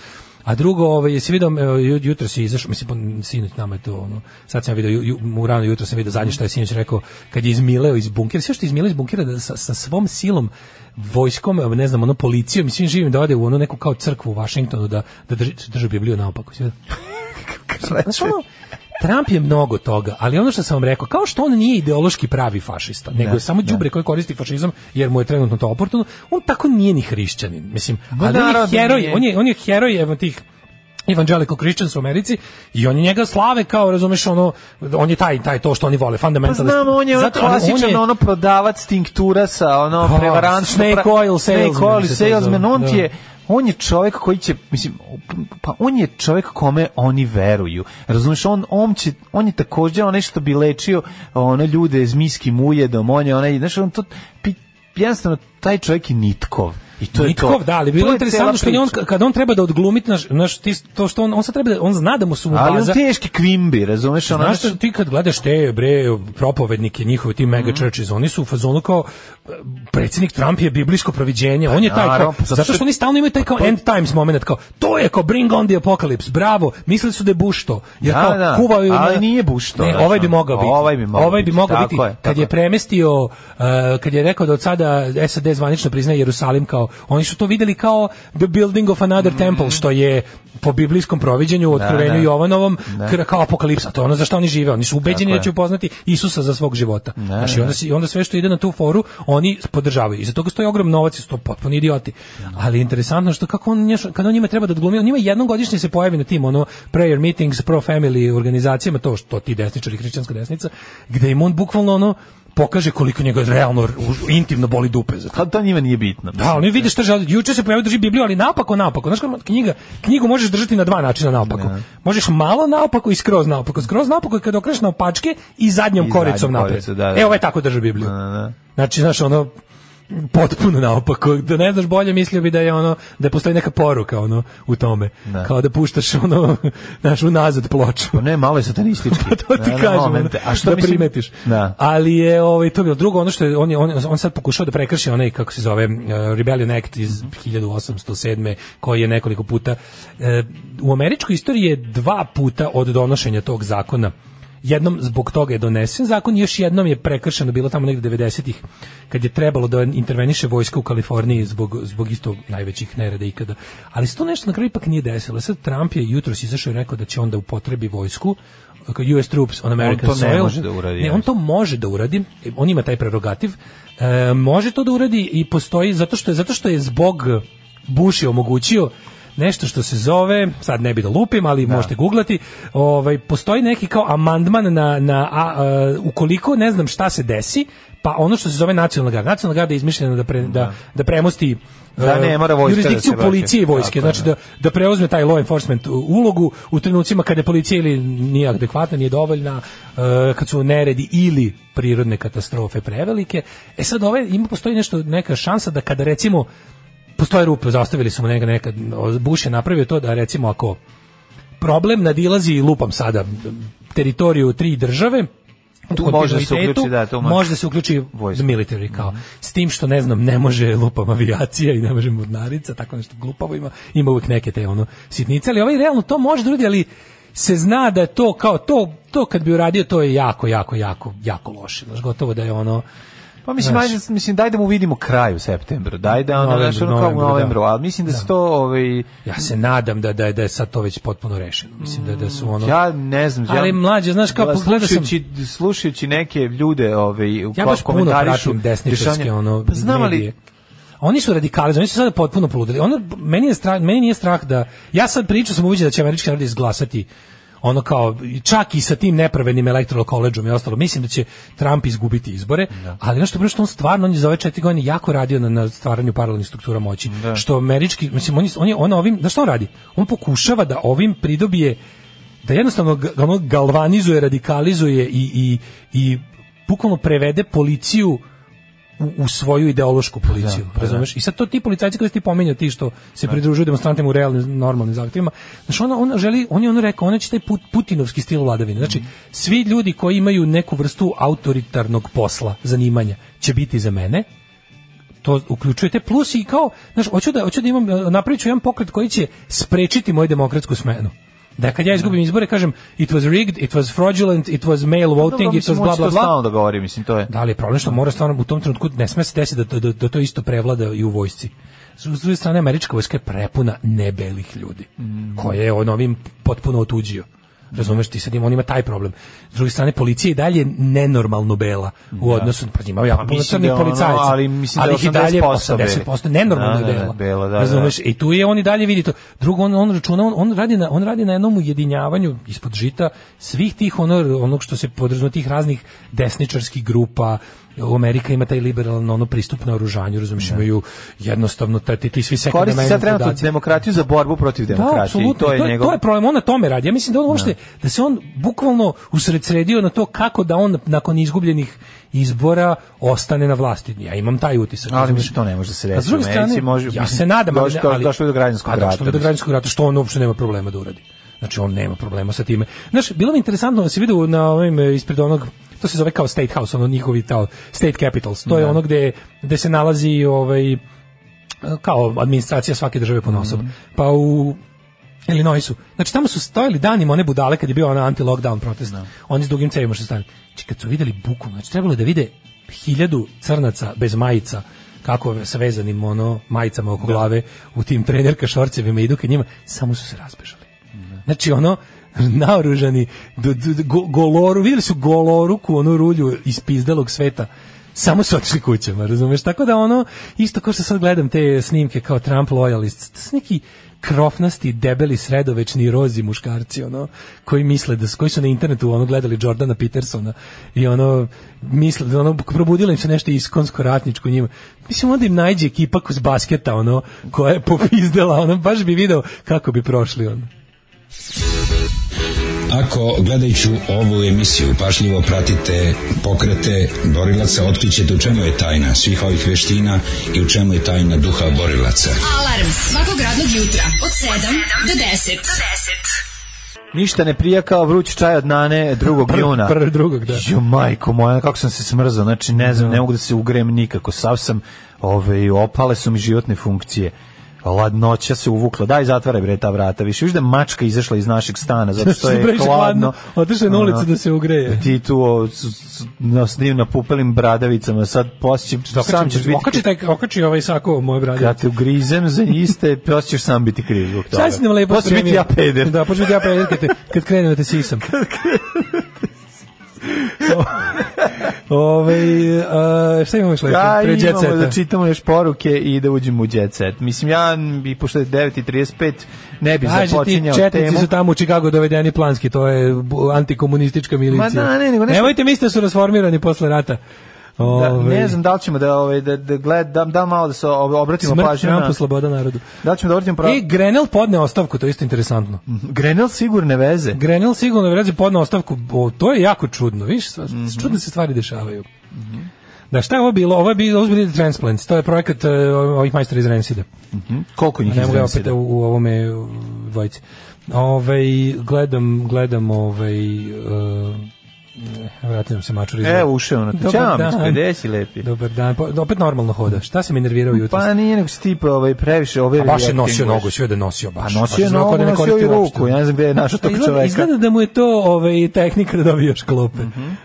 [SPEAKER 7] A drugo, ovaj, jesi vidio, evo, ju- jutro si izašao, mislim, pon- sinoć nama je to, ono, sad sam vidio, ju, ju- u rano jutro sam vidio zadnje što je sinoć rekao, kad je izmileo iz bunkera, sve što je izmileo iz bunkera da sa, sa svom silom, vojskom, evo, ne znam, ono, policijom i svim živim da ode u ono neku kao crkvu u Vašingtonu da, da drži, drži Bibliju naopako. Sve. Znaš, ono, Trump je mnogo toga, ali ono što sam vam rekao, kao što on nije ideološki pravi fašista, nego
[SPEAKER 6] Da,
[SPEAKER 7] je samo
[SPEAKER 6] da.
[SPEAKER 7] đubre koji koristi fašizam jer mu je trenutno to oportuno, on tako nije ni hrišćanin. Mislim,
[SPEAKER 6] Ma
[SPEAKER 7] ali on je
[SPEAKER 6] Pa naravno da
[SPEAKER 7] heroj,
[SPEAKER 6] nije.
[SPEAKER 7] on je, on je heroj evo tih evangelical Christians u Americi i oni njega slave kao, razumeš, ono, on je taj, taj to što oni vole,
[SPEAKER 6] Pa
[SPEAKER 7] fundamentalist.
[SPEAKER 6] znam, on je ono
[SPEAKER 7] Zato, ali on
[SPEAKER 6] klasičan
[SPEAKER 7] je-
[SPEAKER 6] ono prodavac tinktura sa ono
[SPEAKER 7] Da,
[SPEAKER 6] prevarant
[SPEAKER 7] snake oil
[SPEAKER 6] snake
[SPEAKER 7] salesman
[SPEAKER 6] oil
[SPEAKER 7] se to zove,
[SPEAKER 6] salesman on ti
[SPEAKER 7] da.
[SPEAKER 6] je on je čovjek koji će mislim pa on je čovjek kome oni veruju razumiješ on on će on je takođe onaj što bi lečio one ljude zmijskim ujedom on je onaj znaš on to pi- jednostavno taj čovjek je nitkov i to je
[SPEAKER 7] Nitkov,
[SPEAKER 6] to
[SPEAKER 7] da, ali
[SPEAKER 6] To
[SPEAKER 7] bilo
[SPEAKER 6] je
[SPEAKER 7] je
[SPEAKER 6] cela
[SPEAKER 7] interesantno što je on,
[SPEAKER 6] priča.
[SPEAKER 7] kad on treba da odglumiti naš, naš, ti- to što on, on sad treba da, on zna da mu su mu
[SPEAKER 6] ali on
[SPEAKER 7] baza,
[SPEAKER 6] teški kvimbi razumiješ ono
[SPEAKER 7] Znaš što ti kad gledaš te bre propovednike njihove ti
[SPEAKER 6] Mhm.
[SPEAKER 7] mega churches, oni su u fazonu kao e, predsjednik Trump je biblijsko proviđenje, on je taj
[SPEAKER 6] naravno,
[SPEAKER 7] kao,
[SPEAKER 6] pa zato
[SPEAKER 7] zato
[SPEAKER 6] što-
[SPEAKER 7] što oni stalno imaju taj kao end times moment kao to je kao bring on the apocalypse, bravo, mislili su da je Bush to. Jer
[SPEAKER 6] Da,
[SPEAKER 7] kao
[SPEAKER 6] da,
[SPEAKER 7] kuvao je na-
[SPEAKER 6] ali nije Bush to,
[SPEAKER 7] Ne,
[SPEAKER 6] znaš,
[SPEAKER 7] ovaj bi
[SPEAKER 6] ono,
[SPEAKER 7] mogao biti.
[SPEAKER 6] ovaj bi mogao biti, tako
[SPEAKER 7] biti.
[SPEAKER 6] je,
[SPEAKER 7] kad
[SPEAKER 6] tako
[SPEAKER 7] je
[SPEAKER 6] je.
[SPEAKER 7] premestio e, kad je rekao da od sada SAD zvanično priznaje Jerusalim kao oni su to videli kao the building of another temple što je po biblijskom proviđenju u otkrivenju
[SPEAKER 6] Mhm. da.
[SPEAKER 7] Jovanovom
[SPEAKER 6] Da.
[SPEAKER 7] kr- kao apokalipsa, to je ono za što oni žive, oni su ubeđeni
[SPEAKER 6] Tako je.
[SPEAKER 7] da će upoznati Isusa za svog života. Znaš, i onda, se- i onda sve što ide na tu foru, oni podržavaju. Iza toga stoji ogrom novac, i su to potpuni idioti. Ali interesantno što kako on, nješ- kada on njima treba da odglumi, on njima jednom godišnje se pojavi na tim, ono, prayer meetings, pro-family organizacijama, to što ti desničari, hrišćanska desnica, gde im on bukvalno, ono, pokaže koliko njega realno u- intimno boli dupe za to.
[SPEAKER 6] Pa to njima nije bitno
[SPEAKER 7] Da, oni vide šta žele. Juče se pojavio drži Bibliju, ali naopako, naopako. Znaš kako knjiga, knjigu možeš držati na dva načina naopako. Možeš malo naopako i skroz naopako. Skroz naopako je kada okreneš naopačke i zadnjom
[SPEAKER 6] I
[SPEAKER 7] koricom
[SPEAKER 6] zadnju
[SPEAKER 7] napred.
[SPEAKER 6] koricu, da, da.
[SPEAKER 7] E, ovaj tako drži Bibliju.
[SPEAKER 6] Da, da, da.
[SPEAKER 7] Znači, znaš, ono, potpuno naopako. Da ne znaš bolje, mislio bi da je ono, da postoji neka poruka ono, u tome.
[SPEAKER 6] Da.
[SPEAKER 7] Kao da puštaš ono, znaš, unazad ploču.
[SPEAKER 6] Pa ne, malo je satanistički.
[SPEAKER 7] Pa to ti
[SPEAKER 6] Na- na
[SPEAKER 7] kažem,
[SPEAKER 6] momente.
[SPEAKER 7] ono,
[SPEAKER 6] A što
[SPEAKER 7] da
[SPEAKER 6] mislim-
[SPEAKER 7] primetiš.
[SPEAKER 6] Da.
[SPEAKER 7] Ali je ovaj to bilo drugo ono što je on je on, on sad pokušao da prekrši onaj kako se zove eh, Rebellion Act iz
[SPEAKER 6] Mhm.
[SPEAKER 7] 1807 koji je nekoliko puta eh, u američkoj istoriji je dva puta od donošenja tog zakona jednom zbog toga je donesen zakon i još jednom je prekršeno bilo tamo negde 90-ih kad je trebalo da interveniše vojska u Kaliforniji zbog, zbog isto najvećih nereda ikada. Ali se to nešto na kraju ipak nije desilo. Sad Trump je jutros izašao i rekao da će onda upotrebi vojsku eh, US troops on American
[SPEAKER 6] to ne
[SPEAKER 7] soil.
[SPEAKER 6] može da uradi,
[SPEAKER 7] Ne,
[SPEAKER 6] ja
[SPEAKER 7] on to može da uradi, on ima taj prerogativ, e, može to da uradi i postoji zato što je, zato što je zbog Bush je omogućio nešto što se zove, sad ne bi da lupim, ali možete googlati, ovaj, postoji neki kao amandman na, na a, a, ukoliko ne znam šta se desi, pa ono što se zove nacionalna garda. Nacionalna garda je izmišljena da, pre, da, da premosti
[SPEAKER 6] Da ne
[SPEAKER 7] e,
[SPEAKER 6] mora vojska da se
[SPEAKER 7] jurisdikciju
[SPEAKER 6] vraća.
[SPEAKER 7] policije i vojske,
[SPEAKER 6] Tako je,
[SPEAKER 7] znači da, da preuzme taj law enforcement ulogu u trenucima kada policija ili nije adekvatna, nije dovoljna, e, kad su neredi ili prirodne katastrofe prevelike. E sad ovaj, ima postoji nešto, neka šansa da kada recimo postoje rupe, zastavili su mu neka, neka, Bush je napravio to da recimo ako problem nadilazi, lupam sada, teritoriju tri države, u
[SPEAKER 6] Tu može da se
[SPEAKER 7] kontinuitetu,
[SPEAKER 6] uključi, da, tu može. Mhm.
[SPEAKER 7] može da se uključi vojska. military kao. S tim što ne znam, ne može lupam avijacija i ne može mornarica, tako nešto glupavo ima, ima uvek neke te ono sitnice, ali ovaj realno to može drugi, ali se zna da je to kao to, to kad bi uradio to je jako, jako, jako, jako loše. Znaš, gotovo da je ono
[SPEAKER 6] Pa mislim,
[SPEAKER 7] Znaš.
[SPEAKER 6] ajde, mislim, daj da mu vidimo kraj u septembru, daj da ono,
[SPEAKER 7] Novembru,
[SPEAKER 6] znaš, ono kao u
[SPEAKER 7] novembru,
[SPEAKER 6] novembru,
[SPEAKER 7] da.
[SPEAKER 6] ali mislim da se to, ovaj,
[SPEAKER 7] Ja se nadam da da je- da je sad to već potpuno rešeno. Mislim da da su ono
[SPEAKER 6] ja ne znam,
[SPEAKER 7] Ali
[SPEAKER 6] ja,
[SPEAKER 7] mlađe, znaš, kao pogledao sam-
[SPEAKER 6] slušajući, slušajući neke ljude, ovaj, u
[SPEAKER 7] Ja
[SPEAKER 6] ko-
[SPEAKER 7] baš puno
[SPEAKER 6] komentarišu
[SPEAKER 7] pratim desničarske
[SPEAKER 6] dešanja-
[SPEAKER 7] ono
[SPEAKER 6] pa znam ali,
[SPEAKER 7] medije. Oni su radikali, oni su sada potpuno poludeli. Ono meni je strah, meni nije strah da ja sad pričao sam uviđao da će američki narod izglasati ono kao čak i sa tim nepravednim electoral collegeom i ostalo mislim da će Trump izgubiti izbore ali nešto prvo što on stvarno on je za ove četiri godine jako radio na, na stvaranju paralelnih struktura moći što američki mislim on je, on je on ovim da što on radi on pokušava da ovim pridobije da jednostavno ga- ono galvanizuje radikalizuje i, i, i bukvalno prevede policiju u, u svoju ideološku policiju, razumeš? I sad to ti policajci koji si ti pominjao, ti što se pridružuju demonstrantima u realnim, normalnim zahtjevima, znači ona, ona želi, on je ono rekao, ona će taj put, putinovski stil vladavine, znači
[SPEAKER 6] Mhm.
[SPEAKER 7] svi ljudi koji imaju neku vrstu autoritarnog posla, zanimanja, će biti za mene, to uključujete plus i kao znaš hoću da hoću da imam e, napravit ću jedan pokret koji će sprečiti moju demokratsku smenu da kad ja izgubim izbore kažem it was rigged it was fraudulent it was mail voting
[SPEAKER 6] dobro,
[SPEAKER 7] it was
[SPEAKER 6] mislim,
[SPEAKER 7] bla
[SPEAKER 6] hoće
[SPEAKER 7] bla
[SPEAKER 6] to
[SPEAKER 7] bla
[SPEAKER 6] stalno da govori, mislim, to je.
[SPEAKER 7] da li je problem što mora stvarno u tom trenutku ne sme se desiti da, to- da, da to isto prevlada i u vojsci. S s druge strane, američka vojska je prepuna nebelih ljudi,
[SPEAKER 6] Mm.
[SPEAKER 7] koje je on ovim potpuno otuđio. Razumeš, ti sad ima, on ima taj problem. S druge strane, policija je i dalje nenormalno bela u odnosu, pa ima jako puno
[SPEAKER 6] mislim
[SPEAKER 7] crnih
[SPEAKER 6] da je ono,
[SPEAKER 7] policajaca,
[SPEAKER 6] ali mislim da je
[SPEAKER 7] ih i dalje
[SPEAKER 6] 80%
[SPEAKER 7] 80% nenormalno
[SPEAKER 6] Da, da,
[SPEAKER 7] je bela.
[SPEAKER 6] bela, da, da.
[SPEAKER 7] Razumeš, Znači, i tu je on i dalje vidi to. Drugo, on, on računa, on, on, radi na, on radi na jednom ujedinjavanju ispod žita svih tih ono, onog što se podrazumeva tih raznih desničarskih grupa, Amerika ima taj liberalan ono pristup na oružanju, razumiješ, imaju jednostavno taj, ti, ti svi sekundarni
[SPEAKER 6] Koristi sad trenutno
[SPEAKER 7] podaci.
[SPEAKER 6] demokratiju za borbu protiv
[SPEAKER 7] Da,
[SPEAKER 6] demokratije. i
[SPEAKER 7] apsolutno.
[SPEAKER 6] to je njegov...
[SPEAKER 7] to je problem, on na tome radi. Ja mislim da on uopšte, da se on bukvalno usredsredio na to kako da on nakon izgubljenih izbora ostane na vlasti. Ja imam taj utisak.
[SPEAKER 6] Ali
[SPEAKER 7] razumeš?
[SPEAKER 6] mislim to ne može da se
[SPEAKER 7] A s
[SPEAKER 6] reći.
[SPEAKER 7] druge
[SPEAKER 6] u Americi
[SPEAKER 7] strane,
[SPEAKER 6] može,
[SPEAKER 7] ja
[SPEAKER 6] mislim,
[SPEAKER 7] se nadam, ali,
[SPEAKER 6] došlo-
[SPEAKER 7] ali
[SPEAKER 6] došlo je do građanskog
[SPEAKER 7] A
[SPEAKER 6] rata.
[SPEAKER 7] Došlo je do građanskog rata, što on uopšte nema problema da uradi. Znači, on nema problema sa time. Znaš, bilo mi interesantno da se vidio na ovim, e, ispred onog, to se zove kao State House, ono njihovi tao, State Capitals. To je ono gde, gde se nalazi ovaj, kao administracija svake države po osob.
[SPEAKER 6] Mhm.
[SPEAKER 7] Pa u Illinoisu. Znači tamo su stojali danima one budale kad je bio onaj anti-lockdown protest. Oni s dugim cevima što stane. Znači kad su videli buku, znači trebalo je da vide hiljadu crnaca bez majica kako sa vezanim ono majicama oko glave u tim trenerka šorcevima idu ka njima, samo su se razbežali. Znači ono naoružani d- d- d- go- goloru, vidjeli su goloruku, onu rulju iz pizdelog sveta. Samo su otišli kućama, razumeš? Tako da ono, isto kao što sad gledam te snimke kao Trump lojalist, to su neki krofnasti, debeli, sredovečni rozi muškarci, ono, koji misle da, s- koji su na internetu ono gledali Jordana Petersona i ono, misle, da ono, probudilo im se nešto iskonsko ratničko njima. Mislim, onda im najđe ekipa s basketa, ono, koja je popizdela, ono, baš bi video kako bi prošli, ono.
[SPEAKER 13] Ako gledajuću ovu emisiju pašljivo pratite pokrete borilaca, otkrićete u čemu je tajna svih ovih veština i u čemu je tajna duha borilaca.
[SPEAKER 10] Alarm svakog radnog jutra od 7 do 10.
[SPEAKER 6] Ništa ne prija kao vruć čaj od nane 2. juna.
[SPEAKER 7] prvi drugog, da.
[SPEAKER 6] Jo, majko moja, kako sam se smrzao, znači ne znam, ne mogu da se ugrem nikako, sav sam, ove, opale su mi životne funkcije. Ladnoća se uvukla, daj zatvaraj bre ta vrata, više viš da je mačka izašla iz našeg stana, zato što je
[SPEAKER 7] previše
[SPEAKER 6] hladno.
[SPEAKER 7] Otišao je na ulicu
[SPEAKER 6] Ono,
[SPEAKER 7] da se ugreje.
[SPEAKER 6] Ti tu o, s, s, na, s njim na pupelim bradavicama, sad poslije ću- sam ćeš
[SPEAKER 7] Okači,
[SPEAKER 6] biti,
[SPEAKER 7] taj, okači ovaj sako, moj bradje.
[SPEAKER 6] kad te ugrizem za iste, poslije ćeš sam biti kriv zbog toga.
[SPEAKER 7] Šta si nam lepo
[SPEAKER 6] Poslije ću biti ja
[SPEAKER 7] spremio?
[SPEAKER 6] peder.
[SPEAKER 7] Da, počne biti ja peder kad, te, kad krenem da te sisam. Ove, ovaj, a, šta imamo još lepo?
[SPEAKER 6] Da,
[SPEAKER 7] Pre Jet
[SPEAKER 6] imamo
[SPEAKER 7] Seta.
[SPEAKER 6] da čitamo još poruke i da uđemo u jet set. Mislim, ja bi, pošto je 9.35, ne bi
[SPEAKER 7] Kaži
[SPEAKER 6] započinjao
[SPEAKER 7] ti, četnici
[SPEAKER 6] temu.
[SPEAKER 7] su tamo u Čikagu dovedeni planski, to je bu- antikomunistička milicija.
[SPEAKER 6] Ma da, ne, nego nešto-
[SPEAKER 7] Nemojte misliti da su rasformirani posle rata.
[SPEAKER 6] Da,
[SPEAKER 7] Ovaj,
[SPEAKER 6] ne znam da li ćemo da, ovaj, da, da, gled, da, da malo da se ob- obratimo
[SPEAKER 7] Smrt
[SPEAKER 6] pažnju. na-
[SPEAKER 7] Trumpu, sloboda narodu.
[SPEAKER 6] Da li ćemo da obratimo prav...
[SPEAKER 7] I Grenell podne ostavku, to je isto interesantno.
[SPEAKER 6] Grenell sigurne veze.
[SPEAKER 7] Grenell sigurno veze podne ostavku, o, to je jako čudno, viš, sva-
[SPEAKER 6] Mhm.
[SPEAKER 7] čudne se stvari dešavaju. Da, šta je ovo bilo? Ovo je bilo, ovo su bili Transplants, to je projekat e, ovih majstora iz Rensida.
[SPEAKER 6] Koliko njih
[SPEAKER 7] ne mogu ja
[SPEAKER 6] izrensira?
[SPEAKER 7] opet u, u ovome u dvojici. Ovaj, gledam, gledam ovaj... Uh, vratim se mačur iz...
[SPEAKER 6] E, ušao na te.
[SPEAKER 7] Dobar
[SPEAKER 6] Ćao,
[SPEAKER 7] dan.
[SPEAKER 6] Mičko, gde si lepi?
[SPEAKER 7] Dobar dan. Pa, opet normalno hoda. Šta se mi nervirao jutros?
[SPEAKER 6] Pa nije nego si tipa ovaj, previše ove
[SPEAKER 7] A baš je nosio nogu, sve da je nosio baš.
[SPEAKER 6] A Pa nosio je
[SPEAKER 7] Baš izgleda kao
[SPEAKER 6] nogu,
[SPEAKER 7] da ne
[SPEAKER 6] nosio
[SPEAKER 7] koristi
[SPEAKER 6] i
[SPEAKER 7] uopšte.
[SPEAKER 6] ruku, ja ne znam gde je našao tog
[SPEAKER 7] Pa Izgleda-
[SPEAKER 6] čoveka. Mhm.
[SPEAKER 7] Izgleda da mu je to ovaj, tehnika da dobije još klope.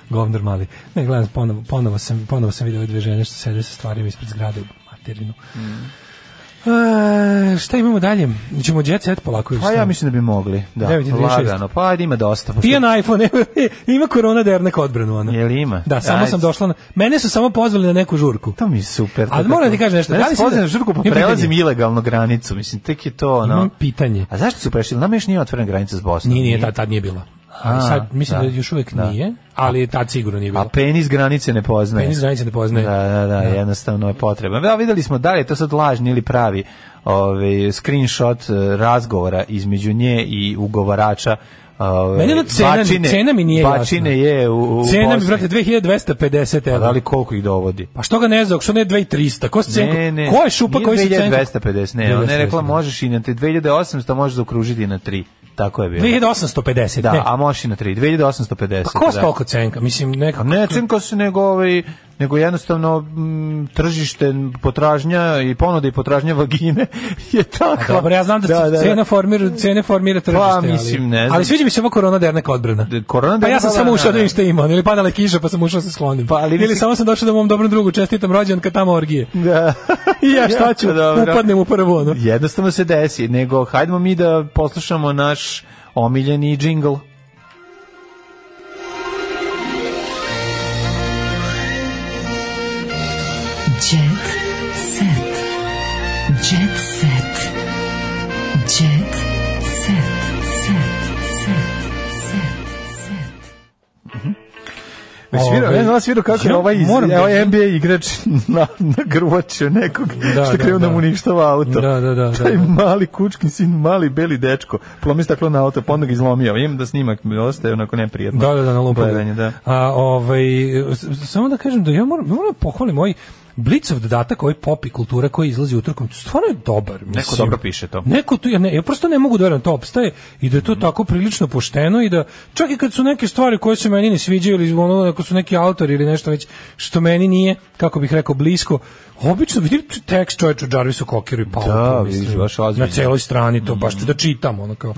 [SPEAKER 7] Govnar mali. Ne, gledam, ponovo, ponovo, sam, ponovo sam vidio ove dve žene što sede sa stvarima ispred zgrade u materinu.
[SPEAKER 6] Mhm.
[SPEAKER 7] E, šta imamo dalje? Ćemo jet set polako. ili
[SPEAKER 6] Pa
[SPEAKER 7] šta?
[SPEAKER 6] ja mislim da bi mogli. Da,
[SPEAKER 7] 9.36.
[SPEAKER 6] lagano. Pa ajde, ima dosta. pošto-
[SPEAKER 7] Pijan iPhone, e, ima korona da neka odbranu ona.
[SPEAKER 6] Jel ima?
[SPEAKER 7] Da, samo
[SPEAKER 6] Ajde.
[SPEAKER 7] sam došla na... Mene su samo pozvali na neku žurku.
[SPEAKER 6] To mi je super.
[SPEAKER 7] Ali moram ti kažem nešto.
[SPEAKER 6] Da
[SPEAKER 7] da
[SPEAKER 6] li
[SPEAKER 7] li si-
[SPEAKER 6] na žurku, pa
[SPEAKER 7] Imam
[SPEAKER 6] prelazim
[SPEAKER 7] pitanje.
[SPEAKER 6] ilegalno granicu. Mislim, tek je to, ono...
[SPEAKER 7] Imam Mhm, pitanje.
[SPEAKER 6] A zašto su prešli? Nama još nije otvorena granica s Bosnom.
[SPEAKER 7] Nije, nije, tad, tad nije bila. A,
[SPEAKER 6] A,
[SPEAKER 7] sad, mislim da,
[SPEAKER 6] da.
[SPEAKER 7] još uvek
[SPEAKER 6] Da.
[SPEAKER 7] nije, ali tad sigurno nije
[SPEAKER 6] A
[SPEAKER 7] bila.
[SPEAKER 6] penis granice ne poznaje.
[SPEAKER 7] Penis granice ne poznaje.
[SPEAKER 6] Da, da, da, jednostavno je potrebno. Da, videli smo da li je to sad lažni ili pravi ovaj, screenshot eh, razgovora između nje i ugovarača Ove,
[SPEAKER 7] Meni ono cena,
[SPEAKER 6] bačine,
[SPEAKER 7] cena mi nije
[SPEAKER 6] bačine
[SPEAKER 7] jasna.
[SPEAKER 6] je u, u
[SPEAKER 7] Cena mi,
[SPEAKER 6] Bosni.
[SPEAKER 7] brate, 2250
[SPEAKER 6] A
[SPEAKER 7] evra.
[SPEAKER 6] da li koliko ih dovodi?
[SPEAKER 7] Pa što ga ne znam, što ne 2300? Ko, se cenko,
[SPEAKER 6] Ne, ne.
[SPEAKER 7] ko je šupa
[SPEAKER 6] Nije
[SPEAKER 7] koji se cenko?
[SPEAKER 6] 2250, ne, ona je rekla
[SPEAKER 7] 2250.
[SPEAKER 6] možeš i na te 2800, možeš zaokružiti na 3. Tako je bilo.
[SPEAKER 7] 2850,
[SPEAKER 6] Da,
[SPEAKER 7] ne.
[SPEAKER 6] a možeš i na 3, 2850.
[SPEAKER 7] Pa ko se
[SPEAKER 6] da. Pa
[SPEAKER 7] toliko cenka? Mislim, nekako...
[SPEAKER 6] Ne, cinko se nego ovaj nego jednostavno mm, tržište potražnja i ponuda i potražnja vagine je
[SPEAKER 7] A
[SPEAKER 6] tako.
[SPEAKER 7] Dobro, ja znam da, se cena formira, cene formira tržište.
[SPEAKER 6] Pa, mislim, ne znam.
[SPEAKER 7] Ali sviđa mi se ova korona da je neka odbrana.
[SPEAKER 6] korona da
[SPEAKER 7] pa
[SPEAKER 6] je
[SPEAKER 7] ja sam
[SPEAKER 6] neka
[SPEAKER 7] samo
[SPEAKER 6] odbrana,
[SPEAKER 7] ušao da
[SPEAKER 6] da.
[SPEAKER 7] vidim šta ima, ono, ili padala je kiša pa sam ušao da se sklonim.
[SPEAKER 6] ali
[SPEAKER 7] ili
[SPEAKER 6] mislim-
[SPEAKER 7] samo sam došao da mom dobrom drugu čestitam rođendan kad tamo orgije.
[SPEAKER 6] Da.
[SPEAKER 7] I ja šta
[SPEAKER 6] Jako
[SPEAKER 7] ću,
[SPEAKER 6] dobro.
[SPEAKER 7] upadnem u prvo ono.
[SPEAKER 6] Jednostavno se desi, nego hajdemo mi da poslušamo naš omiljeni džingl.
[SPEAKER 10] Jet set. Jet set. Jet set. Set. Set. Set. Set.
[SPEAKER 6] Već vidio,
[SPEAKER 7] Ovaj,
[SPEAKER 6] ja znam vas vidio kako je
[SPEAKER 7] ja
[SPEAKER 6] ovaj, iz,
[SPEAKER 7] moram da-
[SPEAKER 6] ovaj NBA igrač na, nagrvačio nekog
[SPEAKER 7] Da,
[SPEAKER 6] što
[SPEAKER 7] da,
[SPEAKER 6] krenu da,
[SPEAKER 7] da.
[SPEAKER 6] mu uništava auto.
[SPEAKER 7] Da, da, da,
[SPEAKER 6] Taj
[SPEAKER 7] da, da.
[SPEAKER 6] mali kučkin sin, mali beli dečko, plomi staklo na auto, pa onda ga izlomio. Imam da snimak mi ostaje onako neprijatno.
[SPEAKER 7] Da, da, da, na lumpalu.
[SPEAKER 6] Gledanje, da.
[SPEAKER 7] A, ovaj, s- s- samo da kažem da ja moram, moram da pohvalim ovaj Blicov dodatak, ovaj pop i kultura koji izlazi utorkom, stvarno je dobar. Mislim.
[SPEAKER 6] Neko dobro piše to. Mhm.
[SPEAKER 7] Neko tu, ja, ne, ja prosto ne mogu da verujem da to opstaje i da je to tako prilično pošteno i da čak i kad su neke stvari koje se meni ne sviđaju ili ono, ako su neki autori ili nešto već što meni nije, kako bih rekao, blisko, obično vidim tu tekst čovječu Jarvisu Kokiru i Pauku.
[SPEAKER 6] Da,
[SPEAKER 7] mislim.
[SPEAKER 6] vidiš, baš ozbiljno. Mhm.
[SPEAKER 7] Na celoj strani to baš ću da čitam, ono kao,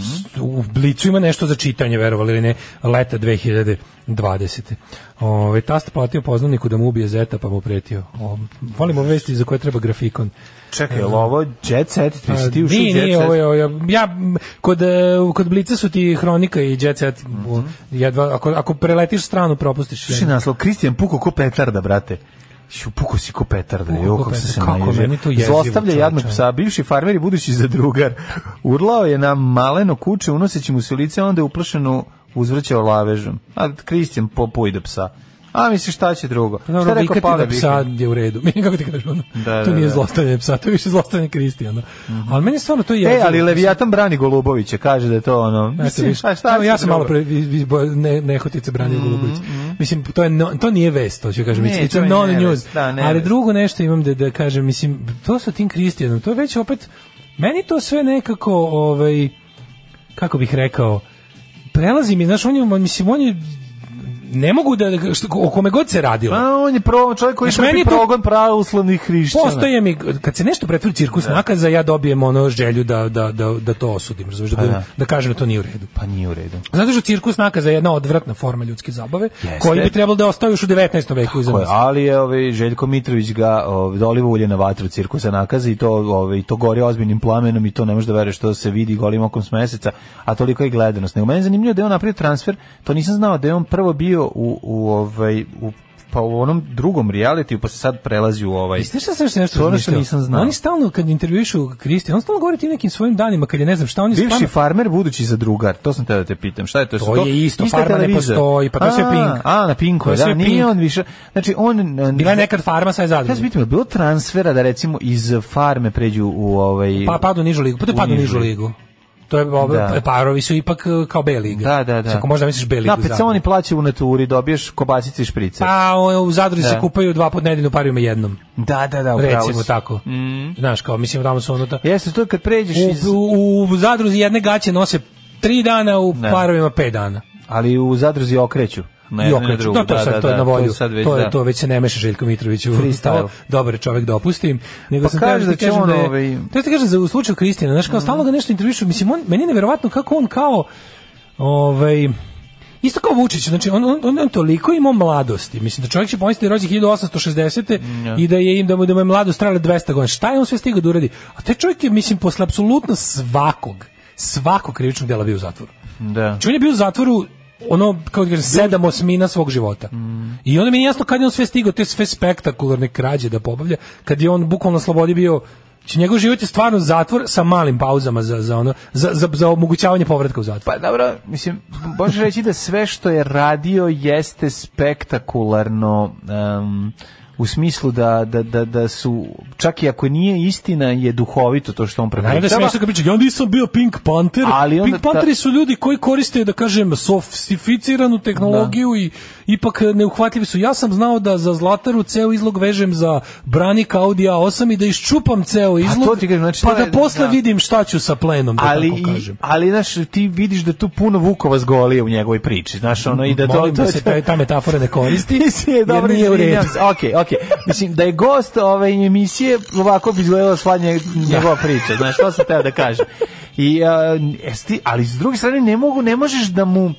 [SPEAKER 7] s- u Blicu ima nešto za čitanje, verovali ili ne, leta 2020. Ove, tast platio poznaniku da mu ubije zeta pa mu pretio. O, volim ove vesti za koje treba grafikon.
[SPEAKER 6] Čekaj, je li ovo jet set? Ti si ti ušao u
[SPEAKER 7] Nije,
[SPEAKER 6] jet
[SPEAKER 7] nije,
[SPEAKER 6] set?
[SPEAKER 7] ovo je, ovo je- ja, m, kod, e, kod Blica su ti hronika i jet set,
[SPEAKER 6] Mhm.
[SPEAKER 7] u- jedva, ako, ako preletiš stranu, propustiš sve.
[SPEAKER 6] Slušaj naslov, Kristijan puko ko petarda, brate. Šu, puko si ko petarda,
[SPEAKER 7] Puko
[SPEAKER 6] jo,
[SPEAKER 7] ko
[SPEAKER 6] kako sam se
[SPEAKER 7] petarda, kako
[SPEAKER 6] naježio.
[SPEAKER 7] meni to jezivo,
[SPEAKER 6] Zlostavlja
[SPEAKER 7] čoveče.
[SPEAKER 6] jadnog psa, bivši farmer i budući zadrugar. Urlao je na maleno kuće, unoseći mu se u lice, a onda je uplašeno uzvrćao lavežom. A Kristijan po, pojde psa. A misliš šta će drugo?
[SPEAKER 7] Pa Dobro,
[SPEAKER 6] šta je
[SPEAKER 7] vikati
[SPEAKER 6] Pavle
[SPEAKER 7] da psa je u redu. Mislim, kako ti kažeš, ono,
[SPEAKER 6] Da,
[SPEAKER 7] to
[SPEAKER 6] da,
[SPEAKER 7] nije
[SPEAKER 6] da.
[SPEAKER 7] zlostavljanje psa, to je više zlostavljanje Kristijana. Ali meni je stvarno to je...
[SPEAKER 6] Vikatić? E, ali Leviatan brani Golubovića, kaže da je to ono...
[SPEAKER 7] Eto,
[SPEAKER 6] Mislim,
[SPEAKER 7] viš,
[SPEAKER 6] šta, šta
[SPEAKER 7] Evo, ja
[SPEAKER 6] će
[SPEAKER 7] sam
[SPEAKER 6] drugo?
[SPEAKER 7] malo pre vi- vi- bo- ne, nehotice branio Golubović. Mislim, to, je no- to nije vest, to ću kažem.
[SPEAKER 6] mhm. Ne,
[SPEAKER 7] It's-
[SPEAKER 6] to je
[SPEAKER 7] it's non
[SPEAKER 6] nevest,
[SPEAKER 7] news.
[SPEAKER 6] da, nevest.
[SPEAKER 7] ali drugo nešto imam da, da kažem, mislim, to sa tim Kristijanom, to je već opet, meni to sve nekako, ovaj, kako bih rekao, prelazi mi, znaš, on je, mislim, on je, ne mogu da, što, o kome god se radilo,
[SPEAKER 6] A, on je pro, čovjek koji
[SPEAKER 7] Znaš, meni
[SPEAKER 6] je
[SPEAKER 7] je to-
[SPEAKER 6] progon pravoslavnih hrišćana.
[SPEAKER 7] Postoje mi, kad se nešto pretvori u cirkus nakaza, ja dobijem ono želju da, da, da, da to osudim, razumiješ, da,
[SPEAKER 6] Pa
[SPEAKER 7] budem-
[SPEAKER 6] da.
[SPEAKER 7] da kažem da to nije u redu.
[SPEAKER 6] Pa nije u redu.
[SPEAKER 7] Zato što cirkus nakaza je jedna odvratna forma ljudske zabave,
[SPEAKER 6] Jeste.
[SPEAKER 7] koji bi trebalo da ostaju još u 19. veku iza
[SPEAKER 6] Tako je,
[SPEAKER 7] nas.
[SPEAKER 6] ali je ovaj Željko Mitrović ga ovaj doliva ulje na vatru cirkusa nakaza i to ovaj to gori ozbiljnim plamenom i to ne može da veruješ što se vidi golim okom s meseca, a toliko je gledanost. Nego meni je zanimljivo da je on napravio transfer, to nisam znao da je on prvo bio u u ovaj u pa u onom drugom realitiju, pa se sad prelazi u ovaj.
[SPEAKER 7] Jeste šta sam još nešto
[SPEAKER 6] To je ono što
[SPEAKER 7] razmišljao?
[SPEAKER 6] nisam znao.
[SPEAKER 7] Oni stalno kad intervjušu Kristi, on stalno govori ti nekim svojim danima kad je ne znam šta oni
[SPEAKER 6] Bivši
[SPEAKER 7] stvarno-
[SPEAKER 6] farmer budući za drugar, to sam te da te pitam. Šta je to?
[SPEAKER 7] To je isto,
[SPEAKER 6] ista
[SPEAKER 7] farma ne
[SPEAKER 6] televizija?
[SPEAKER 7] postoji, pa to je sve
[SPEAKER 6] A,
[SPEAKER 7] Pink.
[SPEAKER 6] A, na Pinku,
[SPEAKER 7] To
[SPEAKER 6] je,
[SPEAKER 7] je
[SPEAKER 6] da,
[SPEAKER 7] sve
[SPEAKER 6] nije
[SPEAKER 7] Pink.
[SPEAKER 6] on više. Znači, on...
[SPEAKER 7] Bila je nekad farma, sad je zadruga.
[SPEAKER 6] Ja sam pitam, je li bilo transfera da recimo iz farme pređu u ovaj...
[SPEAKER 7] Pa padu u nižu ligu, pa to je
[SPEAKER 6] u
[SPEAKER 7] padu u
[SPEAKER 6] nižu
[SPEAKER 7] nižu ligu. To je ovo- pa,
[SPEAKER 6] Da.
[SPEAKER 7] parovi su ipak e, kao B liga.
[SPEAKER 6] Da, da, da.
[SPEAKER 7] Ako možda misliš B ligu.
[SPEAKER 6] Da, peconi plaća u naturi, dobiješ kobasice i šprice.
[SPEAKER 7] Pa o, u Zadru se
[SPEAKER 6] Da.
[SPEAKER 7] kupaju dva put nedeljno, parima jednom.
[SPEAKER 6] Da, da, da, upravo
[SPEAKER 7] Recimo
[SPEAKER 6] si. Mhm.
[SPEAKER 7] tako. Znaš, kao mislim tamo su ono ta...
[SPEAKER 6] Jeste, to je kad pređeš
[SPEAKER 7] u,
[SPEAKER 6] iz...
[SPEAKER 7] u, u Zadru jedne gaće nose tri dana, u
[SPEAKER 6] Ne.
[SPEAKER 7] parovima pet dana.
[SPEAKER 6] Ali u zadruzi okreću. Na
[SPEAKER 7] I
[SPEAKER 6] jednu i na
[SPEAKER 7] okreću.
[SPEAKER 6] drugu.
[SPEAKER 7] Da, to je sad, to je na volju. To,
[SPEAKER 6] sad već,
[SPEAKER 7] je,
[SPEAKER 6] da.
[SPEAKER 7] to već se ne meša Željko Mitrović u
[SPEAKER 6] Freestyle.
[SPEAKER 7] freestyle. Dobar je čovjek da opustim. Nego
[SPEAKER 6] Pa
[SPEAKER 7] sam
[SPEAKER 6] kaže
[SPEAKER 7] teo
[SPEAKER 6] da
[SPEAKER 7] ti
[SPEAKER 6] će
[SPEAKER 7] kažem
[SPEAKER 6] on,
[SPEAKER 7] da je-
[SPEAKER 6] ovaj-
[SPEAKER 7] Teo ti kažem za u slučaju Kristina, znaš, kao stalno ga nešto intervjušu, mislim, on, meni je nevjerovatno kako on kao, ovaj, Isto kao Vučić, znači on, on, on, on toliko imao mladosti. Mislim da čovjek će pomisliti da je rođen 1860. i da je im da mu, da mu je mladost trajala 200 godina. Šta je on sve stigao da uradi? A taj čovjek je, mislim, posle apsolutno svakog, svakog krivičnog dela bio u zatvoru.
[SPEAKER 6] Da.
[SPEAKER 7] Znači on je bio u zatvoru ono, kao da kažem, sedam osmina svog života. I onda mi je jasno kad je on sve stigao te sve spektakularne krađe da pobavlja, kad je on bukvalno na slobodi bio Znači, njegov život je stvarno zatvor sa malim pauzama za, za, ono, za, za, za omogućavanje povratka u zatvor.
[SPEAKER 6] Pa dobro, mislim, možeš reći da sve što je radio jeste spektakularno em, u smislu da, da, da, da su, čak i ako nije istina, je duhovito to što on
[SPEAKER 7] Naravno da se
[SPEAKER 6] prepričava.
[SPEAKER 7] nešto priča, ja nisam bio Pink Panther,
[SPEAKER 6] Ali onda
[SPEAKER 7] Pink Pantheri
[SPEAKER 6] ta-
[SPEAKER 7] su ljudi koji koriste, da kažem, sofisticiranu tehnologiju i ipak eh, neuhvatljivi su. Ja sam znao da za zlataru ceo izlog vežem za branik Audi A8 i da iščupam ceo izlog,
[SPEAKER 6] to ti kažem, znači,
[SPEAKER 7] pa
[SPEAKER 6] to je-
[SPEAKER 7] da posle
[SPEAKER 6] da.
[SPEAKER 7] vidim šta ću sa plenom, da
[SPEAKER 6] ali,
[SPEAKER 7] tako kažem.
[SPEAKER 6] ali znaš, ti vidiš da tu puno Vukova zgolije u njegovoj priči, znaš, ono, i da to...
[SPEAKER 7] Molim
[SPEAKER 6] to,
[SPEAKER 7] da se ta, ta metafora ne koristi,
[SPEAKER 6] Mislim, je
[SPEAKER 7] jer
[SPEAKER 6] dobro,
[SPEAKER 7] nije u redu.
[SPEAKER 6] Ok, ok. Mislim, da je gost ove emisije, ovako bi izgledala sva nje- njegova priča, znaš, to sam teo da kažem. I, a, esti, ali s druge strane, ne, mogu, ne možeš da mu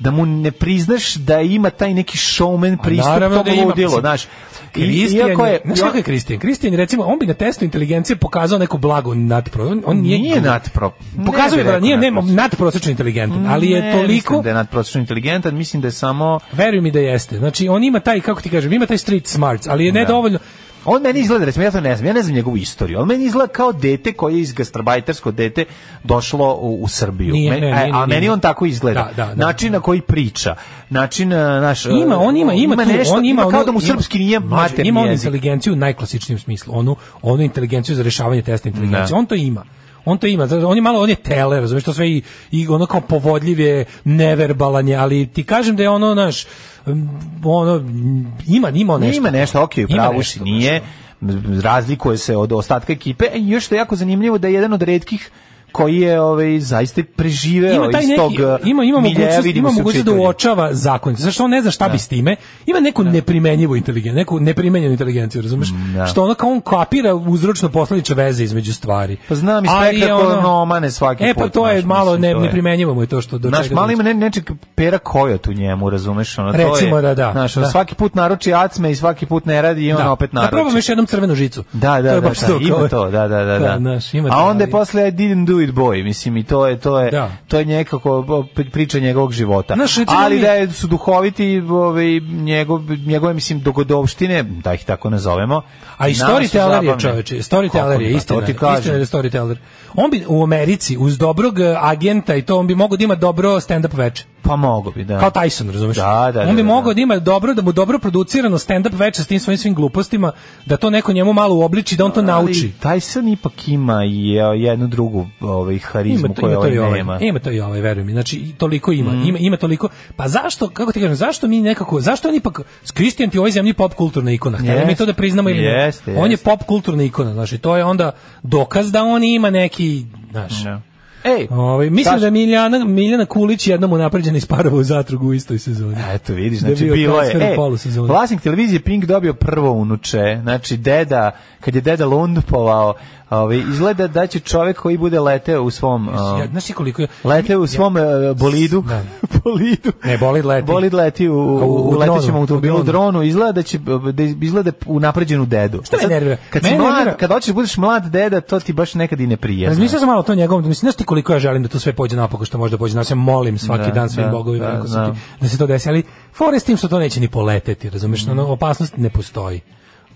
[SPEAKER 6] da mu ne priznaš da ima taj neki showman pristup
[SPEAKER 7] naravno
[SPEAKER 6] tom
[SPEAKER 7] da ima,
[SPEAKER 6] ludilu,
[SPEAKER 7] mislim,
[SPEAKER 6] znaš. I-
[SPEAKER 7] Kristijan
[SPEAKER 6] iako
[SPEAKER 7] je, znaš kako je Kristijan? Kristijan je recimo, on bi na testu inteligencije pokazao neku blagu nadpro, on, on nije,
[SPEAKER 6] Nije natpro. Ne
[SPEAKER 7] Pokazuje
[SPEAKER 6] bih
[SPEAKER 7] da
[SPEAKER 6] rekao
[SPEAKER 7] nije nema
[SPEAKER 6] natprosečno.
[SPEAKER 7] nadprosečno inteligentan, ali je
[SPEAKER 6] Ne,
[SPEAKER 7] toliko
[SPEAKER 6] mislim da je nadprosečno inteligentan, mislim da je samo
[SPEAKER 7] Veruj mi da jeste. Znači on ima taj kako ti kažem, ima taj street smarts, ali je nedovoljno.
[SPEAKER 6] On meni izgleda, recimo, ja to ne znam, ja ne znam njegovu istoriju, on meni izgleda kao dete koje je iz gastrobajtersko dete došlo u, u Srbiju.
[SPEAKER 7] Nije,
[SPEAKER 6] Meni-
[SPEAKER 7] ne,
[SPEAKER 6] a-
[SPEAKER 7] nije,
[SPEAKER 6] a
[SPEAKER 7] nije,
[SPEAKER 6] meni
[SPEAKER 7] nije.
[SPEAKER 6] on tako izgleda.
[SPEAKER 7] Da, da, da.
[SPEAKER 6] način na koji priča, način, e, naš... e,
[SPEAKER 7] Ima, on ima, ima, tu,
[SPEAKER 6] nešto,
[SPEAKER 7] on ima,
[SPEAKER 6] kao
[SPEAKER 7] ono-
[SPEAKER 6] da mu srpski nije
[SPEAKER 7] Mlađe,
[SPEAKER 6] materni
[SPEAKER 7] Ima on
[SPEAKER 6] jezik.
[SPEAKER 7] inteligenciju u najklasičnijem smislu, onu, onu inteligenciju za rešavanje testa inteligencije.
[SPEAKER 6] Da.
[SPEAKER 7] On to ima. On to ima, zato- on je malo, on je tele, razumiješ, to sve i, i ono kao povodljiv je, neverbalan je, ali ti kažem da je ono, naš, m, ono, m, ima, ima on
[SPEAKER 6] Ne,
[SPEAKER 7] nešto.
[SPEAKER 6] Ima nešto, ok,
[SPEAKER 7] Ima
[SPEAKER 6] pravo
[SPEAKER 7] nešto,
[SPEAKER 6] si, nije, m, razlikuje se od ostatka ekipe, e, i još što je jako zanimljivo da je jedan od redkih koji je ovaj zaista preživeo
[SPEAKER 7] ima taj
[SPEAKER 6] iz
[SPEAKER 7] neki,
[SPEAKER 6] tog e,
[SPEAKER 7] ima ima
[SPEAKER 6] miljea,
[SPEAKER 7] mogućnost,
[SPEAKER 6] vidimo
[SPEAKER 7] ima
[SPEAKER 6] se u
[SPEAKER 7] mogućnost da
[SPEAKER 6] čitanju.
[SPEAKER 7] uočava zakon. Zašto on ne zna šta bi s time? Ima neku neprimenjivu inteligenciju, neku neprimenjenu inteligenciju, razumeš?
[SPEAKER 6] da.
[SPEAKER 7] Što ono kao on kapira uzročno posledične veze između stvari.
[SPEAKER 6] Pa znam i
[SPEAKER 7] Ali je
[SPEAKER 6] spektakularno omane svaki
[SPEAKER 7] E pa
[SPEAKER 6] put,
[SPEAKER 7] to je
[SPEAKER 6] znaš,
[SPEAKER 7] malo
[SPEAKER 6] mislim,
[SPEAKER 7] ne,
[SPEAKER 6] to je.
[SPEAKER 7] neprimenjivo mu je to što do
[SPEAKER 6] Znaš,
[SPEAKER 7] čega
[SPEAKER 6] malo
[SPEAKER 7] dođe.
[SPEAKER 6] ima ne, nečeg pera kojot u njemu, razumeš? Ono, to
[SPEAKER 7] Recimo
[SPEAKER 6] je,
[SPEAKER 7] da, da,
[SPEAKER 6] Znaš, ono,
[SPEAKER 7] da.
[SPEAKER 6] svaki put naruči acme i svaki put ne radi i on
[SPEAKER 7] Da.
[SPEAKER 6] opet
[SPEAKER 7] Da probam
[SPEAKER 6] naruči.
[SPEAKER 7] još jednom crvenu žicu.
[SPEAKER 6] Da, da,
[SPEAKER 7] To
[SPEAKER 6] da,
[SPEAKER 7] je baš
[SPEAKER 6] da,
[SPEAKER 7] to, kao-
[SPEAKER 6] ima to, da, da, da. da.
[SPEAKER 7] Da, znaš, ima
[SPEAKER 6] A
[SPEAKER 7] to,
[SPEAKER 6] onda je
[SPEAKER 7] ali-
[SPEAKER 6] posle I didn't do it boy, mislim, i to je, to je,
[SPEAKER 7] Da.
[SPEAKER 6] to je nekako bo, pri- priča njegovog života.
[SPEAKER 7] Znaš, recimo
[SPEAKER 6] Ali
[SPEAKER 7] mi-
[SPEAKER 6] da je, su duhoviti ovaj, njegov, njegove, mislim, dogodovštine, da ih tako nazovemo.
[SPEAKER 7] A i
[SPEAKER 6] nama su
[SPEAKER 7] storyteller je
[SPEAKER 6] zabavne.
[SPEAKER 7] čoveče, storyteller
[SPEAKER 6] Kako
[SPEAKER 7] je
[SPEAKER 6] da, to
[SPEAKER 7] istina,
[SPEAKER 6] ti
[SPEAKER 7] istina
[SPEAKER 6] kažem.
[SPEAKER 7] je da je storyteller. On bi u Americi uz dobrog eh, agenta i to on bi mogao da ima dobro stand-up veče.
[SPEAKER 6] Pa mogo bi, da.
[SPEAKER 7] Kao Tyson, razumeš?
[SPEAKER 6] Da, da, da,
[SPEAKER 7] On bi
[SPEAKER 6] da,
[SPEAKER 7] mogao
[SPEAKER 6] da.
[SPEAKER 7] da. ima dobro, da mu dobro producirano stand-up veče s tim svojim svim glupostima, da to neko njemu malo uobliči, da on to nauči.
[SPEAKER 6] Ali Tyson ipak ima i e, jednu drugu ovaj, harizmu
[SPEAKER 7] Ima to,
[SPEAKER 6] koju
[SPEAKER 7] ima to
[SPEAKER 6] ovaj
[SPEAKER 7] i ovaj,
[SPEAKER 6] nema. Mm.
[SPEAKER 7] ima to i ovaj, veruj mi. Znači, i toliko ima, ima, ima toliko. Pa zašto, kako ti kažem, zašto mi nekako, zašto on ipak, Kristijan ti u ovoj zemlji pop kulturna ikona, htjeli mi
[SPEAKER 6] Jeste.
[SPEAKER 7] to da priznamo ili ne.
[SPEAKER 6] Jeste,
[SPEAKER 7] On je
[SPEAKER 6] jeste.
[SPEAKER 7] pop kulturna ikona, znači, to je onda dokaz da on ima neki, znaš,
[SPEAKER 6] Da. Ej,
[SPEAKER 7] Ovaj, mislim
[SPEAKER 6] Saš-
[SPEAKER 7] da je Miljana, Miljana Kulić jednom unapređena isparova u zatrugu u istoj sezoni.
[SPEAKER 6] Eto, vidiš,
[SPEAKER 7] Da
[SPEAKER 6] znači
[SPEAKER 7] je bio
[SPEAKER 6] bilo je.
[SPEAKER 7] transfer u
[SPEAKER 6] E,
[SPEAKER 7] polusezoni.
[SPEAKER 6] vlasnik televizije Pink dobio prvo unuče, znači deda, kad je deda Lundpovao, Ovaj izgleda da će čovjek koji bude leteo u svom a,
[SPEAKER 7] Ja, znaš ti koliko je...
[SPEAKER 6] lete u svom e, bolidu. bolidu.
[SPEAKER 7] Ne, bolid leti.
[SPEAKER 6] Bolid leti u, u,
[SPEAKER 7] A, u
[SPEAKER 6] u, letećem
[SPEAKER 7] dronu,
[SPEAKER 6] automobilu,
[SPEAKER 7] u dronu.
[SPEAKER 6] dronu, izgleda da će da izgleda u napređenu dedu.
[SPEAKER 7] Šta me
[SPEAKER 6] Sad,
[SPEAKER 7] nervira?
[SPEAKER 6] Kad si
[SPEAKER 7] Mene
[SPEAKER 6] mlad,
[SPEAKER 7] nervira-
[SPEAKER 6] kad hoćeš da budeš mlad deda, to ti baš nekad i ne prija.
[SPEAKER 7] Razmišljao sam malo o to njegovom, da mislim, znaš ti koliko ja želim da to sve pođe napako što može da pođe, znaš, ja molim svaki
[SPEAKER 6] Da,
[SPEAKER 7] dan svim
[SPEAKER 6] da,
[SPEAKER 7] bogovima
[SPEAKER 6] da,
[SPEAKER 7] da, da.
[SPEAKER 6] znam.
[SPEAKER 7] da se to desi, ali fore s tim što to neće ni poleteti, razumeš,
[SPEAKER 6] Mm.
[SPEAKER 7] ono, opasnost ne postoji.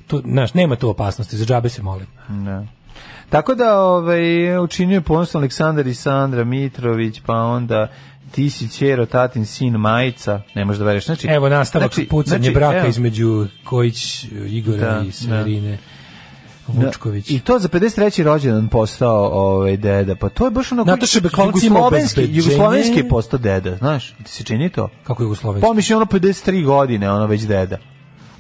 [SPEAKER 7] Tu, znaš, nema tu opasnosti, za džabe se molim.
[SPEAKER 6] Ne. Tako da ovaj, učinio je ponosno Aleksandar i Sandra Mitrović, pa onda ti si ćero, tatin, sin, majica, ne možeš da veriš. Znači,
[SPEAKER 7] Evo nastavak
[SPEAKER 6] znači-
[SPEAKER 7] pucanje
[SPEAKER 6] znači,
[SPEAKER 7] braka
[SPEAKER 6] evo,
[SPEAKER 7] između Kojić, Igora
[SPEAKER 6] Da,
[SPEAKER 7] i Severine.
[SPEAKER 6] da,
[SPEAKER 7] Vučković.
[SPEAKER 6] I to za 53. rođendan postao ovaj, deda, pa to je baš ono...
[SPEAKER 7] Nataša Bekovci ima
[SPEAKER 6] jugoslovenski,
[SPEAKER 7] obezbeđenje.
[SPEAKER 6] jugoslovenski je postao deda, znaš, ti se čini to?
[SPEAKER 7] Kako je Jugoslovenski?
[SPEAKER 6] Pomiš je ono 53 godine, ono već deda.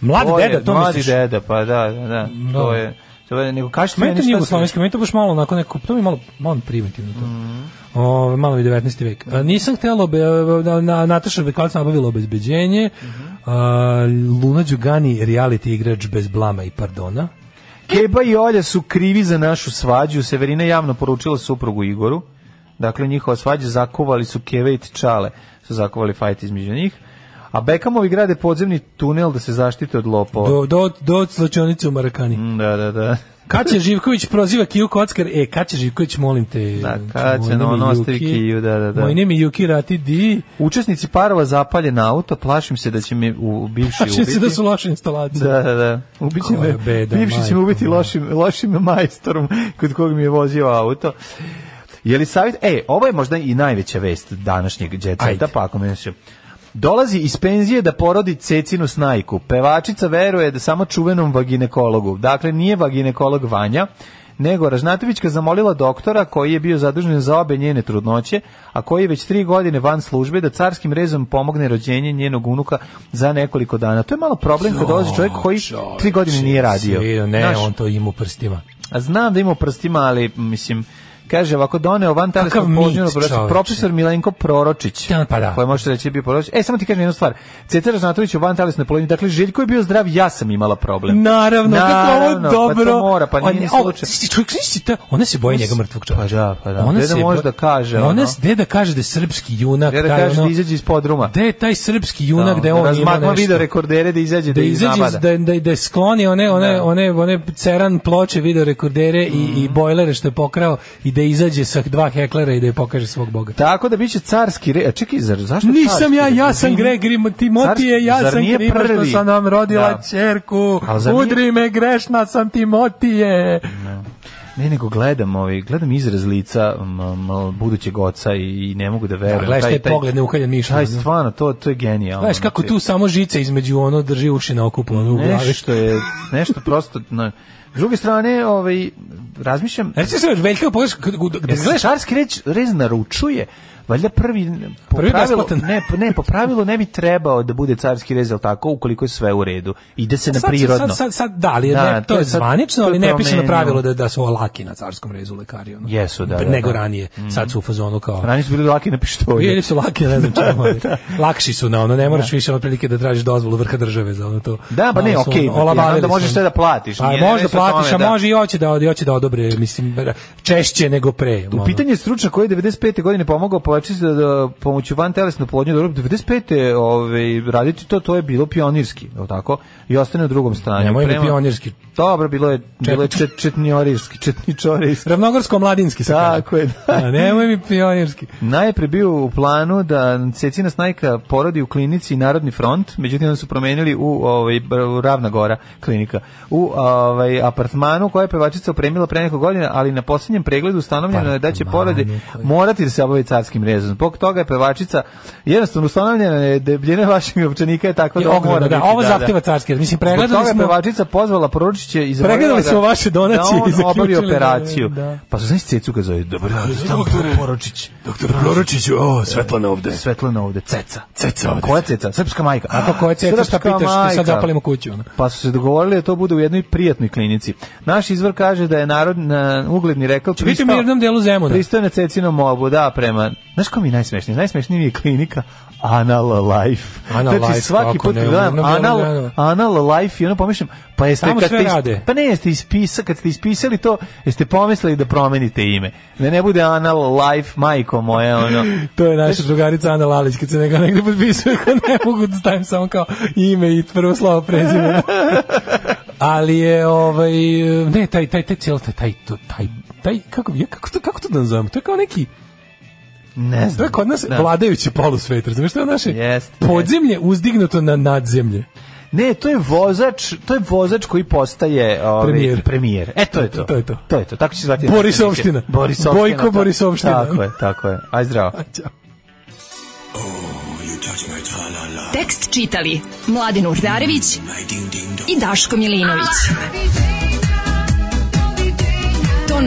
[SPEAKER 7] Mlad
[SPEAKER 6] To je
[SPEAKER 7] deda, to
[SPEAKER 6] mladi
[SPEAKER 7] misliš?
[SPEAKER 6] deda, pa da, da, da, to
[SPEAKER 7] Da.
[SPEAKER 6] je... To je nego kaži
[SPEAKER 7] Meni to nije jugoslovenski, meni to baš malo onako neko, to mi je malo, malo primitivno to.
[SPEAKER 6] Mm.
[SPEAKER 7] Ove, malo mi 19. vek. A, nisam htjela, obe, na, na, Nataša Bekalac nabavila obezbeđenje,
[SPEAKER 6] Mhm.
[SPEAKER 7] A, Luna Đugani, reality igrač bez blama i pardona.
[SPEAKER 6] Keba i Olja su krivi za našu svađu. Severina javno poručila suprugu Igoru. Dakle, njihova svađa zakovali su Keve i Čale. Su zakovali fajt između njih. A Bekamovi grade podzemni tunel da se zaštite od lopova.
[SPEAKER 7] Do, do, do slačionice u Marakani.
[SPEAKER 6] Mm, Da, da, da.
[SPEAKER 7] Kaće Živković proziva Kiju Kockar. E, Kaće Živković, molim te. Da,
[SPEAKER 6] Kad će ono ostavi kiju, da, da, da.
[SPEAKER 7] Moj ime je Juki Rati Di.
[SPEAKER 6] Učesnici parova zapaljen auto, plašim se da će me u bivši
[SPEAKER 7] Kače
[SPEAKER 6] ubiti.
[SPEAKER 7] se da su loše instalacije.
[SPEAKER 6] Da, da, da. Ubiće
[SPEAKER 7] Koja
[SPEAKER 6] me,
[SPEAKER 7] beda,
[SPEAKER 6] bivši će me
[SPEAKER 7] majko
[SPEAKER 6] ubiti
[SPEAKER 7] moja.
[SPEAKER 6] lošim, lošim majstorom kod kog mi je vozio auto. Je li savjet? E, ovo je možda i najveća vest današnjeg džetseta,
[SPEAKER 7] Ajde.
[SPEAKER 6] pa ako me se- Dolazi iz penzije da porodi cecinu snajku. Pevačica veruje da samo čuvenom vaginekologu. Dakle, nije vaginekolog Vanja, nego Ražnatovićka zamolila doktora koji je bio zadužen za obe njene trudnoće, a koji je već tri godine van službe da carskim rezom pomogne rođenje njenog unuka za nekoliko dana. To je malo problem kad dolazi čovjek koji tri godine nije radio.
[SPEAKER 7] Ne,
[SPEAKER 6] Znaš,
[SPEAKER 7] on to ima u prstima.
[SPEAKER 6] a znam da ima u prstima, ali mislim kaže ovako doneo van teleskop
[SPEAKER 7] Kakav mit,
[SPEAKER 6] pođeno
[SPEAKER 7] čoveče.
[SPEAKER 6] profesor Milenko Proročić.
[SPEAKER 7] Da, pa da.
[SPEAKER 6] Koji može reći da je bio Proročić. E samo ti kažem jednu stvar. Cetar Žnatović u van telesnoj plodnji. Dakle Željko je bio zdrav, ja sam imala problem.
[SPEAKER 7] Naravno, kako ovo
[SPEAKER 6] Naravno,
[SPEAKER 7] dobro.
[SPEAKER 6] Pa to mora, pa
[SPEAKER 7] On-
[SPEAKER 6] nije ni
[SPEAKER 7] o,
[SPEAKER 6] slučaj.
[SPEAKER 7] si- čovjek, si- si- ta- ona se boji njega mrtvog čovjeka.
[SPEAKER 6] Pa da, pa da. Deda može da kaže,
[SPEAKER 7] Ona
[SPEAKER 6] ono.
[SPEAKER 7] se deda kaže da je srpski junak,
[SPEAKER 6] Ja da
[SPEAKER 7] taj
[SPEAKER 6] kažeš da
[SPEAKER 7] ono-
[SPEAKER 6] izađe iz podruma.
[SPEAKER 7] Gde je taj srpski junak da je on ima
[SPEAKER 6] Razmakma
[SPEAKER 7] nešto?
[SPEAKER 6] video rekordere da izađe da,
[SPEAKER 7] da
[SPEAKER 6] ih
[SPEAKER 7] izađe iz-
[SPEAKER 6] nabada.
[SPEAKER 7] da da da skloni one one one one ceran ploče video rekordere i i
[SPEAKER 6] Mm.
[SPEAKER 7] bojlere što je pokrao i da izađe sa dva heklera i da je pokaže svog boga.
[SPEAKER 6] Tako da biće carski re... A čekaj, zar, zašto
[SPEAKER 7] Nisam
[SPEAKER 6] carski
[SPEAKER 7] ja,
[SPEAKER 6] re-
[SPEAKER 7] ja sam
[SPEAKER 6] Izvini.
[SPEAKER 7] Gregori Timotije,
[SPEAKER 6] Carski-
[SPEAKER 7] ja
[SPEAKER 6] zar
[SPEAKER 7] sam
[SPEAKER 6] nije
[SPEAKER 7] kriva što
[SPEAKER 6] prvi?
[SPEAKER 7] sam vam rodila
[SPEAKER 6] Da.
[SPEAKER 7] čerku.
[SPEAKER 6] Ali zar nije-
[SPEAKER 7] Udri me, grešna sam Timotije.
[SPEAKER 6] Ne, nego gledam, ovaj, gledam izraz lica m, m, budućeg oca i, i ne mogu da verujem.
[SPEAKER 7] Da, gledaš taj pogled neukaljan mišljen,
[SPEAKER 6] Taj
[SPEAKER 7] ono.
[SPEAKER 6] stvarno, to, to je genijalno. znači.
[SPEAKER 7] Znaš kako tu samo žice između ono drži uši na okupu, ono u glavi.
[SPEAKER 6] Nešto je, nešto prosto... Na, s druge strane, ovaj, razmišljam...
[SPEAKER 7] Znači se Veljka pogledaš kad- kad- kad
[SPEAKER 6] Jer se
[SPEAKER 7] gledaš
[SPEAKER 6] Šarski reć, rez naručuje, valjda prvi, po
[SPEAKER 7] Prvi
[SPEAKER 6] pravilu,
[SPEAKER 7] besplatan.
[SPEAKER 6] ne, po- ne, po pravilu ne bi trebao da bude carski rez, jel tako, ukoliko je sve u redu. Ide se na
[SPEAKER 7] E, Sad-
[SPEAKER 6] prirodno.
[SPEAKER 7] Sad, sad, sad, da, ali je
[SPEAKER 6] Da,
[SPEAKER 7] ne, to,
[SPEAKER 6] to
[SPEAKER 7] je
[SPEAKER 6] je sad-
[SPEAKER 7] zvanično,
[SPEAKER 6] to je
[SPEAKER 7] ali ne piše na
[SPEAKER 6] promenio.
[SPEAKER 7] pravilo da, da su laki na carskom rezu lekari. Ono.
[SPEAKER 6] Jesu, da, da,
[SPEAKER 7] Nego
[SPEAKER 6] da. Mhm.
[SPEAKER 7] ranije. Sad su u fazonu kao...
[SPEAKER 6] Ranije su bili laki na pištolje.
[SPEAKER 7] Ili su laki, ne znam čemu. ali Lakši su na ono, ne moraš više otprilike da tražiš dozvolu vrha države za ono to.
[SPEAKER 6] Da, pa ne,
[SPEAKER 7] Malo su,
[SPEAKER 6] okej,
[SPEAKER 7] ono,
[SPEAKER 6] ja znam
[SPEAKER 7] olabavili
[SPEAKER 6] da
[SPEAKER 7] su
[SPEAKER 6] možeš
[SPEAKER 7] ono.
[SPEAKER 6] sve da platiš,
[SPEAKER 7] Pa
[SPEAKER 6] nije
[SPEAKER 7] može da
[SPEAKER 6] nešto o tome,
[SPEAKER 7] platiš, a
[SPEAKER 6] da.
[SPEAKER 7] može i hoće da, i hoće da odobre, mislim, češće nego pre.
[SPEAKER 6] U
[SPEAKER 7] ono.
[SPEAKER 6] pitanju je stručan koji je 95. godine pomogao poveći da, da pomoću van telesne plodnje dobro 95. ovaj raditi to to je bilo pionirski, je li tako? I ostane u drugom stanju.
[SPEAKER 7] Nemoj da pionirski.
[SPEAKER 6] Dobro, bilo je bilo je čet, četniorirski, četničorirski.
[SPEAKER 7] Ravnogorsko-mladinski se kaže.
[SPEAKER 6] Tako je, da.
[SPEAKER 7] A nemoj mi pionirski.
[SPEAKER 6] Najpre bio u planu da Cecina Snajka porodi u klinici Narodni front, međutim onda su promenili u ovaj br- u Ravna Gora klinika. U ovaj apartmanu koja je pevačica opremila pre nekoliko godina, ali na posljednjem pregledu ustanovljeno je da će
[SPEAKER 7] Apartmanu
[SPEAKER 6] porodi
[SPEAKER 7] koji-
[SPEAKER 6] morati da se obavi carskim rezom. Zbog toga je pevačica jednostavno ustanovljena je debljina vašeg općenika je takva
[SPEAKER 7] Je
[SPEAKER 6] Pa da ovo
[SPEAKER 7] ogromna,
[SPEAKER 6] mora
[SPEAKER 7] da.
[SPEAKER 6] biti,
[SPEAKER 7] Ovo zahteva carski rez. Mislim,
[SPEAKER 6] Zbog
[SPEAKER 7] pregledali
[SPEAKER 6] toga je
[SPEAKER 7] smo-
[SPEAKER 6] pevačica pozvala poručiće i zamolila
[SPEAKER 7] Pregledali
[SPEAKER 6] ga
[SPEAKER 7] smo vaše donacije i
[SPEAKER 6] da on obavi
[SPEAKER 7] zaključili da-
[SPEAKER 6] operaciju.
[SPEAKER 7] da.
[SPEAKER 6] Pa su znaš Cecu kad zove, dobro,
[SPEAKER 7] Doktore,
[SPEAKER 6] Poručić.
[SPEAKER 7] Doktor Proročiću, o, Svetlana ovde.
[SPEAKER 6] Svetlana ovde, ceca. Pa
[SPEAKER 7] Ceca ovde.
[SPEAKER 6] Koja ceca? Srpska majka.
[SPEAKER 7] A pa koja ceca, šta
[SPEAKER 6] Srpska
[SPEAKER 7] pitaš, ti
[SPEAKER 6] majka.
[SPEAKER 7] sad zapalimo kuću. Ono.
[SPEAKER 6] Pa su se dogovorili da to bude u jednoj prijatnoj klinici. Naš izvor kaže da je narod na ugledni rekao
[SPEAKER 7] biti u mirnom delu Zemuna.
[SPEAKER 6] Pristao je na cecinom mobu, da, prema Znaš ko mi je najsmešniji? Najsmešniji mi je klinika Anal Life.
[SPEAKER 7] Anal
[SPEAKER 6] znači,
[SPEAKER 7] Life,
[SPEAKER 6] svaki
[SPEAKER 7] kako
[SPEAKER 6] put
[SPEAKER 7] ne,
[SPEAKER 6] kad gledam
[SPEAKER 7] ono, ono,
[SPEAKER 6] Anal,
[SPEAKER 7] ono.
[SPEAKER 6] Anal Life i ono pomišljam, pa jeste
[SPEAKER 7] Tamo
[SPEAKER 6] kad
[SPEAKER 7] sve
[SPEAKER 6] ste is-
[SPEAKER 7] rade.
[SPEAKER 6] pa ne, jeste ispisa, kad ste ispisali to, jeste pomislili da promenite ime. Da ne bude Anal Life, majko moja, ono.
[SPEAKER 7] To je naša drugarica Ana Lalić, kad se neka negde potpisuje, ko ne mogu da stavim samo kao ime i prvo slovo prezime. Ali je, ovaj, ne, taj, taj, taj, cijel, taj, taj, to- taj, taj, kako, ja, kako, to, kako to da nazovem? To je kao neki,
[SPEAKER 6] ne znam.
[SPEAKER 7] To je kod nas
[SPEAKER 6] Da.
[SPEAKER 7] vladajući polusvet, razumiješ, to je naše
[SPEAKER 6] Jest,
[SPEAKER 7] podzemlje uzdignuto na nadzemlje.
[SPEAKER 6] Ne, to je vozač, to je vozač koji postaje ovaj
[SPEAKER 7] Premijer.
[SPEAKER 6] premijer. E to je to.
[SPEAKER 7] To je to.
[SPEAKER 6] To je to. Tako će se zvati.
[SPEAKER 7] Borisovština.
[SPEAKER 6] Borisovština.
[SPEAKER 7] Bojko
[SPEAKER 6] to-
[SPEAKER 7] Borisovština.
[SPEAKER 6] Tako je, tako je. Aj zdravo.
[SPEAKER 7] Pa,
[SPEAKER 5] Tekst čitali Mladin Urdarević i Daško Milinović. Ton